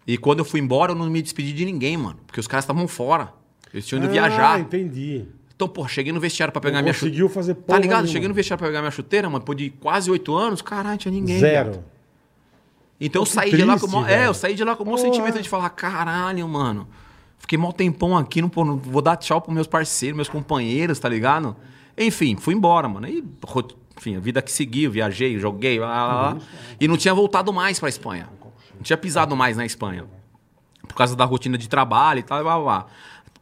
Speaker 5: E quando eu fui embora, eu não me despedi de ninguém, mano. Porque os caras estavam fora. Eles tinham ido
Speaker 3: Ah,
Speaker 5: viajar.
Speaker 3: entendi.
Speaker 5: Então, pô, cheguei no vestiário pra pegar
Speaker 3: Não
Speaker 5: minha
Speaker 3: conseguiu
Speaker 5: chuteira.
Speaker 3: fazer
Speaker 5: Tá
Speaker 3: porra
Speaker 5: ligado?
Speaker 3: nenhuma.
Speaker 5: Cheguei no vestiário pra pegar minha chuteira, mano, pô, de quase oito anos, caralho, não tinha ninguém.
Speaker 3: Zero.
Speaker 5: viado. Então eu saí de lá com o maior,
Speaker 3: triste,
Speaker 5: É,
Speaker 3: velho.
Speaker 5: eu saí de lá com o maior
Speaker 3: Porra.
Speaker 5: sentimento de falar, caralho, mano. Fiquei mó tempão aqui, não, pô, não vou dar tchau pros meus parceiros, meus companheiros, tá ligado? Enfim, fui embora, mano. E, ro- enfim, a vida que seguiu, viajei, joguei, lá, lá,
Speaker 3: Uhum.
Speaker 5: lá, lá. E não tinha voltado mais pra Espanha. Não tinha pisado mais na Espanha. Por causa da rotina de trabalho e tal, blá, blá, blá.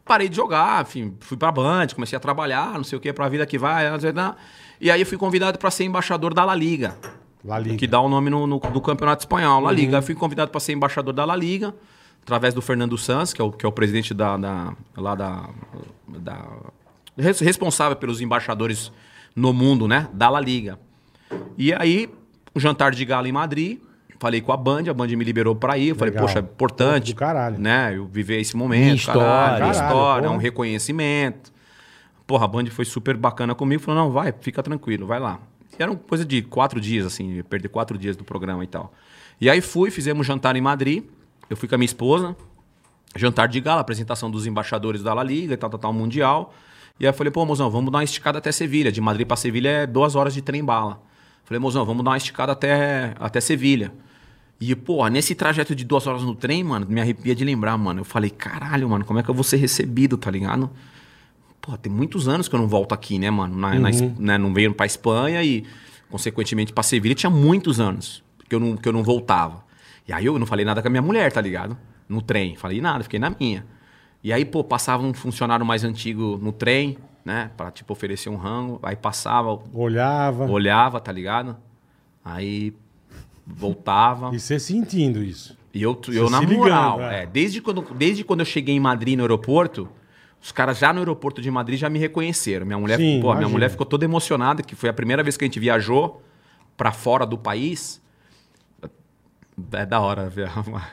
Speaker 5: Parei de jogar, enfim, fui pra Band, comecei a trabalhar, não sei o que, pra vida que vai. blá, blá, blá. E aí fui convidado pra ser embaixador da La Liga.
Speaker 3: La Liga. Uhum.
Speaker 5: que dá o nome no, no- do campeonato espanhol, La Liga. Eu fui convidado para ser embaixador da La Liga, através do Fernando Sanz, que é o, que é o presidente da, da- lá da, da- res- responsável pelos embaixadores no mundo, né? Da La Liga. E aí, um jantar de gala em Madrid. Falei com a Band, a Band me liberou para ir. Eu falei,
Speaker 3: Legal.
Speaker 5: poxa, é importante.
Speaker 3: Do caralho.
Speaker 5: Né? Eu viver esse momento.
Speaker 4: História.
Speaker 5: caralho,
Speaker 3: Caralho,
Speaker 5: história,
Speaker 3: porra.
Speaker 5: um reconhecimento. Porra, a Band foi super bacana comigo. Falou, não, vai, fica tranquilo, vai lá. E era uma coisa de quatro dias, assim, eu perdi quatro dias do programa e tal. E aí fui, fizemos um jantar em Madrid. Eu fui com a minha esposa. Jantar de gala, apresentação dos embaixadores da La Liga e tal, tal, tal, Mundial. E aí eu falei, pô, mozão, vamos dar uma esticada até Sevilha. De Madrid pra Sevilha é duas horas de trem-bala. Falei, mozão, vamos dar uma esticada até, até Sevilha. E, pô, nesse trajeto de duas horas no trem, mano, me arrepia de lembrar, mano. Eu falei, caralho, mano, como é que eu vou ser recebido, tá ligado? Pô, tem muitos anos que eu não volto aqui, né, mano? Na, na Es- né, não veio pra Espanha e, consequentemente, pra Sevilha tinha muitos anos que eu, não, que eu não voltava. E aí eu não falei nada com a minha mulher, tá ligado? No trem. Falei nada, fiquei na minha. E aí, pô, passava um funcionário mais antigo no trem, né? Pra, tipo, oferecer um rango. Aí passava,
Speaker 3: Olhava.
Speaker 5: olhava, tá ligado? Aí voltava.
Speaker 3: E você sentindo isso.
Speaker 5: E eu,
Speaker 3: Você
Speaker 5: eu na
Speaker 3: se ligando,
Speaker 5: moral,
Speaker 3: é.
Speaker 5: é, desde, quando, desde quando eu cheguei em Madrid no aeroporto, os caras já no aeroporto de Madrid já me reconheceram. Minha mulher,
Speaker 3: Sim,
Speaker 5: pô, minha
Speaker 3: imagino.
Speaker 5: mulher ficou toda emocionada, que foi a primeira vez que a gente viajou pra fora do país. É da hora ver. uma-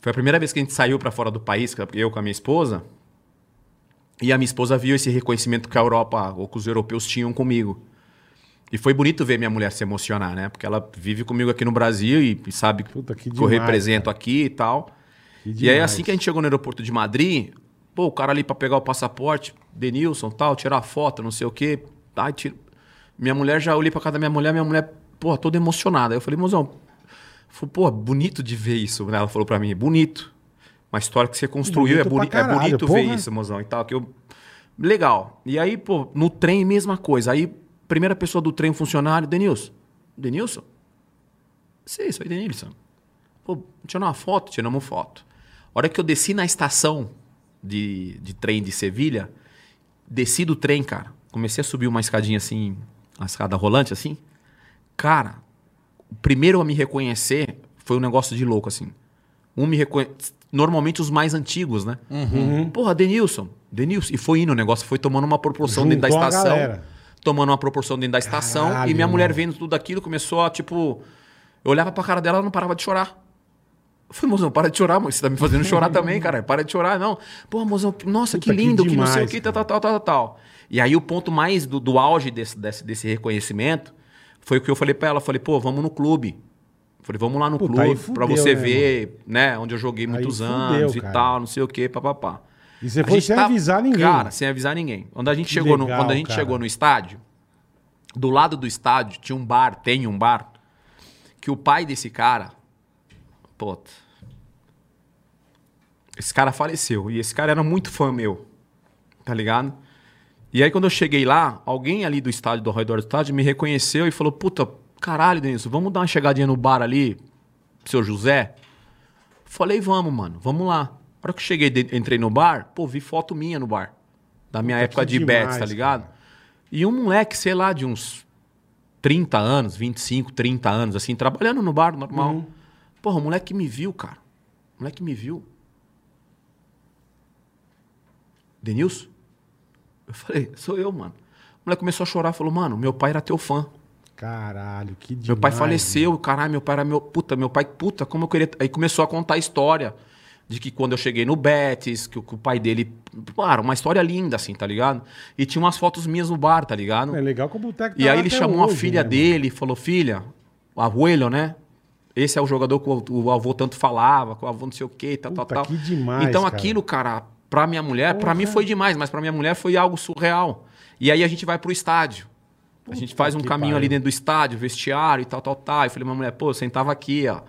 Speaker 5: Foi a primeira vez que a gente saiu pra fora do país, que eu com a minha esposa. E a minha esposa viu esse reconhecimento que a Europa ou que os europeus tinham comigo. E foi bonito ver minha mulher se emocionar, né? Porque ela vive comigo aqui no Brasil e e sabe
Speaker 3: Puta, que
Speaker 5: que eu
Speaker 3: demais,
Speaker 5: represento aqui e tal.
Speaker 3: Que
Speaker 5: E aí,
Speaker 3: demais.
Speaker 5: assim que a gente chegou no aeroporto de Madrid, pô, o cara ali pra pegar o passaporte, Denilson tal, tirar foto, não sei o quê. Ai, tira... Minha mulher já olhei pra casa da minha mulher, minha mulher, pô, toda emocionada. Aí eu falei, mozão, falei, pô, é bonito de ver isso. né? Ela falou pra mim, bonito. Uma história que você construiu,
Speaker 3: Bonito
Speaker 5: é,
Speaker 3: pra
Speaker 5: boni- é
Speaker 3: caralho,
Speaker 5: bonito ver
Speaker 3: porra.
Speaker 5: isso, mozão, e tal. Que eu... Legal. E aí, pô, no trem, mesma coisa. Aí, primeira pessoa do trem, um funcionário, Denilson. Denilson? Sei, sou Denilson. Pô, tirou uma foto, tiramos uma foto. A hora que eu desci na estação de, de trem de Sevilha, desci do trem, cara. Comecei a subir uma escadinha assim, uma escada rolante assim. Cara, o primeiro a me reconhecer foi um negócio de louco, assim. Um me reconhece. Normalmente os mais antigos, né?
Speaker 3: Uhum.
Speaker 5: Porra, Denilson. Denilson. E foi indo o negócio, foi tomando uma proporção dentro
Speaker 3: Juntou
Speaker 5: da
Speaker 3: a
Speaker 5: estação.
Speaker 3: galera.
Speaker 5: Tomando uma proporção dentro da estação. e
Speaker 3: Caralho,
Speaker 5: minha mulher
Speaker 3: irmão.
Speaker 5: vendo tudo aquilo começou a, tipo. Eu olhava pra cara dela ela não parava de chorar. Eu falei, mozão, para de chorar, mano. Você tá me fazendo chorar também, cara. Para de chorar, não. Pô, mozão, nossa,
Speaker 3: Puta,
Speaker 5: que
Speaker 3: que
Speaker 5: lindo, que, não sei o
Speaker 3: demais,
Speaker 5: que, tal, tal, tal, tal, tal. E aí o ponto mais do, do auge desse, desse, desse reconhecimento foi o que eu falei pra ela. Eu falei, pô, vamos no clube. Eu falei, vamos lá no
Speaker 3: Puta, aí
Speaker 5: clube
Speaker 3: fudeu,
Speaker 5: pra você
Speaker 3: né,
Speaker 5: ver, né, onde eu joguei muitos
Speaker 3: fudeu,
Speaker 5: anos
Speaker 3: cara.
Speaker 5: e tal, não sei o que, papapá.
Speaker 3: E você
Speaker 5: A
Speaker 3: foi
Speaker 5: gente
Speaker 3: sem
Speaker 5: tava-
Speaker 3: avisar ninguém.
Speaker 5: Cara, assim- sem avisar ninguém. Quando a gente,
Speaker 3: Que
Speaker 5: chegou, no,
Speaker 3: legal,
Speaker 5: quando a gente
Speaker 3: cara.
Speaker 5: chegou no estádio, do lado do estádio tinha um bar, tem um bar, que o pai desse cara. Puta. Esse cara faleceu. E esse cara era muito fã meu. Tá ligado? E aí, quando eu cheguei lá, alguém ali do estádio, do redor do estádio, me reconheceu e falou: Puta, caralho, Denilson, vamos dar uma chegadinha no bar ali, seu José? Falei, vamos, mano, vamos lá. A hora que eu cheguei, de- entrei no bar, pô, vi foto minha no bar. Da minha época
Speaker 3: que
Speaker 5: de
Speaker 3: demais,
Speaker 5: bets, tá ligado? E um moleque, sei lá, de uns 30 anos, 25, 30 anos, assim, trabalhando no bar normal.
Speaker 3: Uhum.
Speaker 5: Porra, o moleque me viu, cara. O moleque me viu. Denilson? Eu falei, sou eu, mano. O moleque começou a chorar, falou, mano, meu pai era teu fã.
Speaker 3: Caralho, que demais.
Speaker 5: Meu pai faleceu, caralho, meu pai era meu. Puta, meu pai, puta, como eu queria. Aí começou a contar a história de que quando eu cheguei no Betis, que, o- que o pai dele. Claro, uma história linda, assim, tá ligado? E tinha umas fotos minhas no bar, tá ligado?
Speaker 3: É legal que o Boteco tá
Speaker 5: E
Speaker 3: lá
Speaker 5: aí ele
Speaker 3: até
Speaker 5: chamou a
Speaker 3: hoje,
Speaker 5: filha
Speaker 3: né,
Speaker 5: dele e falou: Filha, o Arruelo, né? Esse é o jogador que o, o avô tanto falava, que o avô não sei o quê, tal,
Speaker 3: Puta,
Speaker 5: tal, tal.
Speaker 3: que demais,
Speaker 5: então
Speaker 3: cara.
Speaker 5: aquilo, cara, pra minha mulher, pra mim foi demais, mas pra minha mulher foi algo surreal. E aí a gente vai pro estádio. a gente faz um
Speaker 3: que
Speaker 5: caminho ali
Speaker 3: pariu.
Speaker 5: dentro do estádio, vestiário e tal, tal, tal. Eu falei, minha mulher, pô, eu sentava aqui, ó.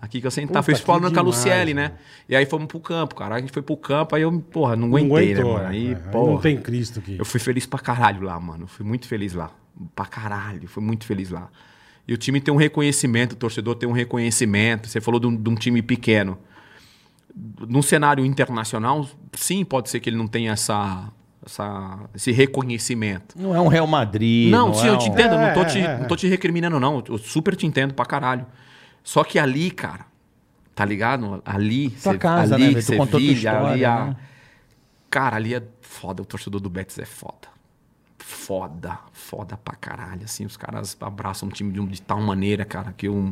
Speaker 5: Aqui que eu sentava.
Speaker 3: Puta,
Speaker 5: Fui
Speaker 3: que
Speaker 5: falando com a
Speaker 3: demais,
Speaker 5: Luciele, né?
Speaker 3: mano.
Speaker 5: E aí fomos pro campo, cara. A gente foi pro campo, aí eu, porra, não
Speaker 3: mano?
Speaker 5: aguentei,
Speaker 3: Não aguentou,
Speaker 5: né, mano?
Speaker 3: é,
Speaker 5: Aí,
Speaker 3: aí
Speaker 5: porra.
Speaker 3: Não tem Cristo aqui.
Speaker 5: Eu fui feliz pra caralho lá, mano. Eu Fui muito feliz lá. Pra caralho. Fui muito feliz lá. E o time tem um reconhecimento, o torcedor tem um reconhecimento. Você falou de um, de um time pequeno. Num cenário internacional, sim, pode ser que ele não tenha essa, essa- esse reconhecimento.
Speaker 4: Não é um Real Madrid.
Speaker 5: Não, sim,
Speaker 4: é
Speaker 5: eu te
Speaker 4: um-
Speaker 5: entendo, eu
Speaker 3: É,
Speaker 5: não tô te,
Speaker 3: é, é.
Speaker 5: não tô te recriminando, não. Eu super te entendo pra caralho. Só que ali, cara, tá ligado? Ali,
Speaker 4: Tua casa,
Speaker 5: ali,
Speaker 4: né, velho? Tu
Speaker 5: cê
Speaker 4: contou tua
Speaker 5: vive, ali
Speaker 4: história,
Speaker 5: a-
Speaker 4: né?
Speaker 5: Cara, ali é foda, o torcedor do Betis é foda. Foda, foda pra caralho, assim, os caras abraçam o time de, um- de tal maneira, cara, que um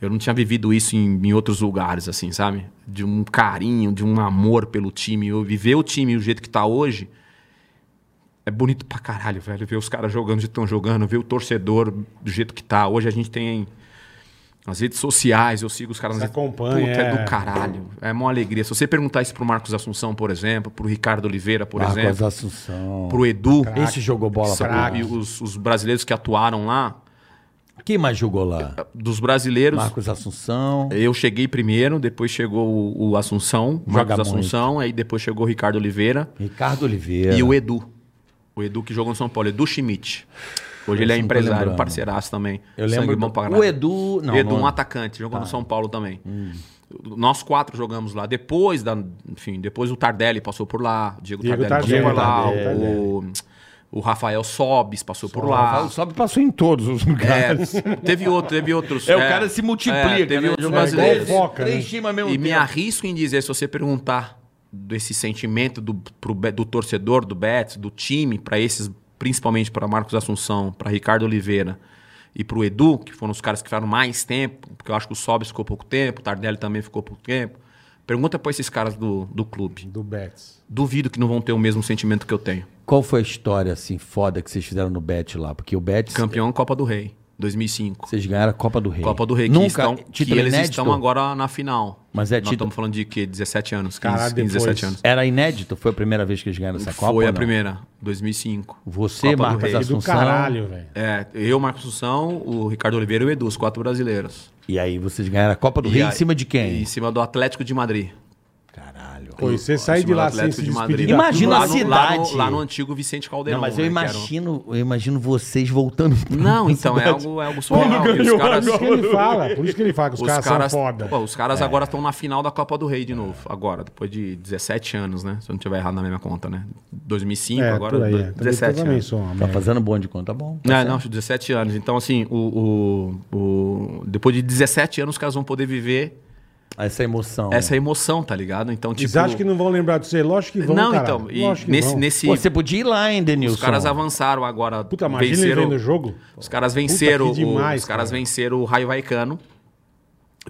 Speaker 5: eu, eu não tinha vivido isso em, em outros lugares, assim, sabe? De um carinho, de um amor pelo time, eu viver o time do jeito que tá hoje, é bonito pra caralho, velho. Ver os caras jogando, de estão jogando, ver o torcedor do jeito que tá. Hoje a gente tem as redes sociais, eu sigo os caras
Speaker 3: Você
Speaker 5: nas redes-
Speaker 3: acompanha,
Speaker 5: Puta, é.
Speaker 3: é.
Speaker 5: do caralho. É uma alegria. Se você perguntar isso pro Marcos Assunção, por exemplo, pro Ricardo Oliveira, por
Speaker 4: Marcos
Speaker 5: exemplo,
Speaker 4: Assunção.
Speaker 5: pro Edu,
Speaker 4: Esse jogou bola.
Speaker 5: que são-
Speaker 4: pra
Speaker 5: e
Speaker 4: caralho.
Speaker 5: os, os brasileiros que atuaram lá,
Speaker 4: Quem mais jogou lá?
Speaker 5: dos brasileiros,
Speaker 4: Marcos Assunção.
Speaker 5: eu cheguei primeiro, depois chegou o, o Assunção,
Speaker 4: Joga
Speaker 5: Marcos Assunção, aí depois chegou o Ricardo Oliveira.
Speaker 4: Ricardo Oliveira.
Speaker 5: E o Edu. O Edu que jogou no São Paulo, Edu Schmidt. Hoje ele é
Speaker 4: Esse não tô
Speaker 5: empresário,
Speaker 4: lembrando.
Speaker 5: parceiraço também.
Speaker 4: Eu lembro
Speaker 5: bom
Speaker 4: do-
Speaker 5: pra
Speaker 4: o
Speaker 5: caralho.
Speaker 4: Edu- não, Ah. Hum.
Speaker 5: Edu,
Speaker 4: não- é
Speaker 5: um atacante, jogou no São Paulo também. Nós quatro jogamos lá. Depois da. Enfim, depois o Tardelli passou por lá. Diego,
Speaker 3: Diego
Speaker 5: Tardelli passou por lá.
Speaker 3: Tardelli, Tardelli.
Speaker 5: O, o Rafael Sobis passou por lá.
Speaker 7: Rafael Sobe passou em todos os lugares.
Speaker 5: É, teve outro, teve outros.
Speaker 4: É, o cara se multiplica,
Speaker 5: teve
Speaker 4: né?
Speaker 5: outros
Speaker 4: É,
Speaker 5: brasileiros.
Speaker 3: igual foca, né?
Speaker 4: Três times ao mesmo
Speaker 5: E
Speaker 4: tempo.
Speaker 5: me arrisco em dizer, se você perguntar desse sentimento do, pro Be- do torcedor, do Betis, do time, para esses, principalmente para Marcos Assunção, para Ricardo Oliveira e para o Edu, que foram os caras que ficaram mais tempo, porque eu acho que o Sobis ficou pouco tempo, o Tardelli também ficou pouco tempo. Pergunta para esses caras do, do clube.
Speaker 3: Do Betis.
Speaker 5: Duvido que não vão ter o mesmo sentimento que eu tenho.
Speaker 4: Qual foi a história assim foda que vocês fizeram no Bet lá? Porque o Bet
Speaker 5: Campeão Copa do Rei, 2005.
Speaker 4: vocês ganharam a Copa do Rei.
Speaker 5: Copa do Rei, que,
Speaker 4: Nunca é
Speaker 5: estão, que
Speaker 4: título
Speaker 5: eles
Speaker 4: inédito?
Speaker 5: estão agora na final.
Speaker 4: Mas é
Speaker 5: Nós
Speaker 4: título-
Speaker 5: estamos falando de quê? 17 anos, 15,
Speaker 3: Caralho,
Speaker 5: 15 17
Speaker 3: depois.
Speaker 5: anos.
Speaker 4: Era inédito, foi a primeira vez que eles ganharam essa Copa.
Speaker 5: Foi
Speaker 4: ou
Speaker 5: a
Speaker 4: não?
Speaker 5: primeira, 2005.
Speaker 4: Você,
Speaker 5: Copa do
Speaker 4: Marcos
Speaker 5: Rei.
Speaker 3: E do
Speaker 4: Assunção.
Speaker 3: caralho, velho.
Speaker 5: É, eu, Marcos Assunção, o Ricardo Oliveira e o Edu, os quatro brasileiros.
Speaker 4: E aí vocês ganharam a Copa do
Speaker 5: E
Speaker 4: Rei
Speaker 5: aí-
Speaker 4: em cima de
Speaker 5: e
Speaker 4: quem?
Speaker 5: Em cima do Atlético de Madrid.
Speaker 4: Caralho.
Speaker 3: Pô, e você
Speaker 5: Em
Speaker 3: sair
Speaker 5: cima
Speaker 3: de
Speaker 5: do
Speaker 3: lá sem se
Speaker 5: Atlético de
Speaker 3: despedir
Speaker 5: Madrid.
Speaker 3: da
Speaker 4: Imagina
Speaker 3: turma.
Speaker 4: a
Speaker 5: Lá no, lá, no,
Speaker 4: cidade.
Speaker 5: lá no antigo Vicente Caldeirão.
Speaker 4: Não, mas
Speaker 5: né,
Speaker 4: eu
Speaker 5: que era um-
Speaker 4: imagino, eu imagino vocês voltando.
Speaker 5: Não, então, é algo, é algo surreal. E Os
Speaker 3: Por
Speaker 5: caras,
Speaker 3: isso que ele fala, por isso que ele fala que os, caras, são foda.
Speaker 5: Pô, os
Speaker 4: É.
Speaker 5: caras agora estão na final da Copa do Rei de novo. Agora, depois de 17 anos, né? Se eu não tiver errado na mesma conta, né? 2005,
Speaker 3: é,
Speaker 5: agora
Speaker 3: por aí. é.
Speaker 5: do-
Speaker 3: Também- né?
Speaker 5: 17
Speaker 3: também
Speaker 5: anos.
Speaker 3: sou uma
Speaker 4: Tá
Speaker 3: merda.
Speaker 4: fazendo bom de conta, tá bom.
Speaker 5: Não, Ah, não, 17 anos. Então, assim, o, o- o- depois de 17 anos, os caras vão poder viver
Speaker 4: Essa emoção.
Speaker 5: essa emoção, tá ligado? Então, tipo...
Speaker 3: Vocês acham que não vão lembrar de você? Lógico que vão,
Speaker 5: Não,
Speaker 3: caralho.
Speaker 5: então, e
Speaker 3: Lógico que
Speaker 5: nesse...
Speaker 3: vão.
Speaker 5: nesse
Speaker 4: Pô, você podia ir lá, hein, Denilson?
Speaker 5: os caras avançaram agora,
Speaker 3: Puta, imagina ele
Speaker 5: venceram...
Speaker 3: vendo o jogo.
Speaker 5: Os caras venceram,
Speaker 3: que demais,
Speaker 5: o, os caras
Speaker 3: cara.
Speaker 5: venceram o Raio Vaicano,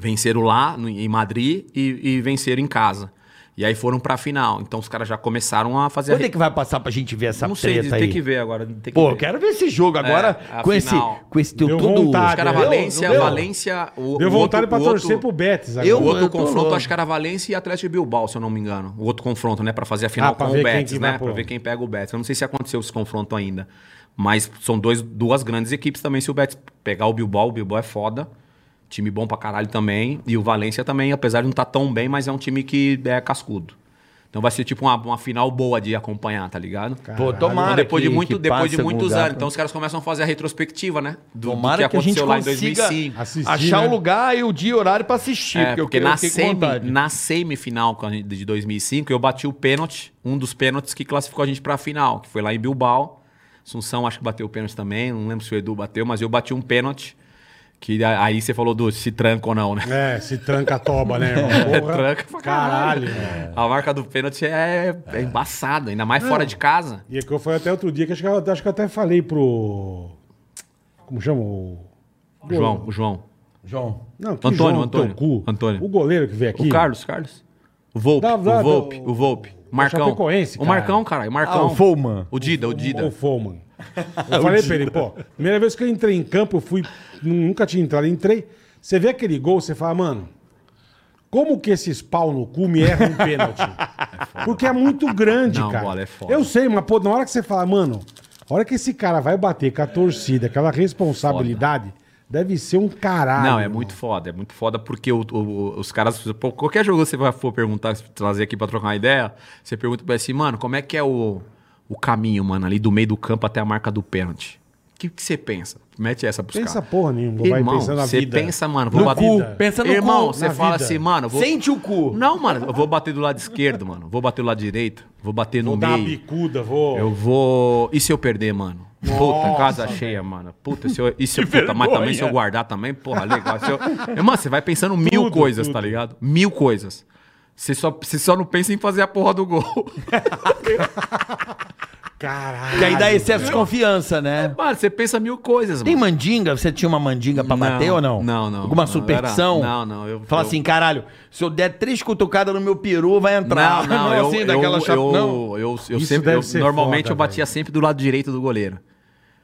Speaker 5: venceram lá no- em Madrid e, e venceram em casa. E aí foram pra final. Então os caras já começaram a fazer... a
Speaker 4: Quando é que vai passar pra gente ver essa
Speaker 5: Não sei,
Speaker 4: treta
Speaker 5: tem
Speaker 4: aí?
Speaker 5: que ver agora. Tem que
Speaker 4: Pô,
Speaker 5: ver.
Speaker 4: eu quero ver esse jogo agora
Speaker 5: É, a
Speaker 4: com, esse,
Speaker 5: final.
Speaker 4: com esse teu
Speaker 3: Deu
Speaker 4: todo...
Speaker 3: vontade.
Speaker 5: Os caras
Speaker 3: Deu,
Speaker 5: Valência,
Speaker 3: deu.
Speaker 5: Valência... O,
Speaker 3: Deu
Speaker 5: o
Speaker 3: vontade
Speaker 5: outro-
Speaker 3: pra
Speaker 5: o
Speaker 3: torcer
Speaker 5: outro-
Speaker 3: pro Betis agora.
Speaker 4: Eu-
Speaker 5: O outro
Speaker 4: tô
Speaker 5: confronto,
Speaker 4: louco.
Speaker 5: acho que era Valência e Atlético de Bilbao, se eu não me engano. O outro confronto, né? Pra fazer a final
Speaker 3: Ah, pra
Speaker 5: com
Speaker 3: ver
Speaker 5: o
Speaker 3: quem
Speaker 5: Betis,
Speaker 3: que vai
Speaker 5: né?
Speaker 3: pro-
Speaker 5: Pra ver quem pega o Betis. Eu não sei se aconteceu esse confronto ainda. Mas são dois, duas grandes equipes também. Se o Betis pegar o Bilbao, o Bilbao é foda. Time bom pra caralho também. E o Valência também, apesar de não estar tão bem, mas é um time que é cascudo. Então vai ser tipo uma, uma final boa de acompanhar, tá ligado?
Speaker 4: Pô, tomara
Speaker 5: Então, depois de,
Speaker 4: que-
Speaker 5: muito,
Speaker 4: que
Speaker 5: depois
Speaker 4: passe
Speaker 5: de
Speaker 4: algum
Speaker 5: muitos
Speaker 4: lugar
Speaker 5: anos.
Speaker 4: pra-
Speaker 5: Então os caras começam a fazer a retrospectiva, né? Do, do
Speaker 4: Tomara que a gente consiga
Speaker 3: Assistir,
Speaker 4: achar
Speaker 3: né?
Speaker 4: o lugar e o dia e o horário pra assistir.
Speaker 5: É, porque na,
Speaker 4: fiquei com
Speaker 5: semi,
Speaker 4: vontade.
Speaker 5: na semifinal com a gente- de 2005, eu bati o pênalti, um dos pênaltis que classificou a gente pra final, que foi lá em Bilbao. Assunção acho que bateu o pênalti também, não lembro se o Edu bateu, mas eu bati um pênalti, que a- aí você falou do se tranca ou não, né?
Speaker 3: É, se tranca a toba, né, irmão? Porra,
Speaker 5: É, Tranca pra
Speaker 3: caralho. né?
Speaker 5: caralho.
Speaker 4: É.
Speaker 3: velho.
Speaker 5: A marca do pênalti é, é embaçada, ainda mais fora de casa.
Speaker 3: E é que eu fui até outro dia, que acho que, eu, acho que eu até falei pro... Como chama o...
Speaker 5: João, o João.
Speaker 4: João,
Speaker 3: Não, que
Speaker 5: Antônio,
Speaker 3: João,
Speaker 5: Antônio,
Speaker 3: teu cu.
Speaker 5: Antônio.
Speaker 3: O goleiro que veio aqui.
Speaker 5: O Carlos, Carlos. O Volpe,
Speaker 3: Dá- dá-
Speaker 5: o Volpe,
Speaker 3: dá-
Speaker 5: o Volpe. Marcão.
Speaker 3: Chapecoense,
Speaker 5: O
Speaker 3: cara.
Speaker 5: Marcão, caralho, Marcão.
Speaker 4: Ah, o Fulman.
Speaker 5: O Dida, o Dida.
Speaker 3: O Foman. Eu falei pra ele, pô, primeira vez que eu entrei em campo, eu fui. Nunca tinha entrado, entrei. Você vê aquele gol, você fala, mano, como que esses pau no cu me erram um pênalti? Porque é muito grande,
Speaker 5: Não,
Speaker 3: cara.
Speaker 5: bola, é foda.
Speaker 3: Eu sei, mas pô, na hora que você fala, mano, a hora que esse cara vai bater com a torcida, aquela responsabilidade, deve ser um caralho.
Speaker 5: Não, é
Speaker 3: irmão.
Speaker 5: muito foda. É muito foda porque o- o- os caras. pô, qualquer jogo que você vai- for perguntar, se trazer aqui pra trocar uma ideia, você pergunta pra ele assim, mano, como é que é o, o caminho, mano, ali do meio do campo até a marca do pênalti? O que que você pensa? Mete essa pros
Speaker 3: Pensa
Speaker 5: caras.
Speaker 3: porra nenhuma, vai
Speaker 5: Irmão,
Speaker 3: pensando na
Speaker 5: você
Speaker 3: vida.
Speaker 5: pensa, mano, vou
Speaker 3: No
Speaker 5: bater.
Speaker 3: cu.
Speaker 4: Pensa no
Speaker 5: Irmão,
Speaker 4: cu,
Speaker 5: você
Speaker 3: na
Speaker 5: fala
Speaker 3: vida.
Speaker 5: assim, mano, vou...
Speaker 4: Sente o cu.
Speaker 5: Não, mano, eu vou bater do lado esquerdo, mano. Vou bater do lado direito. Vou bater no
Speaker 3: Vou dar uma
Speaker 5: meio.
Speaker 3: bicuda, vou.
Speaker 5: Eu vou. E se eu perder, mano? Puta,
Speaker 3: Nossa,
Speaker 5: casa cheia, mano. Puta, se eu, e se eu, puta, mas também se eu guardar também, porra, legal. Se eu, É, mano, você vai pensando mil
Speaker 3: Tudo,
Speaker 5: coisas,
Speaker 3: tudo.
Speaker 5: tá ligado? Mil coisas. Você só, você só não pensa em fazer a porra do gol.
Speaker 3: Caralho.
Speaker 4: Que aí dá excesso de confiança, né?
Speaker 5: Mano, você pensa mil coisas,
Speaker 4: Tem
Speaker 5: mano.
Speaker 4: mandinga? Você tinha uma mandinga pra
Speaker 5: Não,
Speaker 4: bater ou não?
Speaker 5: não, não.
Speaker 4: Alguma
Speaker 5: Não,
Speaker 4: superstição?
Speaker 5: era- não, não, eu-
Speaker 4: Fala
Speaker 5: eu-
Speaker 4: assim, caralho, se eu der três cutucadas no meu peru, vai entrar. assim, daquela chapa-
Speaker 5: eu,
Speaker 4: não.
Speaker 5: eu, eu,
Speaker 3: Isso
Speaker 5: sempre,
Speaker 3: deve
Speaker 5: eu-
Speaker 3: ser
Speaker 5: normalmente
Speaker 3: foda,
Speaker 5: eu batia sempre do lado direito do goleiro.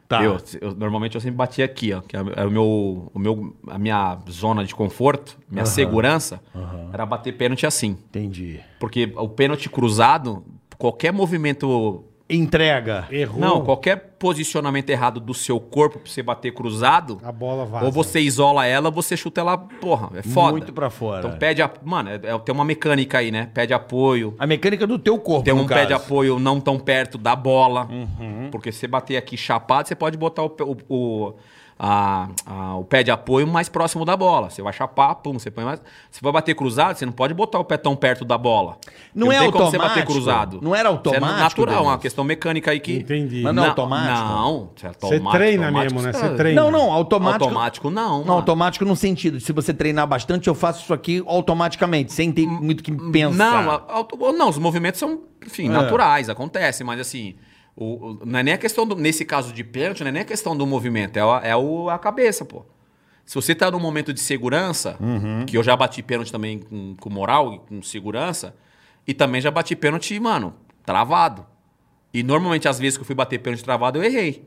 Speaker 4: Tá.
Speaker 5: Eu, eu- normalmente eu sempre batia aqui, ó, que é o meu, o meu, a minha zona de conforto, minha segurança, era bater pênalti assim.
Speaker 4: Entendi.
Speaker 5: Porque o pênalti cruzado, qualquer movimento.
Speaker 4: Entrega.
Speaker 3: Errou.
Speaker 5: Não, qualquer posicionamento errado do seu corpo pra você bater cruzado.
Speaker 3: A bola vaza.
Speaker 5: Ou você isola ela, ou você chuta ela, porra, é foda.
Speaker 4: Muito pra fora.
Speaker 5: Então pede a. Mano, é- é- tem uma mecânica aí, né? Pede apoio.
Speaker 4: A mecânica do teu corpo,
Speaker 5: Tem
Speaker 4: no
Speaker 5: um
Speaker 4: caso.
Speaker 5: pé de apoio não tão perto da bola.
Speaker 3: Uhum.
Speaker 5: Porque se você bater aqui chapado, você pode botar o, pé- o, o, a- a- o pé de apoio mais próximo da bola. Você vai chapar, pum, você põe mais. Se for bater cruzado, você não pode botar o pé tão perto da bola.
Speaker 4: Não
Speaker 5: Porque
Speaker 4: é
Speaker 5: tem como você
Speaker 4: automático?
Speaker 5: bater cruzado.
Speaker 4: Não era
Speaker 5: Isso
Speaker 4: automático,
Speaker 5: É natural, é uma
Speaker 4: Denis?
Speaker 5: questão mecânica aí que.
Speaker 3: Entendi.
Speaker 4: Mas não é automático?
Speaker 5: Não, você é
Speaker 3: Você
Speaker 5: automático.
Speaker 3: treina
Speaker 5: automático,
Speaker 3: mesmo, né?
Speaker 5: você-
Speaker 3: Você treina.
Speaker 4: Não, não, automático.
Speaker 5: Automático não.
Speaker 4: Não,
Speaker 5: mano.
Speaker 4: automático no sentido. de Se você treinar bastante, eu faço isso aqui automaticamente, sem ter muito que pensar.
Speaker 5: Não, a- auto- não, os movimentos são, enfim, naturais, acontecem, mas assim, o, o- não é nem a questão do, nesse caso de pênalti, não é nem a questão do movimento, é, a- é o, a cabeça, pô. Se você tá num momento de segurança, que eu já bati pênalti também com, com moral e com segurança, e também já bati pênalti, mano, travado. E normalmente, às vezes que eu fui bater pênalti travado, eu errei.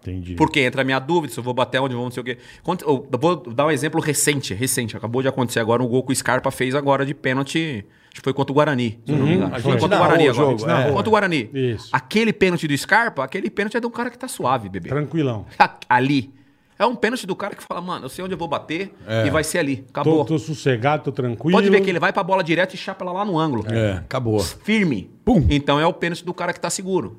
Speaker 3: Entendi.
Speaker 5: Porque entra a minha dúvida, se eu vou bater onde eu vou, não sei o quê. Quando- eu vou dar um exemplo recente, recente. Acabou de acontecer agora um gol que o Scarpa fez agora de pênalti. Acho que foi contra o Guarani, se eu não me engano. Acho que foi
Speaker 4: Uhum. gente
Speaker 5: contra o
Speaker 4: narrou
Speaker 5: Guarani
Speaker 4: o
Speaker 5: agora.
Speaker 4: jogo,
Speaker 5: Narrou.
Speaker 3: é.
Speaker 5: Contra o Guarani.
Speaker 3: Isso.
Speaker 5: Aquele pênalti do Scarpa, aquele pênalti é de um cara que tá suave, bebê.
Speaker 3: Tranquilão.
Speaker 5: ali. É um pênalti do cara que fala, mano, eu sei onde eu vou bater
Speaker 4: É.
Speaker 5: e vai ser ali.
Speaker 3: Tô,
Speaker 5: Acabou.
Speaker 3: tô sossegado, tô tranquilo.
Speaker 5: Pode ver que ele é vai pra bola direto e chapa ela lá no ângulo.
Speaker 4: É, acabou.
Speaker 5: Firme. Então é o pênalti do cara que tá seguro.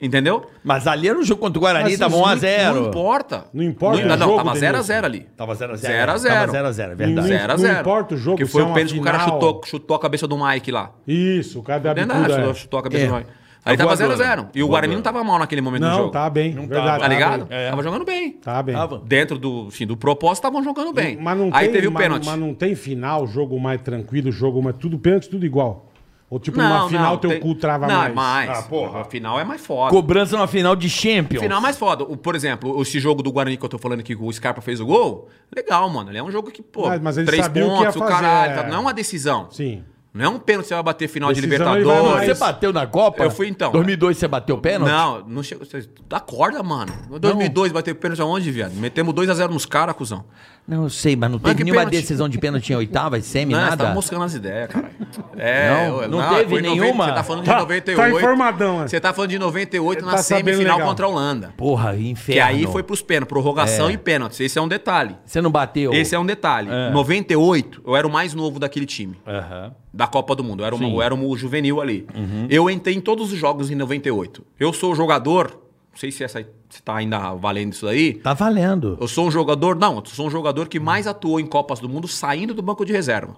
Speaker 5: Entendeu?
Speaker 4: Mas ali era um jogo contra o Guarani,
Speaker 3: Mas
Speaker 4: tava
Speaker 3: isso
Speaker 4: 1 a
Speaker 3: não-
Speaker 4: 0
Speaker 5: Não importa.
Speaker 3: Não importa
Speaker 5: Não,
Speaker 3: o
Speaker 5: não,
Speaker 3: jogo,
Speaker 5: tava 0x0
Speaker 3: Denilson.
Speaker 5: ali.
Speaker 4: Tava 0 a 0
Speaker 5: 0 a 0.
Speaker 4: Tava 0 a 0 verdade.
Speaker 5: Zero a
Speaker 3: Não
Speaker 5: zero.
Speaker 3: importa o jogo,
Speaker 5: Que
Speaker 3: se
Speaker 5: foi
Speaker 3: é
Speaker 5: o
Speaker 3: uma
Speaker 5: pênalti que o cara
Speaker 3: final.
Speaker 5: chutou, chutou a cabeça do Mike lá.
Speaker 3: Isso, o cara dá a
Speaker 5: Dentro da área,
Speaker 3: bicuda. é. né?
Speaker 5: chutou a cabeça
Speaker 4: É.
Speaker 5: do Mike. Aí
Speaker 4: É
Speaker 5: tava
Speaker 4: voadora.
Speaker 5: 0x0. E o Guarani não tava mal naquele momento do
Speaker 3: Não,
Speaker 5: jogo.
Speaker 3: tá bem. verdade,
Speaker 5: Tá ligado?
Speaker 3: bem.
Speaker 5: Tava jogando bem.
Speaker 3: Tá bem.
Speaker 4: Tava.
Speaker 5: Dentro do, enfim, do propósito, estavam jogando bem.
Speaker 3: Mas não
Speaker 5: Aí
Speaker 3: tem,
Speaker 5: teve o
Speaker 3: mas-
Speaker 5: pênalti.
Speaker 3: Mas não tem final, jogo mais tranquilo, jogo mais. Tudo pênalti, tudo igual. Ou tipo,
Speaker 5: Não,
Speaker 3: numa final
Speaker 5: não,
Speaker 3: teu
Speaker 5: tem-
Speaker 3: cu trava
Speaker 5: não,
Speaker 3: mais.
Speaker 5: é mais.
Speaker 3: Ah, porra.
Speaker 5: A final é mais foda.
Speaker 4: Cobrança na final de Champions.
Speaker 5: Final mais foda. O, por exemplo, esse jogo do Guarani que eu tô falando aqui, que o Scarpa fez o gol, legal, mano. Ele é um jogo que, pô,
Speaker 3: Mas- mas ele
Speaker 5: três
Speaker 3: sabia o que
Speaker 5: pontos,
Speaker 3: ia
Speaker 5: o
Speaker 3: fazer,
Speaker 5: caralho. tá?
Speaker 3: é.
Speaker 5: Não é uma decisão.
Speaker 3: Sim.
Speaker 5: Não é um pênalti que você vai bater final de
Speaker 3: Decisão, ele vai
Speaker 5: Libertadores.
Speaker 4: Você né, bateu na Copa?
Speaker 5: Eu fui, então.
Speaker 4: 2002 você bateu pênalti?
Speaker 5: Não, não chegou. Você acorda, mano. 2002 bateu pênalti aonde, viado? Metemos 2x0 nos caras, cuzão.
Speaker 4: Não, eu sei, mas não teve
Speaker 5: que
Speaker 4: nenhuma
Speaker 5: pênalti?
Speaker 4: decisão de pênalti em oitavas, semi,
Speaker 5: Não, você
Speaker 4: nada.
Speaker 5: tá moscando as ideias, cara. É,
Speaker 4: Não,
Speaker 5: eu-
Speaker 4: não teve
Speaker 5: foi em noventa-
Speaker 4: nenhuma?
Speaker 5: Você tá falando de
Speaker 3: Tá-
Speaker 5: 98.
Speaker 3: tá informadão, é.
Speaker 5: Você tá falando de 98 na
Speaker 3: Tá sabendo
Speaker 5: semifinal
Speaker 3: legal.
Speaker 5: contra a Holanda.
Speaker 4: Porra,
Speaker 5: Que
Speaker 4: inferno.
Speaker 5: aí foi pros pênaltis, prorrogação e pênaltis. Esse é um detalhe.
Speaker 4: Você não bateu?
Speaker 5: Esse é um detalhe. 98, eu era o mais novo daquele time.
Speaker 4: Aham.
Speaker 5: Da Copa do Mundo. Eu era, uma, eu era um juvenil ali. Eu entrei em todos os jogos em 98. Eu sou jogador. Não sei se, essa, se tá ainda valendo isso aí.
Speaker 4: Tá valendo.
Speaker 5: Eu sou um jogador. Não, eu sou um jogador que mais atuou em Copas do Mundo saindo do banco de reserva.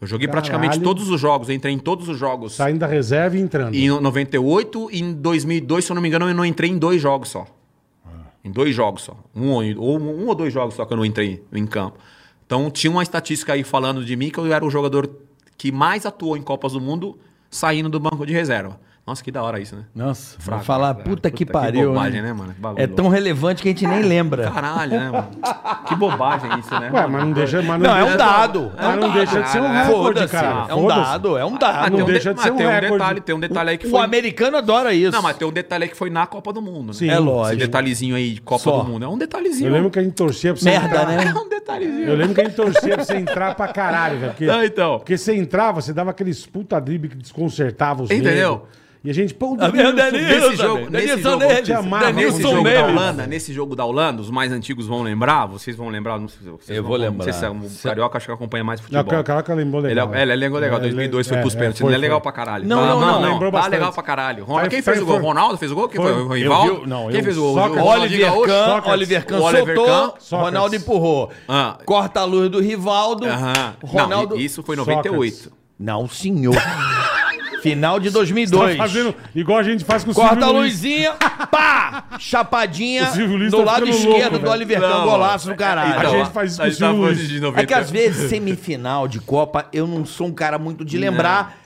Speaker 5: Eu joguei praticamente
Speaker 3: Caralho. Tá
Speaker 5: todos os jogos, eu entrei em todos os jogos.
Speaker 3: Saindo da reserva e entrando.
Speaker 5: Em 98 e em 2002, se eu não me engano, eu não entrei em dois jogos só.
Speaker 4: Ah.
Speaker 5: Em dois jogos só. Um ou, ou- um ou dois jogos só que eu não entrei em campo. Então tinha uma estatística aí falando de mim que eu era o jogador que mais atuou em Copas do Mundo saindo do banco de reserva. Nossa, que da hora isso, né?
Speaker 4: Nossa,
Speaker 5: Fraco,
Speaker 4: vou falar,
Speaker 5: cara.
Speaker 4: puta que pariu.
Speaker 5: bobagem, né, mano? Que bagulho
Speaker 4: É tão relevante que a gente nem lembra.
Speaker 5: Caralho, né, mano? Que bobagem isso, né?
Speaker 3: Ué, mas não deixa. Mas
Speaker 4: Não, é
Speaker 3: deixa-
Speaker 4: um dado.
Speaker 3: Mas não deixa de ser um
Speaker 5: Caralho.
Speaker 3: recorde,
Speaker 4: Foda-se.
Speaker 3: cara.
Speaker 4: É um
Speaker 3: Foda-se.
Speaker 4: dado, é um dado.
Speaker 5: Ah, tem
Speaker 3: não
Speaker 5: de-
Speaker 3: deixa de ser
Speaker 5: mas
Speaker 3: um
Speaker 5: tem
Speaker 3: recorde.
Speaker 5: detalhe, tem um detalhe aí que
Speaker 4: o
Speaker 5: foi.
Speaker 4: americano adora isso.
Speaker 5: Não, mas tem um detalhe aí que foi na Copa do Mundo, né?
Speaker 3: Sim.
Speaker 4: É
Speaker 5: Esse
Speaker 4: lógico.
Speaker 5: detalhezinho aí de Copa
Speaker 4: Só.
Speaker 5: do Mundo. É um
Speaker 3: Eu
Speaker 5: detalhezinho.
Speaker 3: lembro que a gente torcia pra você
Speaker 4: Merda,
Speaker 3: entrar.
Speaker 4: né?
Speaker 5: É um detalhezinho.
Speaker 3: Eu lembro que a gente torcia pra você entrar pra caralho, velho. Porque,
Speaker 5: Ah, então.
Speaker 3: porque você entrava, você dava aqueles puta drible que desconcertava os
Speaker 5: Entendeu? é
Speaker 3: negros. E E a gente, pô, o
Speaker 4: meu
Speaker 3: Danilo subiu.
Speaker 4: Danilo.
Speaker 5: Nesse jogo,
Speaker 4: também.
Speaker 5: nesse
Speaker 4: Denilson
Speaker 5: jogo,
Speaker 4: Neves,
Speaker 5: te amarra,
Speaker 3: Denilson
Speaker 5: nesse jogo da
Speaker 3: Neves.
Speaker 5: Holanda, nesse jogo da Holanda, os mais antigos vão lembrar, vocês vão lembrar, não sei, se vocês
Speaker 4: Eu
Speaker 5: não
Speaker 4: vou
Speaker 5: vão- Não sei se é,
Speaker 4: lembrar.
Speaker 5: o Carioca acho que acompanha mais
Speaker 3: Não,
Speaker 5: futebol.
Speaker 3: o cara- o Caraca lembrou
Speaker 5: Ele,
Speaker 3: legal.
Speaker 5: é, ele lembrou legal,
Speaker 3: É,
Speaker 5: 2002 foi
Speaker 3: é,
Speaker 5: pros
Speaker 3: é,
Speaker 5: pênaltis,
Speaker 3: foi,
Speaker 5: ele é legal
Speaker 3: foi.
Speaker 5: pra caralho.
Speaker 4: Não,
Speaker 5: Tá-
Speaker 4: não, não,
Speaker 3: lembrou
Speaker 5: Tá
Speaker 3: bastante.
Speaker 5: legal pra caralho. Ron-
Speaker 3: Foi-
Speaker 5: Quem fez o gol?
Speaker 3: foi-
Speaker 5: Ronaldo fez o gol? Quem foi? O
Speaker 3: eu vi
Speaker 5: Rivaldo?
Speaker 3: o- não,
Speaker 5: Quem
Speaker 3: eu-
Speaker 5: fez o gol?
Speaker 3: Sócrates.
Speaker 5: O
Speaker 4: Oliver
Speaker 5: Ronaldinho
Speaker 4: Kahn,
Speaker 3: Sócrates.
Speaker 4: Oliver Kahn
Speaker 5: O Oliver
Speaker 4: soltou,
Speaker 5: Kahn,
Speaker 3: Sócrates.
Speaker 4: Ronaldo empurrou.
Speaker 5: Ah.
Speaker 4: Corta a luz do Rivaldo.
Speaker 5: Aham.
Speaker 4: Ronaldo.
Speaker 5: Não, isso foi em 98.
Speaker 4: Não, senhor. Final de 2002.
Speaker 3: Tá fazendo igual a gente faz com o
Speaker 4: Corta a
Speaker 3: Silvio Luiz.
Speaker 4: luzinha, pá! Chapadinha
Speaker 3: O Silvio Luiz
Speaker 4: do
Speaker 3: tá
Speaker 4: lado
Speaker 3: ficando
Speaker 4: esquerdo
Speaker 3: louco,
Speaker 4: do
Speaker 3: velho.
Speaker 4: Oliver Kahn,
Speaker 5: Não,
Speaker 4: golaço do caralho.
Speaker 3: então,
Speaker 4: Ó,
Speaker 3: a gente faz isso com
Speaker 5: a
Speaker 3: o
Speaker 5: gente tava
Speaker 3: Silvio
Speaker 5: falando
Speaker 3: Luiz.
Speaker 5: de
Speaker 4: É que
Speaker 5: 90.
Speaker 4: às vezes, semifinal de Copa, eu não sou um cara muito de lembrar.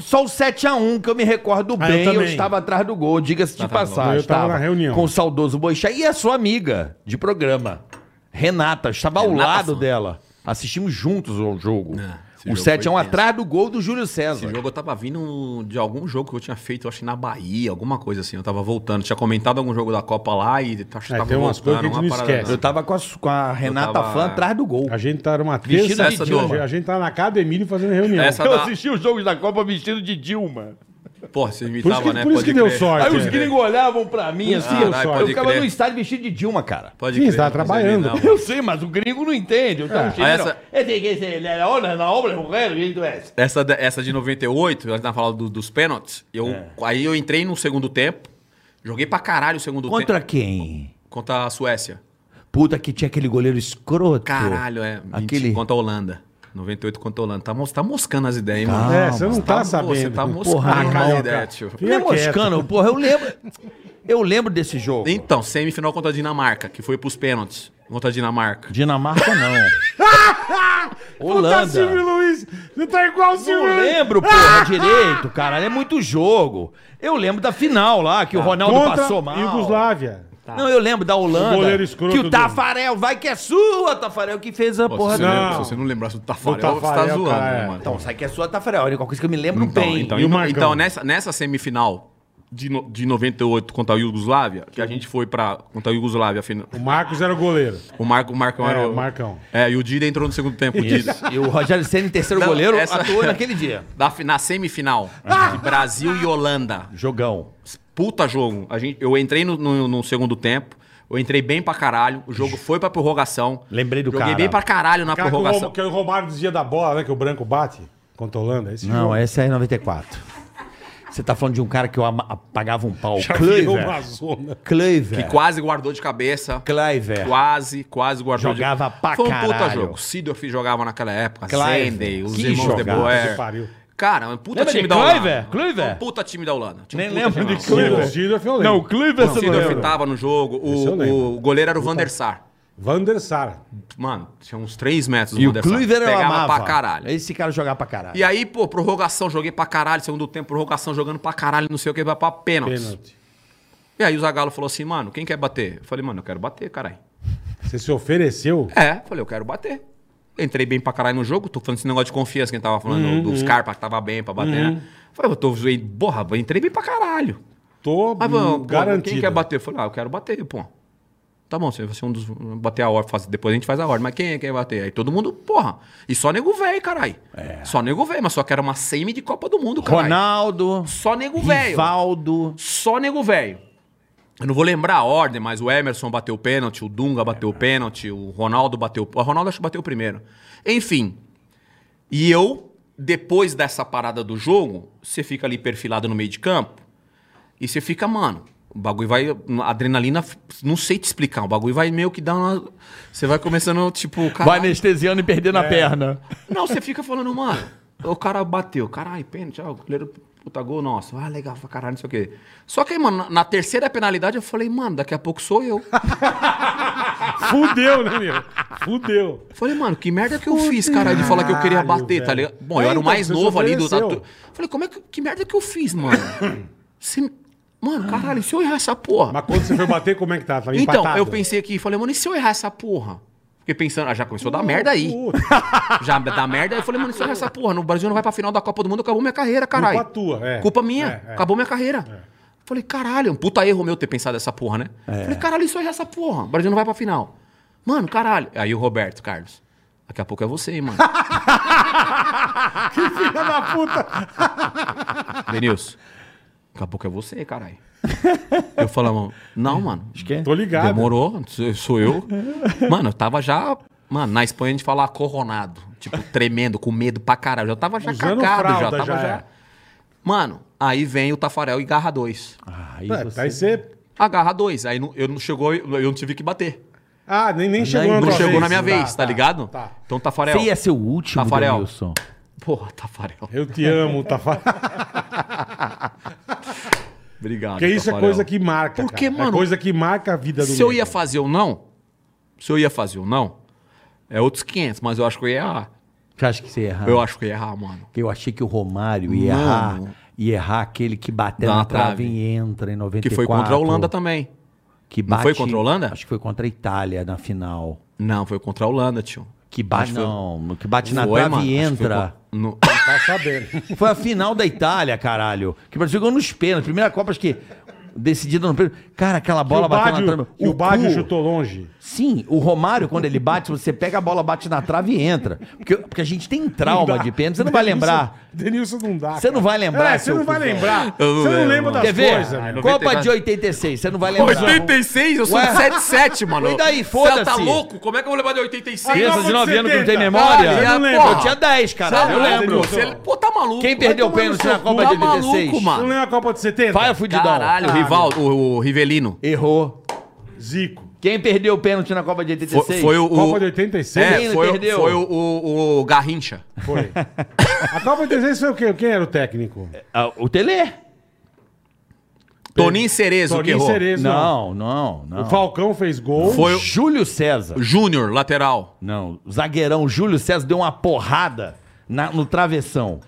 Speaker 4: Só o 7x1 que eu me recordo
Speaker 3: Ah, eu
Speaker 4: bem, eu,
Speaker 3: também.
Speaker 4: estava atrás do gol, diga-se de
Speaker 5: Tá, tá bom.
Speaker 4: passagem.
Speaker 3: Eu tava na reunião.
Speaker 4: Com o saudoso Boixá e a sua amiga de programa, Renata. Estava ao
Speaker 5: Renata
Speaker 4: lado
Speaker 5: Fã.
Speaker 4: dela. Assistimos juntos o jogo.
Speaker 5: esse
Speaker 4: O
Speaker 5: jogo
Speaker 4: 7x1
Speaker 5: foi
Speaker 4: atrás do gol do Júlio
Speaker 5: Esse
Speaker 4: César.
Speaker 5: jogo eu tava vindo de algum jogo que eu tinha feito, eu acho que na Bahia, alguma coisa assim. Eu tava voltando. Tinha comentado algum jogo da Copa lá e acho que
Speaker 3: É,
Speaker 5: tava
Speaker 3: tem umas coisas que a gente não
Speaker 5: uma parada
Speaker 3: esquece.
Speaker 4: Eu tava com a, com a Renata
Speaker 5: tava-
Speaker 4: Flan atrás do gol.
Speaker 3: A gente tá numa terça.
Speaker 4: Vestido
Speaker 5: de
Speaker 3: a gente-
Speaker 5: Dilma.
Speaker 3: A gente tá na academia fazendo reunião.
Speaker 5: Essa
Speaker 6: Eu
Speaker 5: da...
Speaker 6: assisti os jogos da Copa vestido de Dilma.
Speaker 5: Porra, você
Speaker 3: Por
Speaker 5: imitava,
Speaker 3: isso que,
Speaker 5: né?
Speaker 3: por isso
Speaker 5: Pode
Speaker 3: que deu
Speaker 5: crer.
Speaker 3: sorte.
Speaker 4: Aí os
Speaker 3: é.
Speaker 4: gringos olhavam pra mim assim,
Speaker 5: Caralho,
Speaker 4: eu, só-
Speaker 5: pode
Speaker 4: eu ficava
Speaker 5: crer.
Speaker 4: no estádio vestido de Dilma, cara.
Speaker 5: Pode
Speaker 3: Sim,
Speaker 5: crer.
Speaker 3: você tava trabalhando.
Speaker 5: Não,
Speaker 6: Eu sei, mas o gringo não entende. Eu tava
Speaker 5: Ah,
Speaker 6: chegando.
Speaker 5: essa-
Speaker 6: Eu tenho que ser, né, na obra, na obra, mulher, jeito é.
Speaker 5: Essa, da- essa de 98, ela tava falando do- dos pênaltis. Eu,
Speaker 4: É.
Speaker 5: Aí eu entrei no segundo tempo, joguei pra caralho o segundo
Speaker 4: Contra
Speaker 5: tempo.
Speaker 4: quem?
Speaker 5: Contra a Suécia.
Speaker 4: Puta que tinha aquele goleiro escroto.
Speaker 5: Caralho, é. mentira,
Speaker 4: Aquele-
Speaker 5: Contra a Holanda. 98 contra a Holanda. Tá, mos- tá moscando as ideias, hein, mano?
Speaker 3: É, você não tá,
Speaker 5: pô,
Speaker 3: sabendo.
Speaker 5: Você Ah, tá
Speaker 4: Porra,
Speaker 5: moscando as
Speaker 3: Carioca.
Speaker 5: ideias, tio.
Speaker 4: Não é
Speaker 3: Fica quieto.
Speaker 4: moscando, porra, eu lembro. Eu lembro desse jogo.
Speaker 5: Então, semifinal contra a Dinamarca, que foi pros pênaltis contra a Dinamarca.
Speaker 4: Dinamarca não.
Speaker 3: Puta, tá Silvio
Speaker 4: Holanda.
Speaker 3: Luiz. Você tá igual o Silvio
Speaker 4: Não
Speaker 3: Luiz.
Speaker 4: lembro, porra, direito, cara. É muito jogo. Eu lembro da final lá,
Speaker 5: Tá.
Speaker 4: que o Ronaldo
Speaker 3: Contra
Speaker 4: passou mal.
Speaker 3: Iugoslávia.
Speaker 4: Não, eu lembro da Holanda.
Speaker 3: O goleiro escroto
Speaker 4: que o
Speaker 3: do-
Speaker 4: Tafarel vai que é sua, Tafarel, que fez a
Speaker 5: Pô,
Speaker 4: porra
Speaker 5: se, você
Speaker 4: da-
Speaker 5: lembra-
Speaker 3: não.
Speaker 5: se você não lembrasse do Tafarel,
Speaker 3: Do Tafarel,
Speaker 5: você tá zoando,
Speaker 3: cara,
Speaker 5: né,
Speaker 3: é.
Speaker 5: mano.
Speaker 4: Então, sai que é sua Tafarel. Olha, qualquer coisa que eu me lembro
Speaker 5: Então,
Speaker 4: bem.
Speaker 5: então,
Speaker 3: E o
Speaker 5: então,
Speaker 3: Marcão?
Speaker 5: então, nessa, nessa semifinal de, no- de 98 contra a Iugoslávia, que a gente foi pra. contra a Iugoslávia, afinal,
Speaker 3: O Marcos era o goleiro.
Speaker 5: o, Marco, o Marcão
Speaker 3: É,
Speaker 5: era.
Speaker 3: o Marcão.
Speaker 5: É, e o Dida entrou no segundo tempo. O Dida.
Speaker 4: E o Rogério Senna, terceiro
Speaker 5: Não,
Speaker 4: goleiro,
Speaker 5: essa-
Speaker 4: atuou naquele dia.
Speaker 5: Da fi- na semifinal, de Brasil e Holanda.
Speaker 4: Jogão.
Speaker 5: Puta jogo. A gente, eu entrei no, no- no segundo tempo. Eu entrei bem pra caralho. O jogo foi pra prorrogação.
Speaker 4: Lembrei do
Speaker 5: Joguei
Speaker 4: cara.
Speaker 5: bem pra caralho na
Speaker 3: Cara, que,
Speaker 5: prorrogação.
Speaker 3: rouba- que roubaram desvia da bola, né? Que o branco bate contra a Holanda. Esse
Speaker 4: Não,
Speaker 3: jogo.
Speaker 4: essa é 94. Você tá falando de um cara que eu ama- apagava um pau.
Speaker 3: Já virou uma
Speaker 4: Kluiver.
Speaker 3: zona.
Speaker 5: Que
Speaker 4: Kluiver.
Speaker 5: quase guardou de cabeça.
Speaker 4: Kluiver.
Speaker 5: Quase, quase guardou
Speaker 4: É. Jogava
Speaker 5: de
Speaker 4: pra
Speaker 5: Foi um puta
Speaker 4: caralho.
Speaker 5: jogo. Sidorf jogava naquela época.
Speaker 4: Kluivert.
Speaker 5: Sendey, os
Speaker 4: Que
Speaker 5: irmãos de
Speaker 4: jogada.
Speaker 3: Que pariu.
Speaker 5: Boer. Cara, um puta
Speaker 6: Lembra
Speaker 5: time
Speaker 6: de
Speaker 5: da
Speaker 6: Kluivert?
Speaker 5: Holanda.
Speaker 6: Kluivert?
Speaker 5: Um puta time da Holanda. Tinha
Speaker 4: Nem
Speaker 5: um puta
Speaker 4: lembro
Speaker 5: time
Speaker 4: de
Speaker 5: da Holanda.
Speaker 3: O é Sidorf eu lembro.
Speaker 6: Não, o Kluivert
Speaker 5: O
Speaker 6: você não
Speaker 5: Sidorf
Speaker 6: lembra.
Speaker 5: tava no jogo.
Speaker 3: Esse eu lembro.
Speaker 5: O, o goleiro era o Van der Sar.
Speaker 3: Van der Sar.
Speaker 5: Mano, tinha uns 3 metros
Speaker 4: E o
Speaker 5: Van der Sar.
Speaker 4: Kluiver eu
Speaker 5: Pegava
Speaker 4: amava.
Speaker 5: pra caralho.
Speaker 4: Esse cara jogava pra caralho.
Speaker 5: E aí, pô, prorrogação, joguei pra caralho. Segundo tempo, prorrogação, jogando pra caralho, não sei o que, vai pra pênalti.
Speaker 3: Pênalti.
Speaker 5: E aí o Zagallo falou assim, mano, quem quer bater? Eu falei, mano, eu quero bater, caralho.
Speaker 3: Você se ofereceu?
Speaker 5: É, falei, eu quero bater. Entrei bem pra caralho no jogo, tô falando esse negócio de confiança, quem tava falando
Speaker 4: Uhum.
Speaker 5: do Scarpa, que tava bem pra bater, né? Falei, eu tô zoei, porra, entrei bem pra caralho.
Speaker 3: Tô
Speaker 5: Mas, pô,
Speaker 4: Uhum,
Speaker 3: hum,
Speaker 5: pô,
Speaker 3: garantido.
Speaker 5: Ah, quem quer bater? Eu falei, ah, eu quero bater, pô. Tá bom, você vai ser um dos. Bater a ordem, faz- depois a gente faz a ordem, mas quem é que quer bater? Aí todo mundo, porra. E só nego velho, caralho. Só nego velho, mas só que era uma semi de Copa do Mundo, caralho.
Speaker 4: É. Ronaldo,
Speaker 5: Só nego velho.
Speaker 4: Rivaldo.
Speaker 5: Só nego velho. Eu não vou lembrar a ordem, mas o Emerson bateu o pênalti, o Dunga bateu o pênalti, o Ronaldo bateu. O Ronaldo acho que bateu o primeiro. Enfim. E eu, depois dessa parada do jogo, você fica ali perfilado no meio de campo e você fica, mano. O bagulho vai. A adrenalina, não sei te explicar. O bagulho vai meio que dar uma. Você vai começando, tipo, cara.
Speaker 4: Vai anestesiando e perdendo a perna.
Speaker 5: Não, você fica falando, mano, o cara bateu, caralho, pênalti, ah, o goleiro puta gol, nossa, ah, legal pra caralho, não sei o quê. Só que aí, mano, na- na terceira penalidade eu falei, mano, daqui a pouco sou eu.
Speaker 3: Fudeu, né, meu? Fudeu.
Speaker 5: Falei, mano, que merda que eu fiz, cara, de falar que eu queria
Speaker 3: Caralho,
Speaker 5: bater, tá
Speaker 3: velho.
Speaker 5: ligado? Bom, eu
Speaker 3: É,
Speaker 5: era o
Speaker 3: então,
Speaker 5: mais
Speaker 3: você
Speaker 5: novo ali do.
Speaker 3: ofereceu.
Speaker 5: da tu- Falei, como é que. Que merda que eu fiz, mano? Se- Mano, caralho, se eu errar essa porra.
Speaker 3: Mas quando você foi bater, como é que tá? Tava
Speaker 5: então,
Speaker 3: empatado.
Speaker 5: eu pensei aqui, falei, mano, e se eu errar essa porra? Fiquei pensando, ah, já começou a dar merda aí.
Speaker 3: Hum, Puta,
Speaker 5: Já dá merda. Aí eu falei, mano, isso é essa porra. No Brasil não vai pra final da Copa do Mundo, acabou minha carreira, caralho.
Speaker 3: Culpa tua, é.
Speaker 5: Culpa minha,
Speaker 3: É, é.
Speaker 5: acabou minha carreira. Falei, caralho, um puta erro meu ter pensado essa porra, né? Falei, caralho, isso é essa porra. O Brasil não vai pra final. Mano, caralho. Aí o Roberto, Carlos. Daqui a pouco é você, hein, mano.
Speaker 3: Filha da puta.
Speaker 5: Denilson. Daqui a pouco é você, caralho. eu falava, não, mano.
Speaker 3: Tô ligado.
Speaker 5: Demorou, sou- sou eu. Mano, eu tava já. Mano, na Espanha a gente fala corronado. Tipo, tremendo, com medo pra caralho. Eu tava já
Speaker 3: Usando
Speaker 5: cagado, já.
Speaker 3: fralda
Speaker 5: Tava
Speaker 3: já
Speaker 5: já.
Speaker 3: é.
Speaker 5: Mano, aí vem o Tafarel e garra dois.
Speaker 4: Aí
Speaker 3: Ué,
Speaker 5: tá
Speaker 4: você-
Speaker 3: Tá, Aí você.
Speaker 5: Agarra dois. Aí não- eu não chegou, eu não tive que bater.
Speaker 3: Ah, nem, nem chegou
Speaker 5: não
Speaker 3: tua
Speaker 5: chegou na minha vez, tá, assim. ligado?
Speaker 3: Tá.
Speaker 5: Então, Tafarel.
Speaker 4: Você ia ser o último,
Speaker 5: Tafarel.
Speaker 4: Denilson.
Speaker 5: Porra, Tafarel.
Speaker 3: Eu te amo, tá Tafarel.
Speaker 5: Obrigado.
Speaker 3: Porque isso é
Speaker 5: Tafarel.
Speaker 3: coisa que marca.
Speaker 5: Porque,
Speaker 3: cara.
Speaker 5: mano,
Speaker 3: É coisa que marca a vida do
Speaker 5: Se eu
Speaker 3: negro.
Speaker 5: ia fazer ou não, se eu ia fazer ou não, é outros 500, mas eu acho que eu ia errar.
Speaker 4: Você acha que você ia errar?
Speaker 5: Eu acho que eu ia errar, mano.
Speaker 4: Eu achei que o Romário ia
Speaker 5: Mano.
Speaker 4: errar. Ia errar aquele que bateu
Speaker 5: Dá
Speaker 4: na
Speaker 5: na
Speaker 4: trave
Speaker 5: trave.
Speaker 4: e entra em 94.
Speaker 5: Que foi contra a Holanda também.
Speaker 4: Que
Speaker 5: Não foi contra a Holanda?
Speaker 4: Acho que foi contra a Itália na final.
Speaker 5: Não, foi contra a Holanda, tio.
Speaker 4: Que bate,
Speaker 5: Acho que
Speaker 4: não, que bate na
Speaker 5: Ah, Foi,
Speaker 4: trave
Speaker 5: mano,
Speaker 4: e
Speaker 5: acho que foi
Speaker 4: entra.
Speaker 5: co- no-
Speaker 3: Tá sabendo.
Speaker 4: Foi, a final da Itália, caralho. Que o Brasil ganhou nos pênaltis. Primeira Copa, acho que decidida no pênalti. Cara, aquela bola
Speaker 3: o Bádio,
Speaker 4: bateu na trave.
Speaker 3: que o Bádio
Speaker 4: cu-
Speaker 3: chutou longe.
Speaker 4: Sim, o Romário, quando ele bate, você pega a bola, bate na trave e entra. Porque, porque a gente tem trauma de pênalti, você não vai
Speaker 3: Denilson-
Speaker 4: lembrar.
Speaker 3: Denilson não dá.
Speaker 4: Você não
Speaker 3: cara.
Speaker 4: vai lembrar,
Speaker 3: É, você
Speaker 4: seu
Speaker 3: não vai
Speaker 4: cuzão.
Speaker 3: lembrar. Você
Speaker 5: Eu não
Speaker 3: não
Speaker 5: lembro,
Speaker 3: lembra
Speaker 5: não.
Speaker 3: das
Speaker 4: Quer ver?
Speaker 3: coisas,
Speaker 5: Ah,
Speaker 3: meu.
Speaker 5: não-
Speaker 4: Copa
Speaker 5: 94.
Speaker 4: de 86, você não vai lembrar.
Speaker 5: 86? Eu sou
Speaker 4: Ué?
Speaker 5: de 77, mano.
Speaker 4: E daí,
Speaker 5: Você tá
Speaker 4: foda-se.
Speaker 5: louco? Como é que eu vou levar de 86?
Speaker 3: Aí,
Speaker 4: Criança de 9 anos que não tem
Speaker 3: 70.
Speaker 4: memória?
Speaker 5: Olha,
Speaker 4: eu,
Speaker 5: porra.
Speaker 4: tinha 10, caralho. Eu
Speaker 5: Não,
Speaker 4: lembro.
Speaker 5: lembro. Você- Pô, tá maluco.
Speaker 4: Quem perdeu o
Speaker 3: tomar no
Speaker 4: pênalti na
Speaker 3: seu
Speaker 4: Copa
Speaker 5: cu.
Speaker 4: de
Speaker 5: Tá maluco,
Speaker 4: 86?
Speaker 5: mano.
Speaker 3: Você não lembra a Copa de 70?
Speaker 4: Vai, fudidão.
Speaker 5: Caralho, o rival, o, o Rivelino.
Speaker 4: Errou.
Speaker 3: Zico.
Speaker 4: Quem perdeu o pênalti na Copa de
Speaker 5: Foi,
Speaker 4: 86?
Speaker 5: foi o, o-
Speaker 3: Copa de 86?
Speaker 5: É,
Speaker 4: Ele
Speaker 5: foi, o-
Speaker 4: perdeu.
Speaker 5: foi o, o- o Garrincha.
Speaker 3: Foi. A Copa de 86 foi o quê? Quem era o técnico?
Speaker 4: Ah, o Tele.
Speaker 5: Toninho Cerezo que errou.
Speaker 3: Cerezo. não.
Speaker 4: Não, não, não.
Speaker 3: O Falcão fez gol.
Speaker 5: Foi o
Speaker 4: Júlio César.
Speaker 5: Júnior, lateral.
Speaker 4: Não, o zagueirão Júlio César deu uma porrada na- no travessão.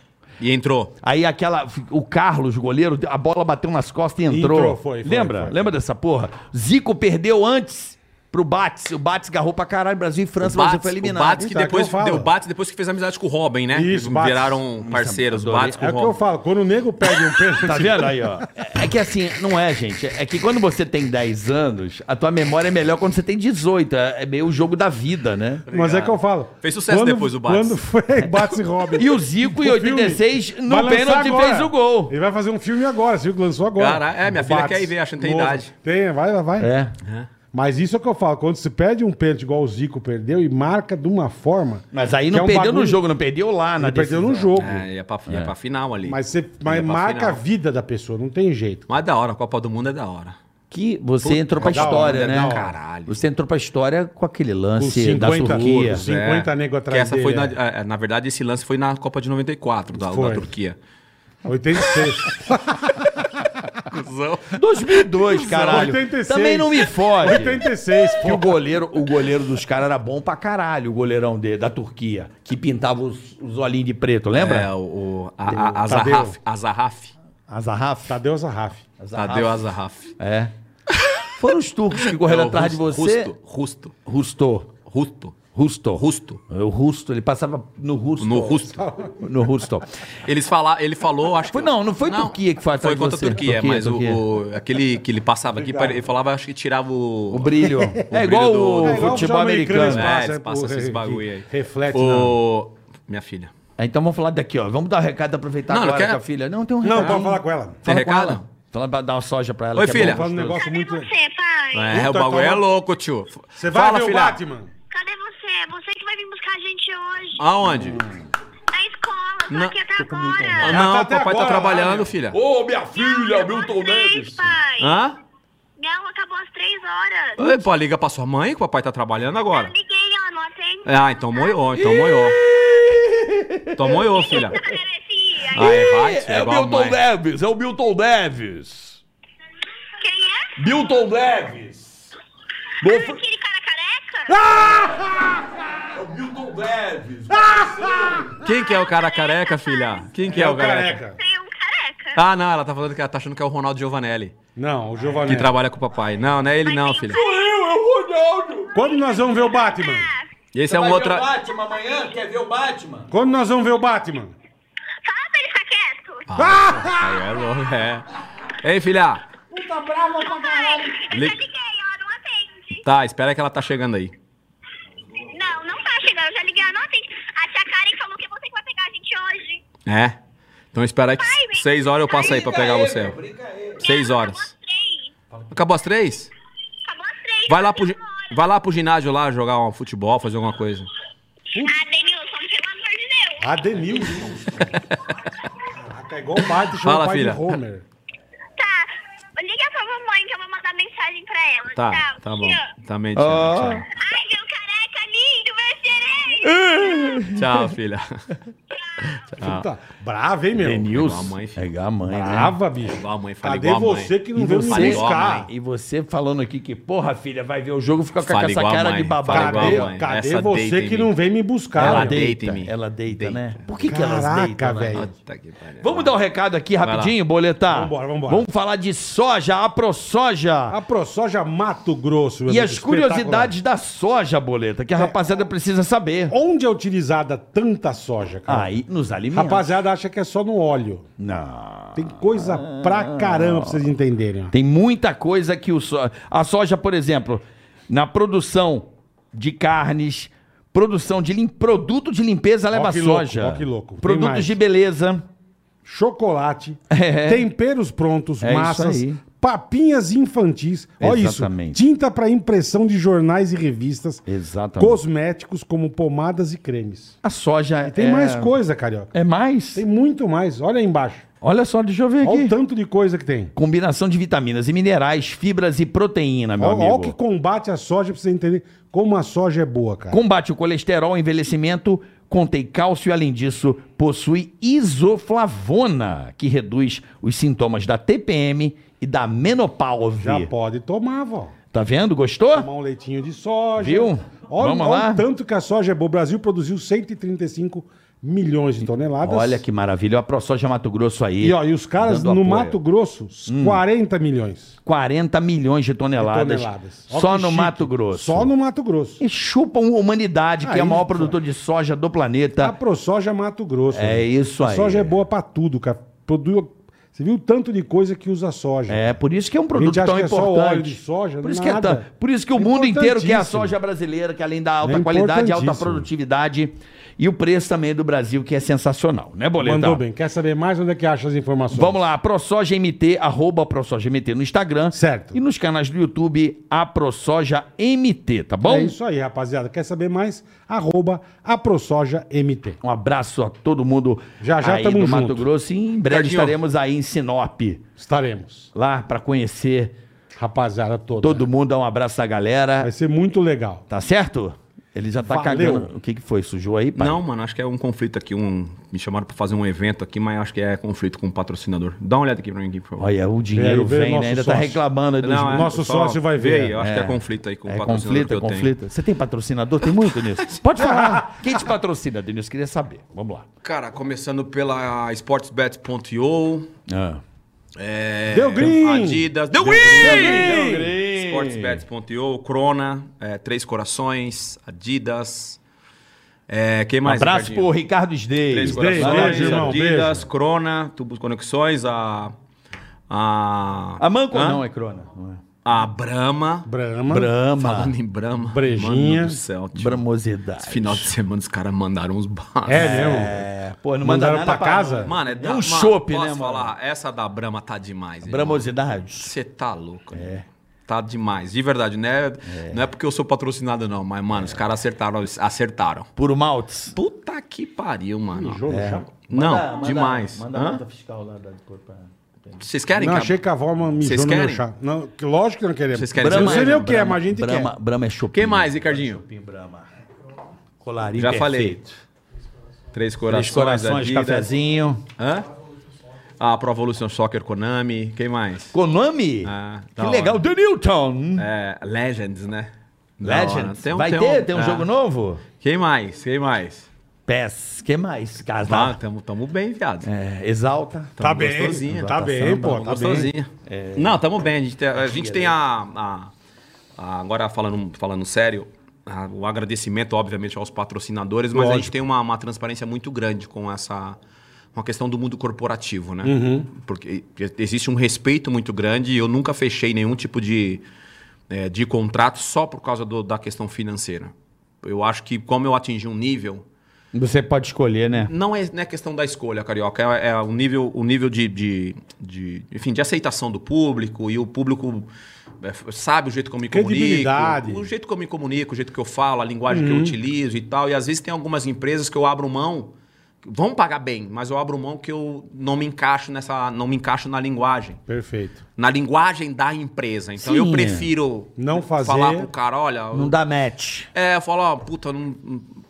Speaker 5: E entrou.
Speaker 4: Aí aquela. O Carlos, goleiro, a bola bateu nas costas e entrou.
Speaker 3: Entrou, foi, foi,
Speaker 4: lembra?
Speaker 3: foi.
Speaker 4: Lembra dessa porra? Zico perdeu antes pro Bates. O Bates garrou pra caralho, Brasil e França, o Brasil foi
Speaker 5: o
Speaker 4: eliminado.
Speaker 5: Bates que
Speaker 3: Então, é o que
Speaker 5: depois
Speaker 3: eu falo.
Speaker 5: deu Bates depois que fez amizade com o Robin, né?
Speaker 3: Isso,
Speaker 5: Eles
Speaker 3: Bates.
Speaker 5: Viraram parceiros,
Speaker 4: adorei.
Speaker 5: Bates com
Speaker 3: É
Speaker 5: o
Speaker 3: o que eu
Speaker 5: Robin.
Speaker 3: falo. Quando o nego perde um pênalti...
Speaker 4: Tá vendo aí, ó? É, é que assim, não é, gente. É que quando você tem 10 anos, a tua memória é melhor quando você tem 18. É é meio o jogo da vida, né?
Speaker 3: Mas é que eu falo.
Speaker 5: Tá Fez sucesso depois o Bates.
Speaker 3: Quando foi Bates e Robin.
Speaker 4: E o Zico, em
Speaker 3: O filme
Speaker 4: 86, no
Speaker 3: vai lançar
Speaker 4: pênalti,
Speaker 3: agora.
Speaker 4: fez o gol.
Speaker 3: Ele vai fazer um filme agora, você viu que lançou agora.
Speaker 5: Cara, é, minha
Speaker 3: O
Speaker 5: filha
Speaker 3: Bates.
Speaker 5: quer ir ver, acho que não tem
Speaker 3: Novo.
Speaker 5: idade.
Speaker 3: Tem, vai, vai, vai.
Speaker 4: É.
Speaker 3: Mas isso é o que eu falo, quando se perde um pênalti igual o Zico perdeu e marca de uma forma...
Speaker 4: Mas aí
Speaker 3: que
Speaker 4: não
Speaker 3: é um
Speaker 4: perdeu no
Speaker 3: bagulho-
Speaker 4: jogo, não perdeu lá na
Speaker 3: Ele perdeu no
Speaker 4: decisão.
Speaker 3: jogo.
Speaker 5: É, ia pra, ia pra final ali.
Speaker 3: Mas, você, mas
Speaker 5: Ia pra
Speaker 3: marca a
Speaker 5: final.
Speaker 3: vida da pessoa, não tem jeito.
Speaker 5: Mas da hora, a Copa do Mundo é da hora.
Speaker 4: Que você entrou pra
Speaker 3: da hora,
Speaker 4: história,
Speaker 3: é
Speaker 4: né?
Speaker 3: da hora.
Speaker 5: Caralho.
Speaker 4: Você entrou pra história com aquele
Speaker 3: Os
Speaker 4: lance da né?
Speaker 3: 50,
Speaker 4: Turquia.
Speaker 3: os 50
Speaker 5: É,
Speaker 3: nego
Speaker 5: que
Speaker 3: atrás
Speaker 5: essa foi
Speaker 3: dele,
Speaker 5: na, é, na verdade, esse lance foi na Copa de 94, da, da
Speaker 3: Foi.
Speaker 5: Turquia.
Speaker 3: é. 86.
Speaker 4: 2002, caralho.
Speaker 3: 86.
Speaker 4: Também não me fode.
Speaker 3: 86,
Speaker 4: Que o
Speaker 3: pô.
Speaker 4: goleiro, o goleiro dos caras era bom pra caralho, o goleirão de, da Turquia, que pintava os, os olhinhos de preto, lembra?
Speaker 5: É, o, o- a, a,
Speaker 3: Tadeu.
Speaker 5: a Zarraf. A Zarraf.
Speaker 4: Azarraf.
Speaker 3: Tadeu Zarraf.
Speaker 5: Tadeu Azarraf. É
Speaker 4: É. Foram os turcos que correram atrás de você.
Speaker 5: Rusto. Rusto.
Speaker 4: Rusto.
Speaker 5: Rusto.
Speaker 4: Rusto.
Speaker 5: Rusto.
Speaker 4: É, O Rusto, ele passava no Rusto.
Speaker 5: No Rusto.
Speaker 4: No Rusto.
Speaker 5: Eles falaram, ele falou, acho que.
Speaker 4: Foi- não, não foi Turquia que foi atrás
Speaker 5: Foi
Speaker 4: de
Speaker 5: contra
Speaker 4: você.
Speaker 5: a Turquia,
Speaker 4: Turquia,
Speaker 5: mas o-
Speaker 4: Turquia.
Speaker 5: O, aquele que ele passava aqui, pare- ele falava, acho que tirava o.
Speaker 4: O brilho. é
Speaker 5: brilho
Speaker 4: igual
Speaker 5: do-
Speaker 4: o
Speaker 3: igual
Speaker 5: É
Speaker 3: o
Speaker 4: futebol
Speaker 3: futebol né? americano,
Speaker 4: americano.
Speaker 5: É,
Speaker 3: passa,
Speaker 5: eles
Speaker 3: pô,
Speaker 5: passam esses
Speaker 3: que
Speaker 5: bagulho aí.
Speaker 3: reflete
Speaker 5: o... Minha filha.
Speaker 4: É, Então vamos falar daqui, ó. Vamos dar o recado, aproveitar
Speaker 5: Não, não
Speaker 4: agora
Speaker 5: quer?
Speaker 4: com a filha. Não, tem um
Speaker 3: Não,
Speaker 4: recado.
Speaker 3: pode falar com ela.
Speaker 5: Tem
Speaker 4: Fala com
Speaker 5: recado?
Speaker 4: ela. Fala pra dar uma soja pra ela.
Speaker 5: Oi,
Speaker 4: que é
Speaker 5: filha.
Speaker 4: bom.
Speaker 3: Fala um negócio
Speaker 8: Cadê
Speaker 3: muito...
Speaker 8: você, pai?
Speaker 5: É, o
Speaker 3: Puta,
Speaker 5: bagulho é
Speaker 3: toma-
Speaker 5: louco, tio.
Speaker 3: Você vai
Speaker 5: Fala,
Speaker 3: ver
Speaker 5: filha.
Speaker 3: o Batman?
Speaker 8: Cadê você? Você que vai vir buscar a gente hoje.
Speaker 5: Aonde?
Speaker 8: Na escola, tô
Speaker 5: Não,
Speaker 8: aqui até
Speaker 5: tô Ah,
Speaker 8: agora.
Speaker 5: não,
Speaker 3: tá até
Speaker 5: papai
Speaker 3: agora
Speaker 5: tá
Speaker 3: lá,
Speaker 5: trabalhando,
Speaker 3: meu.
Speaker 5: filha.
Speaker 2: Ô, minha filha,
Speaker 8: Acabou
Speaker 2: Milton
Speaker 8: às três,
Speaker 2: Neves.
Speaker 8: pai.
Speaker 5: Hã?
Speaker 8: Não, acabou às três horas.
Speaker 5: Ei, pô, liga pra sua mãe que o papai tá trabalhando agora.
Speaker 8: Eu liguei, ela não atende.
Speaker 5: Ah, então moiou, então moiou. Então moiou, filha.
Speaker 8: Agradecia.
Speaker 5: Ah, é, vai, tia,
Speaker 2: É o
Speaker 5: igual a
Speaker 2: Milton
Speaker 5: mãe.
Speaker 2: Neves, é o Milton Neves.
Speaker 8: Quem é?
Speaker 2: Milton Neves. No
Speaker 8: Ah,
Speaker 2: fr-
Speaker 8: Aquele cara
Speaker 5: Ah.
Speaker 8: careca?
Speaker 2: É o Milton Neves.
Speaker 5: Quem que é o cara careca, filha? Quem que é, o careca?
Speaker 8: Tem um careca.
Speaker 5: Ah, não, ela tá falando que ela tá achando que é o Ronaldo Giovanelli,
Speaker 3: Não, o
Speaker 5: que
Speaker 3: Giovanni. é.
Speaker 5: trabalha com o papai. Não, não é ele
Speaker 8: um
Speaker 5: não, filha.
Speaker 2: Eu, é o Ronaldo.
Speaker 3: Quando nós vamos ver o Batman?
Speaker 5: Esse é um outro...
Speaker 2: Batman amanhã? Quer ver o Batman?
Speaker 3: Quando nós vamos ver o Batman?
Speaker 8: Fala pra ele ficar quieto.
Speaker 5: Ah.
Speaker 3: Ah!
Speaker 5: Aí é louco, é. Ei, filha.
Speaker 8: Pai, eu já
Speaker 5: Li-
Speaker 8: liguei, ela não atende.
Speaker 5: Tá, espera que ela tá chegando aí.
Speaker 8: Não, não tá chegando, eu já liguei, ela não atende. A tia Karen falou que é você que vai pegar a gente hoje.
Speaker 5: É. Então esperar que seis horas eu passo aí pra pegar você.
Speaker 2: Brinca aí.
Speaker 5: Seis horas.
Speaker 8: Acabou às três.
Speaker 5: Acabou às três?
Speaker 8: Acabou às três.
Speaker 5: Vai lá pro, gi-
Speaker 8: Acabou às três.
Speaker 5: vai lá pro ginásio lá jogar um futebol, fazer alguma coisa.
Speaker 8: Ah, Denilson, pelo amor de Deus.
Speaker 3: Adenilson. Caraca, é igual o pai, chama
Speaker 5: Fala,
Speaker 3: o pai
Speaker 5: filha.
Speaker 3: de Homer.
Speaker 8: Tá. Liga pra mamãe que eu vou mandar mensagem pra ela.
Speaker 5: Tá,
Speaker 8: Tchau,
Speaker 5: tá
Speaker 8: te
Speaker 5: bom.
Speaker 8: amo.
Speaker 5: Também te amo, tchau.
Speaker 8: Ai, meu careca lindo, meu xerém.
Speaker 5: Tchau, filha. Ah.
Speaker 3: Puta, brava, hein, meu?
Speaker 5: Igual a mãe,
Speaker 4: Denilson.
Speaker 5: filho.
Speaker 4: É igual a mãe, né?
Speaker 3: Brava, bicho.
Speaker 5: Igual a mãe, fala
Speaker 3: Cadê
Speaker 5: igual a mãe.
Speaker 3: você que não
Speaker 4: E
Speaker 3: veio me
Speaker 4: você,
Speaker 5: igual a
Speaker 3: buscar?
Speaker 5: mãe.
Speaker 4: E você falando aqui que, porra, filha, vai ver o jogo, fica com
Speaker 5: Fala
Speaker 4: essa
Speaker 5: igual a
Speaker 4: cara
Speaker 5: mãe,
Speaker 4: de
Speaker 5: fala
Speaker 4: babado.
Speaker 5: igual a
Speaker 4: Cadê?
Speaker 5: mãe.
Speaker 3: Cadê, cadê
Speaker 5: Essa
Speaker 3: você
Speaker 5: deita
Speaker 3: que
Speaker 5: em
Speaker 3: não
Speaker 5: mim.
Speaker 3: vem me
Speaker 4: Ela
Speaker 3: buscar? meu?
Speaker 4: deita,
Speaker 5: deita em mim.
Speaker 4: ela deita,
Speaker 5: Deita.
Speaker 4: né? Por que, que
Speaker 3: Caraca,
Speaker 4: elas deitam, né?
Speaker 3: velho.
Speaker 5: Puta que pariu.
Speaker 4: Vamos dar um recado aqui rapidinho, boletar?
Speaker 3: Vambora, vambora.
Speaker 4: Vamos falar de soja, aprosoja.
Speaker 3: A ProSoja Mato Grosso. meu
Speaker 4: E
Speaker 3: amigo,
Speaker 4: as curiosidades
Speaker 3: espetacular.
Speaker 4: da soja, boleta, que a rapaziada precisa saber.
Speaker 3: Onde é utilizada tanta soja, cara?
Speaker 4: Aí, nos alimentos.
Speaker 3: Rapaziada acha que é só no óleo.
Speaker 4: Não.
Speaker 3: Tem coisa
Speaker 4: Ah.
Speaker 3: pra caramba pra vocês entenderem. ó.
Speaker 4: Tem muita coisa que o so... a soja, por exemplo, na produção de carnes, produção de lim... produto de limpeza
Speaker 3: Ó
Speaker 4: leva
Speaker 3: que louco,
Speaker 4: soja.
Speaker 3: ó que louco. Tem
Speaker 4: Produtos
Speaker 3: mais.
Speaker 4: de beleza.
Speaker 3: Chocolate,
Speaker 4: É.
Speaker 3: temperos prontos,
Speaker 4: É isso
Speaker 3: massas,
Speaker 4: aí.
Speaker 3: papinhas infantis. Olha isso.
Speaker 4: Exatamente.
Speaker 3: Tinta pra impressão de jornais e revistas.
Speaker 4: Exatamente.
Speaker 3: Cosméticos como pomadas e cremes.
Speaker 4: A soja
Speaker 3: E tem
Speaker 4: é...
Speaker 3: mais coisa, carioca.
Speaker 4: É mais?
Speaker 3: Tem muito mais. Olha aí embaixo.
Speaker 4: Olha só, deixa eu ver
Speaker 3: Olha o
Speaker 4: aqui.
Speaker 3: tanto de coisa que tem.
Speaker 4: Combinação de vitaminas e minerais, fibras e proteína, meu
Speaker 3: Olha
Speaker 4: amigo.
Speaker 3: o que combate a soja pra você entender como a soja é boa, cara.
Speaker 4: Combate o colesterol, envelhecimento, contém cálcio e, além disso, possui isoflavona, que reduz os sintomas da TPM e da menopause.
Speaker 3: Já pode tomar, vó.
Speaker 4: Tá vendo? Gostou?
Speaker 3: Tomar um leitinho de soja.
Speaker 4: Viu?
Speaker 3: Olha,
Speaker 4: Vamos
Speaker 3: olha
Speaker 4: lá?
Speaker 3: o tanto que a soja é boa. O Brasil produziu 135 milhões de toneladas.
Speaker 4: Olha que maravilha. Ó, A ProSoja Mato Grosso aí.
Speaker 3: E, ó, e os caras
Speaker 4: dando
Speaker 3: no
Speaker 4: apoio.
Speaker 3: Mato Grosso, 40 milhões
Speaker 4: 40 milhões de
Speaker 3: de
Speaker 4: toneladas,
Speaker 3: toneladas. Ó
Speaker 4: só
Speaker 3: que
Speaker 4: no
Speaker 3: chique.
Speaker 4: Mato Grosso.
Speaker 3: Só no Mato Grosso.
Speaker 4: E chupam a humanidade, que é
Speaker 3: Aí, Tá
Speaker 4: o maior
Speaker 3: cara.
Speaker 4: produtor de soja do
Speaker 3: A
Speaker 4: planeta.
Speaker 3: ProSoja Mato Grosso.
Speaker 4: tá. É
Speaker 3: né?
Speaker 4: isso aí.
Speaker 3: A soja é boa pra tudo, cara. Produz... Você viu o tanto de coisa que usa soja.
Speaker 4: É, por isso que é um produto
Speaker 3: acha
Speaker 4: tão
Speaker 3: que é só
Speaker 4: importante.
Speaker 3: óleo de soja,
Speaker 4: por isso que é
Speaker 3: nada.
Speaker 4: tão- por isso que o
Speaker 3: É
Speaker 4: mundo inteiro quer a
Speaker 3: importantíssimo.
Speaker 4: soja brasileira, que além da alta
Speaker 3: É
Speaker 4: qualidade, alta
Speaker 3: importantíssimo.
Speaker 4: produtividade e o preço também do Brasil, que é sensacional, né, Boletar?
Speaker 3: Mandou bem. Quer saber mais onde é que acha as informações?
Speaker 4: Vamos lá, ProSoja MT, arroba ProSoja MT no Instagram.
Speaker 3: Certo.
Speaker 4: E nos canais do YouTube, a ProSoja MT, tá bom?
Speaker 3: É isso aí, rapaziada. Quer saber mais? Arroba AproSojaMT.
Speaker 4: Um abraço a todo mundo
Speaker 3: Já, já
Speaker 4: aí
Speaker 3: tamo
Speaker 4: do
Speaker 3: junto.
Speaker 4: Mato Grosso e em breve
Speaker 5: Ricardinho.
Speaker 4: estaremos aí em Sinop,
Speaker 3: Estaremos.
Speaker 4: lá pra conhecer
Speaker 3: Rapaziada toda.
Speaker 4: todo mundo, dá um abraço à galera.
Speaker 3: Vai ser muito legal.
Speaker 4: Tá certo? Ele já tá
Speaker 3: Valeu.
Speaker 4: cagando. O que, que foi? Sujou aí, pai?
Speaker 5: Não, mano, acho que é um conflito aqui. Um... Me chamaram pra fazer um evento aqui, mas acho que é conflito com o patrocinador. Dá uma olhada aqui pra mim, aqui, por favor.
Speaker 4: Olha, o
Speaker 3: E
Speaker 4: dinheiro
Speaker 3: aí, vê
Speaker 4: vem,
Speaker 3: nosso
Speaker 4: né? Ainda tá
Speaker 3: sócio.
Speaker 4: reclamando aí dos...
Speaker 5: Não, é,
Speaker 3: Nosso
Speaker 5: só
Speaker 3: sócio vai ver.
Speaker 5: vê aí, eu acho que é conflito aí com o
Speaker 4: É
Speaker 5: patrocinador
Speaker 4: conflito,
Speaker 5: que
Speaker 4: é
Speaker 5: eu tenho.
Speaker 4: conflito. Você tem patrocinador? Tem muito, Denilson? Pode falar. Quem te patrocina, Denilson? Queria saber. Vamos lá.
Speaker 5: Cara, começando pela sportsbet.io,
Speaker 3: Ah.
Speaker 5: é,
Speaker 3: Deu green!
Speaker 5: Adidas, deu green! sportsbet.io, Crona, é, Três Corações, Adidas, é, quem mais?
Speaker 4: Um Abraço
Speaker 5: Ricardinho?
Speaker 4: pro Ricardo
Speaker 5: Três
Speaker 4: Sdei.
Speaker 5: Corações,
Speaker 3: beijo, irmão,
Speaker 5: Adidas, Crona, Tubos Conexões, a... A...
Speaker 4: A Manco
Speaker 5: Hã?
Speaker 4: não é crona. não é.
Speaker 5: A Brahma.
Speaker 3: Brahma.
Speaker 4: Brama.
Speaker 5: Falando em Brahma.
Speaker 3: Brejinha.
Speaker 5: Mano do céu, tio.
Speaker 4: Bramosidade.
Speaker 5: é Final de semana os caras mandaram uns barros.
Speaker 3: É mesmo?
Speaker 4: É, pô, não manda
Speaker 3: Mandaram
Speaker 4: nada
Speaker 3: pra casa?
Speaker 5: Mano, é, da,
Speaker 4: um
Speaker 5: mano,
Speaker 4: chope, né,
Speaker 5: posso
Speaker 4: mano?
Speaker 5: falar, essa da Brahma tá demais. irmão.
Speaker 4: Bramosidade.
Speaker 5: Você tá louco, né? Tá demais, de verdade, né? Não é porque eu sou patrocinado, não, mas, mano, os caras acertaram, acertaram.
Speaker 4: Puro Maltes.
Speaker 5: Puta que pariu, mano.
Speaker 3: Jogo, chato.
Speaker 5: Não, demais. Hã?
Speaker 4: fiscal lá da corpo.
Speaker 5: Vocês querem
Speaker 3: Não,
Speaker 5: que a-
Speaker 3: achei que a avó mijou
Speaker 5: Vocês
Speaker 3: no meu
Speaker 5: querem?
Speaker 3: chá. Não, que lógico que não queremos.
Speaker 5: Vocês querem
Speaker 3: Eu não
Speaker 5: demais,
Speaker 3: sei nem
Speaker 5: né,
Speaker 3: o que é, mas a gente
Speaker 4: Brama,
Speaker 3: quer.
Speaker 4: Brama é chopinho.
Speaker 5: Quem mais, Ricardinho?
Speaker 4: Chopinho Brama. Colarinho
Speaker 5: Já falei.
Speaker 4: perfeito.
Speaker 5: Três
Speaker 4: Três
Speaker 5: corações,
Speaker 4: corações,
Speaker 5: Adidas.
Speaker 4: cafezinho.
Speaker 5: Hã? A Pro Evolution Soccer Konami. Quem mais?
Speaker 4: Konami?
Speaker 5: Ah,
Speaker 4: que
Speaker 5: da hora.
Speaker 4: legal. The Newton.
Speaker 5: É, Legends, né? Da hora.
Speaker 4: Legends.
Speaker 5: Tem um-
Speaker 4: Vai
Speaker 5: tem um-
Speaker 4: ter? tem um
Speaker 5: é.
Speaker 4: jogo novo?
Speaker 5: Quem mais? Quem mais?
Speaker 4: PES. que mais?
Speaker 5: Ah,
Speaker 4: Casal.
Speaker 5: tamo, tamo bem, viado.
Speaker 4: É, exalta.
Speaker 3: Tá
Speaker 5: Tamo
Speaker 3: bem,
Speaker 5: gostosinho,
Speaker 3: tá
Speaker 4: tá
Speaker 3: bem, pô,
Speaker 5: Tamo
Speaker 3: tá bem.
Speaker 5: gostosinho. Não, tamo bem. A gente tem, a, gente tem a, a- a- Agora falando, falando sério, a- o agradecimento, obviamente, aos patrocinadores, mas a gente tem uma, uma transparência muito grande com essa. Uma questão do mundo corporativo, né?
Speaker 3: Uhum.
Speaker 5: Porque existe um respeito muito grande e eu nunca fechei nenhum tipo de, eh, de contrato só por causa do- da questão financeira. Eu acho que, como eu atingi um nível
Speaker 4: Você pode escolher, né?
Speaker 5: Não é, não é questão da escolha, Carioca. É, é o nível, o nível de, de, de- enfim, de aceitação do público. E o público é, sabe o jeito que eu me comunico.
Speaker 3: Credibilidade.
Speaker 5: O jeito que eu me comunico, o jeito que eu falo, a linguagem
Speaker 4: Uhum.
Speaker 5: que eu utilizo e tal. E às vezes tem algumas empresas que eu abro mão. que Vão pagar bem, mas eu abro mão que eu não me encaixo nessa. Não me encaixo na linguagem.
Speaker 3: Perfeito.
Speaker 5: Na linguagem da empresa. Então
Speaker 4: Sim,
Speaker 5: eu
Speaker 4: é.
Speaker 5: prefiro
Speaker 3: Não fazer-
Speaker 5: falar pro cara, olha.
Speaker 4: Não dá match.
Speaker 5: É, eu falo, ó, puta, não,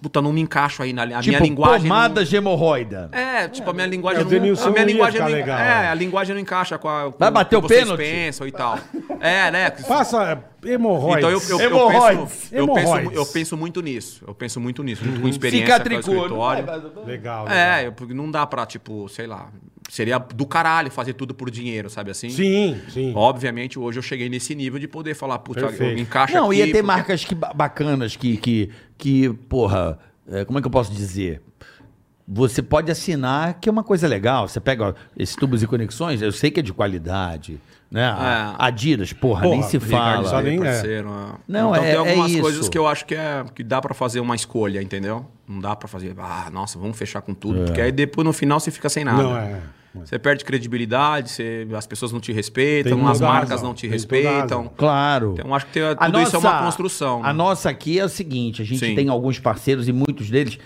Speaker 5: puta, não me encaixo aí na li- a
Speaker 4: Tipo,
Speaker 5: minha linguagem. não-
Speaker 4: pomada de hemorroida.
Speaker 5: é, tipo, a minha linguagem
Speaker 3: o Denilson
Speaker 5: não, a minha
Speaker 3: não ia
Speaker 5: linguagem
Speaker 3: ficar
Speaker 5: não en-
Speaker 3: legal,
Speaker 5: É,
Speaker 3: né?
Speaker 5: a linguagem não encaixa com, a, com
Speaker 4: Vai bater o
Speaker 5: que vocês
Speaker 4: pênalti?
Speaker 5: pensam e tal. É, né?
Speaker 3: Faça é, hemorroides.
Speaker 5: Então eu, eu, eu
Speaker 4: Hemorroides.
Speaker 5: penso, eu, penso,
Speaker 3: Hemorroides.
Speaker 5: eu penso muito nisso. Eu penso muito nisso, junto com experiência com o escritório.
Speaker 3: Legal. legal.
Speaker 5: É, eu- porque não dá pra, tipo, sei lá, seria do caralho fazer tudo por dinheiro, sabe assim?
Speaker 3: Sim, sim.
Speaker 5: Obviamente, hoje eu cheguei nesse nível de poder falar, puta, eu
Speaker 3: Perfeito.
Speaker 5: me encaixo
Speaker 4: Não,
Speaker 5: aqui.
Speaker 4: ia ter
Speaker 5: porque-
Speaker 4: marcas que, ba- bacanas que, que, que porra, é, como é que eu posso dizer? Você pode assinar que é uma coisa legal. Você pega ó, esses tubos e conexões, eu sei que é de qualidade. Né? A-
Speaker 5: É.
Speaker 4: Adidas, porra,
Speaker 3: Porra,
Speaker 4: nem se
Speaker 3: obrigado,
Speaker 4: fala.
Speaker 3: só nem-
Speaker 5: Aí,
Speaker 3: é.
Speaker 5: parceiro, é.
Speaker 4: Ah, Não,
Speaker 5: então
Speaker 4: é-
Speaker 5: tem algumas
Speaker 4: é isso.
Speaker 5: coisas que eu acho que é que dá pra fazer uma escolha, entendeu? Não dá pra fazer, ah, nossa, vamos fechar com tudo, porque aí depois no final você fica sem nada.
Speaker 3: É. Não, é.
Speaker 5: Você perde credibilidade, você- as pessoas não te respeitam,
Speaker 3: Tem
Speaker 5: as
Speaker 3: toda a
Speaker 5: marcas
Speaker 3: razão,
Speaker 5: não te
Speaker 3: tem toda a
Speaker 5: respeitam.
Speaker 3: razão.
Speaker 4: Claro.
Speaker 5: Então acho que tem- tudo isso é uma construção.
Speaker 4: A
Speaker 5: né?
Speaker 4: nossa aqui é o seguinte: a gente
Speaker 5: Sim.
Speaker 4: tem alguns parceiros e muitos deles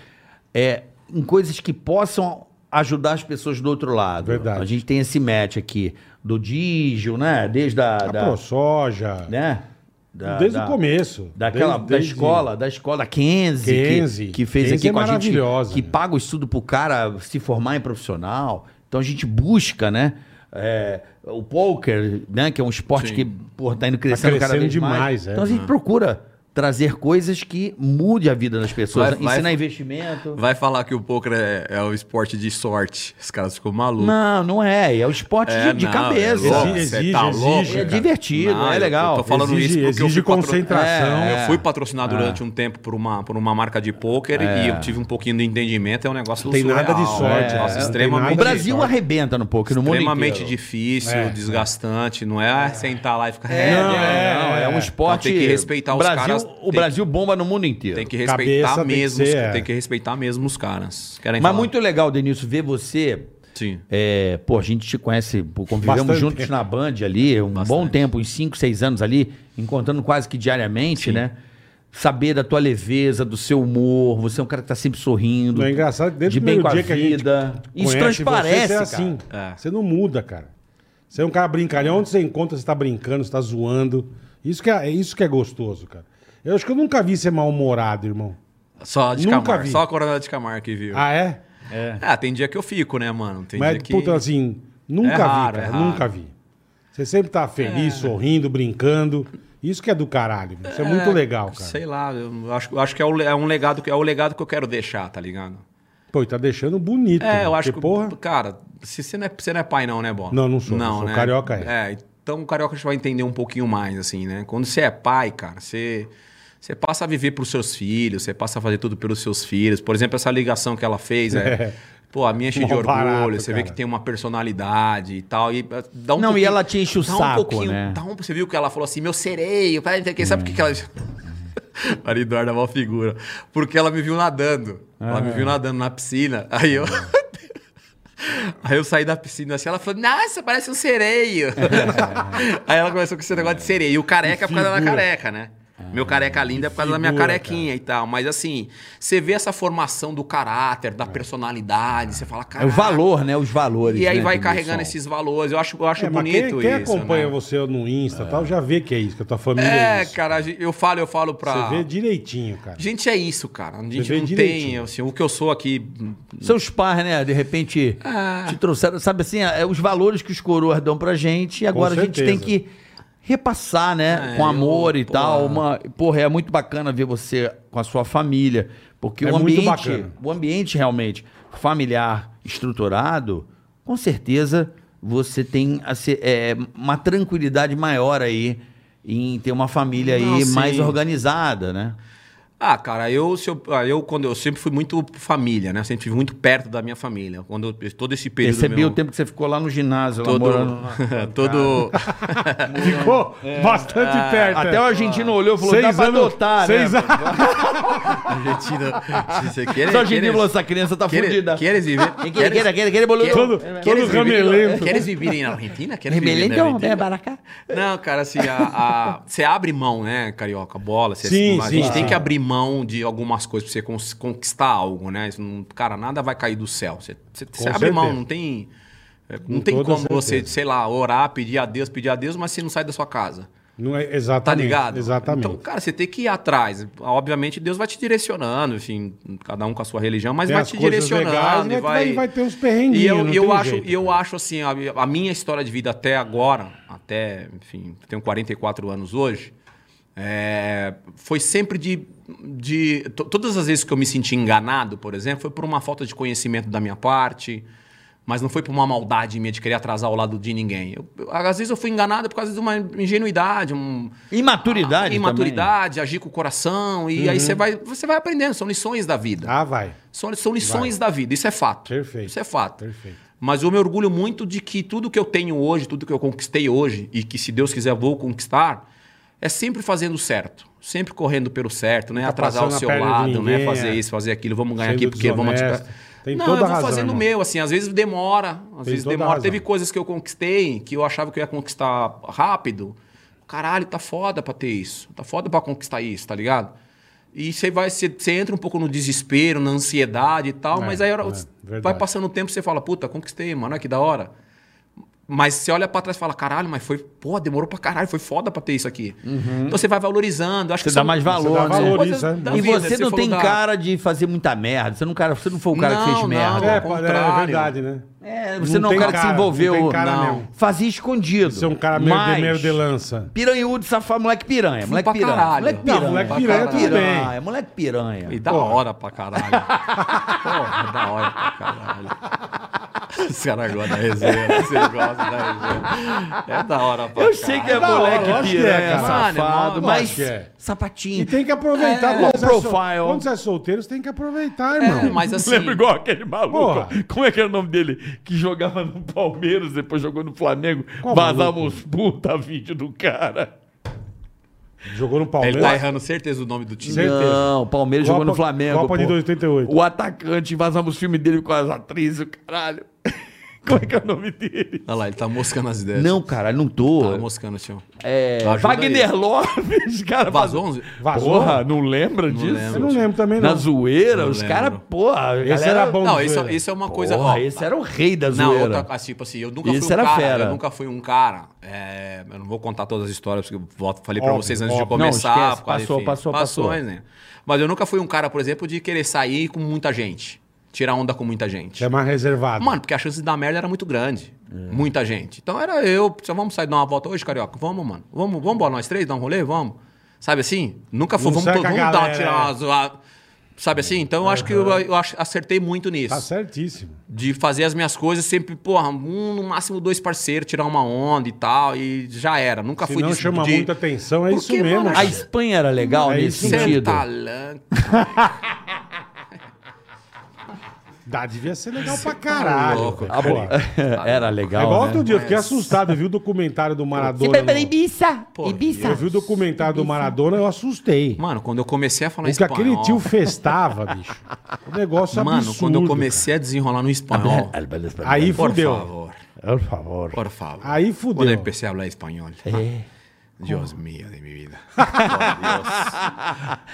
Speaker 4: é, em coisas que possam ajudar as pessoas do outro lado.
Speaker 3: Verdade.
Speaker 4: A gente tem esse match aqui do Digio, né? Desde a.
Speaker 3: A
Speaker 4: da-
Speaker 3: ProSoja.
Speaker 4: né? Da-
Speaker 3: Tá desde
Speaker 4: da-
Speaker 3: o começo.
Speaker 4: Daquela,
Speaker 3: Desde-
Speaker 4: da
Speaker 3: desde-
Speaker 4: escola, da escola da Kenzie, que-
Speaker 3: Kenzie.
Speaker 4: que, fez
Speaker 3: Kenzie
Speaker 4: aqui
Speaker 3: é
Speaker 4: com a gente,
Speaker 3: maravilhosa,
Speaker 4: que
Speaker 3: né?
Speaker 4: paga o estudo pro cara se formar em profissional. Então a gente busca, né? é, o poker, né? Que é um esporte
Speaker 5: Sim. Uhum.
Speaker 4: que porra, tá indo crescendo, cada
Speaker 3: crescendo
Speaker 4: vez mais.
Speaker 3: demais, é.
Speaker 4: então a gente procura trazer coisas que mude a vida das pessoas,
Speaker 5: Vai- vai-
Speaker 4: ensinar investimento.
Speaker 5: Vai falar que o poker é, é o esporte de sorte. Os caras ficam malucos.
Speaker 4: Não, não é. É o esporte
Speaker 5: É,
Speaker 4: de, de
Speaker 5: não,
Speaker 4: cabeça.
Speaker 5: é louco,
Speaker 3: Exige,
Speaker 5: você tá
Speaker 3: exige,
Speaker 5: louco,
Speaker 3: exige.
Speaker 5: cara.
Speaker 4: É divertido, é
Speaker 5: eu-
Speaker 4: legal.
Speaker 5: Eu tô falando
Speaker 3: Exige-
Speaker 5: isso porque eu
Speaker 3: exige
Speaker 5: fui patro-
Speaker 3: concentração.
Speaker 5: É,
Speaker 4: É.
Speaker 5: Eu fui patrocinado durante um tempo por uma, por uma marca de pôquer e eu tive um pouquinho de entendimento. É um negócio né?
Speaker 3: Não tem nada de sorte,
Speaker 5: Nossa,
Speaker 3: é,
Speaker 5: extremamente,
Speaker 4: O
Speaker 3: tem nada de
Speaker 4: Brasil arrebenta no poker, no mundo
Speaker 5: extremamente
Speaker 4: inteiro.
Speaker 5: difícil,
Speaker 3: É.
Speaker 5: desgastante. Não é sentar lá e ficar...
Speaker 4: É, não,
Speaker 5: né?
Speaker 4: é, não, é um esporte.
Speaker 5: Então tem que respeitar os
Speaker 4: Brasil,
Speaker 5: caras,
Speaker 4: O
Speaker 5: tem-
Speaker 4: Brasil bomba no mundo inteiro.
Speaker 5: Tem que
Speaker 3: Cabeça
Speaker 5: respeitar
Speaker 3: tem que
Speaker 5: mesmo. os-
Speaker 3: ser,
Speaker 5: Tem que,
Speaker 3: é.
Speaker 5: respeitar mesmo os caras. Querem
Speaker 4: Mas
Speaker 5: falar?
Speaker 4: muito legal, Denilson, ver você.
Speaker 5: Sim.
Speaker 4: É, pô, a gente te conhece, pô, convivemos
Speaker 3: Bastante.
Speaker 4: juntos na Band ali, um bom tempo, uns 5, 6 anos ali, encontrando quase que diariamente, né? Saber da tua leveza, do seu humor, você é um cara que tá sempre sorrindo.
Speaker 3: Não, é engraçado que desde
Speaker 4: de
Speaker 3: o
Speaker 4: bem
Speaker 3: primeiro
Speaker 4: com a
Speaker 3: dia que a gente
Speaker 4: vida. Isso
Speaker 3: Conhece Você,
Speaker 4: transparece,
Speaker 3: você é
Speaker 4: cara.
Speaker 3: assim.
Speaker 5: É.
Speaker 3: Você não muda, cara. Você é um cara brincalhão. Onde você encontra, você tá brincando, você tá zoando. Isso que é, é isso que é gostoso, cara. Eu acho que eu nunca vi ser mal-humorado, irmão.
Speaker 5: Só de
Speaker 3: Nunca
Speaker 5: Camargo.
Speaker 3: vi.
Speaker 5: Só a Coronel de Camargo que viu. Ah,
Speaker 3: Ah, é?
Speaker 5: tem dia que eu fico, né, mano? Tem
Speaker 3: Mas,
Speaker 5: dia que...
Speaker 3: puta, assim, nunca
Speaker 5: É raro,
Speaker 3: vi, cara.
Speaker 5: é raro. É.
Speaker 3: nunca vi. Você sempre tá feliz, sorrindo, brincando. Isso que é do caralho. meu. Isso é, muito legal, cara.
Speaker 5: Sei lá, eu acho, eu acho que é, o, le- é um legado, que- é o legado que eu quero deixar, tá ligado?
Speaker 3: Pô, e tá deixando bonito.
Speaker 5: É,
Speaker 3: né?
Speaker 5: eu acho
Speaker 3: Porque,
Speaker 5: que.
Speaker 3: Porra,
Speaker 5: Cara, se você não, é, você não é pai, não, né, Bola?
Speaker 3: Não, não sou, sou carioca, é.
Speaker 5: é. então o carioca você vai entender um pouquinho mais, assim, né? Quando você é pai, cara, você. Você passa a viver pros seus filhos, você passa a fazer tudo pelos seus filhos. Por exemplo, essa ligação que ela fez, é. Pô, a minha enche de
Speaker 3: Mó
Speaker 5: orgulho,
Speaker 3: barato,
Speaker 5: você vê
Speaker 3: cara.
Speaker 5: que tem uma personalidade e tal. E eh, dá um
Speaker 4: Não, e
Speaker 5: pouquinho-
Speaker 4: ela te enche o
Speaker 5: dá
Speaker 4: saco,
Speaker 5: pouquinho-
Speaker 4: né?
Speaker 5: dá um- você viu que ela falou assim, meu sereio, peraí, não sei o que, sabe por que que ela.
Speaker 4: Hum.
Speaker 5: Maria Eduarda é uma figura. Porque ela me viu nadando. Ela me
Speaker 4: Ah.
Speaker 5: viu nadando na piscina. Aí eu. Aí eu saí da piscina assim, ela falou, nossa, parece um sereio. Aí ela começou com esse negócio de sereia. E o careca é por causa da
Speaker 3: figura.
Speaker 5: careca, né? Meu careca
Speaker 4: Ah,
Speaker 5: lindo é por causa da minha
Speaker 3: figura,
Speaker 5: carequinha e tal. Mas assim, você vê essa formação do caráter, da personalidade, você fala,
Speaker 4: É o
Speaker 5: cara.
Speaker 4: valor, né? Os valores.
Speaker 5: E aí
Speaker 4: né,
Speaker 5: vai
Speaker 4: Denilson?
Speaker 5: carregando esses valores. Eu acho, eu acho
Speaker 3: é, mas quem,
Speaker 5: bonito
Speaker 3: quem
Speaker 5: isso.
Speaker 3: acompanha
Speaker 5: né?
Speaker 3: você no Insta e tal, já vê que é isso, que a tua família é,
Speaker 5: É,
Speaker 3: isso.
Speaker 5: cara, a gente- eu falo, eu falo pra.
Speaker 3: Você vê direitinho, cara.
Speaker 5: Gente, é isso, cara. A gente
Speaker 3: vê
Speaker 5: não tem.
Speaker 3: direitinho.
Speaker 5: Assim, o que eu sou aqui. Ah,
Speaker 4: Seus pais, né, de repente
Speaker 5: É.
Speaker 4: te trouxeram, sabe assim, é os valores que os coroas dão pra gente e agora a gente tem
Speaker 3: certeza.
Speaker 4: que repassar, né,
Speaker 5: É,
Speaker 4: com amor
Speaker 5: eu-
Speaker 4: e tal.
Speaker 5: porra.
Speaker 4: Uma, porra, é muito bacana ver você com a sua família, porque
Speaker 3: É
Speaker 4: o
Speaker 3: muito
Speaker 4: ambiente,
Speaker 3: bacana.
Speaker 4: o ambiente realmente familiar estruturado, com certeza você tem a se- é, uma tranquilidade maior aí em ter uma família
Speaker 5: Não,
Speaker 4: aí
Speaker 5: sim.
Speaker 4: mais organizada, né?
Speaker 5: Ah, cara, eu, se eu, ah, eu, quando, eu sempre fui muito família, né? Eu sempre estive muito perto da minha família. Quando eu, todo esse período.
Speaker 4: Percebi
Speaker 5: meu-
Speaker 4: o tempo que você ficou lá no ginásio, lá
Speaker 5: Todo.
Speaker 4: morando lá.
Speaker 5: todo
Speaker 3: Ficou bastante perto. é.
Speaker 4: Até o argentino olhou e falou, dá
Speaker 3: Seis
Speaker 4: pra
Speaker 3: anos-
Speaker 4: adotar,
Speaker 3: seis
Speaker 4: né?
Speaker 3: anos.
Speaker 5: argentino. Se você quer.
Speaker 4: Só o argentino falou, essa criança tá fudida.
Speaker 5: Queres viver?
Speaker 4: Quere, quere, quere, quere, boludo.
Speaker 3: Todo, todo ramelento.
Speaker 5: Queres viver na Argentina? Queres viver
Speaker 4: é um-
Speaker 5: né? na Argentina? Não, cara, assim, a- a- você abre mão, né, carioca? Bola, você-
Speaker 3: Sim,
Speaker 5: a
Speaker 3: sim,
Speaker 5: gente
Speaker 3: sim.
Speaker 5: tem que abrir mão de algumas coisas pra você cons- conquistar algo, né? Isso não- cara, nada vai cair do céu. Você, você- você abre
Speaker 3: certeza.
Speaker 5: mão, não tem. é, Não
Speaker 3: Com
Speaker 5: tem
Speaker 3: toda
Speaker 5: como você,
Speaker 3: certeza.
Speaker 5: sei lá, orar, pedir a Deus, pedir a Deus, mas você não sai da sua casa.
Speaker 3: Não é,
Speaker 5: Tá
Speaker 3: exatamente.
Speaker 5: ligado?
Speaker 3: Exatamente.
Speaker 5: Então, cara, você tem que ir atrás. Obviamente, Deus vai te direcionando, enfim, cada um com a sua religião, mas
Speaker 3: Tem
Speaker 5: vai
Speaker 3: as
Speaker 5: te
Speaker 3: coisas
Speaker 5: direcionando.
Speaker 3: legais,
Speaker 5: e
Speaker 3: mas
Speaker 5: vai,
Speaker 3: vai- vai ter uns perrenguinhos,
Speaker 5: E eu,
Speaker 3: não
Speaker 5: eu
Speaker 3: tem
Speaker 5: acho,
Speaker 3: jeito, né?
Speaker 5: e eu
Speaker 3: cara.
Speaker 5: acho assim, a, a minha história de vida até agora, até, enfim, tenho 44 anos hoje, é, foi sempre de. de to- todas as vezes que eu me senti enganado, por exemplo, foi por uma falta de conhecimento da minha parte. Mas não foi por uma maldade minha de querer atrasar o lado de ninguém. Eu- eu- às vezes eu fui enganado por causa de uma ingenuidade, um,
Speaker 4: Imaturidade também.
Speaker 5: imaturidade, agir com o coração. E aí você vai, você vai aprendendo. São lições da vida.
Speaker 3: Uhum. Ah, vai.
Speaker 5: São, são lições da vida. Isso é fato.
Speaker 3: Perfeito.
Speaker 5: Isso é fato.
Speaker 3: Perfeito.
Speaker 5: Mas eu me orgulho muito de que tudo que eu tenho hoje, tudo que eu conquistei hoje e que, se Deus quiser, vou conquistar, é sempre fazendo certo. Sempre correndo pelo certo, né?
Speaker 3: Tá
Speaker 5: Atrasar o
Speaker 3: passando a
Speaker 5: seu
Speaker 3: perna de
Speaker 5: lado, né?
Speaker 3: ninguém,
Speaker 5: Fazer
Speaker 3: é.
Speaker 5: isso, fazer aquilo. Vamos ganhar
Speaker 3: Sendo
Speaker 5: aqui porque vamos...
Speaker 3: desonesto.
Speaker 5: atirar-
Speaker 3: Tem
Speaker 5: não,
Speaker 3: toda
Speaker 5: eu
Speaker 3: a
Speaker 5: vou
Speaker 3: razão,
Speaker 5: fazendo o
Speaker 3: irmão.
Speaker 5: meu, assim. Às vezes demora. Às
Speaker 3: Tem
Speaker 5: vezes
Speaker 3: toda a
Speaker 5: demora.
Speaker 3: razão.
Speaker 5: Teve coisas que eu conquistei que eu achava que eu ia conquistar rápido. Caralho, tá foda pra ter isso. Tá foda pra conquistar isso, tá ligado? E você vai, você, você entra um pouco no desespero, na ansiedade e tal,
Speaker 3: É,
Speaker 5: mas aí a hora-
Speaker 3: é,
Speaker 5: vai
Speaker 3: verdade.
Speaker 5: passando o tempo você fala, puta, conquistei, mano, olha que da hora. Mas você olha pra trás e fala, caralho, mas foi, pô, demorou pra caralho, foi foda pra ter isso aqui. Então você vai valorizando. Acho
Speaker 4: Uhum. Você
Speaker 5: que um-
Speaker 4: dá
Speaker 5: são-
Speaker 4: mais
Speaker 3: dá
Speaker 4: valor,
Speaker 3: valor,
Speaker 4: né?
Speaker 5: coisas
Speaker 3: isso, é.
Speaker 5: da
Speaker 4: E
Speaker 5: vida.
Speaker 4: você não
Speaker 5: falou
Speaker 4: tem
Speaker 5: da-
Speaker 4: cara de fazer muita merda. Você não, cara, você não foi um cara que
Speaker 5: Não,
Speaker 4: fez
Speaker 5: não.
Speaker 3: É,
Speaker 4: merda.
Speaker 5: Ao
Speaker 3: é
Speaker 5: contrário.
Speaker 3: verdade, né?
Speaker 4: É, você não é um
Speaker 3: tem
Speaker 4: cara, que se envolveu.
Speaker 3: Não tem cara
Speaker 5: Não.
Speaker 3: mesmo.
Speaker 4: Fazia escondido.
Speaker 3: Você é um cara meio,
Speaker 4: Mas-
Speaker 3: de, meio de lança.
Speaker 4: Piranhudo, safado, moleque piranha. moleque
Speaker 5: pra
Speaker 4: piranha.
Speaker 5: caralho.
Speaker 4: Moleque
Speaker 5: Não,
Speaker 4: piranha.
Speaker 3: moleque
Speaker 4: Pra
Speaker 3: piranha,
Speaker 4: caralho.
Speaker 3: tudo bem.
Speaker 4: Piranha, Moleque piranha.
Speaker 5: E da hora pra caralho. Porra, da hora pra caralho. Os caras gostam da resenha, né? vocês gostam da resenha. É da hora pra
Speaker 4: Eu sei que é
Speaker 5: caralho.
Speaker 3: hora,
Speaker 4: moleque
Speaker 3: lógico que é,
Speaker 4: piranha,
Speaker 3: cara.
Speaker 4: safado,
Speaker 5: Mano,
Speaker 4: mas
Speaker 3: lógico que é. E
Speaker 4: sapatinho.
Speaker 3: tem que aproveitar.
Speaker 4: É,
Speaker 3: quando
Speaker 4: low
Speaker 3: você é sol-
Speaker 4: profile.
Speaker 3: Quando você é solteiro, você tem que aproveitar,
Speaker 5: É,
Speaker 3: irmão.
Speaker 5: mas assim...
Speaker 6: Lembra igual aquele maluco?
Speaker 3: Porra.
Speaker 6: Como é que era o nome dele? Que jogava no Palmeiras, depois jogou no Flamengo,
Speaker 3: Qual
Speaker 6: vazava
Speaker 3: maluco?
Speaker 6: os puta vídeo do cara.
Speaker 3: Jogou no
Speaker 5: Ele
Speaker 4: né?
Speaker 3: Palmeiras.
Speaker 5: tá errando certeza o nome do time.
Speaker 3: Certeza.
Speaker 4: Não, o Palmeiras jogou
Speaker 3: Copa-
Speaker 4: no Flamengo.
Speaker 3: Copa de
Speaker 4: pô.
Speaker 3: 88.
Speaker 6: O atacante, vazava os filmes dele com as atrizes, o caralho. Como é que é o nome dele?
Speaker 5: Olha lá, ele tá moscando as ideias.
Speaker 4: Não, cara, não tô.
Speaker 5: Tá moscando, tio.
Speaker 4: É,
Speaker 5: Ajuda
Speaker 4: Wagner
Speaker 5: aí.
Speaker 4: Lopes, cara.
Speaker 5: Vazou 11?
Speaker 3: Vazou?
Speaker 6: Porra, não lembra disso?
Speaker 3: Eu não lembro também, não.
Speaker 4: Na zoeira,
Speaker 5: Não
Speaker 4: os
Speaker 5: lembro.
Speaker 4: caras, porra.
Speaker 3: Esse era bom.
Speaker 5: Não, isso,
Speaker 3: zoeira.
Speaker 5: isso é uma coisa...
Speaker 4: Coisa,
Speaker 5: ó,
Speaker 4: porra, esse era o rei da
Speaker 5: Não,
Speaker 4: zoeira.
Speaker 5: outra, assim, tipo assim, eu nunca
Speaker 4: Isso
Speaker 5: fui um
Speaker 4: era
Speaker 5: cara.
Speaker 4: fera.
Speaker 5: Eu nunca fui um cara. é, eu não vou contar todas as histórias, porque eu volto- falei pra
Speaker 3: Óbvio,
Speaker 5: vocês antes de
Speaker 3: óbvio.
Speaker 5: começar.
Speaker 4: Não, esquece,
Speaker 5: por causa,
Speaker 4: passou, passou, passou.
Speaker 5: né? Mas eu nunca fui um cara, por exemplo, de querer sair com muita gente. Tirar onda com muita gente.
Speaker 3: Você é mais reservado.
Speaker 5: Mano, porque a chance de dar merda era muito grande.
Speaker 3: É.
Speaker 5: Muita gente. Então era eu. Só vamos sair dar uma volta hoje, carioca? Vamos, mano. Vamos, vamos embora nós três, dar um rolê? Vamos. Sabe assim? Nunca foi.
Speaker 3: Não
Speaker 5: Vamos,
Speaker 3: sai
Speaker 5: todo,
Speaker 3: com a
Speaker 5: vamos dar uma
Speaker 3: galera, é.
Speaker 5: tirar uma zoada. Sabe assim? Então eu acho que eu, eu acho- acertei muito nisso
Speaker 3: Tá certíssimo.
Speaker 5: de fazer as minhas coisas sempre, porra, um, no máximo dois parceiros, tirar uma onda e tal, e já era. Nunca
Speaker 3: Se
Speaker 5: fui
Speaker 3: não
Speaker 5: disso,
Speaker 3: chama
Speaker 5: de-
Speaker 3: muita atenção, é
Speaker 5: Por
Speaker 3: isso
Speaker 5: que,
Speaker 3: mesmo.
Speaker 5: mano?
Speaker 4: A
Speaker 3: cara.
Speaker 4: Espanha era legal
Speaker 3: É isso
Speaker 4: nesse sentido.
Speaker 5: Senta lan-
Speaker 3: Dá, devia ser legal pra caralho.
Speaker 5: tá louco,
Speaker 3: cara.
Speaker 5: Ah,
Speaker 3: Pô,
Speaker 4: era
Speaker 3: É
Speaker 4: legal.
Speaker 3: igual
Speaker 4: né?
Speaker 3: outro dia, eu fiquei assustado. Eu vi o documentário do Maradona. no-
Speaker 4: Ibiza.
Speaker 5: né? Pô,
Speaker 3: Eu vi o documentário do Maradona, eu assustei.
Speaker 5: Mano, quando eu comecei a falar
Speaker 3: O que
Speaker 5: espanhol...
Speaker 3: aquele tio festava, bicho. O negócio é
Speaker 5: Mano,
Speaker 3: absurdo.
Speaker 5: quando eu comecei a desenrolar no espanhol...
Speaker 3: cara. Aí
Speaker 5: Por
Speaker 3: fudeu.
Speaker 5: favor,
Speaker 7: Por favor.
Speaker 5: por favor.
Speaker 3: Aí fudeu.
Speaker 5: Quando eu comecei a falar espanhol... Deus mío de minha vida.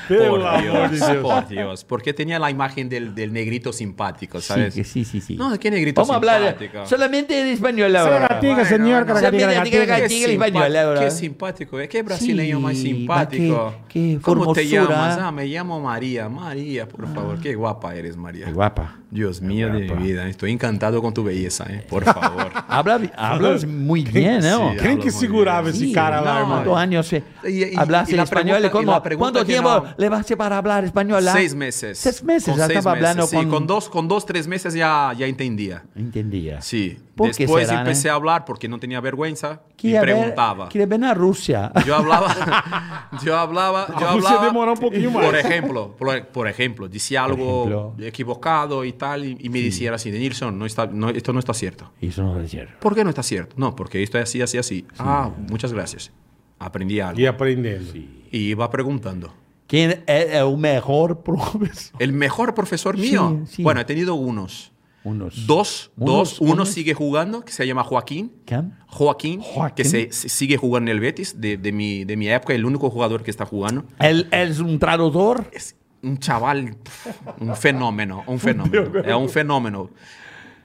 Speaker 3: Pelo
Speaker 5: por
Speaker 3: amor de
Speaker 5: Dios,
Speaker 3: Deus.
Speaker 5: por Dios. Porque tinha lá a imagem del, del negrito simpático,
Speaker 4: Sí,
Speaker 5: sabes?
Speaker 4: que sí, sí, sí.
Speaker 5: Não, que negrito
Speaker 4: Vamos hablar
Speaker 5: simpático.
Speaker 4: solamente em espanhol agora.
Speaker 3: Caratinga, senhor, caratinga,
Speaker 4: Samira,
Speaker 3: caratinga.
Speaker 4: diga,
Speaker 5: Que
Speaker 4: Gatinho, ele vai de
Speaker 5: simpático,
Speaker 4: olhar,
Speaker 5: que
Speaker 4: né?
Speaker 5: simpático. eh, É que brasileiro mais
Speaker 4: Sim,
Speaker 5: simpático.
Speaker 4: mas que- que
Speaker 5: Como te
Speaker 4: formosura. Ah.
Speaker 5: chamas? Ah, me chamo Maria. Maria, por favor. Que guapa eres, Maria.
Speaker 4: Guapa.
Speaker 5: Deus mío de mi vida. Estou encantado com tu beleza, hein? Por favor.
Speaker 4: Habla, hablas muy bien, ¿no?
Speaker 5: Sí.
Speaker 3: Quem que segurava esse
Speaker 4: Sí,
Speaker 3: cara lá,
Speaker 5: não,
Speaker 4: ¿Cuántos
Speaker 3: irmão?
Speaker 4: años eh,
Speaker 5: Y- y-
Speaker 4: hablaste
Speaker 5: y la
Speaker 4: español?
Speaker 5: pregunta-
Speaker 4: ¿Cómo?
Speaker 5: y la pregunta
Speaker 4: ¿Cuánto
Speaker 5: que
Speaker 4: tiempo
Speaker 5: no-
Speaker 4: levaste para hablar español? ah?
Speaker 5: Seis meses.
Speaker 4: Seis meses,
Speaker 5: Com
Speaker 4: ya
Speaker 5: seis
Speaker 4: estaba
Speaker 5: meses,
Speaker 4: hablando
Speaker 5: sí.
Speaker 4: con...
Speaker 5: Com dois, com dois, três meses já, já entendia.
Speaker 4: Entendía.
Speaker 5: Sim.
Speaker 4: Por que
Speaker 5: Después
Speaker 4: será, eh? né?
Speaker 5: empecé a hablar porque no tenía vergüenza
Speaker 4: Queria
Speaker 5: y
Speaker 4: ver-
Speaker 5: preguntaba.
Speaker 4: Queria ver na Rússia.
Speaker 5: Yo hablaba, yo hablaba, yo
Speaker 3: A Rússia
Speaker 5: hablaba.
Speaker 3: demoró un poquito
Speaker 5: Por
Speaker 3: más.
Speaker 5: ejemplo, por, por ejemplo, decía algo
Speaker 4: ejemplo.
Speaker 5: equivocado y tal, y, y me decía así, Nilsson, no está, no, esto no está cierto.
Speaker 4: Isso não vai dizer.
Speaker 5: ¿Por qué no está cierto? No, porque esto es así, así, así. Ah, muchas gracias. Aprendí algo.
Speaker 3: E aprendendo.
Speaker 5: Y iba preguntando.
Speaker 4: Quem é, é o melhor professor?
Speaker 5: El mejor profesor mío.
Speaker 4: Sí, sí.
Speaker 5: Bueno, he tenido unos.
Speaker 4: Unos.
Speaker 5: Dos,
Speaker 4: Unos,
Speaker 5: dos, uno
Speaker 4: unos.
Speaker 5: sigue jugando, que se llama Joaquín.
Speaker 4: Quem?
Speaker 5: Joaquín,
Speaker 4: Joaquín.
Speaker 5: que se, se- sigue jugando en el Betis, de, de mi, de mi época, el único jugador que está jugando.
Speaker 4: Ele, és um tradutor?
Speaker 5: Es un chaval, pf, un fenómeno, un fenómeno. Es un fenómeno.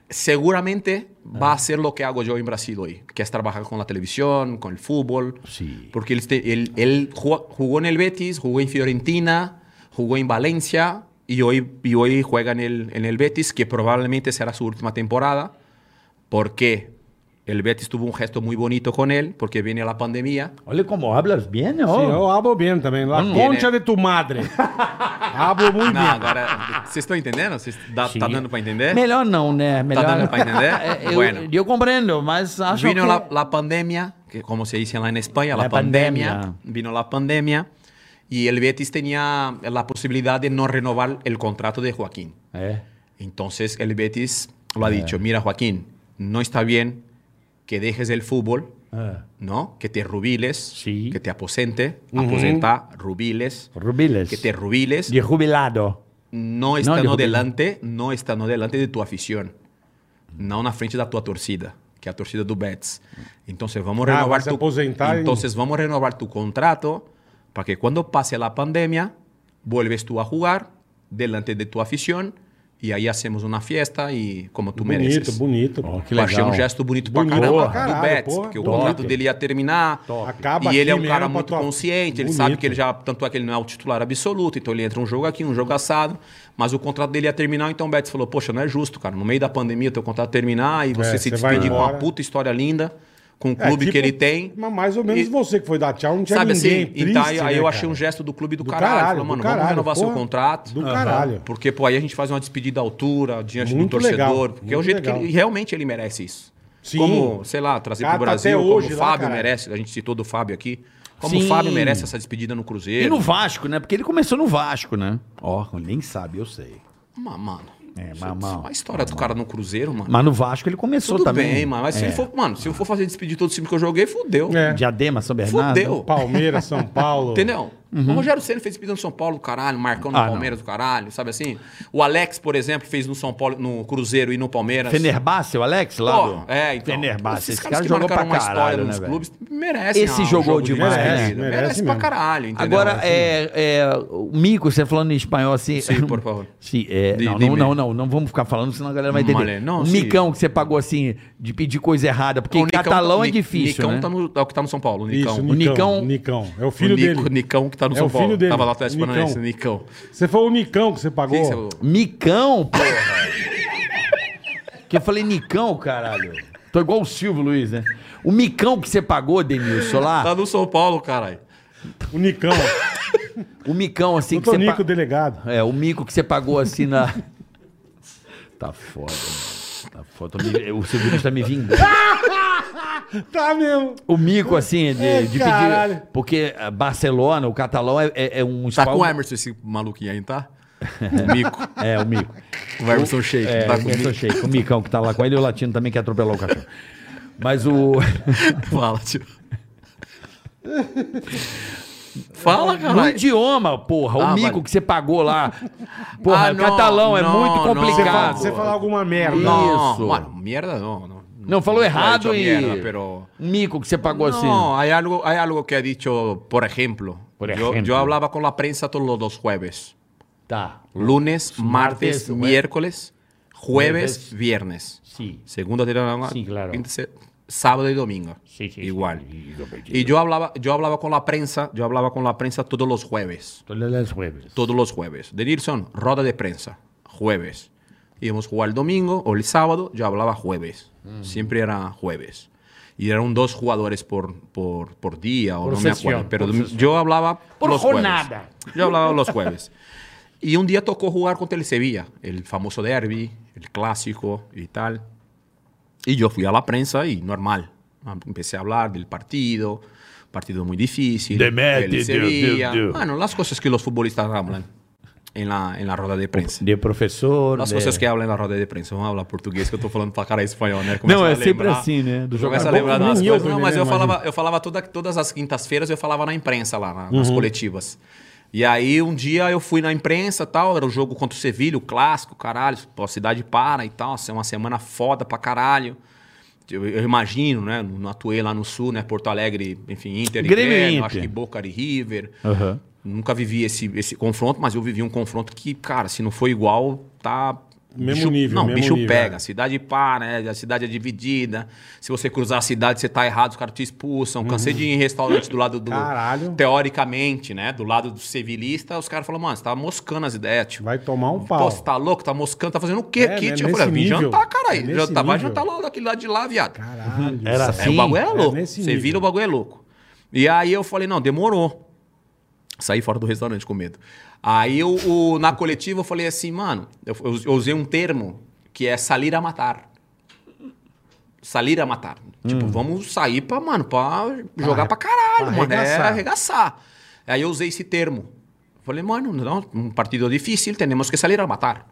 Speaker 5: Seguramente va a hacer lo que hago yo en Brasil hoy, que es trabajar con la televisión, con el fútbol.
Speaker 4: Sí.
Speaker 5: Porque él, este- él- él jugó, jugó en el Betis, jugó en Fiorentina, jugó en Valencia y hoy, y hoy juega en el, en el Betis, que probablemente será su última temporada. Porque el Betis tuvo un gesto muy bonito con él, porque viene la pandemia.
Speaker 4: Olha como hablas bem, ó.
Speaker 3: Sim,
Speaker 5: oh,
Speaker 3: eu abro bem também. La concha de tu madre. abro muito
Speaker 5: No,
Speaker 3: bem.
Speaker 5: ahora, ¿se está entendiendo? ¿Se está,
Speaker 4: Sim.
Speaker 5: está dando para entender?
Speaker 4: Melhor não, né? Melhor...
Speaker 5: dando pra entender?
Speaker 4: É, eu,
Speaker 5: Bueno.
Speaker 4: eu compreendo, mas acho
Speaker 5: vino
Speaker 4: que...
Speaker 5: la, la pandemia, que como se dice en España, la,
Speaker 4: La
Speaker 5: pandemia,
Speaker 4: pandemia.
Speaker 5: vino la pandemia y el Betis tenía la posibilidad de no renovar el contrato de Joaquín.
Speaker 4: É.
Speaker 5: Entonces el Betis lo ha dicho, mira Joaquín, no está bien que dejes el fútbol,
Speaker 4: eh,
Speaker 5: ¿no? Que te rubiles,
Speaker 4: Sí.
Speaker 5: que te aposente, aposenta, rubiles,
Speaker 4: Rubiles.
Speaker 5: que te rubiles,
Speaker 4: De jubilado.
Speaker 5: no estando
Speaker 4: de rubiles.
Speaker 5: delante, no estando delante de tu afición, no na frente da tua torcida, que é a torcida do Betis. Então vamos
Speaker 3: Ah, vai
Speaker 5: renovar
Speaker 3: se
Speaker 5: tu
Speaker 3: aposentar e-
Speaker 5: Entonces vamos renovar tu contrato para que quando passe a pandemia, vuelves tu a jugar delante de tu afición e aí hacemos uma fiesta e como tu
Speaker 3: Bonito,
Speaker 5: mereces.
Speaker 3: bonito.
Speaker 4: que
Speaker 5: Eu achei
Speaker 4: legal.
Speaker 5: um gesto bonito,
Speaker 3: Bonito
Speaker 5: pra caramba
Speaker 3: pra caralho,
Speaker 5: do Betis,
Speaker 3: porra,
Speaker 5: porque o
Speaker 3: top.
Speaker 5: contrato dele ia terminar.
Speaker 3: Acaba
Speaker 5: e ele é
Speaker 3: aqui
Speaker 5: um cara
Speaker 3: mesmo pra
Speaker 5: muito
Speaker 3: tua-
Speaker 5: consciente, ele
Speaker 3: Bonito.
Speaker 5: sabe que ele já. Tanto é que ele não é o titular absoluto, então ele entra um jogo aqui, um jogo assado, mas o contrato dele ia terminar, então o Betis falou: Poxa, não é justo, cara. No meio da pandemia, teu contrato terminar e você
Speaker 3: É,
Speaker 5: se
Speaker 3: você vai
Speaker 5: despedir com uma
Speaker 3: embora.
Speaker 5: puta história linda, com o
Speaker 3: É,
Speaker 5: clube que
Speaker 3: tipo-
Speaker 5: ele tem.
Speaker 3: Mas mais ou menos
Speaker 5: E-
Speaker 3: você que foi dar tchau, não tinha
Speaker 5: Sabe
Speaker 3: ninguém
Speaker 5: assim?
Speaker 3: triste,
Speaker 5: então aí, aí
Speaker 3: né,
Speaker 5: eu achei
Speaker 3: cara?
Speaker 5: um gesto do clube do,
Speaker 3: Do
Speaker 5: caralho.
Speaker 3: caralho,
Speaker 5: Falou,
Speaker 3: do
Speaker 5: mano,
Speaker 3: caralho,
Speaker 5: vamos renovar seu
Speaker 3: porra,
Speaker 5: contrato.
Speaker 3: do caralho.
Speaker 5: Porque, pô, aí a gente faz uma despedida à altura, diante
Speaker 3: Muito
Speaker 5: do torcedor.
Speaker 3: legal,
Speaker 5: porque é o
Speaker 3: muito
Speaker 5: jeito
Speaker 3: legal.
Speaker 5: que ele, realmente ele merece isso.
Speaker 3: Sim.
Speaker 5: Como, sei lá, trazer
Speaker 3: Cara,
Speaker 5: pro
Speaker 3: tá até
Speaker 5: Brasil,
Speaker 3: hoje
Speaker 5: como o
Speaker 3: lá,
Speaker 5: Fábio
Speaker 3: caralho.
Speaker 5: merece. A gente citou do Fábio aqui. Como
Speaker 4: Sim.
Speaker 5: o Fábio merece essa despedida no Cruzeiro.
Speaker 4: E no Vasco, né? Porque ele começou no Vasco, né? Ó, nem sabe, eu sei.
Speaker 5: Mas, mano,
Speaker 4: É,
Speaker 5: isso-
Speaker 4: mas, mano,
Speaker 5: a história do cara no Cruzeiro, mano.
Speaker 4: Mas no Vasco ele começou
Speaker 5: tudo
Speaker 4: também.
Speaker 5: bem, mano. Mas se
Speaker 4: É.
Speaker 5: ele for, mano, se eu for fazer despedir todo o time que eu joguei, fudeu.
Speaker 3: É.
Speaker 4: Diadema, São Bernardo.
Speaker 5: Fudeu.
Speaker 3: Palmeiras, São Paulo.
Speaker 5: Entendeu?
Speaker 3: Uhum.
Speaker 5: O Rogério Ceni fez pedido no São Paulo do caralho, Marcão no
Speaker 4: Ah, não.
Speaker 5: Palmeiras do caralho, sabe assim? O Alex, por exemplo, fez no São Paulo, no Cruzeiro e no Palmeiras.
Speaker 4: Fenerbahce, o Alex lá
Speaker 5: Ó,
Speaker 4: do...
Speaker 5: é, então.
Speaker 4: Fenerbahce,
Speaker 5: esses
Speaker 4: esse
Speaker 5: caras
Speaker 4: cara
Speaker 5: que
Speaker 4: jogou pra
Speaker 5: marcaram uma história
Speaker 4: caralho,
Speaker 5: nos
Speaker 4: né, velho?
Speaker 5: clubes merecem
Speaker 4: Esse
Speaker 5: um
Speaker 4: jogou
Speaker 5: jogo de
Speaker 4: demais,
Speaker 5: despedida.
Speaker 4: né?
Speaker 5: merece,
Speaker 3: Merece
Speaker 5: pra
Speaker 3: mesmo.
Speaker 5: caralho, entendeu? Assim.
Speaker 4: Agora, é, é, o Mico, você falando em espanhol assim...
Speaker 5: Sim, por favor.
Speaker 4: Sim, é,
Speaker 5: Di-
Speaker 4: não, não,
Speaker 5: dime.
Speaker 4: não, não, não vamos ficar falando, senão a galera vai entender.
Speaker 5: Male, não,
Speaker 4: o
Speaker 5: sim.
Speaker 4: micão que você pagou assim, de pedir coisa errada, porque
Speaker 5: O
Speaker 4: em
Speaker 5: Nicão
Speaker 4: catalão
Speaker 5: tá-
Speaker 4: é
Speaker 5: Ni-
Speaker 4: difícil,
Speaker 5: Nicão
Speaker 4: né?
Speaker 5: tá no, é o que tá no São Paulo, o Nicão.
Speaker 3: Isso,
Speaker 5: o
Speaker 3: Nicão.
Speaker 4: Nicão-
Speaker 3: Nicão. É o filho
Speaker 5: Nico-
Speaker 3: dele.
Speaker 5: Nicão que tá no
Speaker 3: É
Speaker 5: São
Speaker 3: o
Speaker 5: Paulo.
Speaker 3: filho dele.
Speaker 5: Tava lá atrás
Speaker 3: Nicão.
Speaker 5: Paranaense, Nicão.
Speaker 3: Você foi o Nicão que você
Speaker 5: Quem
Speaker 3: pagou.
Speaker 5: que você-
Speaker 4: Micão, porra! que eu falei Nicão, caralho. Tô igual o Silvio Luiz, né? O Micão que você pagou, Denilson, lá,
Speaker 5: Tá no São Paulo, caralho.
Speaker 3: O Nicão.
Speaker 4: o Micão assim
Speaker 3: o
Speaker 4: que você...
Speaker 3: Tonico,
Speaker 4: pa-
Speaker 3: delegado.
Speaker 4: É, o mico que você pagou assim na. Tá foda, mano. Tá foda. Tô me- O Silvio Luiz tá me vingando.
Speaker 3: Tá mesmo.
Speaker 4: O mico, assim, de,
Speaker 3: É,
Speaker 4: de
Speaker 3: caralho.
Speaker 4: pedir. Porque ah, Barcelona, o catalão, é, é- é um
Speaker 5: Tá com o
Speaker 4: espanhol-
Speaker 5: Emerson esse maluquinho aí, tá? O Mico.
Speaker 4: É, o mico.
Speaker 5: O Emerson Sheik.
Speaker 4: É,
Speaker 5: tá
Speaker 4: o,
Speaker 5: com o
Speaker 4: Milton
Speaker 5: Mico.
Speaker 4: Sheik, o micão que tá lá com ele e o latino também que atropelou o cachorro. Mas o.
Speaker 5: Fala, tio. Fala,
Speaker 4: No
Speaker 5: caralho.
Speaker 4: idioma, porra, o
Speaker 5: Ah,
Speaker 4: mico
Speaker 5: vai.
Speaker 4: que você pagou lá. Porra,
Speaker 5: Ah,
Speaker 4: o
Speaker 5: não,
Speaker 4: catalão é
Speaker 5: não,
Speaker 4: muito
Speaker 5: não.
Speaker 3: Você fala,
Speaker 4: complicado.
Speaker 3: você fala alguma merda.
Speaker 5: Não,
Speaker 4: Isso.
Speaker 5: mano, mierda não. No,
Speaker 4: Não, falou errado e.
Speaker 5: Mierda, pero...
Speaker 4: Um mico que você pagou assim.
Speaker 5: No, hay algo, hay algo que ha dicho, por ejemplo.
Speaker 4: Por
Speaker 5: Yo- Yo,
Speaker 4: ejemplo.
Speaker 5: hablaba con la prensa todos los jueves.
Speaker 4: Tá.
Speaker 5: Lunes,
Speaker 4: Martes,
Speaker 5: martes,
Speaker 4: jue-
Speaker 5: miércoles, jueves,
Speaker 4: Jueves.
Speaker 5: viernes.
Speaker 4: Sim.
Speaker 5: Segunda, tercera,
Speaker 4: Sí, claro.
Speaker 5: quinta, se- sábado y domingo.
Speaker 4: Sí, sí,
Speaker 5: Igual.
Speaker 4: sí, sí, sí.
Speaker 5: Y yo hablaba, yo hablaba con la prensa, yo hablaba con la prensa todos los jueves.
Speaker 4: Todas las jueves.
Speaker 5: todos los jueves. De Nilsson, roda de prensa, jueves. Íbamos a jugar el domingo o el sábado, yo hablaba jueves.
Speaker 4: Mm.
Speaker 5: Siempre era jueves. Y eran dos jugadores por, por, por día, o
Speaker 4: Por
Speaker 5: no
Speaker 4: sesión,
Speaker 5: me acuerdo. Pero
Speaker 4: por
Speaker 5: dom-
Speaker 4: sesión.
Speaker 5: yo hablaba
Speaker 4: Por
Speaker 5: los jueves.
Speaker 4: jornada.
Speaker 5: Yo hablaba los jueves. Y un día tocó jugar contra el Sevilla, el famoso derby, el clásico y tal. Y yo fui a la prensa y normal. Empecé a hablar del partido, partido muy difícil.
Speaker 4: De Met,
Speaker 5: del
Speaker 4: de- de-
Speaker 5: Sevilla.
Speaker 4: de- de-
Speaker 5: Bueno, las cosas que los futbolistas hablan en la, en la rueda de prensa.
Speaker 4: De professor.
Speaker 5: Las
Speaker 4: de-
Speaker 5: coisas que hablam na roda de prensa. Vamos falar português, que eu tô falando pra cara espanhol, né?
Speaker 7: Não,
Speaker 5: a
Speaker 7: é sempre
Speaker 5: lembrar.
Speaker 7: assim, né? Do
Speaker 5: Começa a
Speaker 7: jogador.
Speaker 5: lembrar
Speaker 3: nem
Speaker 5: das
Speaker 3: eu
Speaker 5: coisas.
Speaker 3: tô
Speaker 5: Não,
Speaker 7: né,
Speaker 5: mas eu
Speaker 3: entendendo, imagina.
Speaker 5: falava, eu falava toda, todas as quintas-feiras, eu falava na imprensa lá, na-
Speaker 7: Uhum.
Speaker 5: nas coletivas. E aí, um dia eu fui na imprensa e tal, era o jogo contra o Sevilha, o clássico, caralho, pô, a cidade para e tal, assim, uma semana foda pra caralho. Eu, eu imagino, né? Não não atuei lá no Sul, né? Porto Alegre, enfim, Inter e
Speaker 4: Grêmio e Inter.
Speaker 5: acho que Boca e River.
Speaker 7: Aham.
Speaker 5: Nunca vivi esse, esse confronto, mas eu vivi um confronto que, cara, se não for igual, tá.
Speaker 3: Mesmo
Speaker 5: bicho,
Speaker 3: nível,
Speaker 5: Não,
Speaker 3: mesmo
Speaker 5: bicho
Speaker 3: nível,
Speaker 5: pega.
Speaker 3: é.
Speaker 5: A cidade pá, né? A cidade é dividida. Se você cruzar a cidade, você tá errado, os caras te expulsam. Cansei de ir em restaurante do lado do.
Speaker 3: Uhum. Caralho.
Speaker 5: Teoricamente, né? Do lado do civilista, os caras falam, mano, você tá moscando as ideias, tipo.
Speaker 3: Vai tomar um
Speaker 5: Pô,
Speaker 3: pau.
Speaker 5: você tá louco? Tá moscando, tá fazendo o quê
Speaker 3: É,
Speaker 5: aqui?
Speaker 3: né?
Speaker 5: Tipo, eu falei,
Speaker 3: Nesse
Speaker 5: vim
Speaker 3: nível.
Speaker 5: jantar, caralho.
Speaker 3: É nesse
Speaker 5: jantar, vai
Speaker 3: nível.
Speaker 5: jantar lá daquele lado de lá, viado.
Speaker 3: Caralho.
Speaker 4: Era
Speaker 5: É, o
Speaker 4: assim.
Speaker 5: bagulho é louco.
Speaker 3: nesse
Speaker 5: Você
Speaker 3: nível.
Speaker 5: vira, o bagulho é louco. E aí eu falei, não, demorou. Saí fora do restaurante com medo. Aí eu, o- na coletiva eu falei assim, mano, eu, eu- eu usei um termo que é salir a matar. Salir a matar. Tipo, vamos sair pra, mano, pra jogar pra caralho,
Speaker 3: Hum. pra
Speaker 5: mano. É
Speaker 3: arregaçar.
Speaker 5: arregaçar. Aí eu usei esse termo. Falei, mano, não, um partido difícil, temos que salir a matar.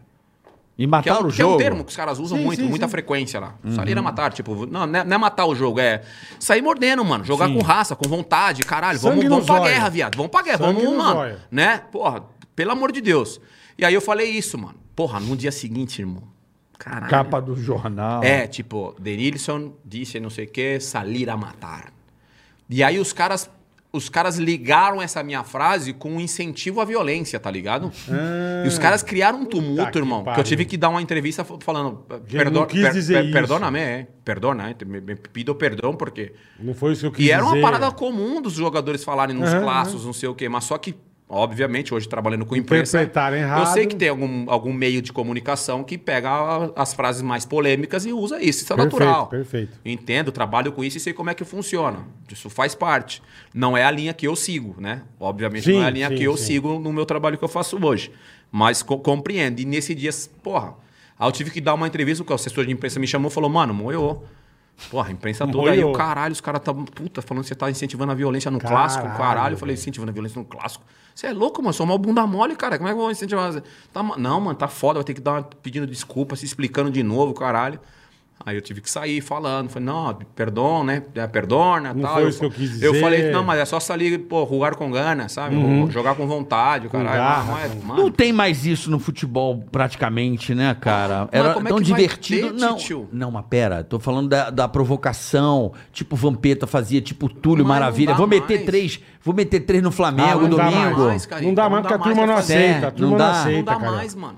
Speaker 7: E
Speaker 5: Que é,
Speaker 7: mataram
Speaker 5: um,
Speaker 7: o
Speaker 5: que é um
Speaker 7: jogo.
Speaker 5: termo que os caras usam
Speaker 3: Sim,
Speaker 5: muito,
Speaker 3: sim, sim.
Speaker 5: muita
Speaker 3: Uhum.
Speaker 5: frequência lá. Salir a matar, tipo, não, não é, não é matar o jogo, é sair mordendo, mano. Jogar com raça, com vontade, caralho.
Speaker 3: Sangue
Speaker 5: Vamos,
Speaker 3: no
Speaker 5: vamos pra
Speaker 3: zóio.
Speaker 5: guerra, viado. Vamos pra guerra,
Speaker 3: Sangue
Speaker 5: vamos,
Speaker 3: no
Speaker 5: mano.
Speaker 3: zóio.
Speaker 5: Né? Porra, pelo amor de Deus. E aí eu falei isso, mano. Porra, no dia seguinte, irmão. Caralho.
Speaker 7: Capa do jornal.
Speaker 5: É, tipo, Denilson disse não sei o que, salir a matar. E aí os caras, os caras ligaram essa minha frase com um incentivo à violência, tá ligado? e os caras criaram um tumulto,
Speaker 3: Ah. que
Speaker 5: irmão. Que eu
Speaker 3: pariu.
Speaker 5: tive que dar uma entrevista fa- falando,
Speaker 3: não
Speaker 5: perdona,
Speaker 3: quis dizer isso.
Speaker 5: perdona-me, é, perdona, é, me, me pido perdão porque...
Speaker 3: Não foi isso que eu quis
Speaker 5: E era uma
Speaker 3: dizer.
Speaker 5: parada comum dos jogadores falarem nos
Speaker 3: Aham,
Speaker 5: classos, não sei o quê, mas só que, obviamente, hoje trabalhando com imprensa.
Speaker 3: Interpretaram errado.
Speaker 5: Eu sei que tem algum, algum meio de comunicação que pega a- as frases mais polêmicas e usa isso. Isso é
Speaker 3: Perfeito,
Speaker 5: natural.
Speaker 3: perfeito.
Speaker 5: Entendo, trabalho com isso e sei como é que funciona. Isso faz parte. Não é a linha que eu sigo, né? Obviamente
Speaker 3: Sim,
Speaker 5: não é a linha
Speaker 3: sim,
Speaker 5: que eu
Speaker 3: sim.
Speaker 5: sigo no meu trabalho que eu faço hoje. Mas co- compreendo. E nesse dia, porra, aí eu tive que dar uma entrevista, o assessor de imprensa me chamou e falou, mano, moeu. Porra, a imprensa toda aí,
Speaker 3: Moiou.
Speaker 5: o caralho, os caras tá puta, falando que você tá incentivando a violência no
Speaker 3: Caralho,
Speaker 5: clássico, caralho. Eu falei,
Speaker 3: velho.
Speaker 5: incentivando a violência no clássico. Você é louco, mano, eu sou uma bunda mole, cara. Como é que eu vou incentivar? Tá, ma- não, mano, tá foda, vai ter que dar uma, pedindo desculpa, se explicando de novo, caralho. Aí eu tive que sair falando, falei, não, perdão, né? É, Perdona,
Speaker 3: Não
Speaker 5: tal.
Speaker 3: foi
Speaker 5: eu,
Speaker 3: isso que eu quis
Speaker 5: Eu
Speaker 3: dizer.
Speaker 5: falei, não, mas é só sair, pô, rugar com gana, sabe? Jogar com vontade, caralho.
Speaker 3: garra,
Speaker 5: Não é-
Speaker 3: Uhum. com-
Speaker 5: mano,
Speaker 4: Não tem mais isso no futebol, praticamente, né, cara? Era
Speaker 5: como é
Speaker 4: tão
Speaker 5: que vai
Speaker 4: divertido.
Speaker 5: ter,
Speaker 4: não,
Speaker 5: Titio?
Speaker 4: não, mas pera, tô falando da, da provocação, tipo Vampeta fazia, tipo Túlio
Speaker 5: Mas não
Speaker 4: Maravilha.
Speaker 5: dá
Speaker 4: Vou meter
Speaker 5: mais.
Speaker 4: três, vou meter três no
Speaker 3: Ah,
Speaker 4: Flamengo
Speaker 3: não dá mais.
Speaker 4: domingo.
Speaker 5: mais, cara.
Speaker 3: Não dá
Speaker 5: Não
Speaker 3: mais
Speaker 5: dá
Speaker 3: porque a
Speaker 5: mais
Speaker 3: turma
Speaker 5: pra
Speaker 3: não
Speaker 5: fazer.
Speaker 3: aceita. A
Speaker 4: Não
Speaker 3: turma não
Speaker 4: dá.
Speaker 5: não
Speaker 3: aceita,
Speaker 5: dá
Speaker 3: cara.
Speaker 5: mais, mano.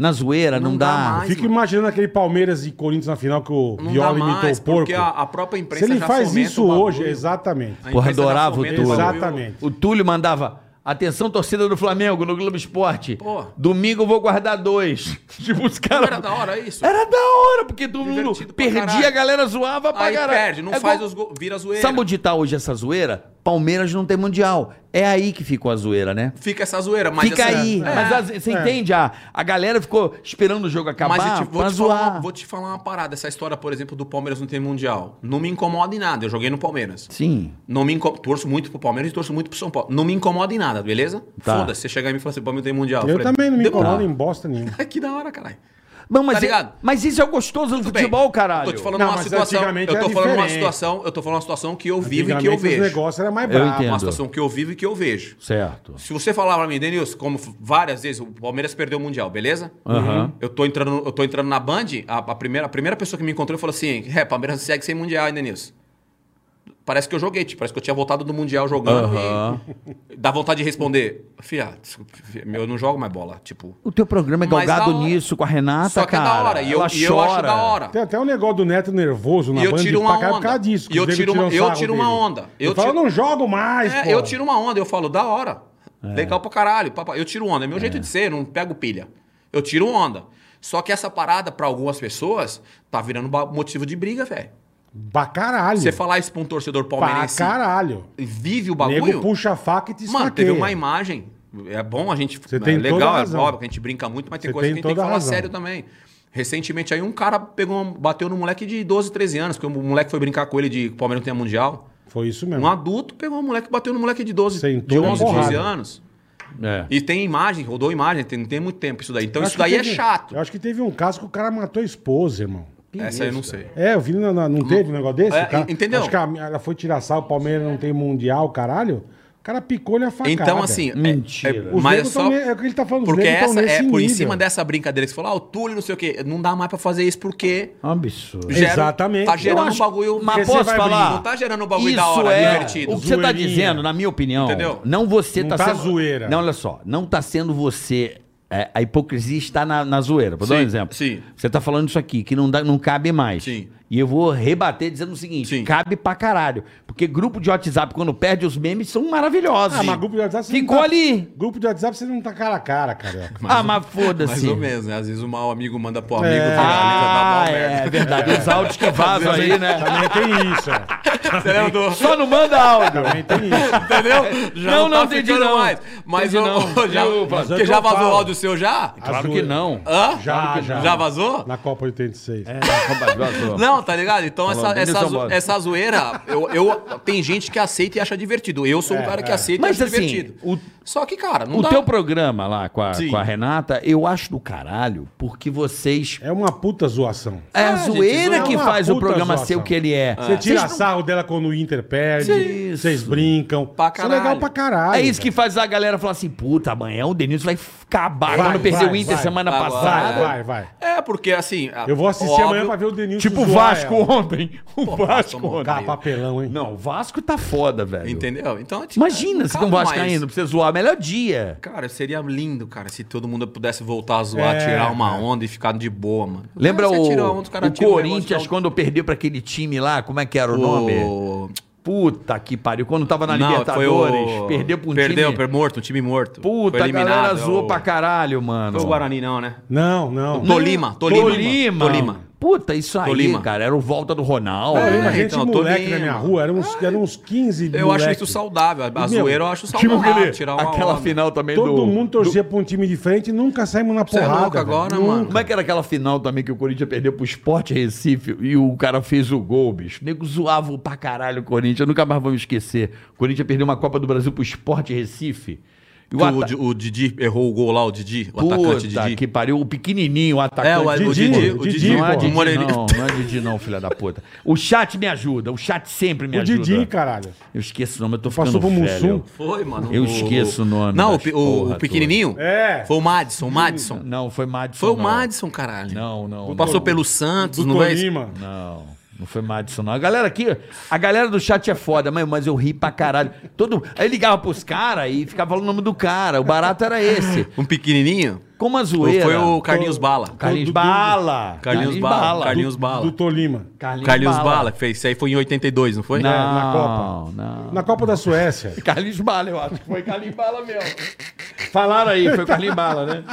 Speaker 4: Na zoeira, não,
Speaker 5: Não
Speaker 4: dá.
Speaker 5: dá mais.
Speaker 3: Fico
Speaker 5: mano.
Speaker 3: imaginando aquele Palmeiras e Corinthians na final que o
Speaker 5: Não
Speaker 3: Viola
Speaker 5: dá
Speaker 3: imitou
Speaker 5: mais,
Speaker 3: o porco.
Speaker 5: porque a, a própria
Speaker 3: Se
Speaker 5: imprensa
Speaker 3: ele
Speaker 5: já
Speaker 3: faz
Speaker 5: fomenta
Speaker 3: isso
Speaker 5: o bagulho.
Speaker 3: hoje, exatamente.
Speaker 5: A
Speaker 4: Porra,
Speaker 5: imprensa já
Speaker 4: adorava o
Speaker 5: fomenta
Speaker 4: Túlio.
Speaker 5: bagulho.
Speaker 3: Exatamente.
Speaker 4: O Túlio mandava. Atenção, torcida do Flamengo no Globo Esporte.
Speaker 5: Pô.
Speaker 4: Domingo eu vou guardar dois. tipo, os caras.
Speaker 5: Era da hora isso.
Speaker 4: Era da hora, porque todo mundo
Speaker 5: Divertido pra
Speaker 4: perdia,
Speaker 5: caralho.
Speaker 4: a galera zoava pra
Speaker 5: Aí
Speaker 4: caralho.
Speaker 5: perde, não
Speaker 4: É
Speaker 5: faz
Speaker 4: igual-
Speaker 5: os gols, vira zoeira.
Speaker 4: Sabe onde tá hoje essa zoeira? Palmeiras não tem mundial. É aí que ficou a zoeira, né?
Speaker 5: Fica essa zoeira, mas
Speaker 4: Fica
Speaker 5: assim-
Speaker 4: aí.
Speaker 5: É.
Speaker 4: Mas as- você entende? A, a galera ficou esperando o jogo acabar
Speaker 5: Mas eu te- vou,
Speaker 4: pra
Speaker 5: te falar,
Speaker 4: zoar.
Speaker 5: uma- vou te falar uma parada. Essa história, por exemplo, do Palmeiras não ter mundial. Não me incomoda em nada. Eu joguei no Palmeiras.
Speaker 4: Sim.
Speaker 5: Não me inco- Torço muito pro Palmeiras e torço muito pro São Paulo. Não me incomoda em nada, beleza?
Speaker 4: Tá.
Speaker 5: Foda-se. Você chegar e me falar assim, o Palmeiras não tem mundial.
Speaker 3: Eu
Speaker 5: falei,
Speaker 3: também não me
Speaker 5: demorou.
Speaker 3: incomodo em bosta nenhuma.
Speaker 5: Que da hora, caralho.
Speaker 4: Não, mas,
Speaker 5: Tá ligado?
Speaker 4: é- mas isso é o gostoso do
Speaker 5: Tudo bem.
Speaker 4: futebol, caralho.
Speaker 5: Eu tô te falando
Speaker 3: Não,
Speaker 5: uma
Speaker 3: mas
Speaker 5: situação. Eu
Speaker 3: antigamente
Speaker 5: tô
Speaker 3: era
Speaker 5: falando uma
Speaker 3: diferente.
Speaker 5: situação. Eu tô falando uma situação que eu vivo e que
Speaker 3: Antigamente
Speaker 5: eu vejo.
Speaker 3: Os negócios eram mais
Speaker 4: Eu
Speaker 3: bravos.
Speaker 4: entendo.
Speaker 5: Uma situação que eu vivo e que eu vejo.
Speaker 4: Certo.
Speaker 5: Se você falar pra mim, Denilson, como f- várias vezes, o Palmeiras perdeu o Mundial, beleza? Uhum.
Speaker 4: Aham.
Speaker 5: Eu, tô entrando, no- eu tô entrando na Band, a, a primeira, a primeira pessoa que me encontrou falou assim: é, Palmeiras segue sem Mundial, hein, Denilson? Parece que eu joguei, tipo, parece que eu tinha voltado do Mundial jogando
Speaker 4: Aham.
Speaker 5: e dá vontade de responder. Fia, desculpa, fia, eu não jogo mais bola. Tipo.
Speaker 4: O teu programa é
Speaker 5: Mas
Speaker 4: galgado
Speaker 5: da hora.
Speaker 4: nisso com a
Speaker 3: Ah,
Speaker 4: Renata,
Speaker 3: tá,
Speaker 5: só que é
Speaker 4: cara.
Speaker 5: da hora. E eu,
Speaker 4: Ela
Speaker 5: e eu acho
Speaker 4: chora.
Speaker 5: da hora.
Speaker 3: Tem até um negócio do Neto nervoso na
Speaker 5: E eu
Speaker 3: banda
Speaker 5: tiro uma
Speaker 3: pra cá por
Speaker 5: onda.
Speaker 3: causa disso. que
Speaker 5: E eu
Speaker 3: os negros
Speaker 5: tiro uma-
Speaker 3: tiram
Speaker 5: eu
Speaker 3: sarro
Speaker 5: tiro uma
Speaker 3: dele.
Speaker 5: onda.
Speaker 3: Eu
Speaker 5: Eu
Speaker 3: falo,
Speaker 5: tiro-
Speaker 3: não jogo mais,
Speaker 5: É,
Speaker 3: pô. É.
Speaker 5: eu tiro uma onda, eu falo, da hora. Legal pra caralho. Papai. Eu tiro onda. É meu jeito de ser, não pego pilha. Eu tiro onda. Só que essa parada, pra algumas pessoas, tá virando ba- motivo de briga, velho.
Speaker 3: Pra caralho.
Speaker 5: Você falar isso pra um torcedor
Speaker 3: Hum. Pra
Speaker 5: palmeirense
Speaker 3: caralho.
Speaker 5: e vive o
Speaker 3: O nego
Speaker 5: bagulho.
Speaker 3: puxa a faca e te
Speaker 5: Mano,
Speaker 3: esfaqueia.
Speaker 5: teve uma imagem. É bom a gente.
Speaker 3: Você
Speaker 5: é
Speaker 3: tem toda
Speaker 5: legal,
Speaker 3: a
Speaker 5: é
Speaker 3: razão.
Speaker 5: óbvio que a gente brinca muito, mas tem
Speaker 3: Você
Speaker 5: coisa
Speaker 3: tem
Speaker 5: que a gente tem que
Speaker 3: toda a
Speaker 5: falar
Speaker 3: razão.
Speaker 5: sério também. Recentemente aí um cara pegou, um- bateu no moleque de 12, 13 anos, porque o moleque foi brincar com ele de que o Palmeiras não tem mundial.
Speaker 3: Foi isso mesmo.
Speaker 5: Um adulto pegou um moleque, bateu no moleque de 12,
Speaker 3: É. Sentou
Speaker 5: de
Speaker 3: na
Speaker 5: 11, 12
Speaker 3: porrada.
Speaker 5: anos.
Speaker 4: É.
Speaker 5: E tem imagem, rodou imagem, tem, não tem muito tempo isso daí. Então
Speaker 3: Eu acho
Speaker 5: isso daí
Speaker 3: que
Speaker 5: é
Speaker 3: teve-
Speaker 5: chato.
Speaker 3: Eu acho que teve um caso que o cara matou a esposa, irmão.
Speaker 5: Essa eu não sei.
Speaker 3: É, eu vi, na, na- não teve um negócio desse?
Speaker 5: É,
Speaker 3: O cara-
Speaker 5: entendeu?
Speaker 3: Acho que a, ela foi tirar sal, o Palmeiras não tem mundial, caralho. O cara picou-lhe a facada.
Speaker 5: Então, assim. é-
Speaker 4: Mentira.
Speaker 5: é-
Speaker 3: Os
Speaker 5: mas é
Speaker 3: negros tão
Speaker 5: só.
Speaker 3: ne- é o que ele tá falando, os
Speaker 5: Porque
Speaker 3: negros tão
Speaker 5: essa é
Speaker 3: nesse
Speaker 5: por em
Speaker 3: nível.
Speaker 5: cima dessa brincadeira que você falou, ah, o Túlio, não sei o quê. Não dá mais pra fazer isso porque.
Speaker 4: É um
Speaker 7: Absurdo.
Speaker 5: gera-
Speaker 3: Exatamente.
Speaker 5: Tá
Speaker 3: Eu
Speaker 5: gerando
Speaker 4: acho-
Speaker 5: um bagulho.
Speaker 4: Mas
Speaker 3: você
Speaker 4: posso
Speaker 3: vai
Speaker 4: falar?
Speaker 3: brincar.
Speaker 5: Não tá gerando um bagulho da
Speaker 4: Isso
Speaker 5: hora,
Speaker 4: é
Speaker 5: divertido.
Speaker 4: O que você tá
Speaker 3: Zoeirinha.
Speaker 4: dizendo, na minha opinião,
Speaker 5: Entendeu?
Speaker 4: não você
Speaker 3: Não
Speaker 4: tá,
Speaker 3: tá
Speaker 4: sendo...
Speaker 3: zoeira.
Speaker 4: Não, olha só, não tá sendo você... é, a hipocrisia está na, na zoeira. Vou dar um
Speaker 5: Sim,
Speaker 4: exemplo.
Speaker 5: sim.
Speaker 4: Você tá falando isso aqui, que não, dá, não cabe mais.
Speaker 5: Sim.
Speaker 4: E eu vou rebater dizendo o seguinte,
Speaker 5: Sim.
Speaker 4: cabe pra caralho. Porque grupo de WhatsApp, quando perde os memes, são maravilhosos.
Speaker 3: Ah, mas grupo de WhatsApp você
Speaker 4: Ficou
Speaker 3: não tá-
Speaker 4: ali.
Speaker 3: Grupo de WhatsApp você não tá cara a cara, carioca.
Speaker 4: ah, mas foda-se.
Speaker 5: Mais ou menos, né? Às vezes o mau amigo manda pro amigo,
Speaker 3: É.
Speaker 5: é.
Speaker 4: Ah,
Speaker 5: dá mal merda.
Speaker 4: é verdade. Os áudios que vazam aí, né?
Speaker 3: Também tem isso, é.
Speaker 5: Você lembra do-
Speaker 4: Só não manda áudio.
Speaker 3: Também tem isso.
Speaker 5: Entendeu?
Speaker 4: Não, não,
Speaker 5: tá
Speaker 4: entendi
Speaker 5: ficando
Speaker 4: não.
Speaker 5: mais. Mas
Speaker 4: Entendi
Speaker 5: o,
Speaker 4: não.
Speaker 5: já,
Speaker 3: Mas é
Speaker 5: porque
Speaker 3: que
Speaker 5: já
Speaker 3: eu
Speaker 5: vazou
Speaker 3: falo. Ah.
Speaker 5: o áudio seu já?
Speaker 4: Claro que não.
Speaker 5: Hã?
Speaker 3: Já, já.
Speaker 5: Já vazou?
Speaker 3: Na Copa 86.
Speaker 5: Não, tá ligado? Então essa,
Speaker 7: Denilson
Speaker 5: essa, zo-
Speaker 7: Bosa.
Speaker 5: essa zoeira, eu, eu- tem gente que aceita e acha divertido. Eu
Speaker 3: É,
Speaker 5: sou um cara que aceita
Speaker 4: Mas
Speaker 5: e acha
Speaker 4: assim,
Speaker 5: divertido.
Speaker 4: o-
Speaker 5: Só que, cara, não
Speaker 4: O
Speaker 5: dá.
Speaker 4: teu programa lá com a,
Speaker 5: Então- Sim.
Speaker 4: com a Renata, eu acho do caralho, porque vocês.
Speaker 3: É uma puta zoação.
Speaker 4: É a zoeira
Speaker 3: zoa.
Speaker 4: que
Speaker 3: É uma
Speaker 4: faz o
Speaker 3: puta
Speaker 4: programa
Speaker 3: zoação.
Speaker 4: ser o que ele é.
Speaker 3: Você tira
Speaker 4: Vocês não-
Speaker 3: sarro dela quando o Inter perde.
Speaker 4: Sim.
Speaker 3: Vocês brincam.
Speaker 5: Pra
Speaker 3: Isso é legal
Speaker 5: caralho.
Speaker 3: pra caralho.
Speaker 4: É isso que faz a galera falar assim: puta, amanhã o Denilson vai acabar.
Speaker 3: Vai,
Speaker 4: Quando perdeu o
Speaker 3: vai,
Speaker 4: Inter
Speaker 3: vai. né?
Speaker 4: semana
Speaker 5: Vai,
Speaker 4: passada.
Speaker 3: Vai, vai, vai.
Speaker 5: É, porque assim. a-
Speaker 3: Eu vou assistir
Speaker 5: óbvio-
Speaker 3: amanhã pra ver o Denilson
Speaker 4: Tipo o
Speaker 3: zoar
Speaker 4: Vasco
Speaker 3: ela.
Speaker 4: ontem. O Vasco
Speaker 5: tomou
Speaker 4: ontem.
Speaker 3: Cara, papelão, hein?
Speaker 4: Não, o Vasco tá foda, velho.
Speaker 5: Entendeu? Então, tipo,
Speaker 4: Imagina se
Speaker 5: calma,
Speaker 4: com o Vasco
Speaker 5: mas-
Speaker 4: ainda, pra você zoar. Melhor dia.
Speaker 5: Cara, seria lindo, cara, se todo mundo pudesse voltar a zoar,
Speaker 3: É,
Speaker 5: tirar uma
Speaker 3: cara.
Speaker 5: onda e ficar de boa, mano.
Speaker 4: Lembra
Speaker 5: Cara,
Speaker 4: o,
Speaker 5: você tira onda, os caras
Speaker 4: o
Speaker 5: tiram um negócio
Speaker 4: Corinthians
Speaker 5: da-
Speaker 4: quando perdeu pra aquele time lá? Como é que era o, nome?
Speaker 5: o...
Speaker 4: Puta que pariu. Quando tava na
Speaker 5: Não, foi o-
Speaker 4: Libertadores, perdeu pra um
Speaker 5: Perdeu,
Speaker 4: time.
Speaker 5: per- morto, um time morto.
Speaker 4: Puta,
Speaker 5: Foi
Speaker 4: a
Speaker 5: eliminado.
Speaker 4: galera
Speaker 5: é
Speaker 4: zoou
Speaker 5: o-
Speaker 4: pra caralho,
Speaker 5: Foi o
Speaker 4: mano.
Speaker 5: Guarani, não, né?
Speaker 3: Não, não.
Speaker 5: Tolima, Tolima.
Speaker 4: Tolima.
Speaker 5: Tolima.
Speaker 4: Puta, isso aí,
Speaker 5: Tolima.
Speaker 4: cara. Era o volta do Ronaldo.
Speaker 3: Não, eu
Speaker 5: É,
Speaker 3: imagino
Speaker 5: então,
Speaker 3: esse
Speaker 5: tô
Speaker 3: moleque
Speaker 5: nem-
Speaker 3: na minha rua, eram uns, eram uns 15
Speaker 5: Eu acho
Speaker 3: moleque.
Speaker 5: isso saudável. A
Speaker 3: Meu,
Speaker 5: zoeira eu acho
Speaker 4: Tipo
Speaker 5: saudável.
Speaker 4: aquele-
Speaker 5: tirar uma
Speaker 4: aquela
Speaker 5: onda.
Speaker 4: final também
Speaker 3: Todo
Speaker 4: do...
Speaker 3: mundo torcia pra um time de frente e nunca saímos na
Speaker 5: Você é
Speaker 3: porrada.
Speaker 5: louco
Speaker 3: velho.
Speaker 5: agora,
Speaker 3: Nunca.
Speaker 5: mano?
Speaker 4: Como é que era aquela final também que o Corinthians perdeu pro Sport Recife e o cara fez o gol, bicho? O nego zoava pra caralho o Corinthians. Eu nunca mais vou me esquecer. O Corinthians perdeu uma Copa do Brasil pro Sport Recife. E
Speaker 5: Que O,
Speaker 4: ata-
Speaker 5: Di- o Didi errou o gol lá, o Didi, o atacante
Speaker 4: Puta
Speaker 5: Didi.
Speaker 4: que pariu, o pequenininho, o atacante.
Speaker 5: É, o- o
Speaker 3: Didi,
Speaker 5: Didi, o
Speaker 3: Didi,
Speaker 5: Didi,
Speaker 4: não é
Speaker 3: pô.
Speaker 5: o
Speaker 4: Didi,
Speaker 5: Moreninho.
Speaker 4: não, não é Didi não, filha da puta. O chat me ajuda, o chat sempre me
Speaker 3: O
Speaker 4: ajuda.
Speaker 3: Didi, caralho.
Speaker 4: Eu esqueço o nome, eu tô
Speaker 3: Passou
Speaker 4: ficando
Speaker 3: pro Mussum.
Speaker 4: velho.
Speaker 5: Foi, mano.
Speaker 4: Eu esqueço o nome
Speaker 5: Não, o,
Speaker 4: das
Speaker 5: pe- o- o
Speaker 4: porra
Speaker 5: pequenininho?
Speaker 3: É.
Speaker 5: Foi o Madison, o Madison.
Speaker 4: Não, foi Madison.
Speaker 5: Foi o
Speaker 4: não.
Speaker 5: Madison, caralho.
Speaker 4: Não, não.
Speaker 5: Passou
Speaker 4: não.
Speaker 5: pelo Santos,
Speaker 3: Do
Speaker 5: não é? isso?
Speaker 3: Tolima.
Speaker 4: Não, não foi Madison, não. A galera aqui, a galera do chat é foda, mas, mas eu ri pra caralho. Todo, aí ligava pros caras e ficava falando o nome do cara. O barato era esse.
Speaker 5: Um pequenininho?
Speaker 4: Como a
Speaker 5: Foi,
Speaker 4: zoeira.
Speaker 5: foi o Carlinhos Bala.
Speaker 4: Carlinhos
Speaker 3: do-
Speaker 4: Bala.
Speaker 5: Carlinhos Bala, Carlinhos
Speaker 3: Do-
Speaker 5: Bala.
Speaker 3: Do Tolima.
Speaker 4: Carlinhos,
Speaker 5: Carlinhos Bala que fez. Isso aí foi em 82, não foi?
Speaker 4: Não,
Speaker 3: É, na Copa.
Speaker 4: não.
Speaker 3: Na Copa da Suécia.
Speaker 4: Carlinhos Bala, eu acho. que Foi Carlinhos Bala mesmo. Falaram aí, foi o Carlinhos Bala, né?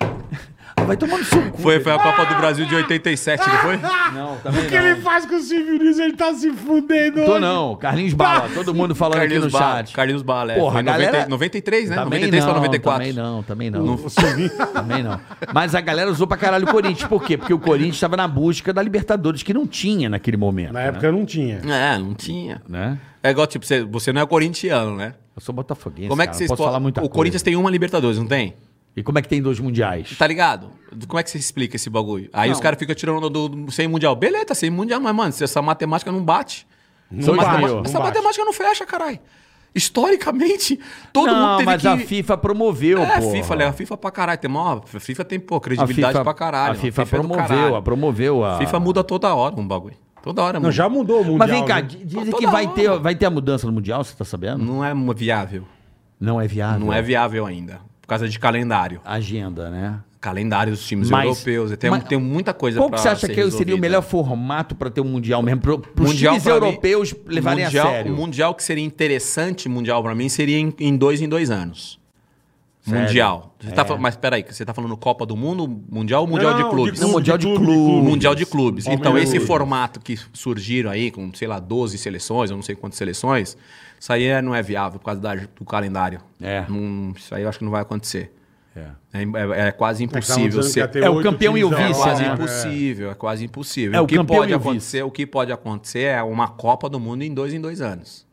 Speaker 4: Ah, Vai tomando seu cu.
Speaker 5: Foi, foi a Copa do Brasil de 87, não foi?
Speaker 4: Não, também
Speaker 3: O que ele faz com o Silvio Luiz? Ele tá se fudendo.
Speaker 4: Tô
Speaker 3: hoje.
Speaker 4: não, Carlinhos Bala. Todo mundo falando aqui no
Speaker 5: Bala.
Speaker 4: chat.
Speaker 5: Carlinhos Bala, é.
Speaker 4: Porra,
Speaker 5: foi
Speaker 4: a
Speaker 5: em 90
Speaker 4: galera-
Speaker 5: 93, né?
Speaker 4: Também
Speaker 5: 93
Speaker 4: não,
Speaker 5: pra 94.
Speaker 4: Também não, também não.
Speaker 5: Não-
Speaker 4: também não. Mas a galera usou pra caralho o Corinthians. Por quê? Porque o Corinthians estava na busca da Libertadores, que não tinha naquele momento.
Speaker 3: Na época não tinha.
Speaker 5: É, não tinha.
Speaker 4: Né?
Speaker 5: É igual, tipo, você, você não é corintiano, né?
Speaker 4: Eu sou botafoguense.
Speaker 5: Como é
Speaker 4: cara, não
Speaker 5: que vocês
Speaker 4: posso
Speaker 5: po-
Speaker 4: falar muita
Speaker 5: O
Speaker 4: coisa.
Speaker 5: Corinthians tem uma Libertadores, não tem?
Speaker 4: E como é que tem dois mundiais?
Speaker 5: Tá ligado? Como é que você explica esse bagulho? Aí os caras ficam tirando do, do- sem mundial. Beleza, tá sem mundial, mas, mano, se essa matemática não bate.
Speaker 3: Não
Speaker 5: essa
Speaker 3: bate,
Speaker 5: matemática-
Speaker 3: não
Speaker 5: essa
Speaker 3: bate.
Speaker 5: matemática não fecha, caralho. Historicamente, todo
Speaker 4: não,
Speaker 5: mundo teve
Speaker 4: mas
Speaker 5: que.
Speaker 4: a FIFA promoveu,
Speaker 5: é, a
Speaker 4: porra.
Speaker 5: FIFA, né? A FIFA pra caralho. Tem maior... A FIFA tem, pô, credibilidade pra caralho.
Speaker 4: A FIFA,
Speaker 5: é do
Speaker 4: promoveu,
Speaker 5: caralho.
Speaker 4: a promoveu a...
Speaker 5: A FIFA muda toda hora um bagulho. Toda hora
Speaker 3: Não,
Speaker 5: muda.
Speaker 3: já mudou o Mundial.
Speaker 4: Mas vem cá,
Speaker 3: né?
Speaker 4: di- dizem
Speaker 5: Toda
Speaker 4: que vai
Speaker 5: hora.
Speaker 4: ter, vai ter a mudança no Mundial, você tá sabendo?
Speaker 5: Não é uma viável.
Speaker 4: Não é viável.
Speaker 5: Não é viável ainda. Por causa de calendário.
Speaker 4: Agenda, né?
Speaker 5: Calendário dos times
Speaker 4: Mas-
Speaker 5: europeus. Tem,
Speaker 4: mas-
Speaker 5: tem muita coisa
Speaker 4: Qual que você acha
Speaker 5: ser
Speaker 4: que seria o
Speaker 5: resolvida.
Speaker 4: melhor formato pra ter um Mundial mesmo? Pro, pros
Speaker 5: mundial
Speaker 4: times
Speaker 5: pra mim-
Speaker 4: europeus levarem
Speaker 5: mundial,
Speaker 4: a sério.
Speaker 5: O mundial que seria interessante, mundial pra mim, seria em, em dois em dois anos.
Speaker 4: Sério? É.
Speaker 5: Mundial. Você tá fal- mas peraí, você tá falando Copa do Mundo, Mundial ou Mundial
Speaker 3: Não,
Speaker 5: de Clubes?
Speaker 4: Não, Mundial de clubes.
Speaker 5: Mundial de Clubes. Então,
Speaker 3: Palmeiras.
Speaker 5: esse formato que surgiram aí, com, sei lá, 12 seleções, eu não sei quantas seleções, isso aí é- não é viável por causa da- do calendário.
Speaker 4: É.
Speaker 5: Não- isso aí eu acho que não vai acontecer. É, é- é quase impossível
Speaker 3: dizendo que ia
Speaker 5: ser.
Speaker 3: ter
Speaker 4: É o
Speaker 3: oito
Speaker 4: campeão e o
Speaker 3: times da
Speaker 5: É
Speaker 4: vice,
Speaker 3: Europa,
Speaker 5: quase
Speaker 4: né?
Speaker 5: impossível, é quase impossível.
Speaker 4: É,
Speaker 5: o
Speaker 4: o
Speaker 5: que
Speaker 4: campeão
Speaker 5: pode
Speaker 4: e o vice.
Speaker 5: acontecer, o que pode acontecer é uma Copa do Mundo em dois em dois anos.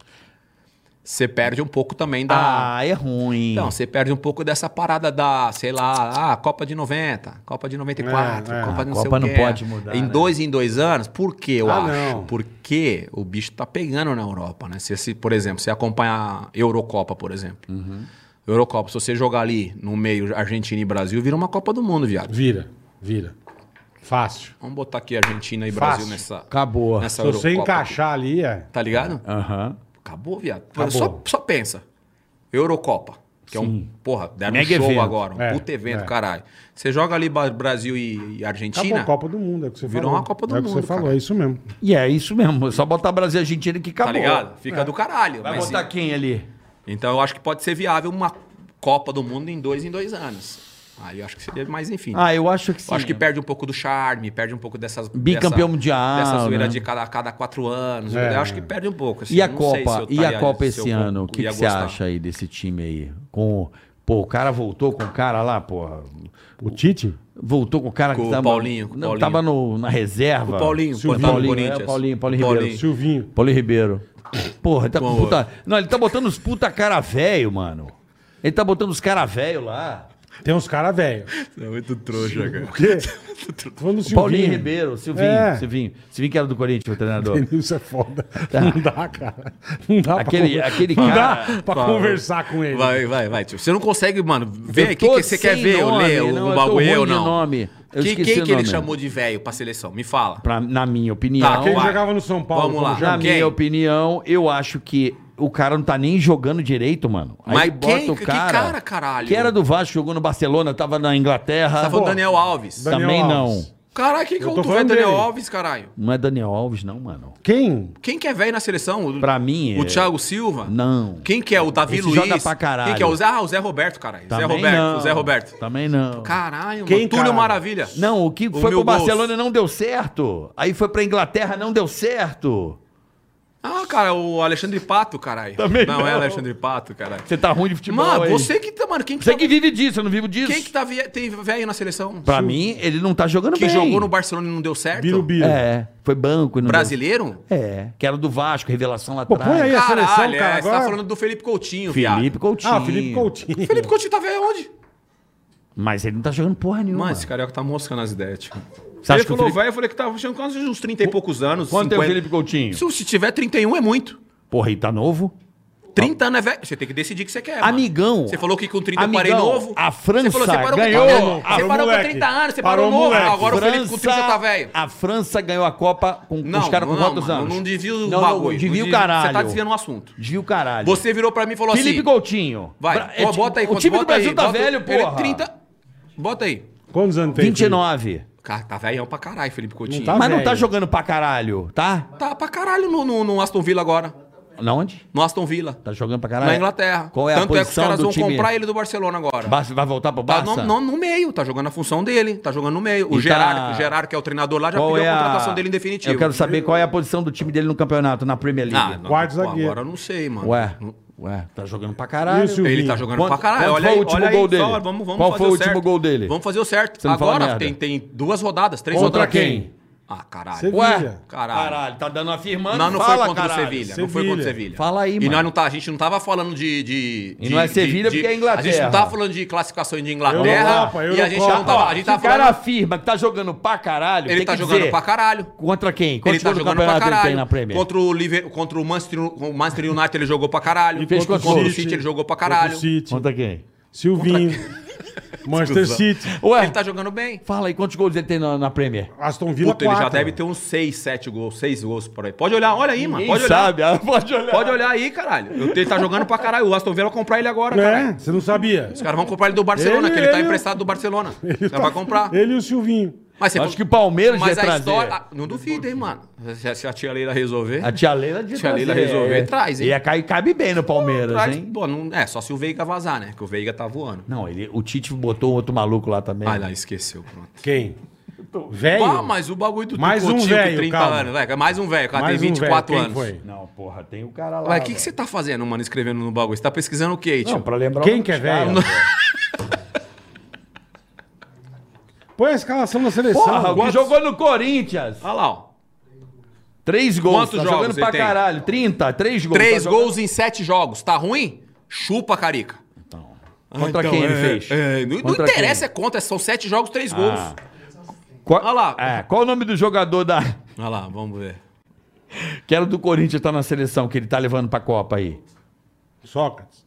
Speaker 5: Você perde um pouco também da,
Speaker 4: Ah, é ruim.
Speaker 5: Então, você perde um pouco dessa parada da, sei lá, ah, Copa de 90, Copa de 94,
Speaker 3: É, é.
Speaker 5: Copa de não
Speaker 4: A
Speaker 5: sei
Speaker 4: Copa
Speaker 5: o
Speaker 4: não
Speaker 5: quê.
Speaker 4: pode mudar,
Speaker 5: Em
Speaker 4: né?
Speaker 5: dois em dois anos, por quê, eu
Speaker 3: Ah,
Speaker 5: acho?
Speaker 3: não.
Speaker 5: Porque o bicho tá pegando na Europa, né? Se, se, por exemplo, você acompanhar Eurocopa, por exemplo.
Speaker 4: Uhum.
Speaker 5: Eurocopa, se você jogar ali no meio Argentina e Brasil, vira uma Copa do Mundo, viado.
Speaker 3: é. Vira, vira. Fácil.
Speaker 5: Vamos botar aqui Argentina e
Speaker 3: Fácil.
Speaker 5: Brasil nessa,
Speaker 4: Acabou.
Speaker 5: nessa
Speaker 3: Se você
Speaker 5: Eurocopa.
Speaker 3: encaixar ali, é.
Speaker 5: Tá ligado?
Speaker 7: Aham.
Speaker 5: Acabou, viado.
Speaker 3: Acabou.
Speaker 5: Só, só pensa. Eurocopa. Que é um. Porra, deram
Speaker 4: Mega
Speaker 5: um show
Speaker 4: evento.
Speaker 5: agora. Um
Speaker 3: É,
Speaker 5: puta evento,
Speaker 3: é.
Speaker 5: caralho. Você joga ali Ba- Brasil e, e
Speaker 3: Acabou
Speaker 5: Argentina.
Speaker 3: a Copa do Mundo, é o que você
Speaker 5: Virou
Speaker 3: falou.
Speaker 5: uma Copa do
Speaker 3: É o que você
Speaker 5: Mundo,
Speaker 3: falou,
Speaker 5: cara.
Speaker 3: é isso mesmo.
Speaker 4: E é isso mesmo. Só botar Brasil e Argentina que
Speaker 5: Tá
Speaker 4: acabou. É.
Speaker 5: ligado? Fica do caralho.
Speaker 4: Vai
Speaker 5: mas-
Speaker 4: botar quem ali?
Speaker 5: Então eu acho que pode ser viável uma Copa do Mundo em dois em dois anos. Aí eu acho que seria mais, enfim.
Speaker 4: Ah, eu acho que sim.
Speaker 5: Eu acho que perde um pouco do charme, perde um pouco dessas.
Speaker 4: Bicampeão
Speaker 5: dessa,
Speaker 4: mundial,
Speaker 5: Dessa zoeira
Speaker 4: né?
Speaker 5: de cada, a cada quatro anos.
Speaker 3: É.
Speaker 5: Eu acho que perde um pouco. assim.
Speaker 4: E a
Speaker 5: Não sei se
Speaker 4: Copa?
Speaker 5: eu
Speaker 4: E a
Speaker 5: estaria-
Speaker 4: Copa
Speaker 5: se
Speaker 4: esse
Speaker 5: eu
Speaker 4: ano? O que,
Speaker 5: ia
Speaker 4: que você
Speaker 5: gostar.
Speaker 4: acha aí desse time aí? Com. Pô, o cara voltou com o cara lá, porra.
Speaker 3: O Tite?
Speaker 4: Voltou com o cara
Speaker 5: Com
Speaker 4: que
Speaker 5: o
Speaker 4: tava.
Speaker 5: Paulinho, com o
Speaker 4: não,
Speaker 5: Paulinho.
Speaker 4: Tava no, na reserva.
Speaker 5: O Paulinho,
Speaker 4: Silvinho,
Speaker 5: coitado do
Speaker 4: Paulinho,
Speaker 5: Corinthians.
Speaker 4: é, Paulinho, Paulinho
Speaker 5: O
Speaker 4: Ribeiro.
Speaker 5: Sim.
Speaker 3: Silvinho.
Speaker 4: Paulinho Ribeiro. Porra, ele tá com
Speaker 5: Bom,
Speaker 4: puta. Não, ele tá botando os puta cara velho, mano. Ele tá botando os cara velho lá.
Speaker 3: Tem uns caras velhos.
Speaker 5: É muito trouxa, cara.
Speaker 3: O quê? Tô falando do Silvinho.
Speaker 4: Paulinho Ribeiro, Silvinho,
Speaker 3: É.
Speaker 4: Silvinho. Silvinho que era do Corinthians, o treinador.
Speaker 3: Isso é foda.
Speaker 5: Tá.
Speaker 3: Não dá, cara. Não dá
Speaker 4: Aquele-
Speaker 3: pra, conver-
Speaker 4: aquele
Speaker 3: não
Speaker 4: cara-
Speaker 3: dá pra
Speaker 5: Fala.
Speaker 3: conversar com ele.
Speaker 5: Vai, vai, vai. tio. Você não consegue, mano, ver o que,
Speaker 4: tô
Speaker 5: que você quer
Speaker 4: sem
Speaker 5: ver, eu
Speaker 4: nome,
Speaker 5: ler
Speaker 4: não, eu
Speaker 5: o
Speaker 4: tô
Speaker 5: bagulho
Speaker 4: ruim
Speaker 5: ou
Speaker 4: de
Speaker 5: não.
Speaker 4: nome. Eu
Speaker 5: Quem,
Speaker 4: esqueci
Speaker 5: quem
Speaker 4: o
Speaker 5: que ele
Speaker 4: nome.
Speaker 5: chamou de velho pra seleção? Me fala.
Speaker 4: Pra- na minha opinião.
Speaker 5: Tá,
Speaker 3: Aquele que
Speaker 5: vai.
Speaker 3: jogava no São Paulo.
Speaker 5: Vamos lá.
Speaker 3: como
Speaker 4: Na
Speaker 3: chama?
Speaker 5: Ah, Quem?
Speaker 4: minha opinião, eu acho que o cara não tá nem jogando direito, mano. Aí
Speaker 5: Mas
Speaker 4: bota
Speaker 5: quem?
Speaker 4: o
Speaker 5: Que
Speaker 4: cara.
Speaker 5: cara, caralho?
Speaker 4: Que era do Vasco, jogou no Barcelona, tava na Inglaterra.
Speaker 5: Tava o Tá Daniel Alves.
Speaker 3: Dan-
Speaker 4: Também
Speaker 3: Daniel Alves.
Speaker 4: não.
Speaker 5: Caralho, quem que é
Speaker 3: Eu
Speaker 5: o
Speaker 3: tô
Speaker 5: tu velho
Speaker 3: falando
Speaker 5: Daniel
Speaker 3: dele.
Speaker 5: Alves, caralho?
Speaker 4: Não é Daniel Alves, não, mano.
Speaker 3: Quem?
Speaker 5: Quem que é velho na seleção? O-
Speaker 4: Pra mim.
Speaker 5: O
Speaker 4: é-
Speaker 5: Thiago Silva?
Speaker 4: Não.
Speaker 5: Quem que é o Davi
Speaker 4: Esse
Speaker 5: Luiz?
Speaker 4: joga pra caralho.
Speaker 5: Quem que é o Zé, ah, o Zé Roberto, caralho.
Speaker 4: Também
Speaker 5: Zé Roberto,
Speaker 4: não. Tá
Speaker 5: o Zé Roberto.
Speaker 4: Também não.
Speaker 5: Caralho,
Speaker 3: Quem,
Speaker 5: mano. Túlio
Speaker 3: caralho?
Speaker 5: Maravilha.
Speaker 4: Não, o que foi
Speaker 5: meu
Speaker 4: pro
Speaker 5: bolso.
Speaker 4: Barcelona não deu certo. Aí foi pra Inglaterra, não deu certo.
Speaker 5: Ah, cara, o Alexandre Pato, caralho.
Speaker 4: Também
Speaker 5: não, é
Speaker 4: não.
Speaker 5: Alexandre Pato, caralho.
Speaker 4: Você tá ruim de futebol.
Speaker 5: Mano,
Speaker 4: aí.
Speaker 5: você que tá, mano, quem que,
Speaker 4: Você
Speaker 5: tá-
Speaker 4: que vive disso, eu não vivo disso.
Speaker 5: quem que tá vie- tem velho na seleção?
Speaker 4: Pra mim, ele não tá jogando
Speaker 5: que
Speaker 4: bem.
Speaker 5: jogou no Barcelona e não deu certo?
Speaker 3: Birubiru.
Speaker 4: É, foi banco. e Não
Speaker 5: Brasileiro?
Speaker 4: deu- É, que era do Vasco, revelação lá
Speaker 3: Pô,
Speaker 4: atrás.
Speaker 3: põe aí a
Speaker 5: Caralho,
Speaker 3: seleção,
Speaker 5: é,
Speaker 3: cara.
Speaker 5: você
Speaker 3: Agora...
Speaker 5: tá falando do Felipe Coutinho,
Speaker 4: Felipe
Speaker 5: viado.
Speaker 4: Coutinho.
Speaker 3: Ah, Felipe Coutinho.
Speaker 5: Felipe Coutinho tá velho onde?
Speaker 4: Mas ele não tá jogando porra nenhuma.
Speaker 5: Mano, esse carioca tá moscando as ideias, tipo.
Speaker 4: Você acha
Speaker 5: ele
Speaker 4: que o
Speaker 5: falou
Speaker 4: Felipe-
Speaker 5: velho, eu falei que tava achando quase uns 30 e poucos anos.
Speaker 4: Quanto é o
Speaker 5: 50.
Speaker 4: Felipe Coutinho?
Speaker 5: Se, se tiver 31 é muito.
Speaker 4: Porra, ele tá novo?
Speaker 5: 30 anos é velho. Você tem que decidir o que você quer. mano.
Speaker 4: Amigão.
Speaker 5: Você falou que com 30
Speaker 4: Amigão,
Speaker 5: eu parei novo.
Speaker 4: a França
Speaker 5: você falou, você parou
Speaker 4: ganhou.
Speaker 5: Com 30,
Speaker 3: Parou
Speaker 5: você parou
Speaker 3: moleque.
Speaker 5: com 30 anos, você
Speaker 3: Parou
Speaker 5: parou, novo.
Speaker 3: moleque.
Speaker 5: Agora o Felipe com 30 tá velho.
Speaker 4: A França ganhou a Copa com com os caras com
Speaker 5: não,
Speaker 4: quantos
Speaker 5: mano,
Speaker 4: anos?
Speaker 5: Não desvia o
Speaker 4: Não, não,
Speaker 5: bagulho. não
Speaker 4: Devia o
Speaker 5: desvia-
Speaker 4: caralho.
Speaker 5: Você tá desviando o assunto.
Speaker 4: Desvia o caralho.
Speaker 5: Você virou pra mim e falou
Speaker 4: Felipe
Speaker 5: assim...
Speaker 4: Coutinho.
Speaker 5: Vai,
Speaker 4: Bra-
Speaker 5: ó, bota aí.
Speaker 4: O
Speaker 5: quanto-
Speaker 4: time do
Speaker 5: bota
Speaker 4: Brasil
Speaker 5: aí,
Speaker 4: tá
Speaker 5: bota-
Speaker 4: velho,
Speaker 5: ele é
Speaker 4: porra.
Speaker 5: 30... Bota aí.
Speaker 3: Quantos anos tem? Felipe?
Speaker 4: 29.
Speaker 5: Cara, tá velhão pra caralho, Felipe Coutinho.
Speaker 3: Não tá
Speaker 4: Mas não tá
Speaker 3: velho.
Speaker 4: jogando pra caralho, tá?
Speaker 5: Tá pra caralho no, no- no Aston Villa agora.
Speaker 4: Na onde?
Speaker 5: No Aston Villa.
Speaker 4: Tá jogando pra caralho?
Speaker 5: Na Inglaterra.
Speaker 4: Qual é a
Speaker 5: Tanto é que os
Speaker 4: posição
Speaker 5: caras
Speaker 4: do
Speaker 5: vão
Speaker 4: time?
Speaker 5: comprar ele do Barcelona agora.
Speaker 4: Barça- vai voltar pro
Speaker 5: Tá
Speaker 4: Barça?
Speaker 5: no, no- no meio, tá jogando a função dele, tá jogando no meio. O
Speaker 4: E
Speaker 5: Gerard,
Speaker 4: tá-
Speaker 5: o Gerard, que é o treinador lá, já
Speaker 4: Qual
Speaker 5: pediu
Speaker 4: é
Speaker 5: a
Speaker 4: a
Speaker 5: contratação dele em definitivo.
Speaker 4: Eu quero saber qual é a posição do time dele no campeonato, na Premier
Speaker 5: Ah,
Speaker 4: League.
Speaker 5: não,
Speaker 3: Quarto
Speaker 5: pô,
Speaker 3: zagueiro.
Speaker 5: Agora eu não sei, mano.
Speaker 4: Ué, ué, tá jogando pra caralho.
Speaker 3: E o Silvinho?
Speaker 5: Ele tá jogando
Speaker 4: Quanto-
Speaker 5: pra caralho.
Speaker 4: quanto
Speaker 5: olha
Speaker 4: foi
Speaker 5: aí,
Speaker 4: o último
Speaker 5: olha
Speaker 4: gol
Speaker 5: aí,
Speaker 4: dele?
Speaker 5: só, vamos, vamos
Speaker 4: Qual
Speaker 5: fazer
Speaker 4: foi o
Speaker 5: certo.
Speaker 4: último gol dele?
Speaker 5: Vamos fazer o certo.
Speaker 4: Você não fala
Speaker 5: Agora
Speaker 4: merda.
Speaker 5: tem, tem duas rodadas, três
Speaker 4: Contra
Speaker 5: rodadas.
Speaker 4: quem?
Speaker 5: Ah, caralho.
Speaker 3: Você-
Speaker 4: Ué,
Speaker 5: Caralho.
Speaker 4: tá dando afirmando.
Speaker 5: Não, não foi
Speaker 4: fala,
Speaker 5: contra
Speaker 4: caralho.
Speaker 5: o Sevilha. Não foi contra
Speaker 3: Sevilha.
Speaker 5: o Sevilha.
Speaker 4: Fala aí,
Speaker 5: e
Speaker 4: mano.
Speaker 5: Nós não tá, a gente não tava falando de. de-
Speaker 4: E
Speaker 5: de-
Speaker 4: não é
Speaker 5: de-
Speaker 4: Sevilha
Speaker 5: de-
Speaker 4: porque é
Speaker 5: A gente
Speaker 4: Inglaterra.
Speaker 5: não tava falando de classificações de Inglaterra.
Speaker 3: Europa,
Speaker 5: e a gente
Speaker 3: Eurocopa.
Speaker 5: não tava. Então, A
Speaker 4: Se
Speaker 5: gente
Speaker 4: o
Speaker 5: tava
Speaker 4: cara
Speaker 5: falando.
Speaker 4: afirma que tá jogando pra caralho,
Speaker 5: Ele
Speaker 4: tem
Speaker 5: tá
Speaker 4: que
Speaker 5: jogando
Speaker 4: dizer
Speaker 5: pra caralho.
Speaker 4: Contra quem? Contra
Speaker 5: Ele tá jogando pra
Speaker 4: campeonato
Speaker 5: caralho.
Speaker 4: ele tem na Premier?
Speaker 5: Contra o, Liver, contra o Manchester, o Manchester United ele jogou pra caralho.
Speaker 4: E fez
Speaker 5: contra,
Speaker 4: quantos
Speaker 5: o
Speaker 4: gols?
Speaker 5: City ele jogou pra
Speaker 3: Contra
Speaker 5: caralho.
Speaker 3: o City.
Speaker 4: Contra quem?
Speaker 3: Silvinho. Manchester City.
Speaker 4: Ué,
Speaker 5: Ele tá jogando bem.
Speaker 4: fala aí quantos gols ele tem na, na Premier.
Speaker 3: Aston Villa
Speaker 5: Puta, ele já
Speaker 3: quatro.
Speaker 5: deve ter uns 6, 7 gols, 6 gols por aí. Pode olhar, olha aí, mano.
Speaker 4: Quem
Speaker 5: Pode olhar.
Speaker 4: sabe? Ah, Pode olhar.
Speaker 5: Pode olhar aí, caralho. Ele tá jogando pra caralho. O Aston Villa vai comprar ele agora,
Speaker 3: É,
Speaker 5: caralho.
Speaker 3: você não sabia.
Speaker 5: Os caras vão comprar ele do Barcelona,
Speaker 3: Ele-
Speaker 5: que ele tá
Speaker 3: ele- tá
Speaker 5: emprestado do Barcelona. Os caras vão comprar.
Speaker 3: Ele e o Silvinho.
Speaker 5: Mas você
Speaker 4: Acho que o Palmeiras
Speaker 5: Mas
Speaker 4: ia
Speaker 5: a
Speaker 4: trazer.
Speaker 5: história. ah, Não duvida, hein, mano. Se, se a tia Leila resolver.
Speaker 4: A tia Leila de
Speaker 5: Tia Leila resolver, traz, hein?
Speaker 4: Ele cabe, cabe bem no Palmeiras,
Speaker 5: Traz-
Speaker 4: hein?
Speaker 5: Pô, não, é, só se o Veiga vazar, né? Que o Veiga tá voando.
Speaker 4: Não, ele, o Tite botou um outro maluco lá também.
Speaker 5: Ah, não, esqueceu, pronto.
Speaker 3: Quem? Velho?
Speaker 5: Ah, mas o bagulho do
Speaker 3: É Mais um
Speaker 5: Coutinho,
Speaker 3: velho, calma.
Speaker 5: anos, velho. Mais um velho, o cara tem
Speaker 3: Mais um
Speaker 5: 24
Speaker 3: velho,
Speaker 5: anos.
Speaker 3: Quem, foi?
Speaker 4: Não, porra, tem o cara lá.
Speaker 5: Ué, o que, que
Speaker 4: velho.
Speaker 5: você tá fazendo, mano, escrevendo no bagulho? Você tá pesquisando o quê, tio?
Speaker 4: Não, pra lembrar
Speaker 3: Quem
Speaker 4: o nome
Speaker 3: que é
Speaker 4: dos caras,
Speaker 3: velho?
Speaker 4: velho?
Speaker 3: Põe a escalação da seleção.
Speaker 4: Porra, o que
Speaker 3: Quantos-
Speaker 4: jogou no Corinthians.
Speaker 5: Olha lá, ó.
Speaker 4: Três gols.
Speaker 5: Quantos
Speaker 4: tá
Speaker 5: jogos
Speaker 4: jogando
Speaker 5: ele
Speaker 4: pra
Speaker 5: tem?
Speaker 4: caralho. 30, três gols.
Speaker 5: Três
Speaker 4: tá jogando-
Speaker 5: gols em sete jogos. Tá ruim? Chupa, Carica. Ah,
Speaker 4: Então. Contra quem ele fez?
Speaker 5: é, não não
Speaker 4: Contra Ah.
Speaker 5: interessa, é contra. São sete jogos, três gols.
Speaker 4: Qual,
Speaker 5: Olha lá.
Speaker 4: É, qual o nome do jogador da...
Speaker 5: Olha lá, vamos ver.
Speaker 4: que era do Corinthians tá na seleção, que ele tá levando pra Copa aí?
Speaker 3: Sócrates.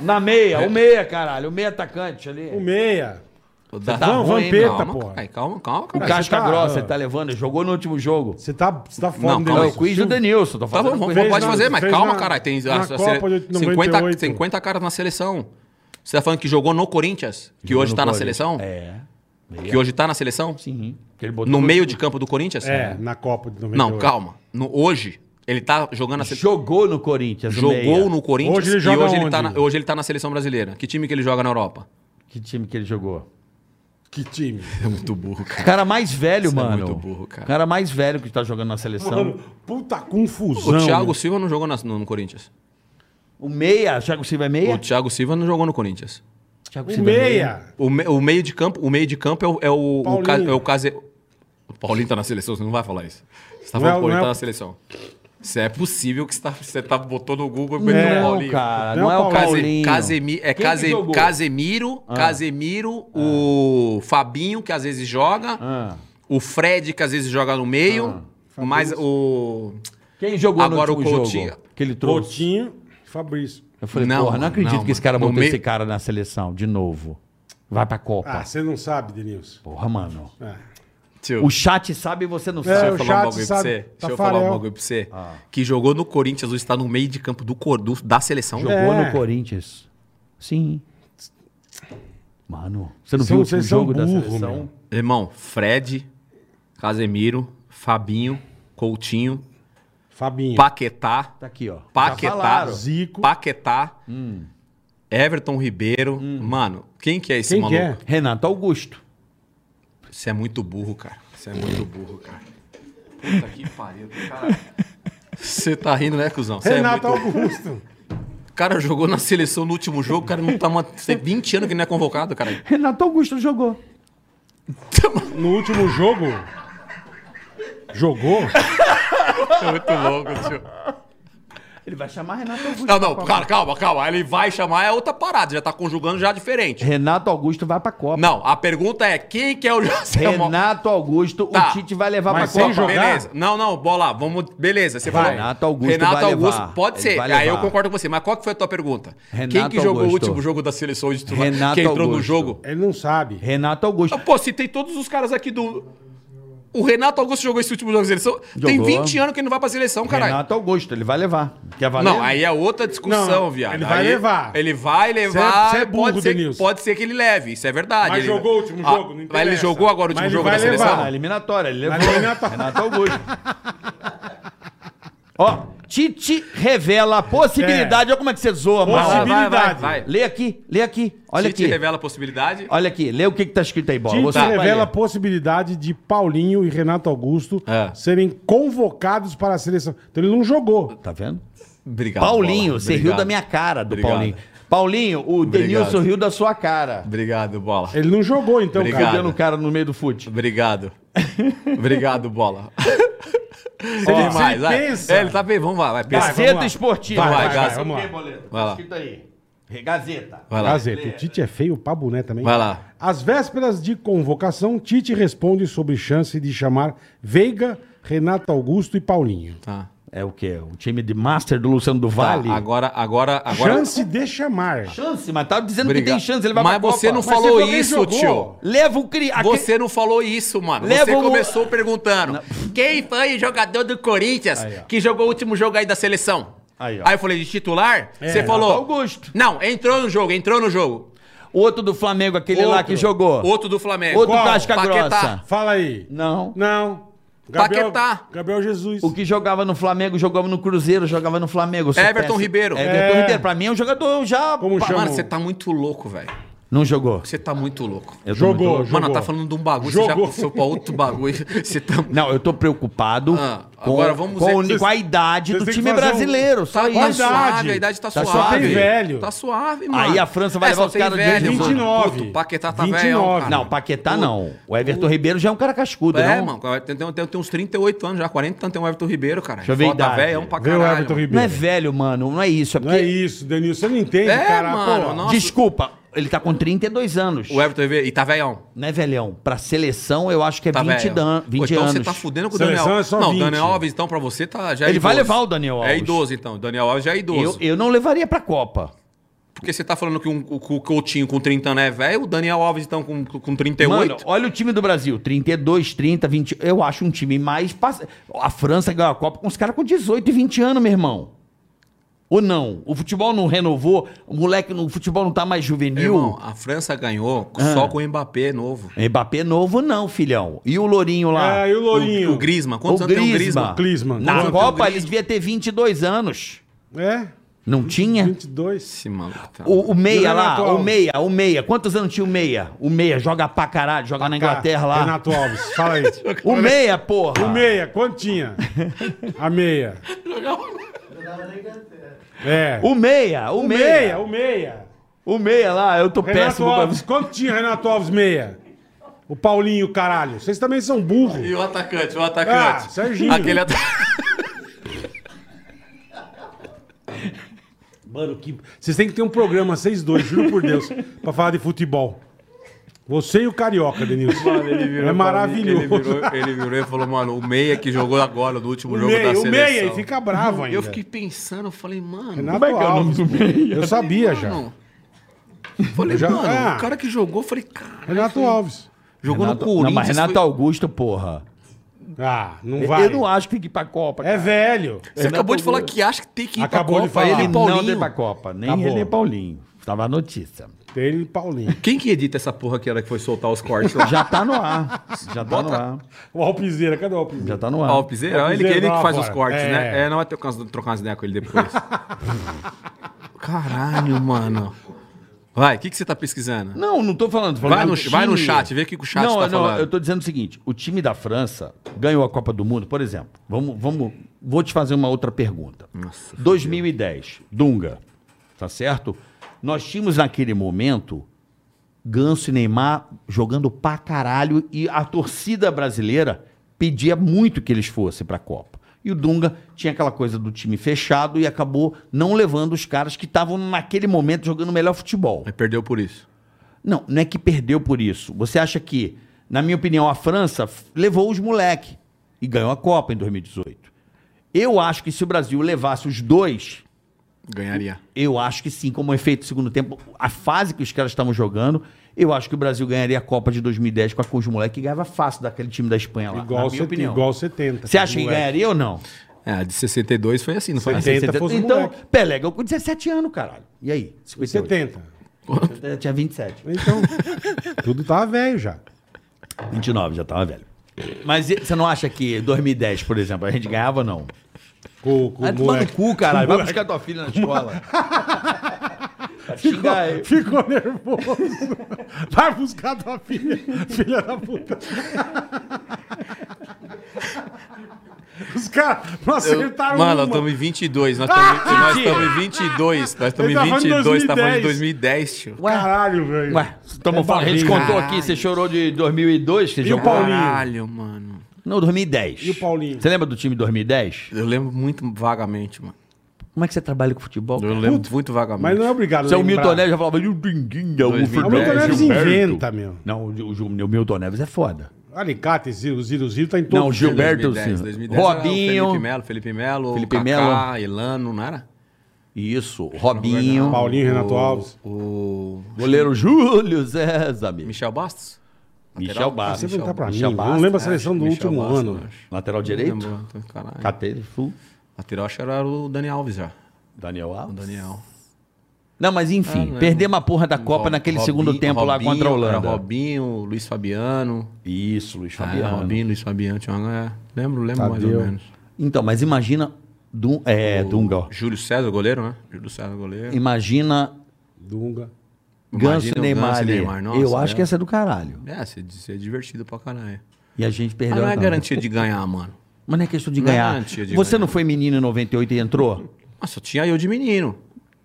Speaker 4: Na meia, o meia, caralho. O meia atacante
Speaker 3: O
Speaker 4: ali.
Speaker 3: meia.
Speaker 5: Dá-
Speaker 4: tá
Speaker 3: Não,
Speaker 4: ruim,
Speaker 3: Vampeta,
Speaker 5: calma,
Speaker 3: porra.
Speaker 5: Calma, calma, calma.
Speaker 4: O
Speaker 5: calma.
Speaker 4: Casca
Speaker 3: tá-
Speaker 4: Grossa ele tá levando. ele Jogou no último jogo.
Speaker 3: Você tá, você tá fora
Speaker 5: Não,
Speaker 3: do
Speaker 4: Não,
Speaker 5: calma
Speaker 4: é o
Speaker 5: aí.
Speaker 3: negócio.
Speaker 4: quiz do Denilson. Tô
Speaker 5: Tá
Speaker 4: fazendo
Speaker 5: bom,
Speaker 4: quiz.
Speaker 5: vamos,
Speaker 3: Fez
Speaker 5: pode
Speaker 3: na-
Speaker 5: fazer, mas
Speaker 3: fez
Speaker 5: calma,
Speaker 3: na-
Speaker 5: caralho. Tem
Speaker 3: na
Speaker 5: a- a-
Speaker 3: Copa de
Speaker 5: 50,
Speaker 3: 98.
Speaker 5: 50 caras na seleção. Você tá falando que jogou no Corinthians? Que hoje
Speaker 4: no
Speaker 5: tá na
Speaker 4: Corinthians.
Speaker 5: seleção?
Speaker 4: É.
Speaker 5: Que hoje tá na seleção?
Speaker 4: Sim. Que ele botou
Speaker 5: No meio de campo do Corinthians?
Speaker 3: É, na Copa de 98.
Speaker 5: Não, calma. No- hoje, ele tá jogando na seleção.
Speaker 4: Jogou no Corinthians. o meia.
Speaker 5: Jogou no Corinthians
Speaker 3: Hoje ele
Speaker 5: e
Speaker 3: joga
Speaker 5: hoje ele, tá
Speaker 3: onde?
Speaker 5: na, hoje ele tá na seleção brasileira. Que time que ele joga na Europa?
Speaker 4: Que time que ele jogou?
Speaker 3: Que time.
Speaker 5: É muito burro, cara.
Speaker 4: Cara mais velho,
Speaker 5: Você é
Speaker 4: mano.
Speaker 5: muito burro, cara.
Speaker 4: Cara mais velho que tá jogando na seleção.
Speaker 3: Mano, puta confusão.
Speaker 5: O Então- Thiago
Speaker 3: meu.
Speaker 5: Silva não jogou na- no, no Corinthians.
Speaker 4: O meia, Thiago Silva é meia?
Speaker 5: O Thiago Silva não jogou no Corinthians. é
Speaker 4: Thiago é
Speaker 3: O Um meia.
Speaker 5: O, me- o meio de campo, o meio de campo é o é o, o,
Speaker 3: Paulinho.
Speaker 5: ca- é o case- O Paulinho tá na seleção, você não vai falar isso. Você tá
Speaker 3: Não é-
Speaker 5: falando que o Paulinho
Speaker 3: não é-
Speaker 5: tá na seleção. Se é possível que você tá, você tá botou no Google e meteu o
Speaker 4: Não,
Speaker 5: Paulinho.
Speaker 4: cara,
Speaker 3: Não,
Speaker 4: não é o
Speaker 3: Paulinho.
Speaker 4: Paulinho.
Speaker 5: Casemiro, é
Speaker 4: que
Speaker 5: Case-
Speaker 4: jogou? Ah.
Speaker 5: Casemiro, Casemiro, o Fabinho que às vezes joga,
Speaker 4: Ah.
Speaker 5: o Fred que às vezes joga no
Speaker 3: Ah,
Speaker 5: meio, mas o
Speaker 4: Quem jogou
Speaker 5: Agora
Speaker 4: no último
Speaker 5: o Coutinho.
Speaker 4: jogo que ele trouxe?
Speaker 3: Coutinho e Fabrício.
Speaker 4: Eu falei,
Speaker 5: Não,
Speaker 4: porra, não
Speaker 5: mano,
Speaker 4: acredito
Speaker 5: não,
Speaker 4: que esse cara
Speaker 5: mano. No
Speaker 4: botou
Speaker 5: meio-
Speaker 4: esse cara na seleção de novo. Vai pra Copa.
Speaker 3: Ah,
Speaker 5: Tá.
Speaker 3: você não sabe, Denilson.
Speaker 4: Porra, mano.
Speaker 3: É.
Speaker 5: Tio,
Speaker 4: O chat sabe e você não
Speaker 5: Deixa
Speaker 4: sabe.
Speaker 5: eu
Speaker 3: o
Speaker 5: falar um
Speaker 3: chat
Speaker 5: bagulho pra
Speaker 3: sabe,
Speaker 5: você. Deixa eu
Speaker 3: Tafarel. Ah.
Speaker 5: falar um bagulho pra você. Que jogou no Corinthians, hoje está no meio de campo do, cor- do- da seleção.
Speaker 4: Jogou
Speaker 3: É.
Speaker 4: no Corinthians. Sim. Mano, você não
Speaker 3: São-
Speaker 4: viu o último
Speaker 3: Vocês são
Speaker 4: jogo da
Speaker 3: burros,
Speaker 4: seleção?
Speaker 3: meu.
Speaker 5: Irmão, Fred, Casemiro, Fabinho, Coutinho,
Speaker 3: Fabinho.
Speaker 5: Paquetá,
Speaker 4: Tá aqui, ó. Já
Speaker 5: Paquetá,
Speaker 4: falaram.
Speaker 3: Zico. Hum.
Speaker 5: Paquetá, Everton Ribeiro. Mano, quem que é esse
Speaker 3: Quem que
Speaker 5: maluco?
Speaker 3: é?
Speaker 4: Renato Augusto.
Speaker 5: Você é muito burro, cara. Você é muito burro, cara. Puta que pariu, cara. Você tá rindo, né, cuzão? Você
Speaker 3: Renato
Speaker 5: é muito...
Speaker 3: Augusto.
Speaker 5: O cara jogou na seleção no último jogo, o cara não tá... Uma... Tem 20 anos que ele não é convocado, cara.
Speaker 4: Renato Augusto jogou.
Speaker 3: No último jogo. Jogou?
Speaker 5: É muito louco, tio.
Speaker 4: Ele vai chamar Renato Augusto.
Speaker 5: Não, não, cara, calma, calma. Ele vai chamar, é outra parada. Já tá conjugando já diferente.
Speaker 4: Renato Augusto vai pra Copa.
Speaker 5: Não, a pergunta é quem que é o...
Speaker 4: Renato Augusto,
Speaker 5: Tá.
Speaker 4: o Tite vai levar
Speaker 3: Mas
Speaker 4: pra
Speaker 3: sem
Speaker 4: Copa.
Speaker 3: jogar?
Speaker 5: Beleza. Não, não, bola. Vamos. Beleza, você falou.
Speaker 4: Renato Augusto
Speaker 5: Renato
Speaker 4: vai
Speaker 5: Augusto,
Speaker 4: levar.
Speaker 5: pode
Speaker 4: Ele
Speaker 5: ser.
Speaker 4: vai
Speaker 5: Aí eu
Speaker 4: levar.
Speaker 5: concordo com você. Mas qual que foi a tua pergunta? Quem
Speaker 4: Renato
Speaker 5: que jogou
Speaker 4: Augusto.
Speaker 5: o último jogo da seleção de titular?
Speaker 4: Renato
Speaker 5: que entrou no
Speaker 4: Augusto.
Speaker 5: jogo?
Speaker 3: Ele não sabe.
Speaker 4: Renato Augusto.
Speaker 5: Ah, Pô, citei todos os caras aqui do. O Renato Augusto jogou esse último jogo da seleção. Tem
Speaker 4: Jogou.
Speaker 5: 20 anos que ele não vai pra seleção, caralho.
Speaker 4: Renato Augusto, ele vai levar. Quer valer?
Speaker 5: Não, aí é outra discussão,
Speaker 3: Não,
Speaker 5: viado.
Speaker 3: ele vai
Speaker 5: Aí
Speaker 3: levar.
Speaker 5: Ele vai levar.
Speaker 3: Você é- você é burro,
Speaker 5: pode, ser,
Speaker 3: Denilson.
Speaker 5: pode ser que ele leve, isso é verdade.
Speaker 3: Mas
Speaker 5: Ele- Ah,
Speaker 3: jogou o último jogo, não
Speaker 5: Mas ele
Speaker 3: interessa.
Speaker 5: jogou agora o último
Speaker 3: Mas ele
Speaker 5: jogo da
Speaker 3: vai levar.
Speaker 5: seleção?
Speaker 4: Na eliminatória, ele
Speaker 3: Na
Speaker 4: levou.
Speaker 3: eliminatória.
Speaker 4: Renato Augusto. Ó, Tite revela a possibilidade. Olha como é que você zoa, mano.
Speaker 5: Vai, vai, vai,
Speaker 3: Possibilidade.
Speaker 5: vai.
Speaker 4: Lê aqui, lê aqui. Olha
Speaker 5: Tite
Speaker 4: aqui.
Speaker 5: revela a possibilidade.
Speaker 4: Olha aqui, lê o que, que tá escrito aí, bola.
Speaker 3: Tite
Speaker 4: Você vai
Speaker 3: revela a
Speaker 4: ler.
Speaker 3: possibilidade de Paulinho e Renato Augusto
Speaker 5: É.
Speaker 3: serem convocados para a seleção. Então ele não jogou.
Speaker 4: Tá vendo?
Speaker 5: Obrigado.
Speaker 4: Paulinho,
Speaker 5: Bola.
Speaker 4: você riu
Speaker 5: Obrigado.
Speaker 4: da minha cara, do
Speaker 5: Obrigado.
Speaker 4: Paulinho. Paulinho, o
Speaker 5: Obrigado.
Speaker 4: Denilson riu da sua cara.
Speaker 5: Obrigado, bola.
Speaker 3: Ele não jogou, então,
Speaker 5: Obrigado.
Speaker 4: Pegando o cara no meio do fute.
Speaker 5: Obrigado. Obrigado, bola. Ó,
Speaker 3: ele- se
Speaker 5: mais,
Speaker 3: ele
Speaker 5: vai.
Speaker 3: pensa-
Speaker 5: É, ele tá bem, vamos lá, vai, pensa.
Speaker 3: vamos
Speaker 4: Gazeta
Speaker 3: lá.
Speaker 4: Esportiva.
Speaker 5: Vai,
Speaker 3: Vai, vai,
Speaker 5: Gazeta.
Speaker 3: vamos lá.
Speaker 5: Vai lá,
Speaker 4: Escrito aí. Gazeta.
Speaker 5: vai lá.
Speaker 3: Gazeta, o Tite é feio, o Pabuné também.
Speaker 5: Vai lá.
Speaker 3: Às vésperas de convocação, Tite responde sobre chance de chamar Veiga, Renato Augusto e Paulinho.
Speaker 5: Tá.
Speaker 4: É o quê? O time de master do Luciano do
Speaker 5: Tá,
Speaker 4: Vale?
Speaker 5: agora, agora, agora.
Speaker 3: Chance de chamar.
Speaker 4: Chance, mas tá dizendo que
Speaker 5: Obrigado.
Speaker 4: tem chance, ele vai
Speaker 5: Mas
Speaker 4: pra
Speaker 5: você
Speaker 4: Copa.
Speaker 5: não
Speaker 4: Mas
Speaker 3: você
Speaker 5: falou
Speaker 3: falou que
Speaker 5: isso,
Speaker 3: jogou.
Speaker 5: tio.
Speaker 4: Leva o cri... aquele-
Speaker 5: Você não falou isso, mano.
Speaker 4: Leva
Speaker 5: você
Speaker 4: o-
Speaker 5: começou perguntando: quem foi o jogador do Corinthians que jogou o último jogo aí da seleção?
Speaker 4: Aí, ó. É,
Speaker 5: eu falei de titular? você
Speaker 3: Renato
Speaker 5: falou.
Speaker 4: Augusto.
Speaker 5: Não, entrou no jogo, entrou no jogo.
Speaker 4: Outro do Flamengo, aquele lá
Speaker 3: Outro.
Speaker 4: que jogou.
Speaker 5: Outro do Flamengo.
Speaker 4: Outro
Speaker 5: Qual?
Speaker 4: casca
Speaker 5: Paquetá.
Speaker 4: grossa.
Speaker 3: Fala aí.
Speaker 4: Não.
Speaker 3: Não.
Speaker 5: Paquetá.
Speaker 3: Gabriel Jesus.
Speaker 4: O que jogava no Flamengo, jogava no Cruzeiro, jogava no Flamengo. Eu sou
Speaker 5: Everton
Speaker 4: péssimo.
Speaker 5: Ribeiro.
Speaker 4: Everton
Speaker 3: É.
Speaker 4: Ribeiro. Pra mim é um jogador já...
Speaker 3: Como
Speaker 4: Pa-
Speaker 3: chama?
Speaker 5: Mano, você tá muito louco, velho.
Speaker 4: Não jogou.
Speaker 5: Você tá muito louco.
Speaker 4: Eu tô
Speaker 3: Jogou,
Speaker 4: muito-
Speaker 5: Mano,
Speaker 3: jogou.
Speaker 5: tá falando de um bagulho, você
Speaker 3: Jogou.
Speaker 5: já passou pra outro bagulho. Você tá.
Speaker 4: Não, eu tô preocupado
Speaker 5: Ah,
Speaker 4: com,
Speaker 5: agora vamos
Speaker 4: com,
Speaker 5: ver
Speaker 4: o-
Speaker 5: que vocês-
Speaker 4: com a idade
Speaker 3: vocês
Speaker 4: do
Speaker 3: têm que
Speaker 4: time
Speaker 3: fazer um-
Speaker 4: brasileiro. Só
Speaker 5: Tá,
Speaker 4: isso.
Speaker 5: tá
Speaker 3: idade.
Speaker 5: suave, a idade tá,
Speaker 4: Tá
Speaker 5: suave.
Speaker 4: só tem
Speaker 3: velho.
Speaker 5: Tá suave, mano.
Speaker 4: Aí a França vai
Speaker 5: É,
Speaker 4: levar
Speaker 5: só
Speaker 4: os
Speaker 5: tem
Speaker 4: caras de
Speaker 5: velho, mano.
Speaker 3: 29.
Speaker 5: Puto, o Paquetá tá
Speaker 3: 29.
Speaker 5: velho, cara.
Speaker 4: Não, Paquetá não. O Everton Ribeiro já é um cara cascudo,
Speaker 5: É,
Speaker 4: não?
Speaker 5: mano, tem, tem, tem, tem uns 38 anos já, 40 anos tem o Everton Ribeiro, cara.
Speaker 4: Deixa eu ver a idade.
Speaker 5: velho, é um pra
Speaker 3: Vê
Speaker 5: caralho.
Speaker 3: o Everton
Speaker 5: mano.
Speaker 4: Não é
Speaker 3: Ribeiro.
Speaker 4: velho, mano. Não é isso. É
Speaker 3: Não
Speaker 4: porque...
Speaker 3: é isso, Denilson. Você não entende,
Speaker 5: É,
Speaker 3: cara.
Speaker 5: mano,
Speaker 3: pô.
Speaker 5: não- Nossa.
Speaker 4: Desculpa, ele tá com 32 anos.
Speaker 5: O Everton Ribeiro, e tá velhão.
Speaker 4: Não é velhão. Pra seleção, eu acho que é
Speaker 5: Tá
Speaker 4: 20,
Speaker 5: velho.
Speaker 4: dan...
Speaker 5: Pô,
Speaker 4: 20
Speaker 5: então
Speaker 4: anos.
Speaker 5: você tá fudendo com o
Speaker 3: Seleção
Speaker 5: Daniel
Speaker 3: é só
Speaker 5: não,
Speaker 3: 20.
Speaker 5: Daniel Alves, então, pra você, tá já é
Speaker 4: Ele vai
Speaker 5: idoso.
Speaker 4: levar o Daniel
Speaker 5: É
Speaker 4: Alves.
Speaker 5: idoso, então. Daniel Alves já é
Speaker 4: eu,
Speaker 5: idoso.
Speaker 4: eu não levaria pra Copa.
Speaker 5: Porque você tá falando que um- o, o Coutinho com 30 anos é velho, o Daniel Alves, então, com, com 38.
Speaker 4: Mano, olha o time do Brasil. 32, 30, 20. Eu acho um time mais. passe- A França ganhou a Copa com os caras com 18 e 20 anos, meu irmão. Ou não? O futebol não renovou? O moleque, no- o futebol não tá mais juvenil?
Speaker 5: Irmão, a França ganhou só com o Mbappé novo.
Speaker 4: Mbappé novo, não, filhão. E o Lourinho lá?
Speaker 3: Ah, e o Lourinho?
Speaker 5: O, o Griezmann. Quantos anos tem o Griezmann?
Speaker 3: Griezmann,
Speaker 4: Na
Speaker 3: quanto?
Speaker 4: Copa, ele devia ter 22 anos.
Speaker 3: É,
Speaker 4: Não tinha?
Speaker 3: 22.
Speaker 5: Esse maluco tá...
Speaker 4: O, o
Speaker 3: E o
Speaker 4: Meia
Speaker 3: Renato
Speaker 4: lá, o
Speaker 3: Alves?
Speaker 4: Meia, o Meia. Quantos anos tinha o Meia? O Meia joga pra caralho, joga na Inglaterra lá.
Speaker 3: Tá, Renato Alves, fala aí.
Speaker 4: O Meia, porra.
Speaker 3: O meia, quanto tinha? A meia. É.
Speaker 4: O Meia, o,
Speaker 3: O
Speaker 4: meia,
Speaker 3: meia, o meia.
Speaker 4: O Meia lá, eu tô
Speaker 3: Renato
Speaker 4: péssimo. pra-
Speaker 3: Alves, quanto tinha Renato Alves meia? O Paulinho, caralho. Vocês também são burros.
Speaker 5: E o atacante, o atacante.
Speaker 3: Ah, Serginho.
Speaker 5: Aquele atacante.
Speaker 3: Mano, que... vocês têm que ter um programa, vocês dois, juro por Deus, pra falar de futebol. Você e o Carioca, Denilson. é maravilhoso.
Speaker 5: Ele virou, ele virou e falou, mano, o meia que jogou agora no último
Speaker 3: o
Speaker 5: jogo
Speaker 3: meia,
Speaker 5: da
Speaker 3: o
Speaker 5: seleção.
Speaker 3: meia, e fica bravo ainda.
Speaker 5: Eu fiquei é pensando, eu falei, mano...
Speaker 3: Renato Alves. Eu sabia já.
Speaker 5: mano. Falei,
Speaker 3: Já-
Speaker 5: mano,
Speaker 3: Ah.
Speaker 5: o cara que jogou, eu falei, cara,
Speaker 3: Renato Alves.
Speaker 5: jogou
Speaker 4: Renato-
Speaker 5: no Corinthians.
Speaker 4: Não, mas Renato
Speaker 5: foi-
Speaker 4: Augusto, porra.
Speaker 3: Ah, não
Speaker 4: Eu-
Speaker 3: vai.
Speaker 4: Eu não acho que tem que ir pra Copa.
Speaker 3: É velho.
Speaker 5: Você acabou de falar que acha que tem que ir
Speaker 3: Acabou de
Speaker 5: pra Copa,
Speaker 3: falar.
Speaker 5: ele e
Speaker 4: Ele
Speaker 5: Paulinho.
Speaker 4: não tem pra Copa. Nem
Speaker 3: Acabou.
Speaker 4: ele nem Paulinho. Tava a notícia.
Speaker 3: Ele e Paulinho.
Speaker 5: Quem que edita essa porra que ela que foi soltar os cortes lá?
Speaker 4: Já tá no ar. Já tá no ar.
Speaker 3: O Alpizeira, cadê o Alpizeira?
Speaker 4: Já tá no ar.
Speaker 5: Ah, o Piseiro,
Speaker 3: O
Speaker 5: ele, que-
Speaker 3: Piseiro
Speaker 5: ele
Speaker 3: tá
Speaker 5: que
Speaker 3: lá
Speaker 5: faz os
Speaker 3: fora.
Speaker 5: cortes,
Speaker 3: É.
Speaker 5: né? É, não vai ter caso de trocar umas ideias com ele depois. Caralho, mano. Vai, o que, que você tá pesquisando?
Speaker 4: Não, não tô falando. tô falando
Speaker 5: Vai
Speaker 4: do
Speaker 5: no- vai no
Speaker 4: time.
Speaker 5: chat, vê o que que o chat
Speaker 4: não, é,
Speaker 5: tá
Speaker 4: não,
Speaker 5: falando.
Speaker 4: Eu tô dizendo o seguinte: o time da França ganhou a Copa do Mundo, por exemplo. Vamos, vamos, vou te fazer uma outra pergunta. 2010, Dunga, tá certo? Nós tínhamos naquele momento Ganso e Neymar jogando pra caralho e a torcida brasileira pedia muito que eles fossem pra Copa. E o Dunga tinha aquela coisa do time fechado e acabou não levando os caras que estavam naquele momento jogando o melhor futebol.
Speaker 5: Mas perdeu por isso.
Speaker 4: Não, não é que perdeu por isso. Você acha que, na minha opinião, a França f- levou os moleque e ganhou a Copa em 2018. Eu acho que se o Brasil levasse os dois,
Speaker 5: Ganharia.
Speaker 4: eu acho que sim, como efeito segundo tempo, a fase que os caras estavam jogando, eu acho que o Brasil ganharia a Copa de 2010 com a com os moleque e ganhava fácil daquele time da Espanha lá,
Speaker 3: Igual,
Speaker 4: na minha
Speaker 3: set-
Speaker 4: opinião.
Speaker 3: igual 70.
Speaker 4: Você acha que
Speaker 3: moleque.
Speaker 4: ganharia ou não?
Speaker 5: É, a de 62 foi assim, não foi?
Speaker 3: 70.
Speaker 5: Assim?
Speaker 3: fosse
Speaker 4: então,
Speaker 3: moleque.
Speaker 4: Pelé ganhou com 17 anos, caralho. E aí? 58.
Speaker 3: 70.
Speaker 4: Eu tinha 27.
Speaker 3: Então, tudo tava velho já.
Speaker 4: 29, já tava velho. Mas e- você não acha que 2010, por exemplo, a gente ganhava ou não?
Speaker 3: Com, com
Speaker 4: Ah,
Speaker 3: o
Speaker 4: toma no
Speaker 3: moleque.
Speaker 4: cu, caralho. Vai buscar tua filha na escola. Vai xingar ele.
Speaker 3: Ficou nervoso. Vai buscar tua filha, filha da puta. Os caras não acertaram
Speaker 5: Mano, nós
Speaker 3: uma.
Speaker 5: estamos em 22. Nós estamos em 22. Nós estamos
Speaker 3: Ele tá
Speaker 5: em
Speaker 3: falando de
Speaker 5: 22. Tá falando
Speaker 3: 2010.
Speaker 5: de 2010, tio.
Speaker 3: Caralho, velho.
Speaker 4: Ué, tamo
Speaker 3: É
Speaker 4: falando, a gente
Speaker 3: babinha.
Speaker 4: contou aqui, você chorou de 2002, que você
Speaker 3: E o
Speaker 4: jogou.
Speaker 3: Paulinho?
Speaker 5: Caralho, mano.
Speaker 4: Não, 2010.
Speaker 3: E o Paulinho?
Speaker 4: Você lembra do time 2010?
Speaker 5: Eu lembro muito vagamente, mano.
Speaker 4: Como é que você trabalha com futebol?
Speaker 5: Eu
Speaker 4: cara?
Speaker 5: lembro muito vagamente.
Speaker 3: Mas não é obrigado. a
Speaker 4: Seu
Speaker 3: lembrar.
Speaker 4: Milton né? Neves já falava, e o Dinguinha,
Speaker 3: O
Speaker 4: o
Speaker 5: 2010,
Speaker 3: Milton
Speaker 4: Fernandes,
Speaker 3: Neves
Speaker 4: o Gilberto."
Speaker 3: inventa, meu.
Speaker 4: Não, o, o- o Milton Neves é foda.
Speaker 3: Alicate, Ziro, Ziro, Ziro tá em todo
Speaker 4: Não, o Gilberto,
Speaker 5: 2010,
Speaker 4: sim.
Speaker 5: 2010 era o Felipe
Speaker 4: Robinho.
Speaker 5: Melo, Felipe Melo,
Speaker 4: Felipe
Speaker 5: Felipe Melo,
Speaker 4: Melo.
Speaker 5: Elano, não era?
Speaker 4: Isso, Robinho.
Speaker 3: Paulinho, Renato Alves.
Speaker 5: O
Speaker 4: Goleiro Júlio César. Michel,
Speaker 5: Michel Bastos? tá
Speaker 4: Michel Bastos.
Speaker 3: Você perguntar pra mim,
Speaker 4: Michel
Speaker 3: eu não
Speaker 4: Bastos, né?
Speaker 3: lembro a seleção do
Speaker 5: Michel
Speaker 3: último
Speaker 5: Bastos, eu
Speaker 3: ano.
Speaker 5: acho.
Speaker 4: Lateral
Speaker 5: Não
Speaker 4: direito.
Speaker 5: lembro, caralho.
Speaker 4: Catei, full.
Speaker 5: Lateral acho que era o Daniel Alves já.
Speaker 4: Daniel Alves.
Speaker 5: Daniel.
Speaker 4: Não, mas
Speaker 5: Ah,
Speaker 4: enfim,
Speaker 5: não é.
Speaker 4: perdemos a porra da Copa
Speaker 5: Rob-
Speaker 4: naquele
Speaker 5: Robinho-
Speaker 4: segundo tempo lá
Speaker 5: Robinho,
Speaker 4: contra a
Speaker 5: Era
Speaker 4: Holanda.
Speaker 5: Robinho, Luiz Fabiano.
Speaker 4: Isso, Luiz
Speaker 5: Ah, era
Speaker 4: Fabiano.
Speaker 5: Robinho, Luiz Fabiano. Tinha uma... é, Lembro, lembro mais ou
Speaker 3: Tadeu.
Speaker 5: menos.
Speaker 4: Então, mas imagina. Dun- é, Dunga, ó.
Speaker 5: Júlio César, goleiro, né? Júlio César, goleiro.
Speaker 4: Imagina
Speaker 3: Dunga.
Speaker 4: Ganso
Speaker 5: Imagina
Speaker 4: e
Speaker 5: o
Speaker 4: Neymar
Speaker 5: Ganso e
Speaker 4: ali.
Speaker 5: Neymar, nossa,
Speaker 4: eu acho
Speaker 5: é.
Speaker 4: que essa é do caralho.
Speaker 5: É, você você é divertido pra caralho.
Speaker 4: E a gente
Speaker 5: Mas
Speaker 4: perdeu
Speaker 5: não é
Speaker 4: a
Speaker 5: garantia de ganhar, mano.
Speaker 4: Mas não é questão de
Speaker 5: Não é
Speaker 4: ganhar.
Speaker 5: garantia de
Speaker 4: Você
Speaker 5: ganhar.
Speaker 4: não foi menino em 98 e entrou?
Speaker 5: Nossa, tinha eu de menino.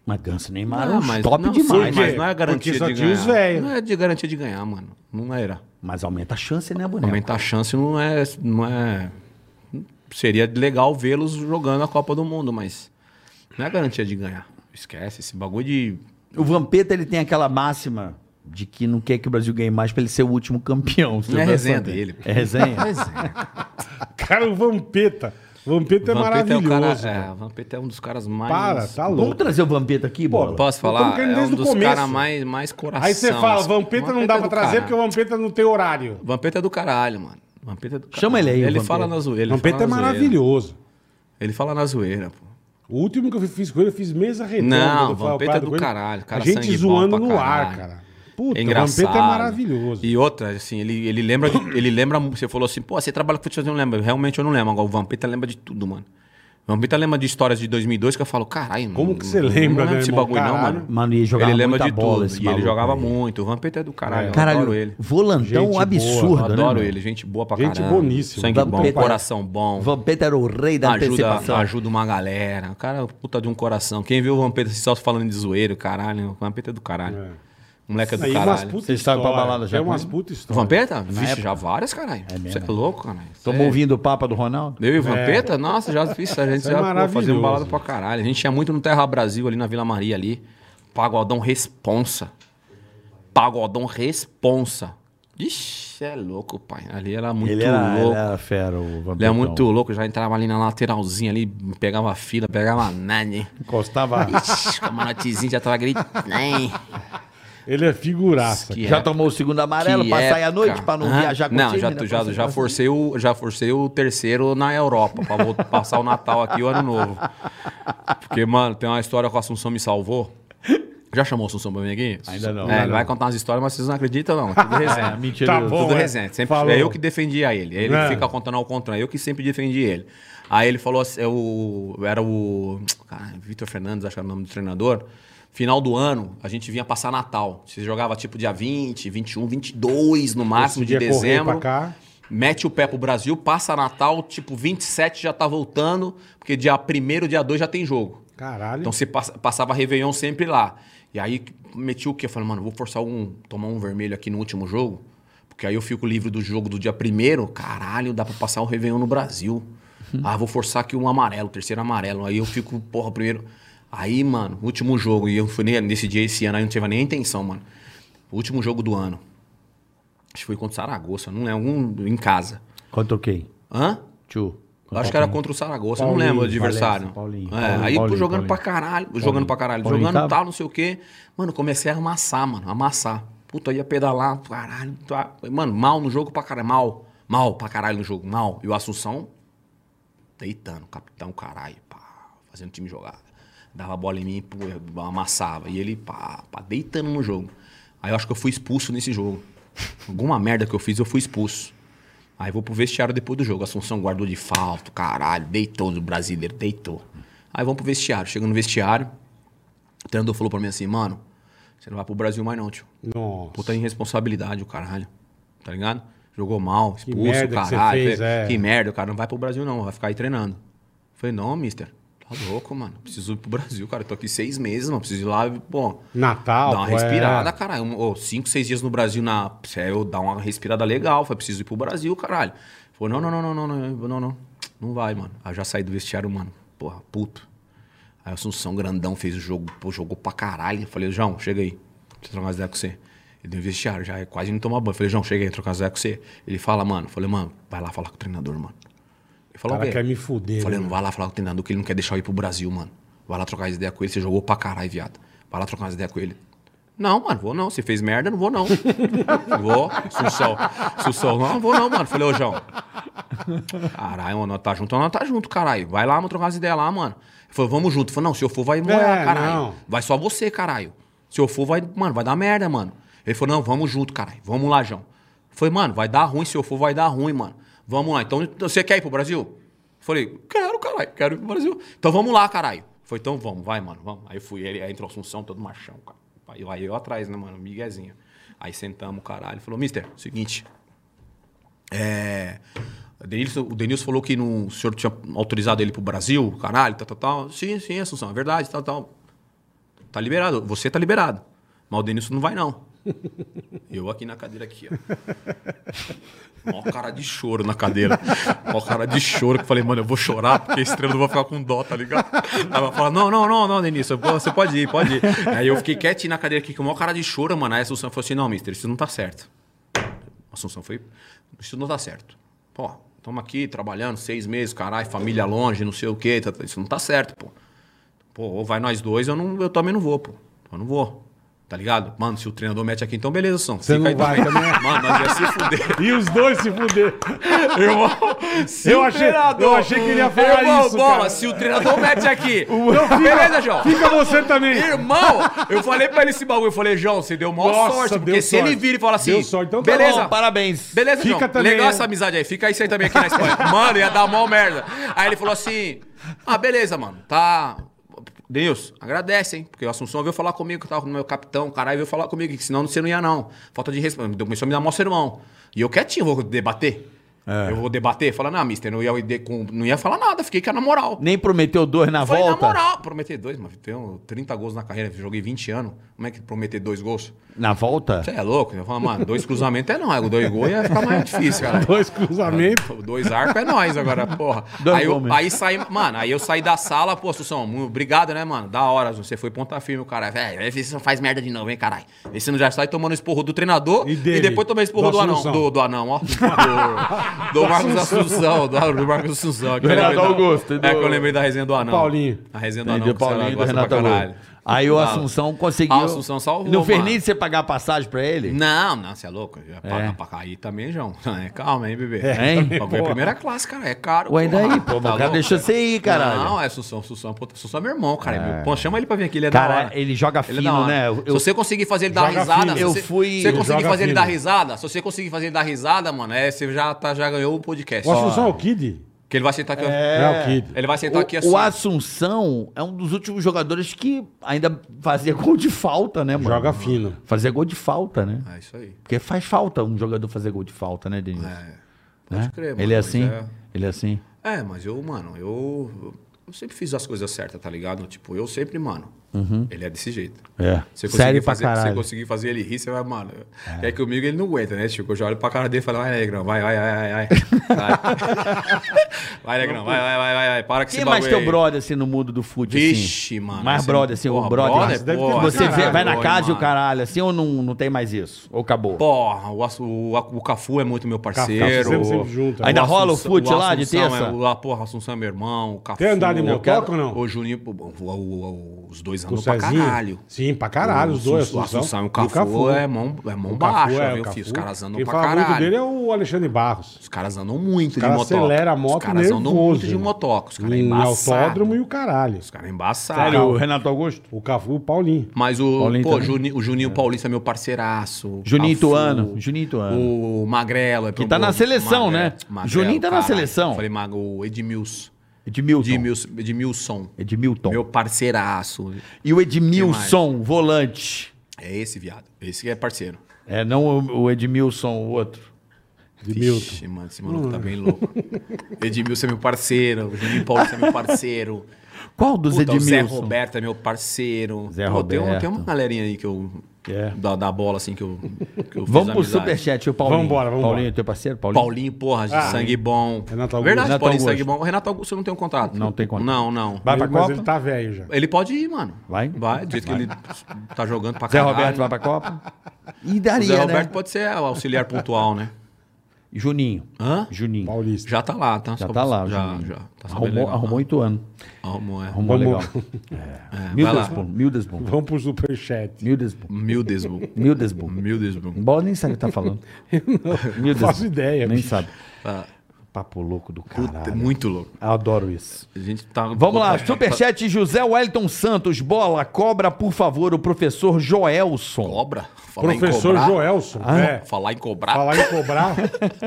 Speaker 4: Mas Ganso e Neymar
Speaker 5: Ah,
Speaker 4: é um
Speaker 5: mas-
Speaker 4: top
Speaker 5: não,
Speaker 4: demais.
Speaker 5: sim,
Speaker 3: Por
Speaker 5: mas
Speaker 3: quê?
Speaker 5: não é garantia
Speaker 3: Porque só
Speaker 5: de
Speaker 3: tinha
Speaker 5: ganhar.
Speaker 3: os velhos.
Speaker 5: Não é de garantia de ganhar, mano. Não era.
Speaker 4: Mas aumenta a chance, né, boneco?
Speaker 5: Aumentar a chance não é, não é. Seria legal vê-los jogando a Copa do Mundo, mas não é garantia de ganhar. Esquece esse bagulho de.
Speaker 4: O Vampeta, ele tem aquela máxima de que não quer que o Brasil ganhe mais pra ele ser o último campeão. Você
Speaker 5: Não é
Speaker 4: vai
Speaker 5: resenha
Speaker 4: saber.
Speaker 5: dele.
Speaker 4: É resenha?
Speaker 3: Cara, o Vampeta. Vampeta é
Speaker 5: Vampeta o
Speaker 3: maravilhoso.
Speaker 5: cara-
Speaker 3: cara.
Speaker 5: é, o Vampeta é um dos caras mais.
Speaker 3: Para, tá
Speaker 4: Vamos
Speaker 3: louco.
Speaker 4: trazer o Vampeta aqui, bola?
Speaker 5: Posso
Speaker 3: Estamos
Speaker 5: falar?
Speaker 3: querendo
Speaker 5: É um
Speaker 3: desde o
Speaker 5: dos
Speaker 3: começo.
Speaker 5: caras mais, mais coração.
Speaker 3: Aí você fala,
Speaker 5: assim.
Speaker 3: Vampeta não dá
Speaker 5: é
Speaker 3: pra
Speaker 5: do
Speaker 3: trazer
Speaker 5: caralho.
Speaker 3: porque o Vampeta não tem horário.
Speaker 5: Vampeta é do caralho, mano. Vampeta é do caralho.
Speaker 4: Chama ele aí, o
Speaker 5: Ele
Speaker 4: Vampeta.
Speaker 5: fala na zoeira. ele
Speaker 3: Vampeta é
Speaker 5: fala na zoeira.
Speaker 3: maravilhoso.
Speaker 5: Ele fala na zoeira, pô.
Speaker 3: O último que eu fiz com ele, eu fiz mesa redonda.
Speaker 5: Não,
Speaker 3: do Fábio
Speaker 5: Vampeta é
Speaker 3: Prado
Speaker 5: do
Speaker 3: com ele.
Speaker 5: caralho, cara
Speaker 3: a gente
Speaker 5: sangue bom
Speaker 3: zoando
Speaker 5: pra
Speaker 3: no ar,
Speaker 5: caralho.
Speaker 3: cara. Puta, o
Speaker 5: é engraçado.
Speaker 3: Vampeta é maravilhoso.
Speaker 5: E outra, assim, ele, ele lembra, de- ele lembra, você falou assim, pô, você trabalha com futebol, eu não lembro. Realmente eu não lembro. Agora o Vampeta lembra de tudo, mano. O Vampeta lembra de histórias de 2002 que eu falo, caralho,
Speaker 3: Como
Speaker 5: mano,
Speaker 3: que você
Speaker 5: não
Speaker 3: lembra,
Speaker 5: lembro
Speaker 3: né,
Speaker 5: desse
Speaker 3: irmão?
Speaker 5: bagulho não,
Speaker 3: Caralho.
Speaker 5: mano.
Speaker 4: Mano, ele jogava
Speaker 5: ele lembra
Speaker 4: muita
Speaker 5: de
Speaker 4: bola,
Speaker 5: tudo.
Speaker 4: esse
Speaker 5: E ele
Speaker 4: maluco
Speaker 5: jogava
Speaker 4: aí.
Speaker 5: muito. O Vampeta é do caralho. eu
Speaker 4: Caralho,
Speaker 5: adoro ele.
Speaker 4: volantão
Speaker 3: Gente boa,
Speaker 5: Eu
Speaker 4: absurdo, né?
Speaker 5: adoro
Speaker 4: meu?
Speaker 5: ele, gente boa pra
Speaker 3: Gente
Speaker 5: caralho.
Speaker 3: boníssima.
Speaker 5: Sangue bom,
Speaker 4: Vampeta-
Speaker 5: coração bom.
Speaker 4: Vampeta era o rei da
Speaker 5: Ajuda,
Speaker 4: antecipação.
Speaker 5: ajuda uma galera. O cara é um puta de um coração. Quem viu o Vampeta assim, só falando de zoeiro, caralho. O Vampeta é do caralho. Moleca é do
Speaker 3: Aí umas
Speaker 5: caralho.
Speaker 3: putas
Speaker 4: Vocês sabem pra balada já
Speaker 3: É
Speaker 4: com
Speaker 3: umas
Speaker 4: ele?
Speaker 3: putas
Speaker 5: O
Speaker 3: histórias.
Speaker 5: Vampeta? Vixe, já várias, caralho. Você é louco, cara.
Speaker 4: Estamos ouvindo o papo do Ronaldo?
Speaker 5: Eu e o Vampeta? Nossa, já fiz. A gente
Speaker 3: Isso é
Speaker 5: já pô, fazia
Speaker 3: maravilhoso.
Speaker 5: um balada pra caralho. A gente ia muito no Terra Brasil, ali na Vila Maria, ali. Pagodão responsa. Pagodão responsa. Ixi, é louco, pai. Ali era muito
Speaker 4: ele, era,
Speaker 5: louco.
Speaker 4: ele era fera, o Vampeta.
Speaker 5: Ele é muito louco, já entrava ali na lateralzinha ali, pegava fila, pegava nada, hein?
Speaker 3: Encostava.
Speaker 5: Ixi, Camarotezinho já tava gritando. hein?
Speaker 3: ele é figuraça.
Speaker 5: Que
Speaker 4: Já
Speaker 5: época,
Speaker 4: tomou o segundo amarelo
Speaker 5: que
Speaker 4: pra sair à
Speaker 5: época.
Speaker 4: noite, pra não
Speaker 5: Hã?
Speaker 4: viajar com
Speaker 5: não,
Speaker 4: o time?
Speaker 5: já,
Speaker 4: né?
Speaker 5: tu-
Speaker 4: Pra
Speaker 5: já,
Speaker 4: sair
Speaker 5: já,
Speaker 4: pra-
Speaker 5: forcei o, já forcei o terceiro na Europa, pra vou- passar o Natal aqui e o Ano Novo. Porque, mano, tem uma história que o Assunção me salvou. Já chamou o Assunção pra vir aqui?
Speaker 4: Ainda não. É,
Speaker 5: É,
Speaker 4: Ainda
Speaker 5: ele vai contar umas histórias, mas vocês não acreditam, não. Tudo resenha.
Speaker 4: Mentira.
Speaker 3: Tá bom.
Speaker 5: Tudo
Speaker 3: é.
Speaker 5: resenha. Sempre,
Speaker 3: Falou.
Speaker 5: é eu que defendia ele. Ele
Speaker 3: É.
Speaker 5: que fica contando ao contrário. Eu que sempre defendi ele. Aí ele falou assim, é o- era o cara, Vitor Fernandes, acho que era o nome do treinador. Final do ano, a gente vinha passar Natal. Você jogava tipo dia 20, 21, 22 no máximo de
Speaker 3: Podia correr pra
Speaker 5: dezembro.
Speaker 3: cá.
Speaker 5: Mete o pé pro Brasil, passa Natal, tipo 27 já tá voltando, porque dia 1 dia 2 já tem jogo.
Speaker 3: Caralho.
Speaker 5: Então você passa- passava Réveillon sempre lá. E aí meti o quê? Eu falei, mano, vou forçar um, tomar um vermelho aqui no último jogo, porque aí eu fico livre do jogo do dia primeiro. Caralho, dá pra passar o Réveillon no Brasil. Ah, vou forçar aqui um amarelo, terceiro amarelo. Aí eu fico, porra, primeiro. Aí, mano, último jogo. E eu fui ne- nesse dia esse ano, aí eu não tive nem a intenção, mano. Último jogo do ano. Acho que foi contra o Saragossa, não é algum em casa.
Speaker 4: Quanto ok?
Speaker 5: Hã?
Speaker 4: Tio.
Speaker 5: Eu acho que era contra o Saragossa, eu não
Speaker 3: Paulinho,
Speaker 5: lembro o adversário.
Speaker 4: Valença, Paulinho,
Speaker 5: É,
Speaker 4: Paulinho,
Speaker 5: aí
Speaker 4: Paulinho,
Speaker 5: pô,
Speaker 4: Paulinho.
Speaker 5: jogando pra caralho, jogando pra caralho,
Speaker 4: Paulinho
Speaker 5: jogando
Speaker 4: tava?
Speaker 5: tal, não sei o quê. Mano, comecei a amassar, mano, amassar. Puta, ia pedalar, caralho. tá. Mano, mal no jogo pra caralho, mal. Mal pra caralho no jogo, mal. E o Assunção deitando, capitão, caralho, pá, fazendo o time jogar. Dava a bola em mim, pô, eu amassava. E ele, pá, pá, deitando no jogo. Aí eu acho que eu fui expulso nesse jogo. Alguma merda que eu fiz, eu fui expulso. Aí vou pro vestiário depois do jogo. Assunção guardou de falta, caralho, deitou o brasileiro, deitou. Aí vamos pro vestiário. Chegando no vestiário, o treinador falou pra mim assim, mano, você não vai pro Brasil mais não, tio.
Speaker 3: Nossa.
Speaker 5: Então, Puta irresponsabilidade, o caralho. Tá ligado? Jogou mal, expulso,
Speaker 3: merda que você
Speaker 5: caralho.
Speaker 3: fez,
Speaker 5: Falei,
Speaker 3: é.
Speaker 5: Que merda, o cara não vai pro Brasil não, vai ficar aí treinando. Falei, não, mister, tá louco, mano. Preciso ir pro Brasil, cara. Eu tô aqui seis meses, mano. Preciso ir lá, e, pô.
Speaker 3: Natal.
Speaker 5: Dá uma
Speaker 3: pô, é.
Speaker 5: respirada, caralho. Um, ô, cinco, seis dias no Brasil, na, é, eu dar uma respirada legal. Foi preciso ir pro Brasil, caralho. Falou, não, não, não, não, não, não, não, não. Não vai, mano. Aí eu já saí do vestiário, mano. Porra, puto. Aí o Assunção Grandão fez o jogo, pô, jogou pra caralho. Eu falei, João, chega aí. Preciso trocar umas ideias com você. Ele deu um vestiário, já quase não toma banho. Eu falei, João, chega aí, trocar umas ideias com você. Ele fala, mano. Eu falei, mano, vai lá falar com o treinador, mano. Ele
Speaker 3: O
Speaker 5: falou,
Speaker 3: cara
Speaker 5: "Vê."
Speaker 3: quer me fuder.
Speaker 5: Eu Falei,
Speaker 3: né?
Speaker 5: não vai lá falar com o treinador que ele não quer deixar eu ir pro Brasil, mano. Vai lá trocar as ideias com ele, você jogou pra caralho, viado. Vai lá trocar umas ideias com ele. Não, mano, vou não. Você fez merda, não vou não. vou. Sussol. Sussol, não, não vou não, mano. Falei, ô, João. Caralho, mano, nós tá junto, nós tá junto, caralho. Vai lá, vamos trocar umas ideias lá, mano. Ele falou, vamos junto. Eu falei, não, se eu for, vai morar,
Speaker 3: É,
Speaker 5: caralho.
Speaker 3: não.
Speaker 5: Vai só você, caralho. Se eu for, vai, mano, vai dar merda, mano. Ele falou, não, vamos junto, caralho. Vamos lá, João. Eu Falei, mano, vai dar ruim, se eu for, vai dar ruim, mano. Vamos lá. Então, você quer ir pro Brasil? Eu Falei, quero, caralho, quero ir pro Brasil. Então vamos lá, caralho. Foi, então vamos, vai, mano, vamos. Aí eu fui, ele aí entrou Assunção, todo machão, cara. Aí eu, aí eu atrás, né, mano? Miguezinho. Aí sentamos o caralho. Falou, mister, seguinte. É. o Denilson- o Denilson falou que não, o senhor tinha autorizado ele pro Brasil, caralho, tal, tal, tal. Sim, sim, Assunção, é verdade, tal, tal. Tá liberado, você tá liberado. Mas o Denilson não vai, não. Eu aqui na cadeira aqui, ó. Mó cara de choro na cadeira. Mó cara de choro. Que eu falei, mano, eu vou chorar porque esse treino eu vou ficar com dó, tá ligado? Aí ela fala, não, não, não, não, Denilson, você pode ir, pode ir. Aí eu fiquei quietinho na cadeira aqui com o maior cara de choro, mano. Aí a Assunção falou assim, não, mister, isso não tá certo. A Assunção foi, isso não tá certo. Pô, estamos aqui trabalhando seis meses, caralho, família longe, não sei o quê, tá- tá- isso não tá certo, pô. Pô, ou vai nós dois, eu, não, eu também não vou, pô. Eu não vou. Tá ligado? Mano, se o treinador mete aqui, então beleza, São.
Speaker 3: Você não vai também.
Speaker 5: Mano, nós ia se fuder.
Speaker 3: E os dois se fuder.
Speaker 5: Irmão, se
Speaker 3: Eu
Speaker 5: o
Speaker 3: achei- eu achei que ele ia falar
Speaker 5: irmão,
Speaker 3: isso,
Speaker 5: bola,
Speaker 3: cara.
Speaker 5: se o treinador mete aqui.
Speaker 3: Não, fica-
Speaker 5: Beleza, João.
Speaker 3: Fica você também.
Speaker 5: Irmão, eu falei pra ele esse bagulho. Eu falei, João, você deu maior
Speaker 3: Nossa,
Speaker 5: sorte. Porque
Speaker 3: deu
Speaker 5: se
Speaker 3: sorte.
Speaker 5: ele vira e fala assim,
Speaker 3: Deu sorte, então tá
Speaker 5: beleza,
Speaker 4: Bom, parabéns.
Speaker 5: beleza,
Speaker 3: Fica
Speaker 5: João.
Speaker 3: também,
Speaker 5: Legal
Speaker 3: eu-
Speaker 5: essa amizade aí. Fica isso aí também aqui na Espanha. mano, ia dar mó merda. Aí ele falou assim, ah, beleza, mano. Tá... Deus, agradece, hein? Porque o Assunção veio falar comigo, que tava com o meu capitão, caralho, veio falar comigo, que senão você não ia, não. Falta de respeito. Começou a me dar mó sermão. E eu quietinho, vou debater.
Speaker 3: É.
Speaker 5: Eu vou debater, falar, não, mister, não ia, de- com- não ia falar nada, fiquei que era na moral.
Speaker 4: Nem prometeu dois na
Speaker 5: Falei,
Speaker 4: volta?
Speaker 5: na moral, prometer dois, mano. Tenho 30 gols na carreira, joguei 20 anos. Como é que prometer dois gols?
Speaker 4: Na volta?
Speaker 5: Você é louco? Eu falo, mano, dois cruzamentos é nóis. Dois gols ia ficar mais difícil, cara.
Speaker 3: Dois cruzamentos.
Speaker 5: Dois arcos é nós agora, porra.
Speaker 4: Dois
Speaker 5: aí, eu,
Speaker 4: gols mesmo.
Speaker 5: aí saí, mano, aí eu saí da sala, pô, Sussão, muito obrigado, né, mano? Da hora, Sussão. você foi ponta firme, o cara. Velho, vê se você não faz merda de novo, hein, caralho. Vê se você não já sai tomando esporro do treinador
Speaker 3: E
Speaker 5: e,
Speaker 3: dele?
Speaker 5: depois tomei esporro
Speaker 3: Do
Speaker 5: do, anão.
Speaker 3: Assunção.
Speaker 5: Do, do anão, ó. Do, do Marcos Assunção, do, do Marcos Assunção. que eu lembrei
Speaker 4: Renato
Speaker 5: da-
Speaker 4: Augusto e do-
Speaker 5: É que eu lembrei da resenha do anão.
Speaker 3: Paulinho.
Speaker 5: A resenha do
Speaker 4: Não,
Speaker 5: anão.
Speaker 4: do
Speaker 5: que você
Speaker 4: Paulinho e do
Speaker 5: gosta pra
Speaker 4: Renato Augusto.
Speaker 5: caralho.
Speaker 4: Aí o
Speaker 5: Fala.
Speaker 4: Assunção conseguiu.
Speaker 5: Ah, o Assunção salvou,
Speaker 4: Não fez
Speaker 5: mano.
Speaker 4: nem de você pagar a passagem pra ele?
Speaker 5: Não, não, você é louco. Já Paga pra cair também, João. É, calma, hein, bebê. É,
Speaker 4: hein?
Speaker 5: O bagulho é primeira classe, cara. É caro.
Speaker 4: então, Ué, e daí,
Speaker 5: porra. tá
Speaker 4: pô, o cara deixou você ir, caralho.
Speaker 5: Não, é Sussão, Sussão. Pô, Sussão é meu irmão, cara. É meu- Pô, chama ele pra vir aqui, ele é da
Speaker 4: Cara,
Speaker 5: hora.
Speaker 4: ele joga
Speaker 5: Ele é
Speaker 4: fino,
Speaker 5: da hora.
Speaker 4: né?
Speaker 5: se você conseguir fazer ele dar
Speaker 3: Joga
Speaker 5: risada,
Speaker 3: fino.
Speaker 5: se
Speaker 4: Eu
Speaker 5: você-
Speaker 4: fui-
Speaker 5: Se você
Speaker 4: Ele
Speaker 5: conseguir
Speaker 3: joga
Speaker 5: fazer ele
Speaker 3: fino.
Speaker 5: dar risada, se você conseguir fazer ele dar risada, mano, é, você já, tá, já ganhou o podcast.
Speaker 3: O Assunção é o Kid?
Speaker 5: Que ele vai sentar aqui. ó.
Speaker 3: É o Kid.
Speaker 5: Ele vai sentar aqui
Speaker 4: O,
Speaker 5: assim.
Speaker 4: o Assunção é um dos últimos jogadores que ainda fazia gol de falta, né, mano?
Speaker 3: Joga fino.
Speaker 4: Fazia gol de falta, né?
Speaker 5: É isso aí.
Speaker 4: Porque faz falta um jogador fazer gol de falta, né, Denis?
Speaker 5: É. Pode
Speaker 4: Né?
Speaker 5: crer, mano.
Speaker 4: Ele é
Speaker 5: mas
Speaker 4: assim? Ele é assim?
Speaker 5: É, mas eu, mano, eu, eu sempre fiz as coisas certas, tá ligado? Tipo, eu sempre, mano. Ele é desse jeito.
Speaker 4: Uhum. É.
Speaker 5: Se eu conseguir
Speaker 4: Sério pra
Speaker 5: fazer, se eu
Speaker 4: caralho.
Speaker 5: conseguir fazer ele rir, você vai, mano. É. que comigo ele não aguenta, né, Chico? Eu já olho pra cara dele e falo, vai, Negrão, vai, vai, vai, vai. Vai, vai Negrão, vai, vai, vai, vai, vai. Para que
Speaker 4: Quem mais
Speaker 5: bagulho
Speaker 4: teu
Speaker 5: aí.
Speaker 4: brother, assim, no mundo do futebol?
Speaker 5: Vixe,
Speaker 4: assim?
Speaker 5: mano.
Speaker 4: Mais
Speaker 5: esse-
Speaker 4: brother, assim,
Speaker 5: porra, é
Speaker 4: o brother.
Speaker 3: brother,
Speaker 4: Deve ter-
Speaker 5: porra,
Speaker 4: você vê-
Speaker 5: caralho,
Speaker 4: vai na
Speaker 5: porra,
Speaker 4: casa e o
Speaker 5: mano.
Speaker 4: caralho, assim, ou não, não tem mais isso? Ou acabou?
Speaker 5: Porra, o, Assu- o, o Cafu é muito meu parceiro.
Speaker 3: Cafu, sempre, sempre junto. é
Speaker 5: O
Speaker 4: Ainda rola o
Speaker 5: Assunção-
Speaker 4: fute lá de
Speaker 5: Assunção
Speaker 4: terça?
Speaker 5: É, o, a, porra, o Assunção é meu irmão, o Cafu.
Speaker 3: Tem andado em
Speaker 5: eu
Speaker 3: motoca
Speaker 5: quero-
Speaker 3: ou não?
Speaker 5: O Juninho, pô, o- o- o- os dois
Speaker 3: Com o
Speaker 5: andam pra
Speaker 3: Cezinha?
Speaker 5: caralho.
Speaker 3: Sim, pra caralho, os dois.
Speaker 5: O Assunção e o Cafu, é mão, é mão baixa, viu, filho? Os caras andam
Speaker 3: Quem
Speaker 5: pra
Speaker 3: fala
Speaker 5: caralho.
Speaker 3: muito dele é o Alexandre Barros.
Speaker 5: Os caras andam muito de
Speaker 3: cara
Speaker 5: motoca.
Speaker 3: acelera a moto
Speaker 5: Os caras andam
Speaker 3: nervoso.
Speaker 5: muito de motoca. Os caras
Speaker 3: Em
Speaker 5: embaçados.
Speaker 3: autódromo e o caralho.
Speaker 5: Os caras embaçados.
Speaker 4: Sério, o Renato Augusto?
Speaker 3: O Cafu e o Paulinho.
Speaker 5: Mas o,
Speaker 4: Paulinho
Speaker 5: pô,
Speaker 4: também.
Speaker 5: Juni- o Juninho Paulista é meu parceiraço. o
Speaker 4: Juninho
Speaker 5: Cafu,
Speaker 4: Ituano, Juninho Ituano.
Speaker 5: O Magrelo. É que
Speaker 4: tá na seleção, né? Juninho tá na seleção.
Speaker 5: Falei, Mago, o Edmilson.
Speaker 4: Edmilson.
Speaker 5: Edmilson. Edmilson.
Speaker 4: Edmilton.
Speaker 5: Meu parceiraço.
Speaker 4: E o Edmilson, volante.
Speaker 5: É esse, viado. Esse que é parceiro.
Speaker 4: É, não o o Edmilson, o outro.
Speaker 3: De Milton.
Speaker 5: Vixe, mano, esse maluco tá bem louco. Edmilson é meu parceiro. O Juninho Paulista é meu parceiro.
Speaker 4: Qual dos
Speaker 5: Puta, o
Speaker 4: Edmilson?
Speaker 5: Zé Roberto é meu parceiro.
Speaker 4: Zé
Speaker 5: Tem, uma-
Speaker 4: Roberto.
Speaker 5: tem uma galerinha aí que eu.
Speaker 4: É.
Speaker 5: Da, da bola, assim, que eu. Que eu fiz
Speaker 4: Vamos pro
Speaker 5: amizade.
Speaker 4: superchat, o Paulinho.
Speaker 3: Vambora, vambora.
Speaker 4: Paulinho, teu parceiro? Paulinho.
Speaker 5: Paulinho, porra, de sangue bom.
Speaker 3: Ah, Renato Augusto.
Speaker 5: Verdade,
Speaker 4: Renato
Speaker 5: Paulinho,
Speaker 4: Augusto.
Speaker 5: sangue bom. O Renato Augusto eu não tenho contrato.
Speaker 4: Não tem contrato.
Speaker 5: Não, não.
Speaker 4: Vai pra
Speaker 3: Mas
Speaker 4: Copa?
Speaker 3: ele tá velho já.
Speaker 5: Ele pode ir, mano.
Speaker 4: Vai?
Speaker 5: Vai, do jeito que ele tá jogando pra
Speaker 4: Zé
Speaker 5: caralho.
Speaker 4: Roberto vai pra Copa? E
Speaker 5: O Zé
Speaker 4: daria, né?
Speaker 5: Roberto pode ser o auxiliar pontual, né?
Speaker 4: Juninho.
Speaker 5: Hã?
Speaker 4: Juninho.
Speaker 3: Paulista.
Speaker 5: Já tá lá, tá?
Speaker 4: Já
Speaker 5: Só-
Speaker 4: tá lá, o
Speaker 5: Já,
Speaker 4: Juninho.
Speaker 5: já. Tá sabendo
Speaker 4: arrumou,
Speaker 5: legal, tá?
Speaker 4: arrumou oito anos.
Speaker 5: Arrumou, é.
Speaker 4: Arrumou legal.
Speaker 3: Vamos-
Speaker 5: É,
Speaker 4: Mil
Speaker 5: vai lá.
Speaker 4: Desbom, mil Desbom,
Speaker 3: Vamos pro superchat.
Speaker 4: mil Desbom,
Speaker 5: Mildesburg.
Speaker 4: mil Desbom.
Speaker 5: Mildesburg.
Speaker 4: Bola nem sabe o que tá falando. Mil
Speaker 3: Não faço
Speaker 4: Desbom.
Speaker 3: ideia.
Speaker 4: Nem
Speaker 3: bicho.
Speaker 4: sabe.
Speaker 5: Ah,
Speaker 4: Papo louco do
Speaker 5: puta,
Speaker 4: caralho.
Speaker 5: muito louco.
Speaker 4: Adoro isso.
Speaker 5: A gente tá.
Speaker 4: Vamos lá, superchat José Wellington Santos. Bola, cobra, por favor, o professor Joelson.
Speaker 5: Cobra? Falar em
Speaker 3: Professor
Speaker 5: cobrar? Ah.
Speaker 3: Joelson. É.
Speaker 5: Falar em cobrar?
Speaker 3: Falar em cobrar,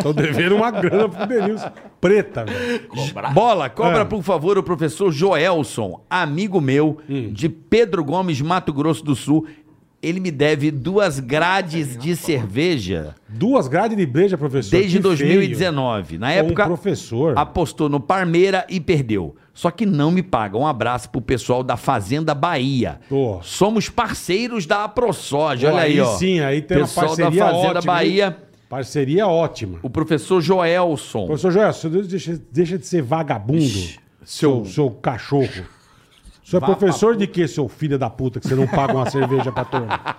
Speaker 3: tô devendo uma grana pro Denilson. Preta, velho.
Speaker 5: Cobrar?
Speaker 4: Bola, cobra,
Speaker 3: Ah.
Speaker 4: por favor, o professor Joelson, amigo meu, de Pedro Gomes, Mato Grosso do Sul. Ele me deve duas grades de cerveja
Speaker 3: Duas grades de breja, professor.
Speaker 4: desde
Speaker 3: que
Speaker 4: 2019. Na
Speaker 3: feio. Ô,
Speaker 4: época,
Speaker 3: Um professor.
Speaker 4: apostou no Parmeira e perdeu. Só que não me paga. Um abraço pro pessoal da Fazenda Bahia.
Speaker 3: Pô.
Speaker 4: Somos parceiros da AproSoja.
Speaker 3: Pô,
Speaker 4: Olha aí, ó.
Speaker 3: Sim, aí tem
Speaker 4: pessoal
Speaker 3: uma parceria
Speaker 4: da Fazenda
Speaker 3: ótima, hein?
Speaker 4: Bahia.
Speaker 3: Parceria ótima.
Speaker 4: O professor Joelson.
Speaker 3: Professor Joel, seu Deus deixa, deixa de ser vagabundo, seu, seu cachorro. Você é professor de quê, seu filho da puta, que você não paga uma cerveja pra turma?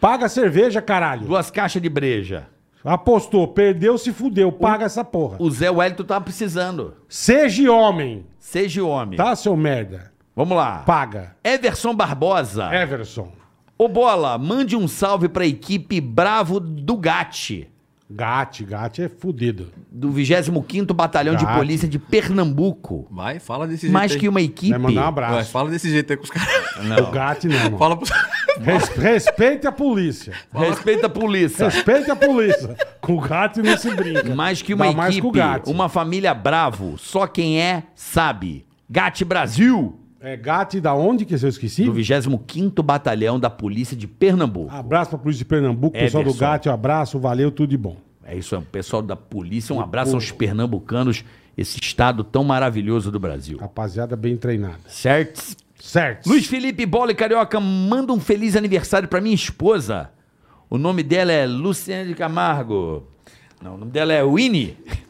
Speaker 3: Paga a cerveja, caralho.
Speaker 4: Duas caixas de breja.
Speaker 3: Apostou, perdeu, se fudeu. Paga essa porra.
Speaker 4: O Zé Wellington tá precisando.
Speaker 3: Seja homem,
Speaker 4: Seja homem.
Speaker 3: tá, seu merda?
Speaker 4: Vamos lá.
Speaker 3: Paga.
Speaker 4: Everson Barbosa.
Speaker 3: É. Everson.
Speaker 4: Ô Bola, mande um salve pra equipe Bravo Dugatti.
Speaker 3: Gatti, Gatti é fudido.
Speaker 4: Do 25º Batalhão de
Speaker 3: Dugatti.
Speaker 4: Polícia de Pernambuco.
Speaker 5: Vai, fala desse jeito.
Speaker 4: Mais
Speaker 5: aí.
Speaker 4: que uma equipe.
Speaker 3: Vai mandar um
Speaker 5: Vai,
Speaker 3: abraço.
Speaker 5: fala desse jeito aí com os caras.
Speaker 3: O Gatti não, mano.
Speaker 5: Fala pros.
Speaker 3: Res- respeite a polícia.
Speaker 4: Respeita a polícia.
Speaker 3: Respeite a polícia. Com o gato não se brinca.
Speaker 4: Mais que uma
Speaker 3: Dá mais com o
Speaker 4: equipe,
Speaker 3: gato.
Speaker 4: uma família bravo. Só quem é, sabe. Gatti Brasil,
Speaker 3: É gato da onde que eu esqueci?
Speaker 4: do 25º Batalhão da Polícia de Pernambuco.
Speaker 3: Abraço pra polícia de Pernambuco, pessoal do
Speaker 4: Everson.
Speaker 3: gato, um abraço, valeu, tudo de bom.
Speaker 4: É isso, é o pessoal da polícia. Um abraço aos pernambucanos, esse estado tão maravilhoso do Brasil.
Speaker 3: Rapaziada bem treinada.
Speaker 4: Certo?
Speaker 3: Certo.
Speaker 4: Luiz Felipe Bola e Carioca, manda um feliz aniversário pra minha esposa. O nome dela é Luciane Camargo. Não, o nome dela é Winnie.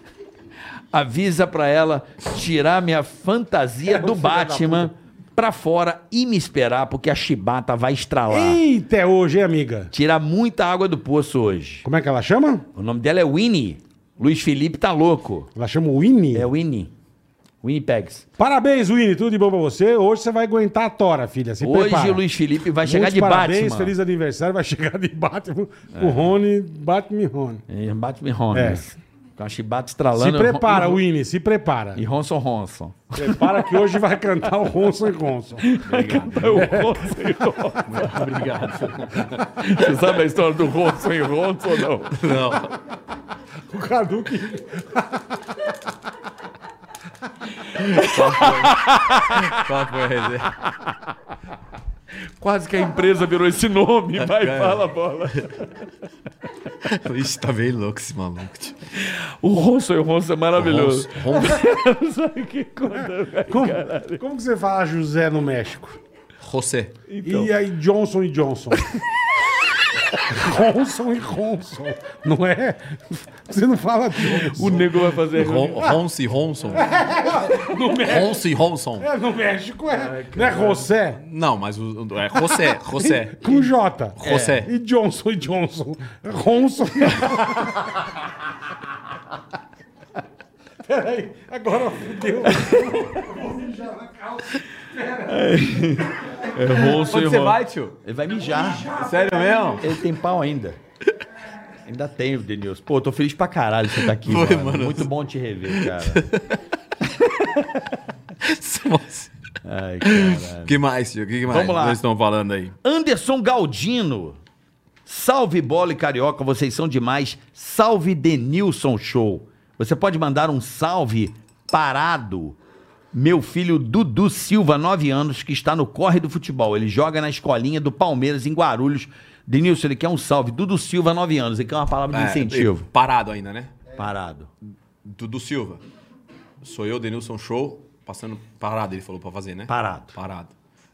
Speaker 4: Avisa pra ela tirar minha
Speaker 3: É
Speaker 4: fantasia do Batman pra fora e me esperar, porque a chibata vai estralar.
Speaker 3: Eita, é hoje, hein, amiga?
Speaker 4: Tirar muita água do poço hoje.
Speaker 3: Como é que ela chama?
Speaker 4: O nome dela é Winnie. Luiz Felipe tá louco.
Speaker 3: Ela chama o Winnie.
Speaker 4: É Winnie. Winnie Pegs.
Speaker 3: Parabéns, Winnie, tudo de bom pra você. Hoje você vai aguentar a tora, filha, se
Speaker 4: Hoje
Speaker 3: prepara.
Speaker 4: o Luiz Felipe vai chegar
Speaker 3: Muitos
Speaker 4: de
Speaker 3: parabéns,
Speaker 4: Batman.
Speaker 3: feliz aniversário, vai chegar de Batman. O Rony, Batman Rony.
Speaker 4: É, Batman Holmes. Com a chibata estralando.
Speaker 3: Se prepara,
Speaker 4: e-
Speaker 3: Winnie, se prepara.
Speaker 4: E Ronson Ronson.
Speaker 3: Prepara que hoje vai cantar o Ronson e Ronson.
Speaker 4: Você sabe a história do Ronson e Ronson ou não?
Speaker 3: O Cadu que...
Speaker 5: Qual foi a resenha?
Speaker 4: Quase que a empresa virou esse nome. Vai, fala, bola.
Speaker 5: Ixi, tá bem louco esse maluco. tio.
Speaker 4: O Ronson e o Ronson é maravilhoso. Sabe que coisa?
Speaker 3: Como, como que você fala José no México?
Speaker 5: José.
Speaker 3: E aí, Johnson e Johnson. Ronson e Ronson. Não é? Você não fala Johnson.
Speaker 4: O nego vai fazer.
Speaker 5: Ron- Ronce Ronson. Ronce Ronson.
Speaker 3: É, no México é. não é José?
Speaker 5: Não, mas o, o- é José, José.
Speaker 3: Com J. É.
Speaker 5: José.
Speaker 3: E Johnson e Johnson. Ronson e Ronson. Peraí, agora fudeu.
Speaker 4: É Ronson e
Speaker 5: Onde você
Speaker 4: Ronson.
Speaker 5: vai, tio?
Speaker 4: Ele vai mijar.
Speaker 5: Sério mesmo?
Speaker 4: Ele tem pau ainda. Ainda tem, Denilson. Pô, tô feliz pra caralho de você tá aqui,
Speaker 5: Foi,
Speaker 4: mano.
Speaker 5: mano.
Speaker 4: Muito bom te rever, cara.
Speaker 5: Nossa.
Speaker 4: Ai, caralho.
Speaker 5: que mais, tio? O que mais
Speaker 4: Vamos lá.
Speaker 5: vocês estão falando aí?
Speaker 4: Anderson Galdino. Salve bola e carioca, vocês são demais. Salve Denilson Show. Você pode mandar um salve parado. Meu filho Dudu Silva, 9 anos, que está no corre do futebol. Ele joga na escolinha do Palmeiras, em Guarulhos. Denilson, ele quer um salve. Dudu Silva, 9 anos. Ele quer uma palavra de
Speaker 5: É,
Speaker 4: incentivo.
Speaker 5: e- Parado ainda, né?
Speaker 4: é. Parado.
Speaker 5: Dudu Silva. Sou eu, Denilson Show, passando parado, ele falou pra fazer, né?
Speaker 4: Parado.
Speaker 5: Parado.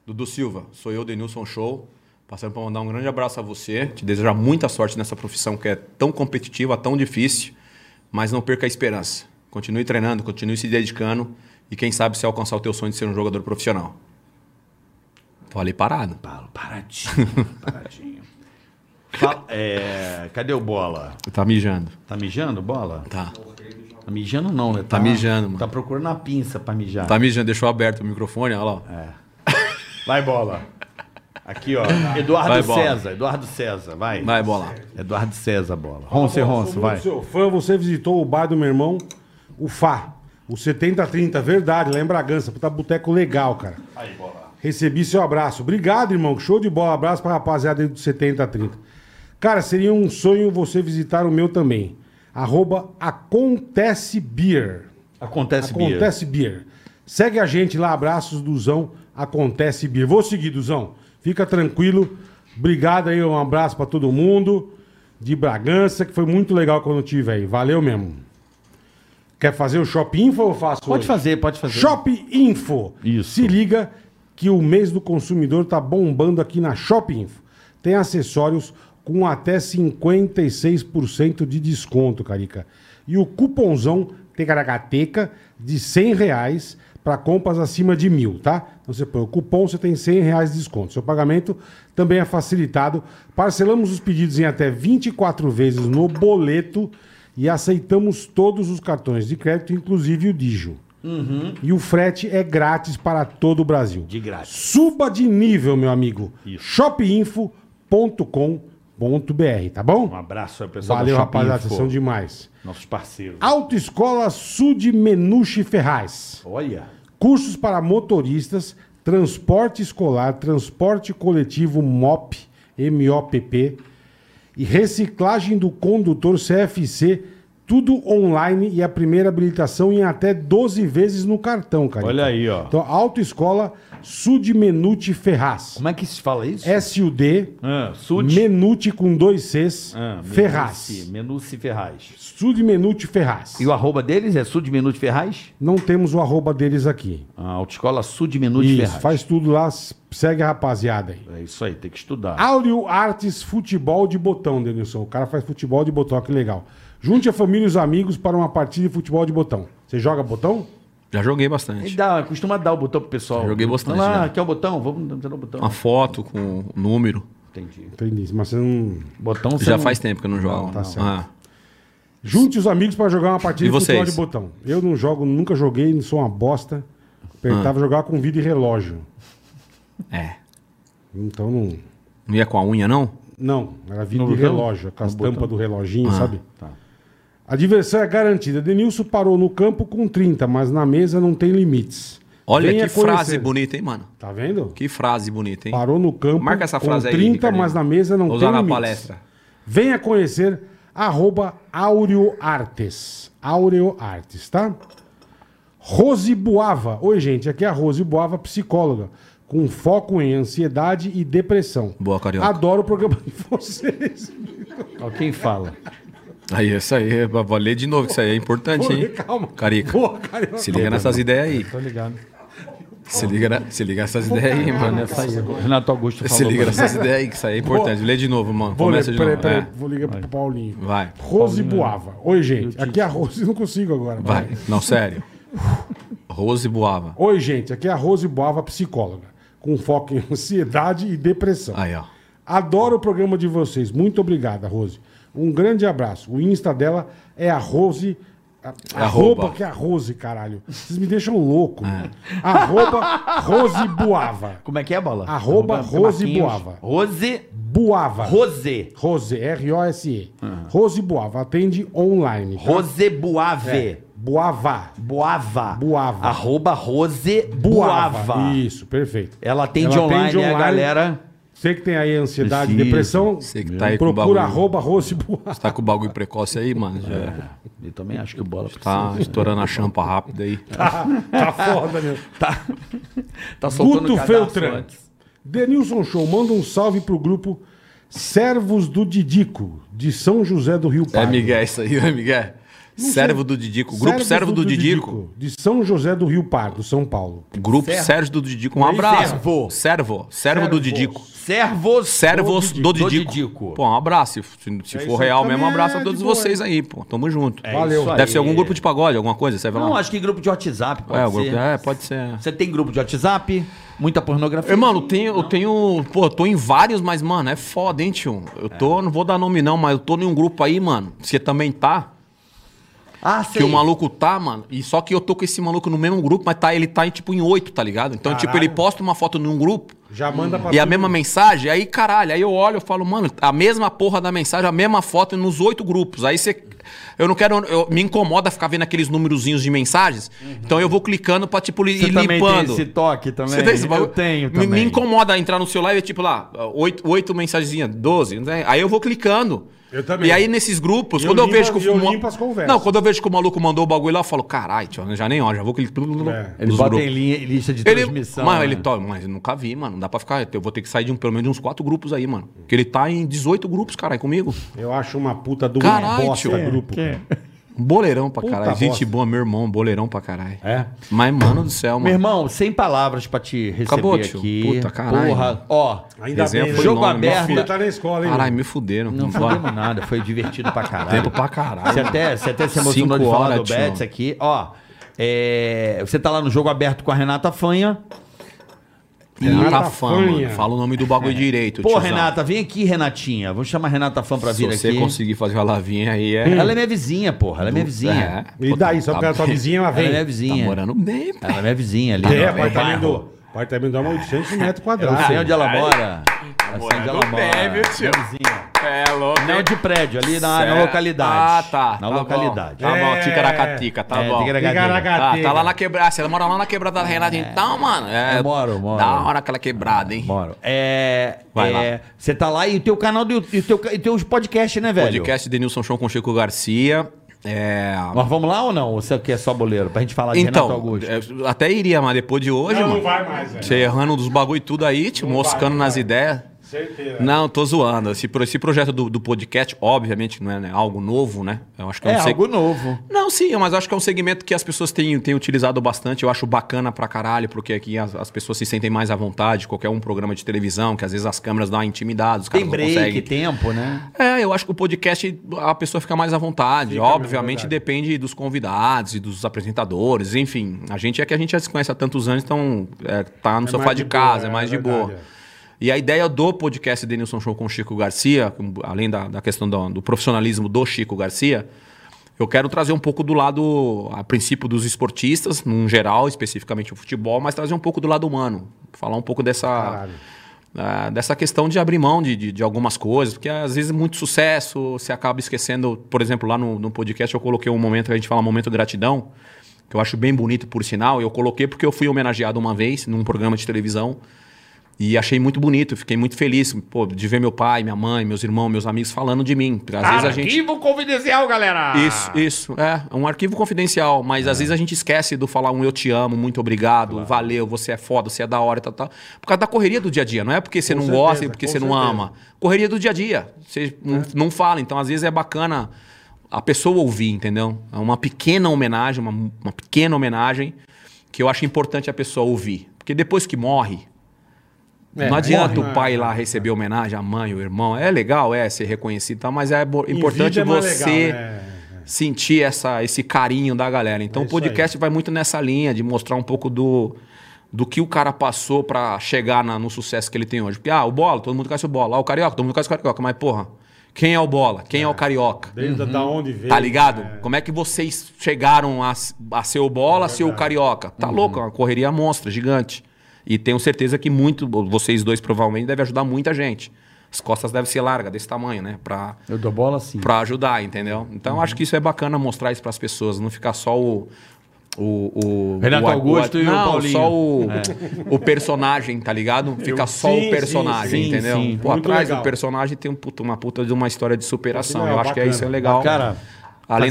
Speaker 5: Dudu Silva, sou eu, Denilson Show, passando pra mandar um grande abraço a você, te desejar muita sorte nessa profissão que é tão competitiva, tão difícil, mas não perca a esperança. Continue treinando, continue se dedicando e quem sabe você alcançar o teu sonho de ser um jogador profissional. Falei parado.
Speaker 4: Falo, paradinho, paradinho. Fala- é, cadê o bola?
Speaker 5: Tá mijando.
Speaker 4: Tá mijando, bola?
Speaker 5: Tá.
Speaker 4: Tá mijando não, né?
Speaker 5: Tá mijando, mano.
Speaker 4: Tá procurando a pinça pra mijar.
Speaker 5: Tá mijando, deixou aberto o microfone, olha lá. ó.
Speaker 4: Vai, bola. Aqui, ó. Eduardo
Speaker 5: Vai, bola.
Speaker 4: César. Eduardo César, vai.
Speaker 5: Vai, bola.
Speaker 4: Eduardo César, bola. Ronce, Ronce, vai.
Speaker 3: Seu fã, você visitou o bar do meu irmão, o Fá. O 7030, verdade, lá em Bragança. Puta boteco legal, cara. Aí, bola. Recebi seu abraço. Obrigado, irmão. Show de bola. Abraço pra rapaziada aí do 7030. Cara, seria um sonho você visitar o meu também. Arroba Acontece Beer.
Speaker 4: Acontece, Bia.
Speaker 3: Acontece Beer. Segue a gente lá, abraços, Duzão. Acontece Beer. Vou seguir, Duzão. Fica tranquilo. Obrigado aí, um abraço pra todo mundo de Bragança, que foi muito legal quando eu tive aí. Valeu mesmo. Quer fazer o Shop Info ou eu faço
Speaker 7: Pode
Speaker 3: hoje?
Speaker 7: fazer, pode fazer.
Speaker 3: Shop Info.
Speaker 7: Isso.
Speaker 3: Se liga que o mês do consumidor tá bombando aqui na Shop Info. Tem acessórios com até 56% de desconto, Carica. E o cupomzão Tecaracateca de 100 reais para compras acima de mil, tá? Então você põe o cupom, você tem 100 reais de desconto. Seu pagamento também é facilitado. Parcelamos os pedidos em até 24 vezes no boleto e aceitamos todos os cartões de crédito, inclusive o Digio. E o frete é grátis para todo o Brasil. De
Speaker 4: grátis.
Speaker 3: Suba de nível, meu amigo. shopinfo.com.br, tá
Speaker 4: Um
Speaker 3: bom?
Speaker 4: abraço aí, pessoal.
Speaker 3: Valeu,
Speaker 4: do Shopping
Speaker 3: rapaziada.
Speaker 4: Info.
Speaker 3: Vocês são demais.
Speaker 4: Nossos parceiros.
Speaker 3: Autoescola Sud Menuche Ferraz.
Speaker 4: Olha.
Speaker 3: Cursos para motoristas, transporte escolar, transporte coletivo MOP, MOPP e reciclagem do condutor CFC, tudo online e a primeira habilitação em até 12 vezes no cartão, cara.
Speaker 7: Olha aí, ó.
Speaker 3: Então, Autoescola Sud Menuche Ferraz.
Speaker 4: Como é que se fala isso?
Speaker 3: SUD
Speaker 7: Ah, Sud.
Speaker 3: Menuti com dois Cs
Speaker 7: Ah,
Speaker 4: Menuci,
Speaker 3: Ferraz.
Speaker 4: Menuci Ferraz.
Speaker 3: Sud Menuti Ferraz.
Speaker 4: E o arroba deles é Sud Minuto Ferraz?
Speaker 3: Não temos o arroba deles aqui.
Speaker 4: A autoescola Sud Minuto
Speaker 3: Isso,
Speaker 4: Ferraz.
Speaker 3: faz tudo lá, s- segue a rapaziada aí.
Speaker 4: É isso aí, tem que estudar.
Speaker 3: Áureo Artes Futebol de Botão, Denilson. O cara faz futebol de botão, que legal. Junte a família e os amigos para uma partida de futebol de botão. Você joga botão?
Speaker 5: Já joguei
Speaker 4: Ele
Speaker 5: bastante.
Speaker 4: dá, costuma dar o botão pro pessoal.
Speaker 5: Joguei bastante,
Speaker 4: Vamos lá,
Speaker 5: já.
Speaker 4: quer o botão? Vamos dar o botão.
Speaker 5: Uma foto com o número.
Speaker 4: Entendi.
Speaker 3: Entendi, mas você não...
Speaker 4: Botão você
Speaker 5: Já
Speaker 4: não-
Speaker 5: faz tempo que eu não jogo.
Speaker 3: tá
Speaker 5: Ah,
Speaker 3: certo. Junte os amigos para jogar uma partida
Speaker 5: E
Speaker 3: de futebol
Speaker 5: vocês?
Speaker 3: de botão. Eu não jogo, nunca joguei, não sou uma bosta.
Speaker 5: Ah.
Speaker 3: Apertava jogar com vida e relógio.
Speaker 5: é.
Speaker 3: Então não...
Speaker 5: Não ia com a unha, não?
Speaker 3: Não, era vidro
Speaker 4: No
Speaker 3: de
Speaker 4: botão?
Speaker 3: relógio, com as tampas do reloginho,
Speaker 5: Ah,
Speaker 3: sabe?
Speaker 5: tá.
Speaker 3: A diversão é garantida. Denilson parou no campo com 30, mas na mesa não tem limites.
Speaker 5: Olha
Speaker 3: Venha
Speaker 5: que frase
Speaker 3: conhecer-
Speaker 5: bonita, hein, mano?
Speaker 3: Tá vendo?
Speaker 5: Que frase bonita, hein?
Speaker 3: Parou no campo
Speaker 5: Marca essa frase
Speaker 3: com
Speaker 5: aí,
Speaker 3: 30,
Speaker 5: Ricardinho.
Speaker 3: mas na mesa não
Speaker 5: Vou
Speaker 3: tem
Speaker 5: usar na
Speaker 3: limites.
Speaker 5: palestra.
Speaker 3: Venha conhecer arroba Áureo Artes. Áureo Artes, tá? Rose Boava. Oi, gente. Aqui é a Rose Boava, psicóloga, com foco em ansiedade e depressão.
Speaker 5: Boa, Carioca.
Speaker 3: Adoro o programa de vocês.
Speaker 4: Ó, quem fala?
Speaker 5: Aí, isso aí, é pra- vou ler de novo, que isso aí é importante,
Speaker 3: Pô,
Speaker 5: hein?
Speaker 3: calma.
Speaker 5: Carica.
Speaker 3: Boa, Carioca.
Speaker 5: Se liga nessas ideias aí.
Speaker 7: Tá ligado.
Speaker 5: Se liga, na- se liga nessas ideias aí, mano.
Speaker 7: Tá aí. O Renato Augusto falou.
Speaker 5: Ah, né? Se liga nessas ideias aí, que isso aí é importante. Lê de novo, mano.
Speaker 3: Vou, ler,
Speaker 5: Começa de
Speaker 3: peraí,
Speaker 5: novo.
Speaker 3: peraí,
Speaker 5: É.
Speaker 3: vou ligar pro Paulinho.
Speaker 5: Vai.
Speaker 3: Rose Boava. Oi, gente. Aqui é a Rose. Não consigo agora.
Speaker 5: É. Vai. Não, sério. Rose Boava.
Speaker 3: Oi, gente. Aqui é a Rose Boava, psicóloga, com foco em ansiedade e depressão.
Speaker 5: Aí, ó.
Speaker 3: Adoro o programa de vocês. Muito obrigada, Rose. Um grande abraço. O Insta dela é a Rose. a-
Speaker 5: Arroba.
Speaker 3: Arroba que é a Rose, caralho. Vocês me deixam louco.
Speaker 4: É.
Speaker 3: mano. Arroba Rose Boava.
Speaker 4: Como é que é a bola?
Speaker 3: Arroba Rose
Speaker 4: Marquinhos.
Speaker 3: Boava.
Speaker 4: Rose.
Speaker 3: Boava.
Speaker 4: Rose.
Speaker 3: Rose, R-O-S-E. Rose Boava. Atende online. tá?
Speaker 4: Rose Boave.
Speaker 3: Boava.
Speaker 4: Boava.
Speaker 3: É. Boava.
Speaker 4: Arroba Rose
Speaker 3: Boava.
Speaker 4: Boava.
Speaker 3: Isso, perfeito.
Speaker 4: Ela atende
Speaker 3: Ela
Speaker 4: online,
Speaker 3: atende
Speaker 4: né, a
Speaker 3: online.
Speaker 4: galera.
Speaker 3: Você que tem aí ansiedade,
Speaker 4: Preciso.
Speaker 3: depressão,
Speaker 5: Você que tá aí com
Speaker 3: procura
Speaker 5: bagulho.
Speaker 3: arroba Rose Boava.
Speaker 5: Tá com o bagulho precoce aí, mano?
Speaker 3: É,
Speaker 5: Já
Speaker 4: Eu também acho que o bola precisa.
Speaker 5: tá estourando a champa rápido aí.
Speaker 3: Tá foda, meu.
Speaker 4: Tá, tá soltando
Speaker 3: Guto
Speaker 4: o cadarço
Speaker 3: Feltran.
Speaker 4: antes.
Speaker 3: Denilson Show, manda um salve pro grupo Servos do Didico, de São José do Rio
Speaker 5: É
Speaker 3: Pardo.
Speaker 5: Miguel isso aí, é Miguel. Servo do Didico. Grupo Servo do Didico.
Speaker 3: De São José do Rio Pardo, São Paulo.
Speaker 5: Grupo Sérgio do Didico. Um abraço.
Speaker 4: Servo.
Speaker 5: Servo. Servo do Didico.
Speaker 4: Servos.
Speaker 5: Servos do Didico. Pô, um abraço. Se, se- se for
Speaker 3: isso aí.
Speaker 5: real mesmo, um
Speaker 3: Também é
Speaker 5: abraço a
Speaker 3: de
Speaker 5: todos
Speaker 3: boa,
Speaker 5: vocês aí, pô. Tamo junto.
Speaker 3: Valeu.
Speaker 4: isso aí.
Speaker 5: Deve ser algum grupo de pagode, alguma coisa, serve
Speaker 4: Não,
Speaker 5: lá.
Speaker 4: acho que grupo de WhatsApp pode
Speaker 5: é, o
Speaker 4: ser.
Speaker 5: grupo, é, pode ser.
Speaker 4: Você tem grupo de WhatsApp? Muita pornografia?
Speaker 5: Irmão, eu tenho, eu tenho. Pô, eu tô em vários, mas, mano, é foda, hein, tio? Eu tô, não vou dar nome não, mas eu tô em um grupo aí, mano. Você também tá?
Speaker 4: Ah,
Speaker 5: Que o maluco tá, mano. E só que eu tô com esse maluco no mesmo grupo, mas tá, ele tá em, tipo em oito, tá ligado? Então, tipo, ele posta uma foto num grupo.
Speaker 3: Já manda pra
Speaker 5: E a
Speaker 3: todo
Speaker 5: mesma
Speaker 3: mundo.
Speaker 5: mensagem, aí caralho, aí eu olho, eu falo, mano, a mesma porra da mensagem, a mesma foto nos oito grupos. Aí você. Eu não quero. eu- me incomoda ficar vendo aqueles númerozinhos de mensagens. Então eu vou clicando pra, tipo, li-
Speaker 7: Uhum. Você
Speaker 5: ir
Speaker 7: também
Speaker 5: limpando.
Speaker 7: tem esse toque também?
Speaker 5: Você tem esse bagulho?
Speaker 7: Eu tenho
Speaker 5: Me-
Speaker 7: também.
Speaker 5: Me, incomoda entrar no seu live, tipo lá, oito, oito mensagenzinhas, doze. Aí eu né? vou clicando.
Speaker 3: Eu também.
Speaker 5: E aí, nesses grupos,
Speaker 3: Eu
Speaker 5: quando
Speaker 3: limpo-
Speaker 5: eu vejo que
Speaker 3: eu
Speaker 5: o mo-
Speaker 3: limpo as conversas.
Speaker 5: Não, quando eu vejo que o maluco mandou o bagulho lá, eu falo, caralho, tio, eu já nem olho, já vou que
Speaker 3: É.
Speaker 5: ele.
Speaker 4: Eles
Speaker 5: Dos
Speaker 4: botam
Speaker 5: grupos.
Speaker 4: em linha, em lista de
Speaker 5: Ele,
Speaker 4: transmissão.
Speaker 5: mano,
Speaker 4: né?
Speaker 5: ele to... mas eu nunca vi, mano. Não dá pra ficar. Eu vou ter que sair de um, pelo menos de uns quatro grupos aí, mano. Porque ele tá em 18 grupos, caralho, comigo.
Speaker 3: Eu acho uma puta do
Speaker 5: Caralho,
Speaker 3: bosta
Speaker 5: tio.
Speaker 4: É,
Speaker 3: grupo.
Speaker 5: Um Boleirão pra
Speaker 3: Puta
Speaker 5: caralho. Gente
Speaker 3: bosta.
Speaker 5: boa, meu irmão, um boleirão pra caralho.
Speaker 4: É.
Speaker 5: Mas, mano do céu, mano.
Speaker 4: Meu irmão, sem palavras pra te receber
Speaker 5: Acabou, tio.
Speaker 4: aqui.
Speaker 5: Puta, caralho.
Speaker 4: Porra, ó.
Speaker 3: Ainda
Speaker 5: Resenha
Speaker 3: bem,
Speaker 4: né?
Speaker 5: foi
Speaker 4: Jogo
Speaker 5: enorme.
Speaker 4: aberto.
Speaker 3: Filho, tá na escola, hein?
Speaker 5: Caralho, me fuderam.
Speaker 4: Não
Speaker 5: Vai.
Speaker 4: fudemos nada, foi divertido pra caralho.
Speaker 5: Tempo pra caralho.
Speaker 4: Você até, você até se emocionou
Speaker 5: Cinco
Speaker 4: de falar
Speaker 5: horas,
Speaker 4: do
Speaker 5: tio.
Speaker 4: Betis aqui. Ó, é, você tá lá no jogo aberto com a Renata Fanha.
Speaker 5: Renata
Speaker 3: Renata
Speaker 5: Fã, mano.
Speaker 3: Fanha.
Speaker 5: Fala o nome do bagulho direito.
Speaker 4: Pô,
Speaker 5: tiozão.
Speaker 4: É. Renata, vem aqui, Renatinha. Vamos chamar a Renata Fan pra
Speaker 5: Se
Speaker 4: vir
Speaker 5: você
Speaker 4: aqui.
Speaker 5: conseguir fazer ela vir aí, é.
Speaker 4: Ela é minha vizinha, porra. Ela é minha vizinha.
Speaker 5: É.
Speaker 3: E daí, só porque ela é tua vizinha, ela
Speaker 4: Ela é
Speaker 3: vem.
Speaker 4: minha
Speaker 3: É,
Speaker 5: Tá
Speaker 4: vizinha.
Speaker 5: morando bem, pô.
Speaker 4: Ela é minha vizinha ali. no- no
Speaker 3: apartamento
Speaker 4: bairro.
Speaker 3: do... Apartamento do Amor, 800 metros
Speaker 4: Eu
Speaker 3: quadrados.
Speaker 4: sei onde ela mora. Eu sei onde
Speaker 5: Tá morando
Speaker 4: ela mora.
Speaker 5: bem, viu, tio?
Speaker 4: Minha vizinha.
Speaker 5: É louco.
Speaker 4: Não de prédio, ali na, na
Speaker 5: Certo.
Speaker 4: localidade.
Speaker 5: Ah, tá.
Speaker 4: Na
Speaker 5: tá
Speaker 4: localidade.
Speaker 5: Bom. Tá bom,
Speaker 3: É.
Speaker 5: ticaracatica, tá
Speaker 4: É,
Speaker 5: bom.
Speaker 4: ticaracatica. É.
Speaker 5: Tá,
Speaker 3: Ticaracateca.
Speaker 5: tá lá na quebrada. Se ela mora lá na quebrada da Renata, então, mano. É,
Speaker 4: Eu moro, moro.
Speaker 5: Da hora aquela quebrada, hein?
Speaker 4: Moro. É.
Speaker 5: Vai
Speaker 4: é, Você tá lá e o teu canal do e o teu, e teus podcasts, né, velho?
Speaker 5: Podcast Denilson Show com Chico Garcia. É.
Speaker 4: Nós vamos lá ou não? Ou Você quer só boleiro? Pra gente falar de Renato
Speaker 5: Então,
Speaker 4: Augusto.
Speaker 5: é, até iria, mas depois de hoje,
Speaker 3: Não,
Speaker 5: mano.
Speaker 3: não vai mais, velho.
Speaker 5: Você errando dos bagulho e tudo aí, te moscando
Speaker 3: vai,
Speaker 5: nas ideias.
Speaker 3: Certeza.
Speaker 5: Não, tô zoando. Esse, pro- esse projeto do, do podcast, obviamente, não é né, algo novo, né? Eu acho que
Speaker 4: É,
Speaker 5: um seg-
Speaker 4: algo novo.
Speaker 5: Não, sim, mas eu acho que é um segmento que as pessoas têm, têm utilizado bastante. Eu acho bacana pra caralho, porque aqui as, as pessoas se sentem mais à vontade. Qualquer um programa de televisão, que às vezes as câmeras dão uma intimidade, os caras
Speaker 4: Tem
Speaker 5: não
Speaker 4: break,
Speaker 5: conseguem.
Speaker 4: tempo, né?
Speaker 5: É, eu acho que o podcast a pessoa fica mais à vontade.
Speaker 3: Fica mais à
Speaker 5: Obviamente
Speaker 3: vontade.
Speaker 5: depende dos convidados e dos apresentadores, enfim. A gente é que a gente já se conhece há tantos anos, então é, tá no
Speaker 3: É
Speaker 5: sofá
Speaker 3: mais
Speaker 5: de,
Speaker 3: de boa,
Speaker 5: casa, é
Speaker 3: é
Speaker 5: mais de
Speaker 3: verdade,
Speaker 5: boa.
Speaker 3: é.
Speaker 5: E a ideia do podcast Denilson Show com o Chico Garcia, com- além da, da questão do, do profissionalismo do Chico Garcia, eu quero trazer um pouco do lado, a princípio, dos esportistas, num geral, especificamente o futebol, mas trazer um pouco do lado humano. Falar um pouco dessa.
Speaker 3: Caralho.
Speaker 5: Ah, dessa questão de abrir mão de, de, de algumas coisas, porque às vezes muito sucesso, você acaba esquecendo. Por exemplo, lá no, no podcast eu coloquei um momento que a gente fala momento gratidão, que eu acho bem bonito, por sinal. Eu coloquei porque eu fui homenageado uma vez num programa de televisão e achei muito bonito, fiquei muito feliz pô, de ver meu pai, minha mãe, meus irmãos, meus amigos falando de mim. Porque às vezes a gente.
Speaker 6: Arquivo confidencial, galera!
Speaker 5: Isso, isso. É, é um arquivo confidencial, mas
Speaker 3: É.
Speaker 5: às vezes a gente esquece do falar um eu te amo, muito obrigado, valeu, você é foda, você é da hora e tal, tal. Por causa da correria do dia a dia. Não é porque você
Speaker 3: Com
Speaker 5: não
Speaker 3: certeza,
Speaker 5: gosta e porque
Speaker 3: com
Speaker 5: você não
Speaker 3: certeza.
Speaker 5: ama. Correria do dia a dia. Você não, não fala. Então, às vezes é bacana a pessoa ouvir, entendeu? É uma pequena homenagem, uma, uma pequena homenagem que eu acho importante a pessoa ouvir. Porque depois que morre,
Speaker 3: É,
Speaker 5: não adianta
Speaker 3: morre,
Speaker 5: o pai
Speaker 3: né?
Speaker 5: lá receber homenagem, a mãe, o irmão. É legal, é, ser reconhecido e tal, mas é bo-
Speaker 3: Em
Speaker 5: importante
Speaker 3: vídeo é mais
Speaker 5: você
Speaker 3: legal, né?
Speaker 5: sentir essa, esse carinho da galera. Então
Speaker 3: É
Speaker 5: o
Speaker 3: isso aí.
Speaker 5: podcast vai muito nessa linha de mostrar um pouco do, do que o cara passou pra chegar na- no sucesso que ele tem hoje. Porque, ah, o Bola, todo mundo conhece o Bola. Ah, o Carioca, todo mundo conhece o Carioca. Mas, porra, quem é o Bola? Quem é, o Carioca?
Speaker 3: Desde da onde veio.
Speaker 5: Tá ligado?
Speaker 3: né?
Speaker 5: Como é que vocês chegaram a, a ser o Bola, a ser o Carioca? Tá louco, é uma correria monstra, gigante. E tenho certeza que muito, vocês dois provavelmente devem ajudar muita gente. As costas devem ser largas, desse tamanho, né? Pra,
Speaker 4: Eu dou bola sim.
Speaker 5: pra ajudar, entendeu? Então acho que isso é bacana mostrar isso pras pessoas, não ficar só o. O, o
Speaker 4: Renato
Speaker 5: o- o-
Speaker 4: Augusto e o
Speaker 5: não,
Speaker 4: Paulinho. É.
Speaker 5: só o, o personagem, tá ligado? Fica só
Speaker 3: sim,
Speaker 5: o personagem,
Speaker 4: sim, sim,
Speaker 5: entendeu?
Speaker 4: sim.
Speaker 5: Pô,
Speaker 3: Muito
Speaker 5: atrás
Speaker 3: legal.
Speaker 5: do personagem tem um puta- uma puta de uma história de superação.
Speaker 3: Legal,
Speaker 5: Eu acho que é isso é
Speaker 3: bacana.
Speaker 5: legal.
Speaker 4: Cara,
Speaker 5: além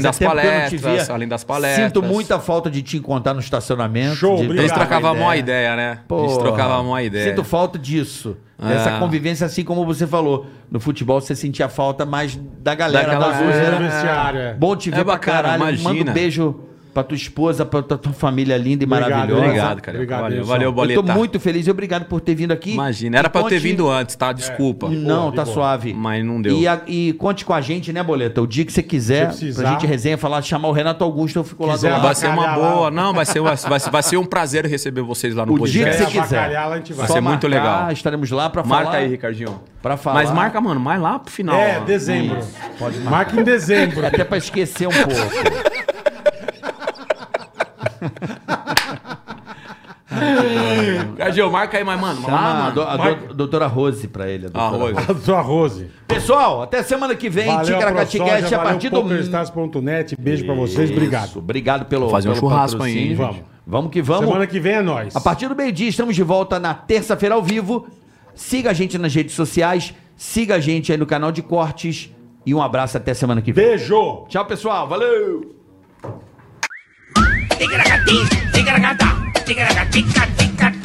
Speaker 4: fazia
Speaker 5: das
Speaker 4: tempo que eu não te
Speaker 5: palestras,
Speaker 4: via.
Speaker 5: além das palestras. Então,
Speaker 4: Sinto muita falta de te encontrar no estacionamento.
Speaker 3: Show,
Speaker 4: de
Speaker 3: obrigado.
Speaker 5: Eles
Speaker 4: trocar
Speaker 5: trocavam uma ideia, né? Eles
Speaker 4: É. Porra,
Speaker 5: trocavam uma ideia.
Speaker 4: Sinto falta disso. Dessa
Speaker 5: Ah.
Speaker 4: convivência, assim como você falou. No futebol você sentia falta mais da galera
Speaker 5: Daquela
Speaker 4: da
Speaker 5: zoeira.
Speaker 3: Coisa
Speaker 4: zoeira.
Speaker 3: no vestiário, é.
Speaker 4: Bom te
Speaker 5: É
Speaker 4: ver pra
Speaker 5: bacana,
Speaker 4: caralho.
Speaker 5: imagina.
Speaker 4: Manda um beijo pra tua esposa, pra tua, tua família linda e
Speaker 3: Obrigado,
Speaker 4: maravilhosa.
Speaker 5: Obrigado, cara.
Speaker 3: Obrigado,
Speaker 5: valeu,
Speaker 3: Wilson.
Speaker 5: valeu,
Speaker 3: Eu tô
Speaker 5: Boleta.
Speaker 4: Eu tô muito feliz e obrigado por ter vindo aqui.
Speaker 5: Imagina, era
Speaker 4: E
Speaker 5: pra eu ter
Speaker 4: conte-
Speaker 5: vindo antes, tá? Desculpa.
Speaker 4: Não,
Speaker 3: de
Speaker 4: tá
Speaker 3: boa.
Speaker 4: suave.
Speaker 5: Mas não deu.
Speaker 4: E, a- e conte com a gente, né, Boleta? O dia que você quiser,
Speaker 3: Se precisar.
Speaker 4: pra gente resenha, falar, chamar o Renato Augusto, eu fico lá
Speaker 3: Quiser,
Speaker 4: do lado.
Speaker 5: Vai ser uma
Speaker 3: Avacalhar
Speaker 5: boa.
Speaker 3: lá.
Speaker 5: Não, vai ser, vai, vai, vai ser um prazer receber vocês lá no
Speaker 4: O dia que
Speaker 5: podcast.
Speaker 4: você
Speaker 3: Quer
Speaker 4: quiser.
Speaker 3: É, avacalhar lá, a gente vai.
Speaker 5: Vai ser muito legal.
Speaker 4: Ah, Estaremos lá pra
Speaker 5: Marca
Speaker 4: falar.
Speaker 5: aí, Ricardinho.
Speaker 4: Pra falar.
Speaker 5: Mas marca, mano, mais lá pro final.
Speaker 3: É,
Speaker 5: ó.
Speaker 3: dezembro. Marca em dezembro.
Speaker 4: Até pra esquecer um pouco.
Speaker 5: Ricardinho, marca aí, mas, mano,
Speaker 4: Chama
Speaker 5: lá,
Speaker 4: a,
Speaker 5: Tá, mano.
Speaker 4: do, a do- doutora Rose pra ele. a doutora
Speaker 5: Ah, Rose.
Speaker 4: Rose.
Speaker 3: Do arroz.
Speaker 4: Pessoal, até semana que vem. Ticaracatecast a partir do...
Speaker 3: PokerStars.net. Beijo pra vocês.
Speaker 4: Isso,
Speaker 3: Obrigado.
Speaker 4: Obrigado pelo
Speaker 5: Vou fazer um
Speaker 4: pelo
Speaker 5: churrasco aí, hein,
Speaker 4: patrocínio.
Speaker 3: gente.
Speaker 4: Vamos que vamos.
Speaker 3: Semana que vem é nóis.
Speaker 4: A partir do meio-dia, estamos de volta na terça-feira ao vivo. Siga a gente nas redes sociais, siga a gente aí no canal de cortes. E um abraço até semana que vem.
Speaker 3: Beijo!
Speaker 4: Tchau, pessoal. Valeu!
Speaker 8: Tigra gatinho, tigra gata, tigra gatica, tica,